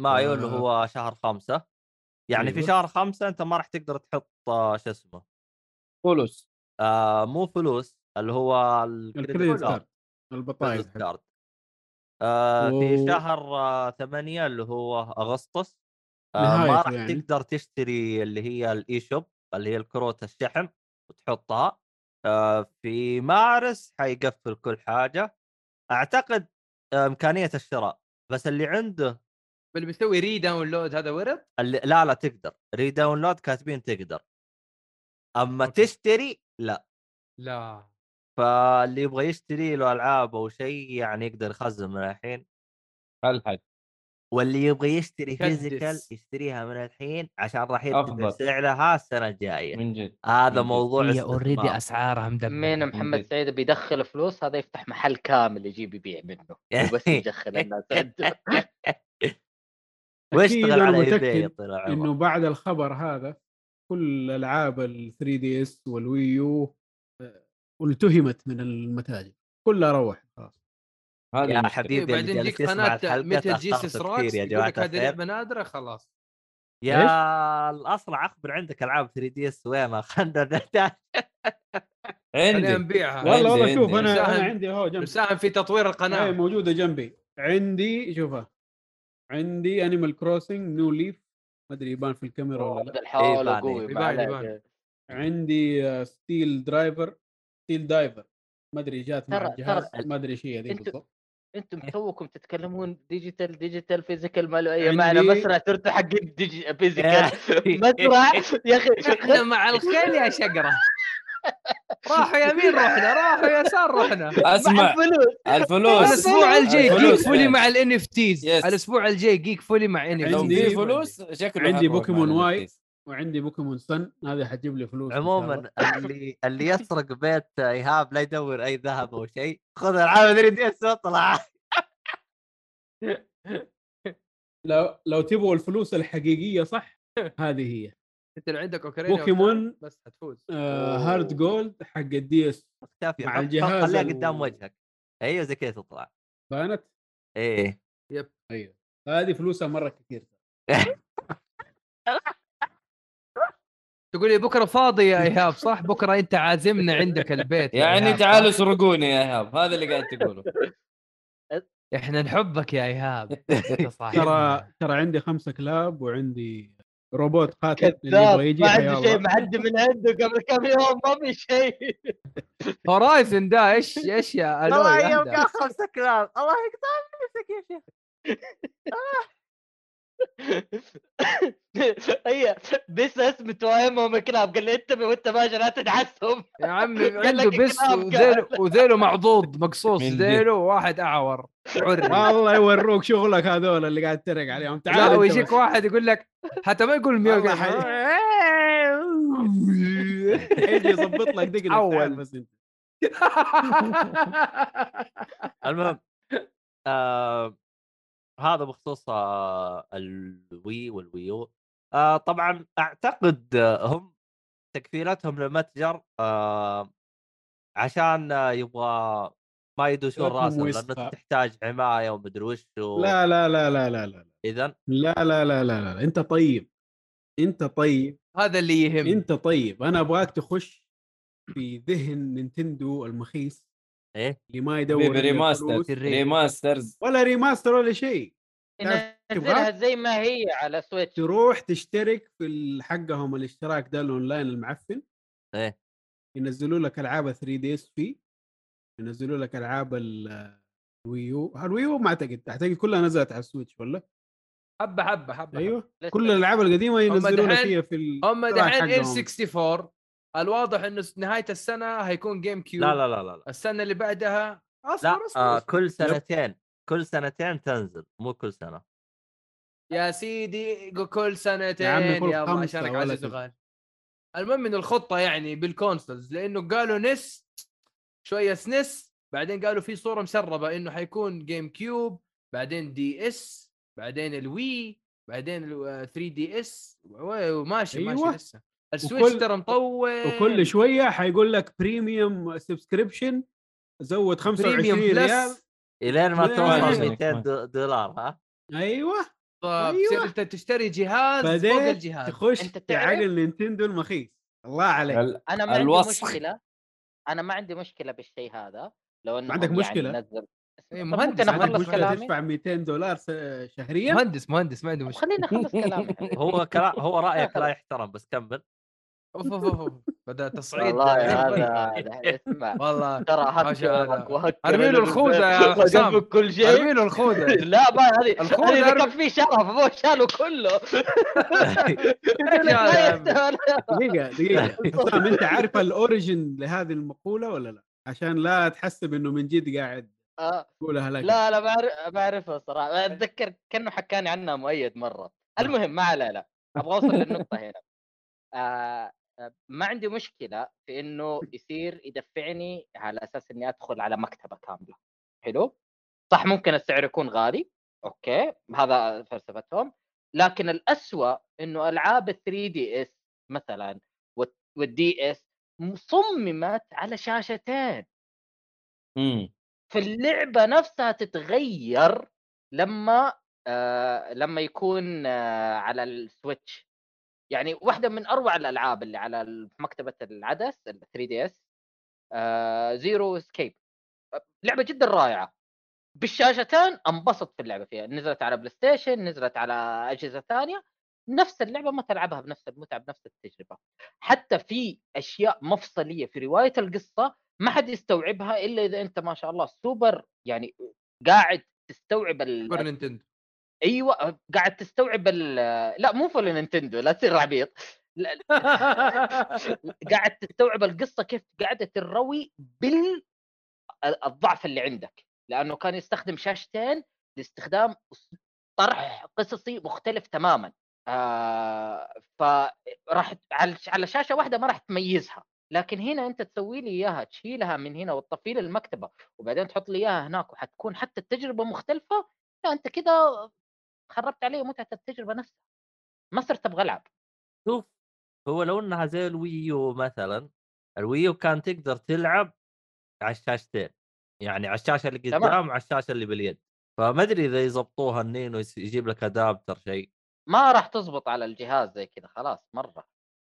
[SPEAKER 1] مايو اللي
[SPEAKER 5] آه.
[SPEAKER 1] هو شهر خمسة يعني في
[SPEAKER 5] أيوه.
[SPEAKER 1] شهر خمسة انت ما راح تقدر تحط آه، شو اسمه
[SPEAKER 3] فلوس
[SPEAKER 1] آه مو فلوس اللي هو ال-
[SPEAKER 5] الكريدت
[SPEAKER 1] كارد.
[SPEAKER 5] كارد البطايق
[SPEAKER 1] كريدت كارد آه في
[SPEAKER 5] و-
[SPEAKER 1] شهر آه ثمانية اللي هو اغسطس آه ما
[SPEAKER 5] نهايته
[SPEAKER 1] راح
[SPEAKER 5] يعني.
[SPEAKER 1] تقدر تشتري اللي هي الاي شوب اللي هي الكروت الشحن وتحطها آه في مارس حيقفل كل حاجه اعتقد آه، امكانيه الشراء بس اللي عنده
[SPEAKER 2] اللي بيسوي ري داونلود هذا ورد
[SPEAKER 1] اللي لا لا تقدر ري داونلود كاتبين تقدر اما
[SPEAKER 2] أوكي.
[SPEAKER 1] تشتري لا
[SPEAKER 2] لا
[SPEAKER 1] فاللي يبغى يشتري له العاب او شيء يعني يقدر يخزن من الحين
[SPEAKER 3] الحق
[SPEAKER 1] واللي يبغى يشتري
[SPEAKER 2] كدس.
[SPEAKER 1] فيزيكال يشتريها من الحين عشان راح يرتفع
[SPEAKER 3] أفضل.
[SPEAKER 1] سعرها السنه الجايه
[SPEAKER 3] من جد
[SPEAKER 1] هذا
[SPEAKER 3] من جد.
[SPEAKER 1] موضوع
[SPEAKER 8] هي
[SPEAKER 1] استثمار.
[SPEAKER 8] اوريدي اسعارها مدببه
[SPEAKER 4] مين محمد
[SPEAKER 3] ممتاز.
[SPEAKER 4] سعيد بيدخل فلوس هذا يفتح محل كامل يجيب يبيع منه
[SPEAKER 1] يعني
[SPEAKER 4] وبس يدخل الناس عنده
[SPEAKER 5] أكيد
[SPEAKER 1] واشتغل
[SPEAKER 5] أنا
[SPEAKER 1] على
[SPEAKER 5] متأكد
[SPEAKER 1] ايباي يا طويل العمر
[SPEAKER 5] انه بعد الخبر هذا كل العاب ال 3 دي اس والويو آه، التهمت من المتاجر كلها روحت خلاص
[SPEAKER 3] هذا
[SPEAKER 1] يا
[SPEAKER 3] المشكلة.
[SPEAKER 1] حبيبي اللي
[SPEAKER 2] طيب، بعدين
[SPEAKER 1] جالس
[SPEAKER 2] جيك
[SPEAKER 1] يسمع
[SPEAKER 2] قناه
[SPEAKER 1] الحلقه
[SPEAKER 2] ميتال
[SPEAKER 1] تأخرت
[SPEAKER 2] جيسس
[SPEAKER 1] كثير
[SPEAKER 2] روكس
[SPEAKER 1] يا
[SPEAKER 2] يقول
[SPEAKER 1] جماعه
[SPEAKER 2] لك هذه
[SPEAKER 1] الخير
[SPEAKER 2] لعبه نادره خلاص
[SPEAKER 1] يا الاصلع اخبر عندك العاب 3 دي اس وينها خلنا نحتاج
[SPEAKER 2] خلينا
[SPEAKER 3] عندي
[SPEAKER 2] نبيعها
[SPEAKER 3] والله
[SPEAKER 5] والله إيه،
[SPEAKER 3] عندي-
[SPEAKER 5] والله شوف
[SPEAKER 3] عندي.
[SPEAKER 5] انا انا
[SPEAKER 2] مساهم-
[SPEAKER 5] عندي اهو جنبي
[SPEAKER 2] نساهم في تطوير
[SPEAKER 5] هاي
[SPEAKER 2] القناه
[SPEAKER 5] موجوده جنبي عندي شوفها عندي انيمال كروسنج نو ليف ما ادري يبان في الكاميرا ولا
[SPEAKER 4] عبد
[SPEAKER 5] لا
[SPEAKER 4] الحول
[SPEAKER 2] إيه،
[SPEAKER 1] يبان،
[SPEAKER 4] قوي
[SPEAKER 2] يبان،
[SPEAKER 4] ما
[SPEAKER 2] يبان.
[SPEAKER 4] عليك
[SPEAKER 5] عندي آه، ستيل درايفر ستيل دايفر ما ادري جات مع
[SPEAKER 4] ترى-
[SPEAKER 5] الجهاز
[SPEAKER 4] ترى-
[SPEAKER 5] ما ادري شيء هذيك
[SPEAKER 4] أنت-
[SPEAKER 5] بالضبط
[SPEAKER 4] انتم توكم تتكلمون ديجيتال ديجيتال فيزيكال ما له اي معنى
[SPEAKER 5] عندي-
[SPEAKER 4] مسرع ترتاح حق الديجي- فيزيكال مسرع يا اخي
[SPEAKER 2] احنا مع الخيل يا شقره راحوا يمين رحنا راحوا يسار رحنا
[SPEAKER 4] مع
[SPEAKER 3] اسمع
[SPEAKER 4] الفلوس
[SPEAKER 3] الفلوس
[SPEAKER 2] الاسبوع الجاي جيك
[SPEAKER 3] الفلوس
[SPEAKER 2] فولي
[SPEAKER 3] يعني.
[SPEAKER 2] مع الان اف تيز
[SPEAKER 3] Yes.
[SPEAKER 2] الاسبوع الجاي جيك فولي مع ان
[SPEAKER 3] لو
[SPEAKER 2] اف
[SPEAKER 5] عندي-
[SPEAKER 3] في فلوس شكله
[SPEAKER 5] عندي
[SPEAKER 3] حروح
[SPEAKER 5] بوكيمون
[SPEAKER 3] مع
[SPEAKER 5] واي.
[SPEAKER 3] ال NFTs.
[SPEAKER 5] وعندي بوكيمون سن هذا حتجيب لي فلوس إن شاء الله.
[SPEAKER 1] عموما اللي اللي يسرق بيت ايهاب لا يدور اي ذهب او شيء خذ العاب 3 دي اس واطلع
[SPEAKER 5] لو لو تبغوا الفلوس الحقيقيه صح هذه هي
[SPEAKER 2] انت لو عندك اوكرانيا
[SPEAKER 5] بوكيمون.
[SPEAKER 2] بس هتفوز
[SPEAKER 5] آه
[SPEAKER 4] أوه.
[SPEAKER 5] هارد جولد حق الدي اس
[SPEAKER 1] اختفي
[SPEAKER 5] مع
[SPEAKER 1] حط-
[SPEAKER 5] الجهاز
[SPEAKER 1] خليها
[SPEAKER 5] ال-
[SPEAKER 1] قدام وجهك ايوه زي كذا تطلع
[SPEAKER 5] بانت
[SPEAKER 1] ايه
[SPEAKER 5] ايوه هذه فلوسها مره كثير
[SPEAKER 2] تقول لي بكره فاضي يا ايهاب صح بكره انت عازمنا عندك البيت يا
[SPEAKER 3] يعني
[SPEAKER 2] إيهاب،
[SPEAKER 3] تعالوا
[SPEAKER 2] صح؟
[SPEAKER 3] سرقوني يا ايهاب هذا اللي قاعد تقوله
[SPEAKER 2] احنا نحبك يا ايهاب أنت صاحبنا.
[SPEAKER 5] ترى ترى عندي خمسة كلاب وعندي روبوت قاتل اللي
[SPEAKER 4] كذاب
[SPEAKER 5] يبغى يجي
[SPEAKER 4] ما
[SPEAKER 5] حيا
[SPEAKER 4] عنده شيء
[SPEAKER 5] الله.
[SPEAKER 4] معدي من عنده قبل كم يوم ما في شيء
[SPEAKER 2] هورايزن ده ايش ايش يا الو
[SPEAKER 1] والله يوم
[SPEAKER 2] يا
[SPEAKER 1] قال خمسة كلاب الله يقطع نفسك يا شيخ
[SPEAKER 4] هي بس اسم توهمهم الكلاب قال لي انت وانت ماشي لا تدعسهم
[SPEAKER 2] يا عمي
[SPEAKER 4] قال لك
[SPEAKER 2] عنده بس
[SPEAKER 4] كلاب
[SPEAKER 2] وذيله وذيله معضوض مقصوص
[SPEAKER 3] من جد.
[SPEAKER 2] ذيله وواحد اعور عري
[SPEAKER 5] والله يوروك شغلك هذول اللي قاعد ترق عليهم تعال
[SPEAKER 2] لا
[SPEAKER 5] أنت
[SPEAKER 2] ويجيك
[SPEAKER 5] بس.
[SPEAKER 2] واحد يقول لك حتى ما يقول ميو
[SPEAKER 5] والله
[SPEAKER 2] يقول لك،
[SPEAKER 5] يجي يظبط لك دقنك
[SPEAKER 2] أول.
[SPEAKER 5] تعال بس انت
[SPEAKER 1] المهم آه هذا بخصوص آه الوي والويو آه طبعا اعتقد آه، هم تكفيلتهم للمتجر آه عشان آه، يبغى ما يدوشون
[SPEAKER 5] لكم
[SPEAKER 1] راسهم لانه
[SPEAKER 5] وسخة.
[SPEAKER 1] تحتاج حمايه ومدري وش
[SPEAKER 5] لا لا لا لا لا لا
[SPEAKER 1] اذا
[SPEAKER 5] لا لا لا لا لا انت طيب انت طيب
[SPEAKER 2] هذا اللي يهم
[SPEAKER 5] انت طيب انا ابغاك تخش في ذهن نينتندو المخيس
[SPEAKER 2] إيه؟
[SPEAKER 1] ايه
[SPEAKER 5] اللي ما يدور
[SPEAKER 3] حبيبي
[SPEAKER 5] إلا
[SPEAKER 3] ريماستر
[SPEAKER 5] الفلوس.
[SPEAKER 3] ريماسترز
[SPEAKER 5] ولا ريماستر ولا شيء
[SPEAKER 4] ننزلها زي ما هي على سويتش
[SPEAKER 5] تروح تشترك في ال- حقهم الاشتراك ده الاونلاين المعفن
[SPEAKER 2] إيه.
[SPEAKER 1] ايه
[SPEAKER 5] ينزلوا لك العاب 3 دي اس فيه ينزلوا لك العاب ال- الويو الويو ما اعتقد اعتقد كلها نزلت على السويتش ولا
[SPEAKER 2] حبه حبه حبه
[SPEAKER 5] ايوه
[SPEAKER 4] لسه.
[SPEAKER 5] كل الالعاب القديمه ينزلون
[SPEAKER 2] دحين-
[SPEAKER 5] فيها في ال...
[SPEAKER 2] هم
[SPEAKER 5] الاشتراك
[SPEAKER 2] دحين
[SPEAKER 5] حقهم.
[SPEAKER 2] ال 64 الواضح انه س- نهايه السنه هيكون جيم كيوب
[SPEAKER 1] لا لا لا لا لا,
[SPEAKER 2] السنه اللي بعدها اصبر
[SPEAKER 1] لا
[SPEAKER 2] اصبر,
[SPEAKER 1] آه
[SPEAKER 2] أصبر.
[SPEAKER 1] كل سنتين كل سنتين تنزل مو كل سنه
[SPEAKER 2] يا سيدي كل سنتين
[SPEAKER 5] يا عمي كل
[SPEAKER 2] يا الله
[SPEAKER 5] خمسة
[SPEAKER 2] عشانك
[SPEAKER 5] ولا
[SPEAKER 2] عزيز
[SPEAKER 5] تسعة.
[SPEAKER 2] وغالي المهم ان الخطه يعني بالكونسولز لانه قالوا نس شويه سنس بعدين قالوا في صوره مسربه انه حيكون جيم كيوب بعدين دي اس بعدين الوي بعدين 3 دي اس وماشي أيوة.
[SPEAKER 5] أيوة.
[SPEAKER 2] ماشي لسه السويتش
[SPEAKER 5] وكل-
[SPEAKER 2] ترى مطول
[SPEAKER 5] وكل شويه حيقول لك بريميوم سبسكريبشن زود 25
[SPEAKER 2] بريميوم
[SPEAKER 5] ريال
[SPEAKER 2] بلس
[SPEAKER 1] الين ما
[SPEAKER 5] لا،
[SPEAKER 1] توصل
[SPEAKER 3] ما-
[SPEAKER 1] 200 دو- دولار ها
[SPEAKER 5] ايوه
[SPEAKER 2] فبصير
[SPEAKER 5] أيوة.
[SPEAKER 2] انت طيب، تشتري جهاز فوق
[SPEAKER 5] بعدين
[SPEAKER 2] الجهاز
[SPEAKER 5] تخش
[SPEAKER 4] أنت
[SPEAKER 5] في
[SPEAKER 4] تعرف؟
[SPEAKER 5] عقل نينتندو المخيس الله عليك
[SPEAKER 3] ال-
[SPEAKER 4] انا ما عندي
[SPEAKER 3] الوسخ.
[SPEAKER 4] مشكله انا ما عندي مشكله بالشيء هذا لو انه
[SPEAKER 5] عندك مشكلة؟
[SPEAKER 4] يعني نزل
[SPEAKER 2] إيه،
[SPEAKER 4] طب
[SPEAKER 2] مهندس
[SPEAKER 4] ممكن
[SPEAKER 2] عندك
[SPEAKER 5] عندك
[SPEAKER 4] اخلص
[SPEAKER 5] مشكله
[SPEAKER 4] كلامي
[SPEAKER 5] تدفع 200 دولار س- شهريا
[SPEAKER 2] مهندس مهندس ما عنده
[SPEAKER 4] طب
[SPEAKER 2] مشكله
[SPEAKER 4] خليني اخلص كلامي حبيبي.
[SPEAKER 1] هو كلا... هو رايك لا يحترم بس كمل
[SPEAKER 2] اوف اوف أوف، اوف بدا تصعيد
[SPEAKER 4] والله يا
[SPEAKER 2] غير
[SPEAKER 4] هذا
[SPEAKER 2] مرئي.
[SPEAKER 4] هذا اسمع
[SPEAKER 2] والله
[SPEAKER 4] ترى هك
[SPEAKER 2] ماشي هذا.
[SPEAKER 4] كلامك وهك
[SPEAKER 2] ارمي له
[SPEAKER 4] كلامك.
[SPEAKER 2] الخوذه يا حسام
[SPEAKER 4] وقلبك كل شيء
[SPEAKER 2] ارمي له الخوذه
[SPEAKER 4] لا ما هذه
[SPEAKER 2] الخوذة
[SPEAKER 4] هذه اذا
[SPEAKER 2] أرمي-
[SPEAKER 4] كان في شرف هو شاله كله
[SPEAKER 2] إيش
[SPEAKER 4] لا
[SPEAKER 2] هذا؟
[SPEAKER 4] يستاهل
[SPEAKER 5] دقيقه دقيقه حسام انت عارف الاوريجن لهذه المقوله ولا لا؟ عشان لا تحسب انه من جد قاعد
[SPEAKER 4] آه،
[SPEAKER 5] تقولها لك
[SPEAKER 4] لا لا بعرف- بعرفها صراحه اتذكر كانه حكاني عنها مؤيد مره المهم ما علينا لا ابغى اوصل للنقطه هنا آه آه، ما عندي مشكله في انه يصير يدفعني على اساس اني ادخل على مكتبه كامله حلو صح ممكن السعر يكون غالي اوكي هذا فلسفتهم لكن الأسوأ انه العاب ال 3 دي اس مثلا والدي اس صممت على شاشتين
[SPEAKER 5] إمم.
[SPEAKER 3] مم.
[SPEAKER 4] فاللعبه نفسها تتغير لما آه لما يكون آه على السويتش يعني واحده من اروع الالعاب اللي على ال- مكتبه العدس ال 3 دي آه، اس زيرو اسكيب لعبه جدا رائعه بالشاشتين انبسط في اللعبه فيها نزلت على بلاي ستيشن نزلت على اجهزه ثانيه نفس اللعبه ما تلعبها بنفس المتعه بنفس التجربه حتى في اشياء مفصليه في روايه القصه ما حد يستوعبها الا اذا انت ما شاء الله سوبر يعني قاعد تستوعب
[SPEAKER 2] سوبر
[SPEAKER 4] ال...
[SPEAKER 2] نينتندو
[SPEAKER 4] ايوه قاعد تستوعب ال... لا مو فول نينتندو لا تصير عبيط لا- قاعد تستوعب القصه كيف قاعده تروي بال ال- الضعف اللي عندك لانه كان يستخدم شاشتين لاستخدام أس- طرح قصصي مختلف تماما آه فراح ت- على ش- على شاشه واحده ما راح تميزها لكن هنا انت تسوي لي اياها تشيلها من هنا وتطفي لي المكتبه وبعدين تحط لي اياها هناك وحتكون حتى التجربه مختلفه لا انت كده خربت علي متعه التجربه نفسها ما صرت ابغى العب
[SPEAKER 1] شوف هو لو انها زي الويو مثلا الويو كان تقدر تلعب على الشاشتين يعني على الشاشه اللي
[SPEAKER 4] تمام.
[SPEAKER 1] قدام وعلى الشاشه اللي باليد فما ادري اذا يضبطوها النين ويجيب لك ادابتر شيء
[SPEAKER 4] ما راح تزبط على الجهاز زي كذا خلاص مره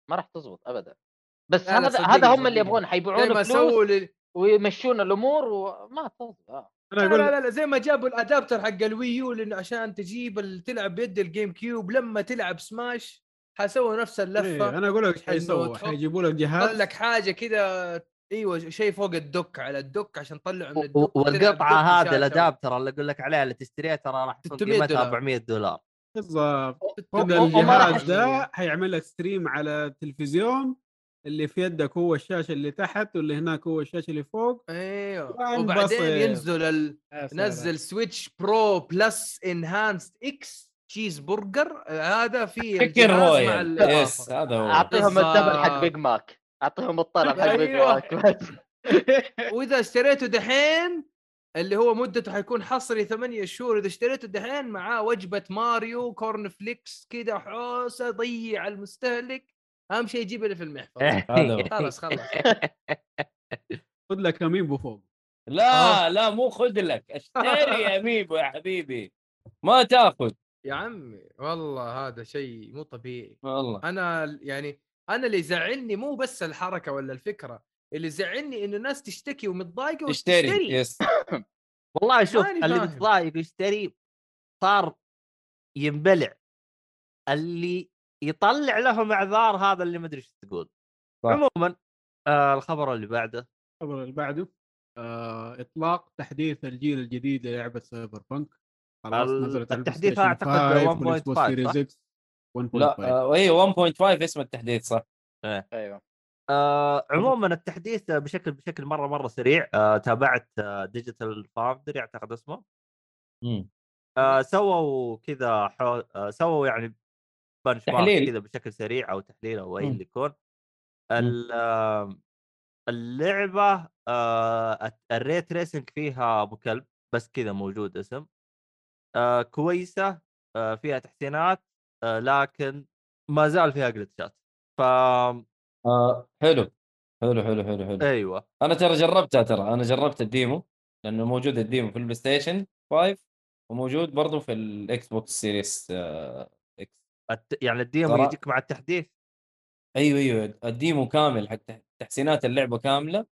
[SPEAKER 4] ما راح تزبط ابدا بس
[SPEAKER 2] لا لا،
[SPEAKER 4] هذا
[SPEAKER 2] صدقني-
[SPEAKER 4] هذا هم اللي
[SPEAKER 2] صدقني.
[SPEAKER 4] يبغون
[SPEAKER 2] زي
[SPEAKER 4] حيبيعون
[SPEAKER 2] ما
[SPEAKER 4] فلوس
[SPEAKER 2] سووا لل-
[SPEAKER 4] ويمشون الامور وما تزبط آه.
[SPEAKER 5] انا
[SPEAKER 2] لا
[SPEAKER 5] اقول
[SPEAKER 2] لا لا- لا زي ما جابوا الادابتر حق الويو لانه عشان تجيب ال- تلعب بيد الجيم كيوب لما تلعب سماش حسوي نفس
[SPEAKER 5] إيه،
[SPEAKER 2] اللفه
[SPEAKER 5] انا اقول لك ايش
[SPEAKER 2] إنه
[SPEAKER 5] حيسووا
[SPEAKER 2] تحط-
[SPEAKER 5] حيجيبوا لك
[SPEAKER 2] حط
[SPEAKER 5] جهاز
[SPEAKER 2] لك حاجه كذا ايوه شيء فوق الدك على الدك عشان تطلعه من
[SPEAKER 1] و-
[SPEAKER 2] الدك
[SPEAKER 1] والقطعه هذا الادابتر اللي اقول لك عليها اللي تشتريها ترى راح تكون
[SPEAKER 2] 600
[SPEAKER 1] قيمتها
[SPEAKER 2] دولار.
[SPEAKER 1] 400 دولار
[SPEAKER 5] بالضبط فوق
[SPEAKER 4] وما- وما راح
[SPEAKER 5] الجهاز ده حيعمل لك ستريم على التلفزيون اللي في يدك هو الشاشه اللي تحت واللي هناك هو الشاشه اللي فوق
[SPEAKER 2] ايوه
[SPEAKER 5] وانبسط.
[SPEAKER 2] وبعدين ينزل ال... نزل سويتش برو بلس انهانسد اكس تشيز برجر آه، هذا في
[SPEAKER 3] تشيكن
[SPEAKER 2] الجهاز
[SPEAKER 3] رويال
[SPEAKER 2] مع ال-
[SPEAKER 3] يعني. يس هذا هو
[SPEAKER 4] اعطيهم الدبل حق
[SPEAKER 2] بالظبط.
[SPEAKER 4] بيج ماك اعطيهم الطلب حق بيج
[SPEAKER 2] أيوة.
[SPEAKER 4] ماك بس
[SPEAKER 2] واذا اشتريته دحين اللي هو مدته حيكون حصري ثمانية شهور اذا اشتريته دحين معاه وجبه ماريو كورن فليكس كذا حوسه ضيع المستهلك اهم شيء يجيب اللي في المحفظه خلاص خلاص
[SPEAKER 5] خذ لك اميبو فوق
[SPEAKER 3] لا لا مو خذ لك اشتري اميبو يا حبيبي ما تاخذ
[SPEAKER 2] يا عمي والله هذا شيء مو طبيعي
[SPEAKER 3] والله
[SPEAKER 2] انا يعني انا اللي يزعلني مو بس الحركه ولا الفكره اللي يزعلني انه الناس تشتكي ومتضايقه
[SPEAKER 3] اشتري
[SPEAKER 2] وتشتري
[SPEAKER 3] يس
[SPEAKER 1] والله شوف
[SPEAKER 2] ماني
[SPEAKER 1] اللي
[SPEAKER 2] فاهم.
[SPEAKER 1] متضايق ويشتري صار ينبلع اللي يطلع لهم اعذار هذا اللي ما ادري ايش تقول
[SPEAKER 3] صح.
[SPEAKER 1] عموما آه الخبر اللي بعده
[SPEAKER 5] الخبر اللي بعده آه، اطلاق تحديث الجيل الجديد للعبه سايبر بانك خلاص
[SPEAKER 1] ال-
[SPEAKER 5] نزلت على
[SPEAKER 1] التحديث
[SPEAKER 5] البلاي
[SPEAKER 1] أعتقد 1.5
[SPEAKER 5] ستيشن 5 والإكس بوكس
[SPEAKER 1] صح؟
[SPEAKER 5] سيريز إكس
[SPEAKER 3] لا
[SPEAKER 5] 1.5
[SPEAKER 3] آه، اي 1.5 اسم التحديث صح
[SPEAKER 4] ايوه
[SPEAKER 1] آه عموما التحديث بشكل بشكل مره مره سريع آه تابعت آه ديجيتال فاوندري اعتقد اسمه
[SPEAKER 3] مم.
[SPEAKER 1] آه سووا كذا حو... آه سووا يعني بنش
[SPEAKER 3] تحليل. إمم.
[SPEAKER 1] كذا بشكل سريع او تحليل او اي
[SPEAKER 3] مم.
[SPEAKER 1] اللي يكون ال- آه، اللعبه آه الت- الريت ريسنج فيها ابو كلب بس كذا موجود اسم آه كويسه آه فيها تحسينات آه لكن ما زال فيها جلتشات ف
[SPEAKER 3] آه، حلو حلو حلو حلو حلو
[SPEAKER 1] ايوه
[SPEAKER 3] انا ترى جربتها ترى انا جربت الديمو لانه موجود الديمو في البلاي ستيشن 5 وموجود برضه في الاكس بوكس سيريس آه، اكس
[SPEAKER 1] الت... يعني الديمو
[SPEAKER 3] ترى-
[SPEAKER 1] يجيك مع التحديث
[SPEAKER 3] أيوة، ايوه ايوه الديمو كامل حق تح- تحسينات اللعبه كامله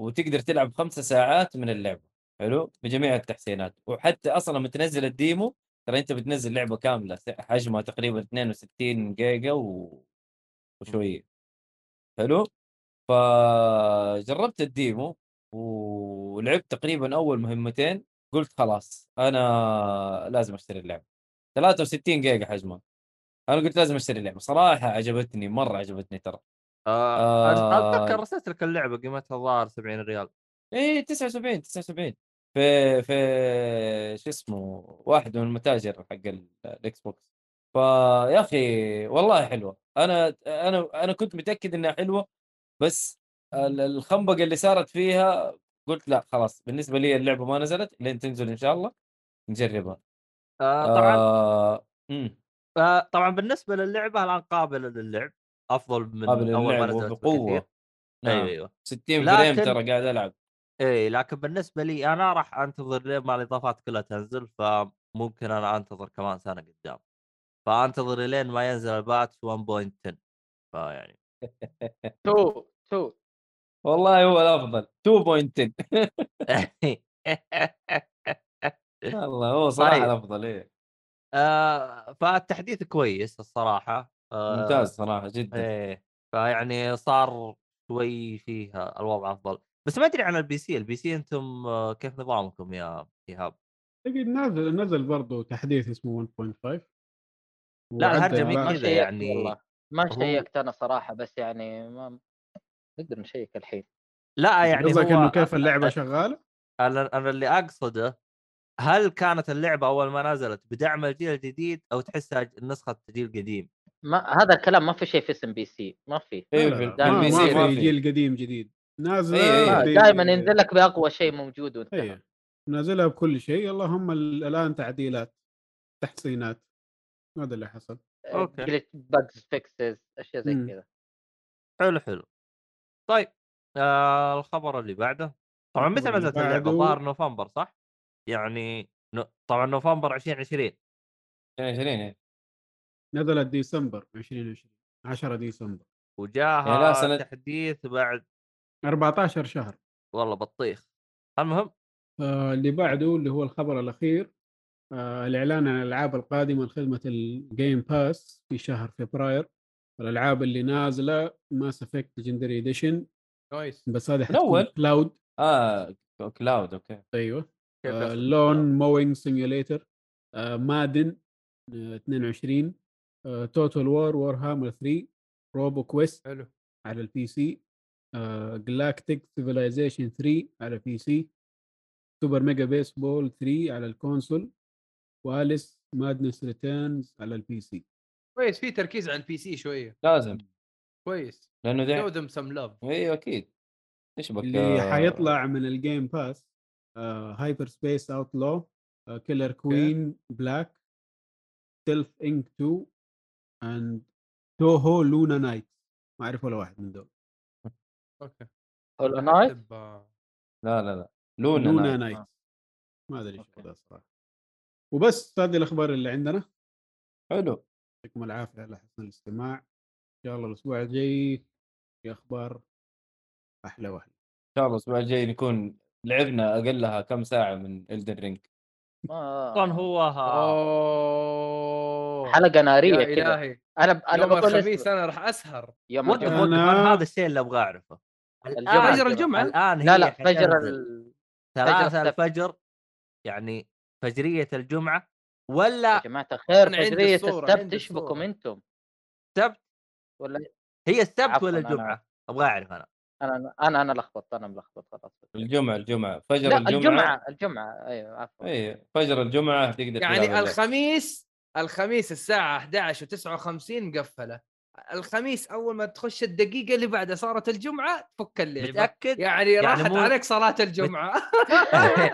[SPEAKER 3] وتقدر تلعب خمسة ساعات من اللعبه حلو بجميع التحسينات وحتى اصلا لما تنزل الديمو ترى انت بتنزل لعبه كامله حجمها تقريبا 62 جيجا و... وشويه حلو فجربت الديمو ولعبت تقريبا اول مهمتين قلت خلاص انا لازم اشتري اللعبه 63 جيجا حجمها انا قلت لازم اشتري اللعبه صراحه عجبتني مره عجبتني ترى
[SPEAKER 1] آه،
[SPEAKER 3] آه.
[SPEAKER 1] اتذكر رسلت لك اللعبه قيمتها الظاهر 70 ريال
[SPEAKER 3] ايه 79 79 في في شو اسمه واحد من المتاجر حق ال- الاكس بوكس فيا اخي والله حلوه انا انا انا كنت متاكد انها حلوه بس ال- الخنبقه اللي صارت فيها قلت لا خلاص بالنسبه لي اللعبه ما نزلت لين تنزل ان شاء الله نجربها
[SPEAKER 1] آه، طبعا
[SPEAKER 3] آه... أمم.
[SPEAKER 1] آه، طبعا بالنسبه للعبه الان قابله للعب افضل من
[SPEAKER 3] قابل
[SPEAKER 1] اول ما
[SPEAKER 3] للعب
[SPEAKER 1] نزلت
[SPEAKER 3] بقوه
[SPEAKER 1] بكثير.
[SPEAKER 3] نعم
[SPEAKER 1] ايوه
[SPEAKER 3] أيوة.
[SPEAKER 1] ايوه
[SPEAKER 3] 60 فريم
[SPEAKER 1] لكن-
[SPEAKER 3] ترى قاعد العب
[SPEAKER 1] اي إيه، لكن بالنسبه لي انا راح انتظر لين ما الاضافات كلها تنزل فممكن انا انتظر كمان سنه قدام فانتظر لين ما ينزل الباتش 1.10 فيعني
[SPEAKER 4] تو تو
[SPEAKER 3] والله هو الافضل 2.10 والله هو صراحه
[SPEAKER 1] طيب.
[SPEAKER 3] الافضل ايه
[SPEAKER 1] آه فالتحديث كويس الصراحه آه
[SPEAKER 3] ممتاز صراحه جدا
[SPEAKER 1] ايه فيعني صار شوي فيها الوضع افضل بس ما ادري عن البي سي البي سي انتم آه، كيف نظامكم يا ايهاب
[SPEAKER 5] تجد نازل نزل برضه تحديث اسمه 1.5
[SPEAKER 1] لا،
[SPEAKER 5] وعدى
[SPEAKER 1] الهرجة مين
[SPEAKER 5] على-
[SPEAKER 4] ما
[SPEAKER 1] كذا
[SPEAKER 4] شيكت
[SPEAKER 1] يعني
[SPEAKER 4] والله ما
[SPEAKER 1] هو-
[SPEAKER 4] شيكت انا صراحه بس يعني ما نقدر نشيك الحين
[SPEAKER 1] لا يعني
[SPEAKER 5] قصدك
[SPEAKER 1] هو
[SPEAKER 5] انه كيف اللعبه شغاله؟
[SPEAKER 1] انا انا اللي اقصده هل كانت اللعبه اول ما نزلت بدعم الجيل الجديد او تحسها ج- نسخه جيل قديم؟
[SPEAKER 4] ما هذا الكلام ما في شيء في اس ام بي سي ما في
[SPEAKER 3] ايوه
[SPEAKER 5] لا لا لا،
[SPEAKER 4] لا،
[SPEAKER 3] بالبي سي
[SPEAKER 5] ما
[SPEAKER 3] ما
[SPEAKER 5] في
[SPEAKER 3] في
[SPEAKER 5] جيل قديم جديد نازله
[SPEAKER 3] إيه، إيه.
[SPEAKER 4] ما،
[SPEAKER 5] ب-
[SPEAKER 4] دائما ينزل لك باقوى شيء موجود وانتهى
[SPEAKER 5] إيه. نازلها بكل شيء اللهم ال- الان تعديلات تحسينات هذا اللي حصل
[SPEAKER 4] آه،
[SPEAKER 1] أوكي.
[SPEAKER 4] باجز فيكسز اشياء زي
[SPEAKER 5] مم.
[SPEAKER 4] كذا
[SPEAKER 1] حلو حلو. طيب آه الخبر اللي بعده طبعا متى
[SPEAKER 5] الخبر اللي
[SPEAKER 1] نزلت اللعبه؟
[SPEAKER 5] بعده-
[SPEAKER 1] الظاهر نوفمبر صح؟ يعني ن... طبعا نوفمبر 2020
[SPEAKER 3] 2020 إيه.
[SPEAKER 5] نزلت ديسمبر 2020 10 ديسمبر
[SPEAKER 3] يا لا،
[SPEAKER 1] وجاها
[SPEAKER 3] سنة-
[SPEAKER 1] تحديث بعد
[SPEAKER 5] 14 شهر
[SPEAKER 1] والله بطيخ المهم
[SPEAKER 5] آه، اللي بعده اللي هو الخبر الاخير آه، الاعلان عن الالعاب القادمه لخدمه الجيم باس في شهر فبراير الالعاب اللي نازله ماس افكت ليجندري اديشن
[SPEAKER 2] نايس
[SPEAKER 5] بس هذه حتكون
[SPEAKER 3] الأول.
[SPEAKER 5] كلاود
[SPEAKER 3] اه ك- كلاود اوكي
[SPEAKER 5] ايوه
[SPEAKER 1] كيف
[SPEAKER 5] آه،
[SPEAKER 1] يصل؟
[SPEAKER 5] لون موينج سيميوليتر مادن آه، 22 توتال وار وور هامر 3 روبو كويست
[SPEAKER 2] حلو
[SPEAKER 5] على آه، البي سي جلاكتيك سيفيلايزيشن 3 على البي سي سوبر ميجا بيسبول 3 على الكونسول واليس مادنس ريتيرنز على البي سي
[SPEAKER 2] كويس في تركيز على البي سي شويه
[SPEAKER 3] لازم
[SPEAKER 2] كويس
[SPEAKER 3] لانه
[SPEAKER 2] شو
[SPEAKER 3] ده
[SPEAKER 2] ذم سم لاف
[SPEAKER 3] ايوه اكيد ايش بك آه،
[SPEAKER 5] اللي حيطلع من آه، الجيم باس هايبر سبيس اوت لو كيلر كوين بلاك سيلف انك 2 اند توهو لونا نايت ما اعرف ولا واحد من دول
[SPEAKER 2] اوكي
[SPEAKER 4] هولو نايت
[SPEAKER 2] أحسب-
[SPEAKER 3] لا لا لا لونا,
[SPEAKER 5] لونا
[SPEAKER 3] لونا
[SPEAKER 5] نايت
[SPEAKER 3] آه.
[SPEAKER 5] ما ادري ايش
[SPEAKER 3] أوكي.
[SPEAKER 5] هذا صراحه وبس هذه الاخبار اللي عندنا
[SPEAKER 3] حلو
[SPEAKER 5] يعطيكم العافيه على حسن الاستماع ان شاء الله الاسبوع الجاي في اخبار احلى واحلى
[SPEAKER 3] ان شاء الله الاسبوع الجاي نكون لعبنا اقلها كم ساعه من الدن رينج
[SPEAKER 5] آه.
[SPEAKER 1] اصلا هو ها...
[SPEAKER 2] اوه
[SPEAKER 4] حلقه
[SPEAKER 2] يا
[SPEAKER 4] ناريه كذا
[SPEAKER 2] الهي
[SPEAKER 4] انا انا
[SPEAKER 2] يوم
[SPEAKER 4] بقول
[SPEAKER 2] الخميس
[SPEAKER 4] اسمه.
[SPEAKER 2] انا راح اسهر
[SPEAKER 4] يوم
[SPEAKER 1] وقف
[SPEAKER 4] الجمعه
[SPEAKER 1] وقف
[SPEAKER 5] أنا-
[SPEAKER 1] انا هذا الشيء اللي ابغى اعرفه
[SPEAKER 4] الجمعة.
[SPEAKER 2] آه، فجر الجمعة؟
[SPEAKER 1] الان
[SPEAKER 4] لا
[SPEAKER 1] هي
[SPEAKER 4] لا فجر
[SPEAKER 1] حتنزل.
[SPEAKER 4] ال...
[SPEAKER 1] ثلاثة
[SPEAKER 4] السبت.
[SPEAKER 1] الفجر يعني فجرية الجمعة ولا
[SPEAKER 4] يا جماعه الخير
[SPEAKER 2] أنا عندي
[SPEAKER 4] فجريه
[SPEAKER 2] الصورة،
[SPEAKER 4] السبت
[SPEAKER 2] عندي
[SPEAKER 4] تشبكم
[SPEAKER 2] الصورة.
[SPEAKER 4] انتم
[SPEAKER 1] السبت
[SPEAKER 4] ولا
[SPEAKER 1] هي السبت
[SPEAKER 4] عفواً،
[SPEAKER 1] ولا
[SPEAKER 4] أنا-
[SPEAKER 1] الجمعة؟ ابغى اعرف انا
[SPEAKER 4] انا انا انا لخبطت انا ملخبط خلاص
[SPEAKER 3] الجمعه الجمعه فجر
[SPEAKER 4] لا
[SPEAKER 3] الجمعه
[SPEAKER 4] الجمعه الجمعه ايوه عفوا
[SPEAKER 3] اي فجر الجمعه تقدر تلعب
[SPEAKER 2] يعني
[SPEAKER 3] اللعبة.
[SPEAKER 2] الخميس الخميس الساعة 11 و59 مقفلة الخميس أول ما تخش الدقيقة اللي بعدها صارت الجمعة تفك اللعبة
[SPEAKER 1] متأكد؟
[SPEAKER 2] يعني, راحت
[SPEAKER 1] مو-
[SPEAKER 2] عليك صلاة الجمعة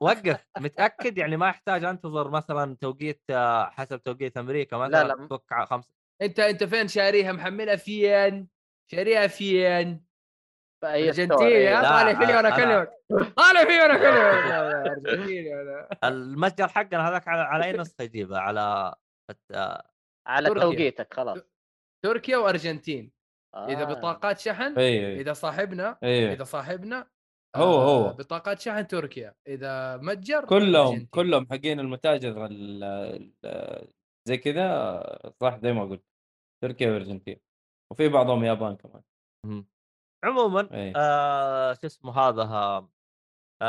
[SPEAKER 1] وقف متأكد يعني ما احتاج انتظر مثلا توقيت آه، حسب توقيت امريكا مثلا
[SPEAKER 4] لا، م-
[SPEAKER 1] تفك ع- خمس
[SPEAKER 2] أنت أنت فين شاريها محملها فين؟ شاريها فين؟
[SPEAKER 4] فأي ستور،
[SPEAKER 2] أرجنتيني
[SPEAKER 4] أيوة.
[SPEAKER 2] ها؟
[SPEAKER 1] لا،
[SPEAKER 2] طالع فيني وأنا
[SPEAKER 1] أنا-
[SPEAKER 2] كلمك طالع فيني وأنا كلمك أنا أرجنتيني أنا
[SPEAKER 1] المتجر حقنا هذاك على, على اي نسخة يجيبها على الت- آه،
[SPEAKER 4] على
[SPEAKER 2] تركيا.
[SPEAKER 4] توقيتك خلاص
[SPEAKER 2] تركيا وأرجنتين إذا
[SPEAKER 4] آه.
[SPEAKER 2] إيه بطاقات شحن
[SPEAKER 3] اي اي
[SPEAKER 2] إذا صاحبنا
[SPEAKER 3] اي
[SPEAKER 2] إذا صاحبنا
[SPEAKER 3] هو-
[SPEAKER 2] آه،
[SPEAKER 3] هو.
[SPEAKER 2] بطاقات شحن تركيا اذا متجر
[SPEAKER 3] كلهم
[SPEAKER 2] أرجنتين.
[SPEAKER 3] كلهم حقين المتاجر ال- ال- زي كذا صح زي ما قلت تركيا والارجنتين وفي بعضهم يابان كمان
[SPEAKER 1] عموما
[SPEAKER 3] إيه.
[SPEAKER 1] آه شو اسمه هذا آه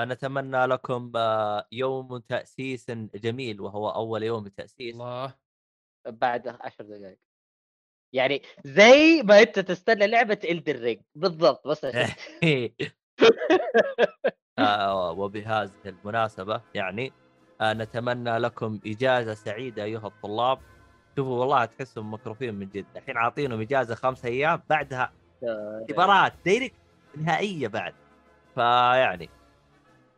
[SPEAKER 1] نتمنى لكم آه يوم تاسيس جميل وهو اول يوم تاسيس
[SPEAKER 2] الله
[SPEAKER 4] بعد 10 دقائق يعني زي ما انت تستنى لعبه الدرينج بالضبط بس عشان-
[SPEAKER 1] آه وبهذه المناسبة يعني آه نتمنى لكم إجازة سعيدة أيها الطلاب شوفوا والله تحسهم مكروفين من جد الحين عاطينهم إجازة خمسة أيام بعدها اختبارات دايركت نهائية بعد فيعني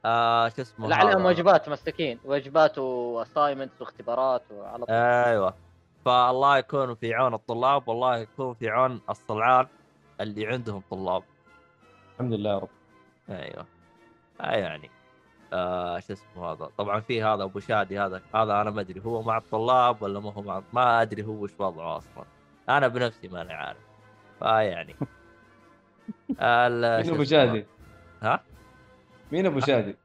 [SPEAKER 1] آه شو اسمه
[SPEAKER 4] لا
[SPEAKER 1] هذا؟
[SPEAKER 4] عليهم واجبات مساكين واجبات واسايمنتس واختبارات وعلى طول
[SPEAKER 1] ايوه فالله يكون في عون الطلاب والله يكون في عون الصلعان اللي عندهم طلاب
[SPEAKER 3] الحمد لله يا رب
[SPEAKER 1] ايوه آه يعني آه شو اسمه هذا طبعا في هذا ابو شادي هذا هذا انا ما ادري هو مع الطلاب ولا ما هو مع ما ادري هو ايش وضعه اصلا انا بنفسي ماني عارف فيعني ال-
[SPEAKER 3] مين
[SPEAKER 1] شو
[SPEAKER 3] ابو
[SPEAKER 1] اسمه؟
[SPEAKER 3] شادي؟
[SPEAKER 1] ها؟
[SPEAKER 3] مين ابو شادي؟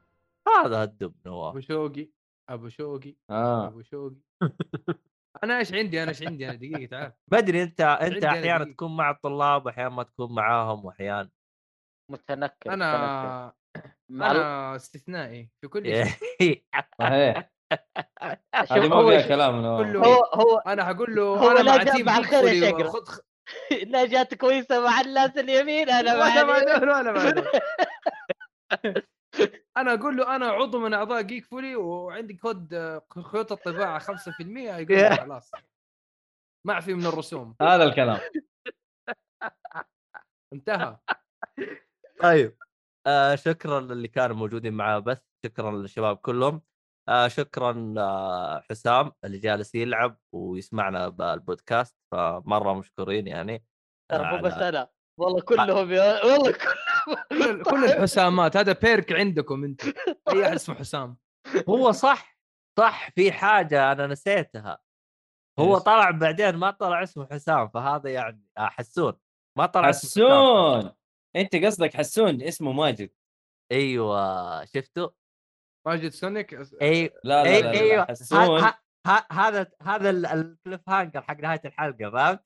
[SPEAKER 1] هذا الدب نواف
[SPEAKER 2] ابو شوقي ابو شوقي
[SPEAKER 3] اه
[SPEAKER 2] ابو شوقي انا ايش عندي انا ايش عندي انا دقيقه تعال
[SPEAKER 1] ما ادري انت انت
[SPEAKER 2] عندي أنا
[SPEAKER 1] احيانا
[SPEAKER 2] دقيقة.
[SPEAKER 1] تكون مع الطلاب واحيانا ما تكون معاهم واحيانا
[SPEAKER 4] متنكر متنكر.
[SPEAKER 2] انا
[SPEAKER 4] مع ال-
[SPEAKER 2] انا استثنائي في كل شيء
[SPEAKER 3] صحيح
[SPEAKER 4] شوف،
[SPEAKER 3] هذه ما
[SPEAKER 4] هو
[SPEAKER 3] فيها
[SPEAKER 4] شوف،
[SPEAKER 3] كلام أنا
[SPEAKER 2] كله-
[SPEAKER 3] والله.
[SPEAKER 4] هو هو
[SPEAKER 2] انا هقول له
[SPEAKER 4] هو
[SPEAKER 2] انا
[SPEAKER 4] لا
[SPEAKER 2] مع
[SPEAKER 4] جاب
[SPEAKER 2] تيم
[SPEAKER 4] على الخير يا
[SPEAKER 2] نيكولي
[SPEAKER 4] شقرة.
[SPEAKER 2] خذ خ-
[SPEAKER 4] لا جات كويسه مع الناس اليمين انا مع
[SPEAKER 2] ولا ما
[SPEAKER 4] اليمين.
[SPEAKER 2] دخل ولا ما دخل. انا اقول له انا عضو من اعضاء جيك فولي وعندي كود آه، خيوط الطباعه 5% يقول لي خلاص معفي من الرسوم
[SPEAKER 3] هذا الكلام
[SPEAKER 2] انتهى
[SPEAKER 4] أيوه.
[SPEAKER 1] طيب آه شكرا للي كانوا موجودين معاه بث شكرا للشباب كلهم آه شكرا آه حسام اللي جالس يلعب ويسمعنا بالبودكاست فمره مشكورين يعني
[SPEAKER 4] ترى
[SPEAKER 1] آه،
[SPEAKER 4] مو بس
[SPEAKER 1] على-
[SPEAKER 4] انا والله كلهم يا والله
[SPEAKER 2] كل
[SPEAKER 4] كلهم
[SPEAKER 2] كل الحسامات هذا بيرك عندكم انت اي احد اسمه حسام
[SPEAKER 1] هو صح صح في حاجه انا نسيتها هو
[SPEAKER 3] إيش؟
[SPEAKER 1] طلع بعدين ما طلع اسمه حسام فهذا يعني آه حسون ما طلع اسمه حسام.
[SPEAKER 3] حسون انت قصدك حسون اسمه ماجد
[SPEAKER 1] ايوه شفته
[SPEAKER 2] ماجد سونيك أس-
[SPEAKER 1] اي
[SPEAKER 3] لا لا
[SPEAKER 1] إيه،
[SPEAKER 3] لا, لا,
[SPEAKER 1] إيوه.
[SPEAKER 3] لا. حسون
[SPEAKER 1] ه- ه- هذا هذا ال- الكليف هانجر حق نهايه الحلقه فهمت؟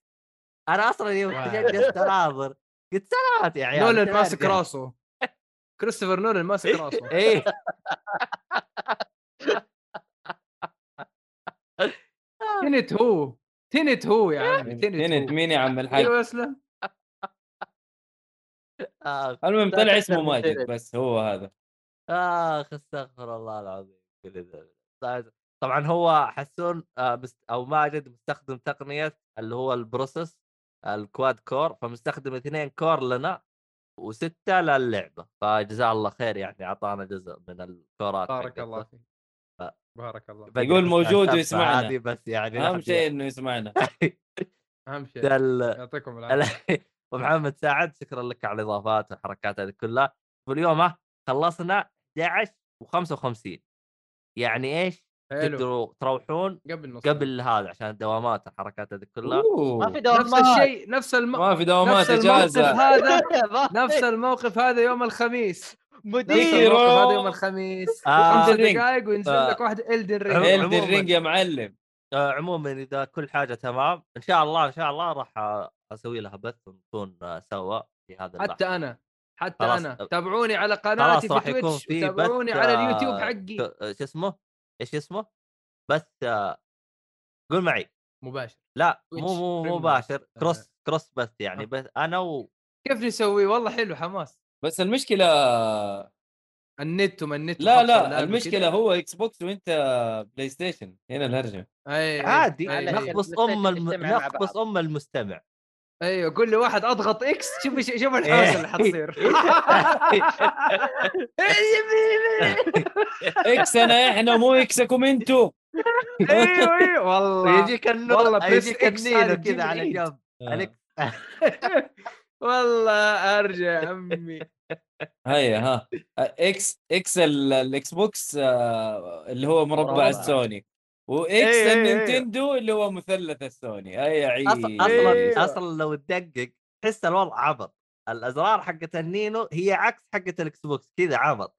[SPEAKER 1] انا اصلا يوم
[SPEAKER 2] واو.
[SPEAKER 1] جلست اناظر قلت سلامات يا عيال
[SPEAKER 2] نولان
[SPEAKER 1] إيش
[SPEAKER 2] ماسك
[SPEAKER 1] هذا؟
[SPEAKER 2] راسه كريستوفر نولان ماسك راسه
[SPEAKER 1] ايه
[SPEAKER 2] تنت هو تنت هو يا عمي
[SPEAKER 3] تنت
[SPEAKER 2] تنت هو
[SPEAKER 3] مين يا عم الحاج
[SPEAKER 2] ايوه اسلم
[SPEAKER 1] اخ
[SPEAKER 3] المهم
[SPEAKER 4] لا
[SPEAKER 3] طلع
[SPEAKER 4] تقدر
[SPEAKER 3] اسمه
[SPEAKER 4] من
[SPEAKER 3] ماجد
[SPEAKER 4] تنت.
[SPEAKER 3] بس هو هذا
[SPEAKER 1] اخ استغفر الله العظيم طيب، طبعا هو حسون آه، مست- او ماجد مستخدم تقنيه اللي هو البروسيس الكواد كور فمستخدم اثنين كور لنا وسته للعبه فجزاه الله خير يعني اعطانا جزء من الكورات
[SPEAKER 2] بارك
[SPEAKER 1] حقته.
[SPEAKER 2] الله فيك
[SPEAKER 1] ف-
[SPEAKER 2] بارك الله
[SPEAKER 1] بدري
[SPEAKER 3] يقول
[SPEAKER 1] بس
[SPEAKER 3] موجود
[SPEAKER 1] أسبة
[SPEAKER 3] ويسمعنا.
[SPEAKER 1] هذه بس يعني
[SPEAKER 3] اهم
[SPEAKER 1] الواحد
[SPEAKER 3] شيء انه يسمعنا
[SPEAKER 2] اهم شيء
[SPEAKER 1] يعدل.
[SPEAKER 2] يعطيكم العافيه
[SPEAKER 1] ال- ومحمد سعد شكرا لك على الاضافات والحركات هذه كلها واليوم ها، خلصنا 11 و55 يعني ايش
[SPEAKER 2] حلو
[SPEAKER 1] تقدروا تروحون
[SPEAKER 2] قبل نص
[SPEAKER 1] قبل هذا عشان الدوامات والحركات هذه كلها
[SPEAKER 3] أوه.
[SPEAKER 4] ما في
[SPEAKER 2] نفس
[SPEAKER 4] دوامات
[SPEAKER 2] الشيء نفس الم...
[SPEAKER 3] ما في
[SPEAKER 2] نفس
[SPEAKER 3] دوامات
[SPEAKER 2] الموقف
[SPEAKER 3] اجازه
[SPEAKER 2] هذا
[SPEAKER 4] ما في.
[SPEAKER 2] نفس الموقف هذا يوم الخميس نفس
[SPEAKER 4] مدير
[SPEAKER 3] ديرو.
[SPEAKER 2] الموقف هذا يوم الخميس
[SPEAKER 1] آه،
[SPEAKER 2] خمس
[SPEAKER 3] Elden Ring. إيه.
[SPEAKER 2] دقائق وينزل
[SPEAKER 1] آه.
[SPEAKER 2] لك واحد الدن رينج
[SPEAKER 1] عموماً.
[SPEAKER 3] الدن رينج يا معلم
[SPEAKER 1] آه، عموما اذا كل حاجه تمام ان شاء الله ان شاء الله راح آه، اسوي لها بث ونكون آه، سوا في هذا
[SPEAKER 2] حتى
[SPEAKER 1] اللحظة.
[SPEAKER 2] انا حتى
[SPEAKER 1] خلاص.
[SPEAKER 2] انا تابعوني على
[SPEAKER 1] خلاص
[SPEAKER 2] قناتي
[SPEAKER 1] راح
[SPEAKER 2] في
[SPEAKER 1] يكون
[SPEAKER 2] تويتش
[SPEAKER 1] في بث،
[SPEAKER 2] تابعوني على
[SPEAKER 1] آه،
[SPEAKER 2] اليوتيوب حقي
[SPEAKER 1] ك- آه، شو اسمه ايش اسمه بث آه، قول معي
[SPEAKER 2] مباشر
[SPEAKER 1] لا
[SPEAKER 2] Twitch
[SPEAKER 1] مو مو
[SPEAKER 2] Premium.
[SPEAKER 1] مباشر كروس كروس بث
[SPEAKER 2] آه.
[SPEAKER 1] يعني بث انا و
[SPEAKER 2] كيف نسوي والله حلو حماس
[SPEAKER 3] بس المشكله
[SPEAKER 2] النت وما النت
[SPEAKER 3] لا
[SPEAKER 2] وخمسة
[SPEAKER 3] لا
[SPEAKER 2] ولاعب
[SPEAKER 3] المشكله
[SPEAKER 2] وكده.
[SPEAKER 3] هو اكس بوكس وانت بلاي ستيشن هنا الهرجه
[SPEAKER 2] أي- أي-
[SPEAKER 1] عادي
[SPEAKER 2] أي- أي.
[SPEAKER 1] نقبص
[SPEAKER 4] البلاي
[SPEAKER 1] ام
[SPEAKER 4] ستيشن
[SPEAKER 1] الم...
[SPEAKER 4] يجتمع مع
[SPEAKER 1] نقبص
[SPEAKER 4] بعض.
[SPEAKER 1] ام المستمع
[SPEAKER 2] ايوه كل واحد اضغط اكس شوف إيش- شوف الحوسه اللي حتصير أيوة،
[SPEAKER 3] اكس انا احنا مو اكسكم انتوا
[SPEAKER 2] ايوه ايوه والله
[SPEAKER 1] ويجيك النور
[SPEAKER 2] والله press
[SPEAKER 1] يجيك
[SPEAKER 2] X هذه
[SPEAKER 1] النيله
[SPEAKER 2] تجيب
[SPEAKER 1] كذا على
[SPEAKER 2] العيد.
[SPEAKER 1] جنب
[SPEAKER 3] آه،
[SPEAKER 1] عليك
[SPEAKER 2] والله ارجع يا عمي
[SPEAKER 3] هيا ها اكس اكس ال- الاكس بوكس آه، اللي هو مربع
[SPEAKER 4] مربع.
[SPEAKER 3] السوني
[SPEAKER 2] إيه،
[SPEAKER 3] واكس
[SPEAKER 2] إيه، إيه.
[SPEAKER 3] النينتندو اللي هو مثلث السوني هيا عيد
[SPEAKER 1] اصلا
[SPEAKER 2] إيه.
[SPEAKER 1] اصلا لو تدقق تحس الوضع عبط الازرار حقت النينو هي عكس حقت الاكس بوكس كذا عبط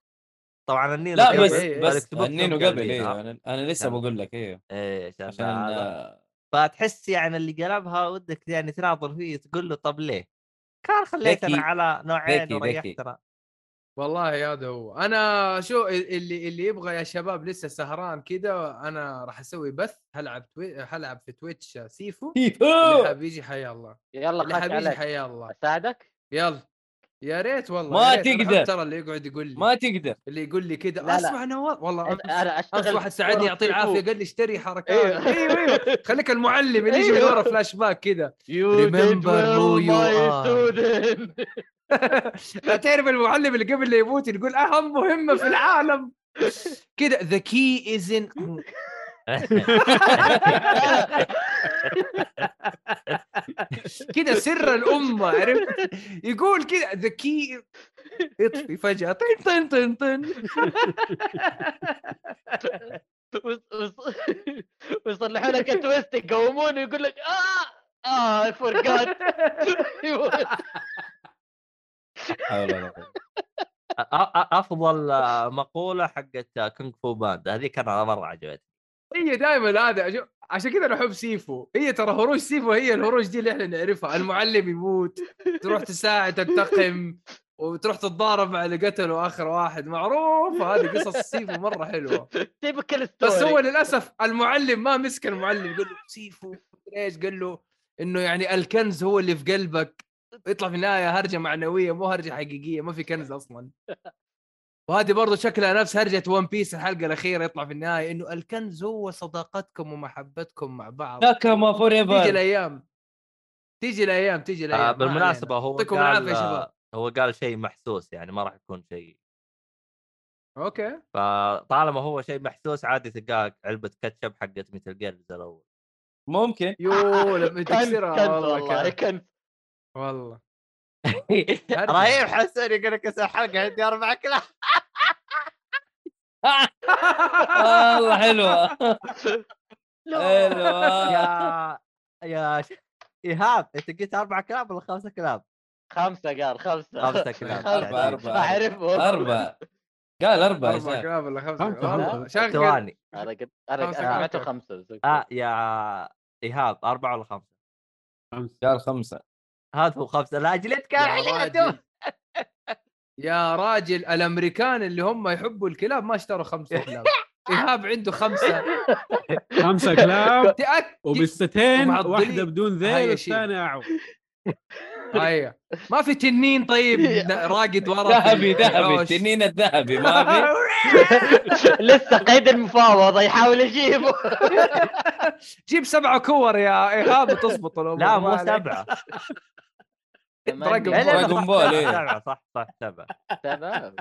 [SPEAKER 1] طبعا النينو
[SPEAKER 3] لا
[SPEAKER 1] قبل،
[SPEAKER 3] بس
[SPEAKER 2] إيه،
[SPEAKER 1] الإكس
[SPEAKER 3] بس
[SPEAKER 1] بوكس
[SPEAKER 3] النينو
[SPEAKER 1] هم قاعدين،
[SPEAKER 3] قبل
[SPEAKER 1] آه.
[SPEAKER 3] ايوه أنا- انا لسه
[SPEAKER 2] يعني
[SPEAKER 1] تمام.
[SPEAKER 3] بقول لك ايوه
[SPEAKER 1] ايه عشان
[SPEAKER 3] عشان
[SPEAKER 1] هذا.
[SPEAKER 3] آه،
[SPEAKER 1] فتحس يعني اللي قلبها ودك يعني تناظر فيه تقول له طب ليه؟ كان خليتنا
[SPEAKER 3] ذكي-
[SPEAKER 1] على نوعين
[SPEAKER 3] ذكي-
[SPEAKER 1] وريحتنا
[SPEAKER 2] والله هذا هو انا شو اللي اللي يبغى يا شباب لسه سهران كده انا راح اسوي بث هلعب توي... هلعب في تويتش سيفو اللي حاب يجي حيا الله
[SPEAKER 4] يلا
[SPEAKER 2] اللي
[SPEAKER 4] خش
[SPEAKER 2] حاب يجي
[SPEAKER 4] عليك
[SPEAKER 2] حيا الله
[SPEAKER 4] اساعدك
[SPEAKER 2] يلا يا ريت والله
[SPEAKER 3] ما
[SPEAKER 2] يا ريت. أنا أحب
[SPEAKER 3] تقدر.
[SPEAKER 2] ترى اللي يقعد يقول لي
[SPEAKER 3] ما تقدر
[SPEAKER 2] اللي يقول لي كذا
[SPEAKER 4] لا، لا.
[SPEAKER 2] اسمع نواف والله امس
[SPEAKER 4] انا
[SPEAKER 2] امس
[SPEAKER 4] اشتغل
[SPEAKER 2] واحد ساعدني يعطيه العافيه قال لي اشتري حركات
[SPEAKER 4] أيوه.
[SPEAKER 2] ايوه ايوه خليك المعلم اللي يجي من
[SPEAKER 4] أيوه.
[SPEAKER 2] ورا فلاش باك كذا
[SPEAKER 4] You did
[SPEAKER 2] Remember who
[SPEAKER 4] well,
[SPEAKER 2] you
[SPEAKER 4] my
[SPEAKER 2] are.
[SPEAKER 4] student.
[SPEAKER 2] لا تعرف المعلم اللي قبل لا يموت يقول اهم مهمه في العالم كذا ذا كي از ان كذا سر الامه عرفت يقول كذا ذا كي يطفي فجاه طن طن طن طن
[SPEAKER 4] وص- وص- ويصلحوا لك التويست يقومون ويقول لك اه اه I forgot أيوه،
[SPEAKER 3] حول ولا قوة.
[SPEAKER 1] أ- أ- افضل آه، مقوله حقت آه، كونغ فو باندا هذيك انا مره عجبتني
[SPEAKER 2] هي دائما هذا شو- عشان كذا انا احب سيفو هي ترى هروج سيفو هي الهروج دي اللي احنا نعرفها المعلم يموت تروح تساعد تنتقم وتروح تتضارب مع اللي قتله اخر واحد معروفه هذه قصص سيفو مره حلوه
[SPEAKER 4] تيبكال ستوري
[SPEAKER 2] بس هو للاسف المعلم ما مسك المعلم قال له سيفو مدري ايش قال له انه يعني الكنز هو اللي في قلبك يطلع في النهايه هرجه معنويه مو هرجه حقيقيه ما في كنز اصلا وهذه برضه شكلها نفس هرجه ون بيس الحلقه الاخيره يطلع في النهايه انه الكنز هو صداقتكم ومحبتكم مع بعض
[SPEAKER 3] ناكاما فور
[SPEAKER 2] تيجي
[SPEAKER 3] ايفر
[SPEAKER 2] الايام تيجي الايام تيجي الايام
[SPEAKER 1] آه
[SPEAKER 2] ما علينا.
[SPEAKER 1] بالمناسبه هو
[SPEAKER 2] يعطيكم العافيه
[SPEAKER 1] قال
[SPEAKER 2] يا
[SPEAKER 1] آه،
[SPEAKER 2] شباب
[SPEAKER 1] هو قال شيء محسوس يعني ما راح يكون شيء آه.
[SPEAKER 2] اوكي
[SPEAKER 1] فطالما هو شيء محسوس عادي تلقاه علبه كاتشب حقت مثل جيرز الاول
[SPEAKER 3] ممكن
[SPEAKER 2] يو لما تكسرها
[SPEAKER 4] كنز
[SPEAKER 2] والله
[SPEAKER 4] والله
[SPEAKER 2] كان-
[SPEAKER 4] كنز
[SPEAKER 2] والله هرجة.
[SPEAKER 1] رهيب حسن يقول لك اسال حلقه عندي اربع كلاب
[SPEAKER 3] والله حلوه
[SPEAKER 4] لا
[SPEAKER 2] آه.
[SPEAKER 3] حلوه
[SPEAKER 1] يا يا ش- ايهاب انت قلت اربع كلاب ولا خمسه كلاب؟
[SPEAKER 4] خمسة قال خمسة
[SPEAKER 1] خمسة كلاب
[SPEAKER 4] خمسة.
[SPEAKER 3] أربعة- أربعة.
[SPEAKER 4] أعرفه
[SPEAKER 3] اربع قال اربع يا
[SPEAKER 2] اربع
[SPEAKER 3] شباب
[SPEAKER 2] كلاب ولا خمسه
[SPEAKER 5] خمسة،
[SPEAKER 2] والله
[SPEAKER 5] خمسة.
[SPEAKER 2] شغل
[SPEAKER 1] ثواني
[SPEAKER 4] أنا قد أنا
[SPEAKER 2] خمسة
[SPEAKER 4] سمعته
[SPEAKER 2] كلاب.
[SPEAKER 4] خمسة بس أوكي.
[SPEAKER 1] اه يا ايهاب اربعه ولا خمسه؟
[SPEAKER 5] خمسة.
[SPEAKER 3] قال خمسه
[SPEAKER 1] هذا هو خمسه لا جلدك
[SPEAKER 2] يا
[SPEAKER 1] يا
[SPEAKER 2] راجل يا راجل الامريكان اللي هم يحبوا الكلاب ما اشتروا خمسه كلاب ايهاب عنده خمسه
[SPEAKER 5] خمسه كلاب
[SPEAKER 2] تاكد
[SPEAKER 5] وبالستين
[SPEAKER 2] ومعضلين.
[SPEAKER 5] واحده بدون ذيل
[SPEAKER 2] هاي شيء.
[SPEAKER 5] والثانيه اعو
[SPEAKER 2] هيا ما في تنين طيب ن- راقد ورا طيب. في
[SPEAKER 3] ذهبي ذهبي
[SPEAKER 2] الحوش.
[SPEAKER 3] التنين الذهبي ما في
[SPEAKER 4] لسه قيد المفاوضة يحاول يجيبه
[SPEAKER 2] جيب سبعه كور يا ايهاب تزبط الامور
[SPEAKER 1] لا
[SPEAKER 2] ما
[SPEAKER 1] مو
[SPEAKER 2] عليك.
[SPEAKER 1] سبعه
[SPEAKER 2] رقم
[SPEAKER 1] لا، لا، لا،
[SPEAKER 3] دراجون
[SPEAKER 1] صح،
[SPEAKER 3] بول،
[SPEAKER 1] صح،
[SPEAKER 3] إيه.
[SPEAKER 1] سبعه صح صح سبعه
[SPEAKER 4] تمام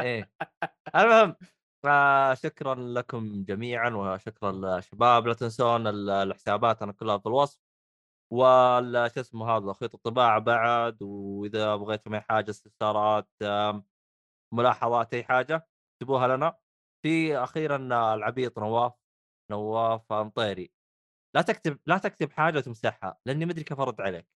[SPEAKER 1] ايه المهم آه شكرا لكم جميعا وشكرا للشباب لا تنسون ال- الحسابات انا كلها في الوصف وال شو اسمه هذا خيط الطباعه بعد واذا بغيتم اي حاجه استفسارات آم، ملاحظات اي حاجه اكتبوها لنا في اخيرا آه، العبيط نواف نواف مطيري لا تكتب لا تكتب حاجه وتمسحها لاني مدري كيف ارد عليك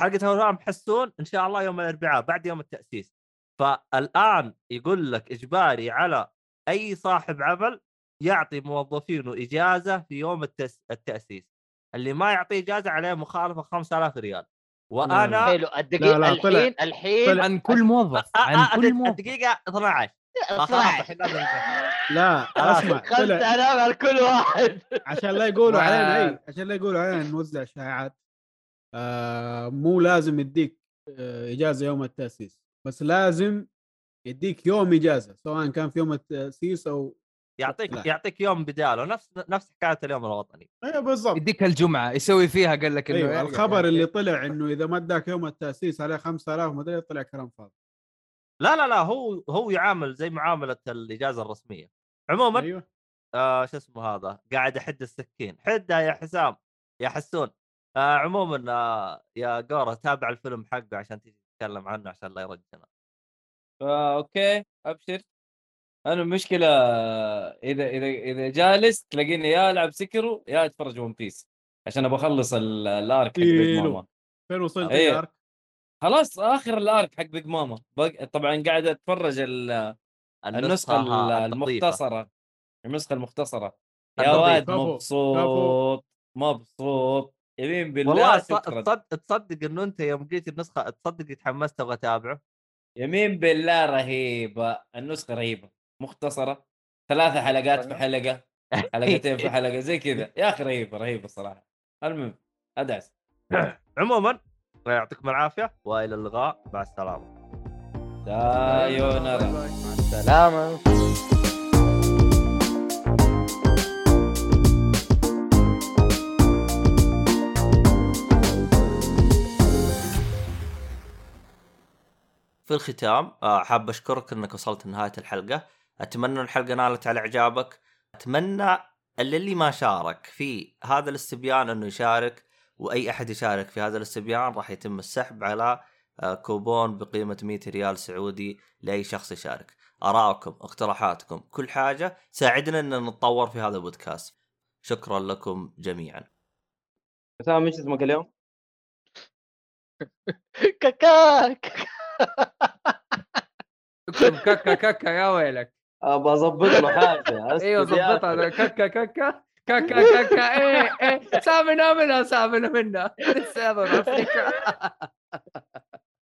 [SPEAKER 1] حلقه هوام حسون ان شاء الله يوم الاربعاء بعد يوم التاسيس فالان يقول لك اجباري على اي صاحب عمل يعطي موظفينه اجازه في يوم التس... التاسيس اللي ما يعطيه اجازه عليه مخالفه 5000 ريال وانا
[SPEAKER 4] حلو الدقيقة
[SPEAKER 5] لا، طلع.
[SPEAKER 4] الحين الحين
[SPEAKER 2] عن كل موظف
[SPEAKER 1] أ- أ-
[SPEAKER 2] عن يعني كل
[SPEAKER 1] أ-
[SPEAKER 2] موظف
[SPEAKER 1] الدقيقه 12 آه، خلاص، الحين لازم نكمل.
[SPEAKER 5] لا اسمع
[SPEAKER 4] خمسة
[SPEAKER 5] طلع
[SPEAKER 4] آلاف على كل واحد
[SPEAKER 5] عشان لا يقولوا
[SPEAKER 2] ما-
[SPEAKER 5] علينا اي عشان لا يقولوا علينا نوزع شائعات آه مو لازم يديك آه اجازه يوم التاسيس بس لازم يديك يوم اجازه سواء كان في يوم التاسيس او
[SPEAKER 1] يعطيك
[SPEAKER 5] لا.
[SPEAKER 1] يعطيك يوم بداله نفس نفس حكايه اليوم الوطني
[SPEAKER 5] ايوه بالضبط
[SPEAKER 2] يديك الجمعه يسوي فيها قال لك
[SPEAKER 5] ايوه
[SPEAKER 2] انه
[SPEAKER 5] الخبر
[SPEAKER 2] إيه.
[SPEAKER 5] اللي طلع انه اذا ما اداك يوم التاسيس عليه 5000 مدري طلع كلام فاضي
[SPEAKER 1] لا لا لا هو هو يعامل زي معامله الاجازه الرسميه عموما
[SPEAKER 5] ايوه
[SPEAKER 1] آه شو اسمه هذا قاعد احد السكين حدها يا حسام يا حسون آه عموما آه يا قورة تابع الفيلم حقه عشان تيجي تتكلم عنه عشان لا يرجعنا
[SPEAKER 3] آه، اوكي ابشر انا المشكله اذا اذا اذا جالس تلاقيني يا العب سكرو يا اتفرج ون بيس عشان ابغى اخلص ال- الارك حق بيج
[SPEAKER 5] إيلو.
[SPEAKER 3] ماما
[SPEAKER 5] فين وصلت
[SPEAKER 3] أيوة.
[SPEAKER 5] يا أرك؟
[SPEAKER 3] خلاص اخر الارك حق بيج ماما بق- طبعا قاعد اتفرج ال- النسخه
[SPEAKER 7] ها-
[SPEAKER 3] ال-
[SPEAKER 7] الدقيقة.
[SPEAKER 3] المختصره النسخه المختصره يا
[SPEAKER 7] النظيفة.
[SPEAKER 3] واد
[SPEAKER 5] كفو،
[SPEAKER 3] مبسوط مبسوط يمين بالله
[SPEAKER 7] والله تص-
[SPEAKER 3] شكرا
[SPEAKER 7] تصد- تصدق انه انت يوم جيت النسخه تصدق تحمست ابغى اتابعه
[SPEAKER 3] يمين بالله رهيبه النسخه رهيبه مختصره ثلاث حلقات في حلقه حلقتين في حلقه زي كذا يا اخي رهيبه رهيبه الصراحه المهم ادعس
[SPEAKER 7] عموما الله يعطيكم العافيه والى اللقاء مع السلامه
[SPEAKER 3] سايونارا
[SPEAKER 2] باي باي.
[SPEAKER 4] سلامة
[SPEAKER 1] في الختام آه، حاب اشكرك انك وصلت لنهايه الحلقه اتمنى إن الحلقه نالت على اعجابك اتمنى اللي, اللي ما شارك في هذا الاستبيان انه يشارك واي احد يشارك في هذا الاستبيان راح يتم السحب على آه، كوبون بقيمه 100 ريال سعودي لاي شخص يشارك ارائكم اقتراحاتكم كل حاجه ساعدنا ان نتطور في هذا البودكاست شكرا لكم جميعا
[SPEAKER 6] اسامه ايش اسمك اليوم؟
[SPEAKER 4] ككاك
[SPEAKER 2] اكتب ككا ككا يا ويلك
[SPEAKER 6] ابى اظبط له
[SPEAKER 3] أيوة،
[SPEAKER 6] حاجه
[SPEAKER 2] ايوه
[SPEAKER 6] أسكت يا
[SPEAKER 2] ظبطها
[SPEAKER 6] أخي.
[SPEAKER 2] ككا ككا ككا ككا eh. ايه ايه سامنا منها سامنا منها لسه يا ضرب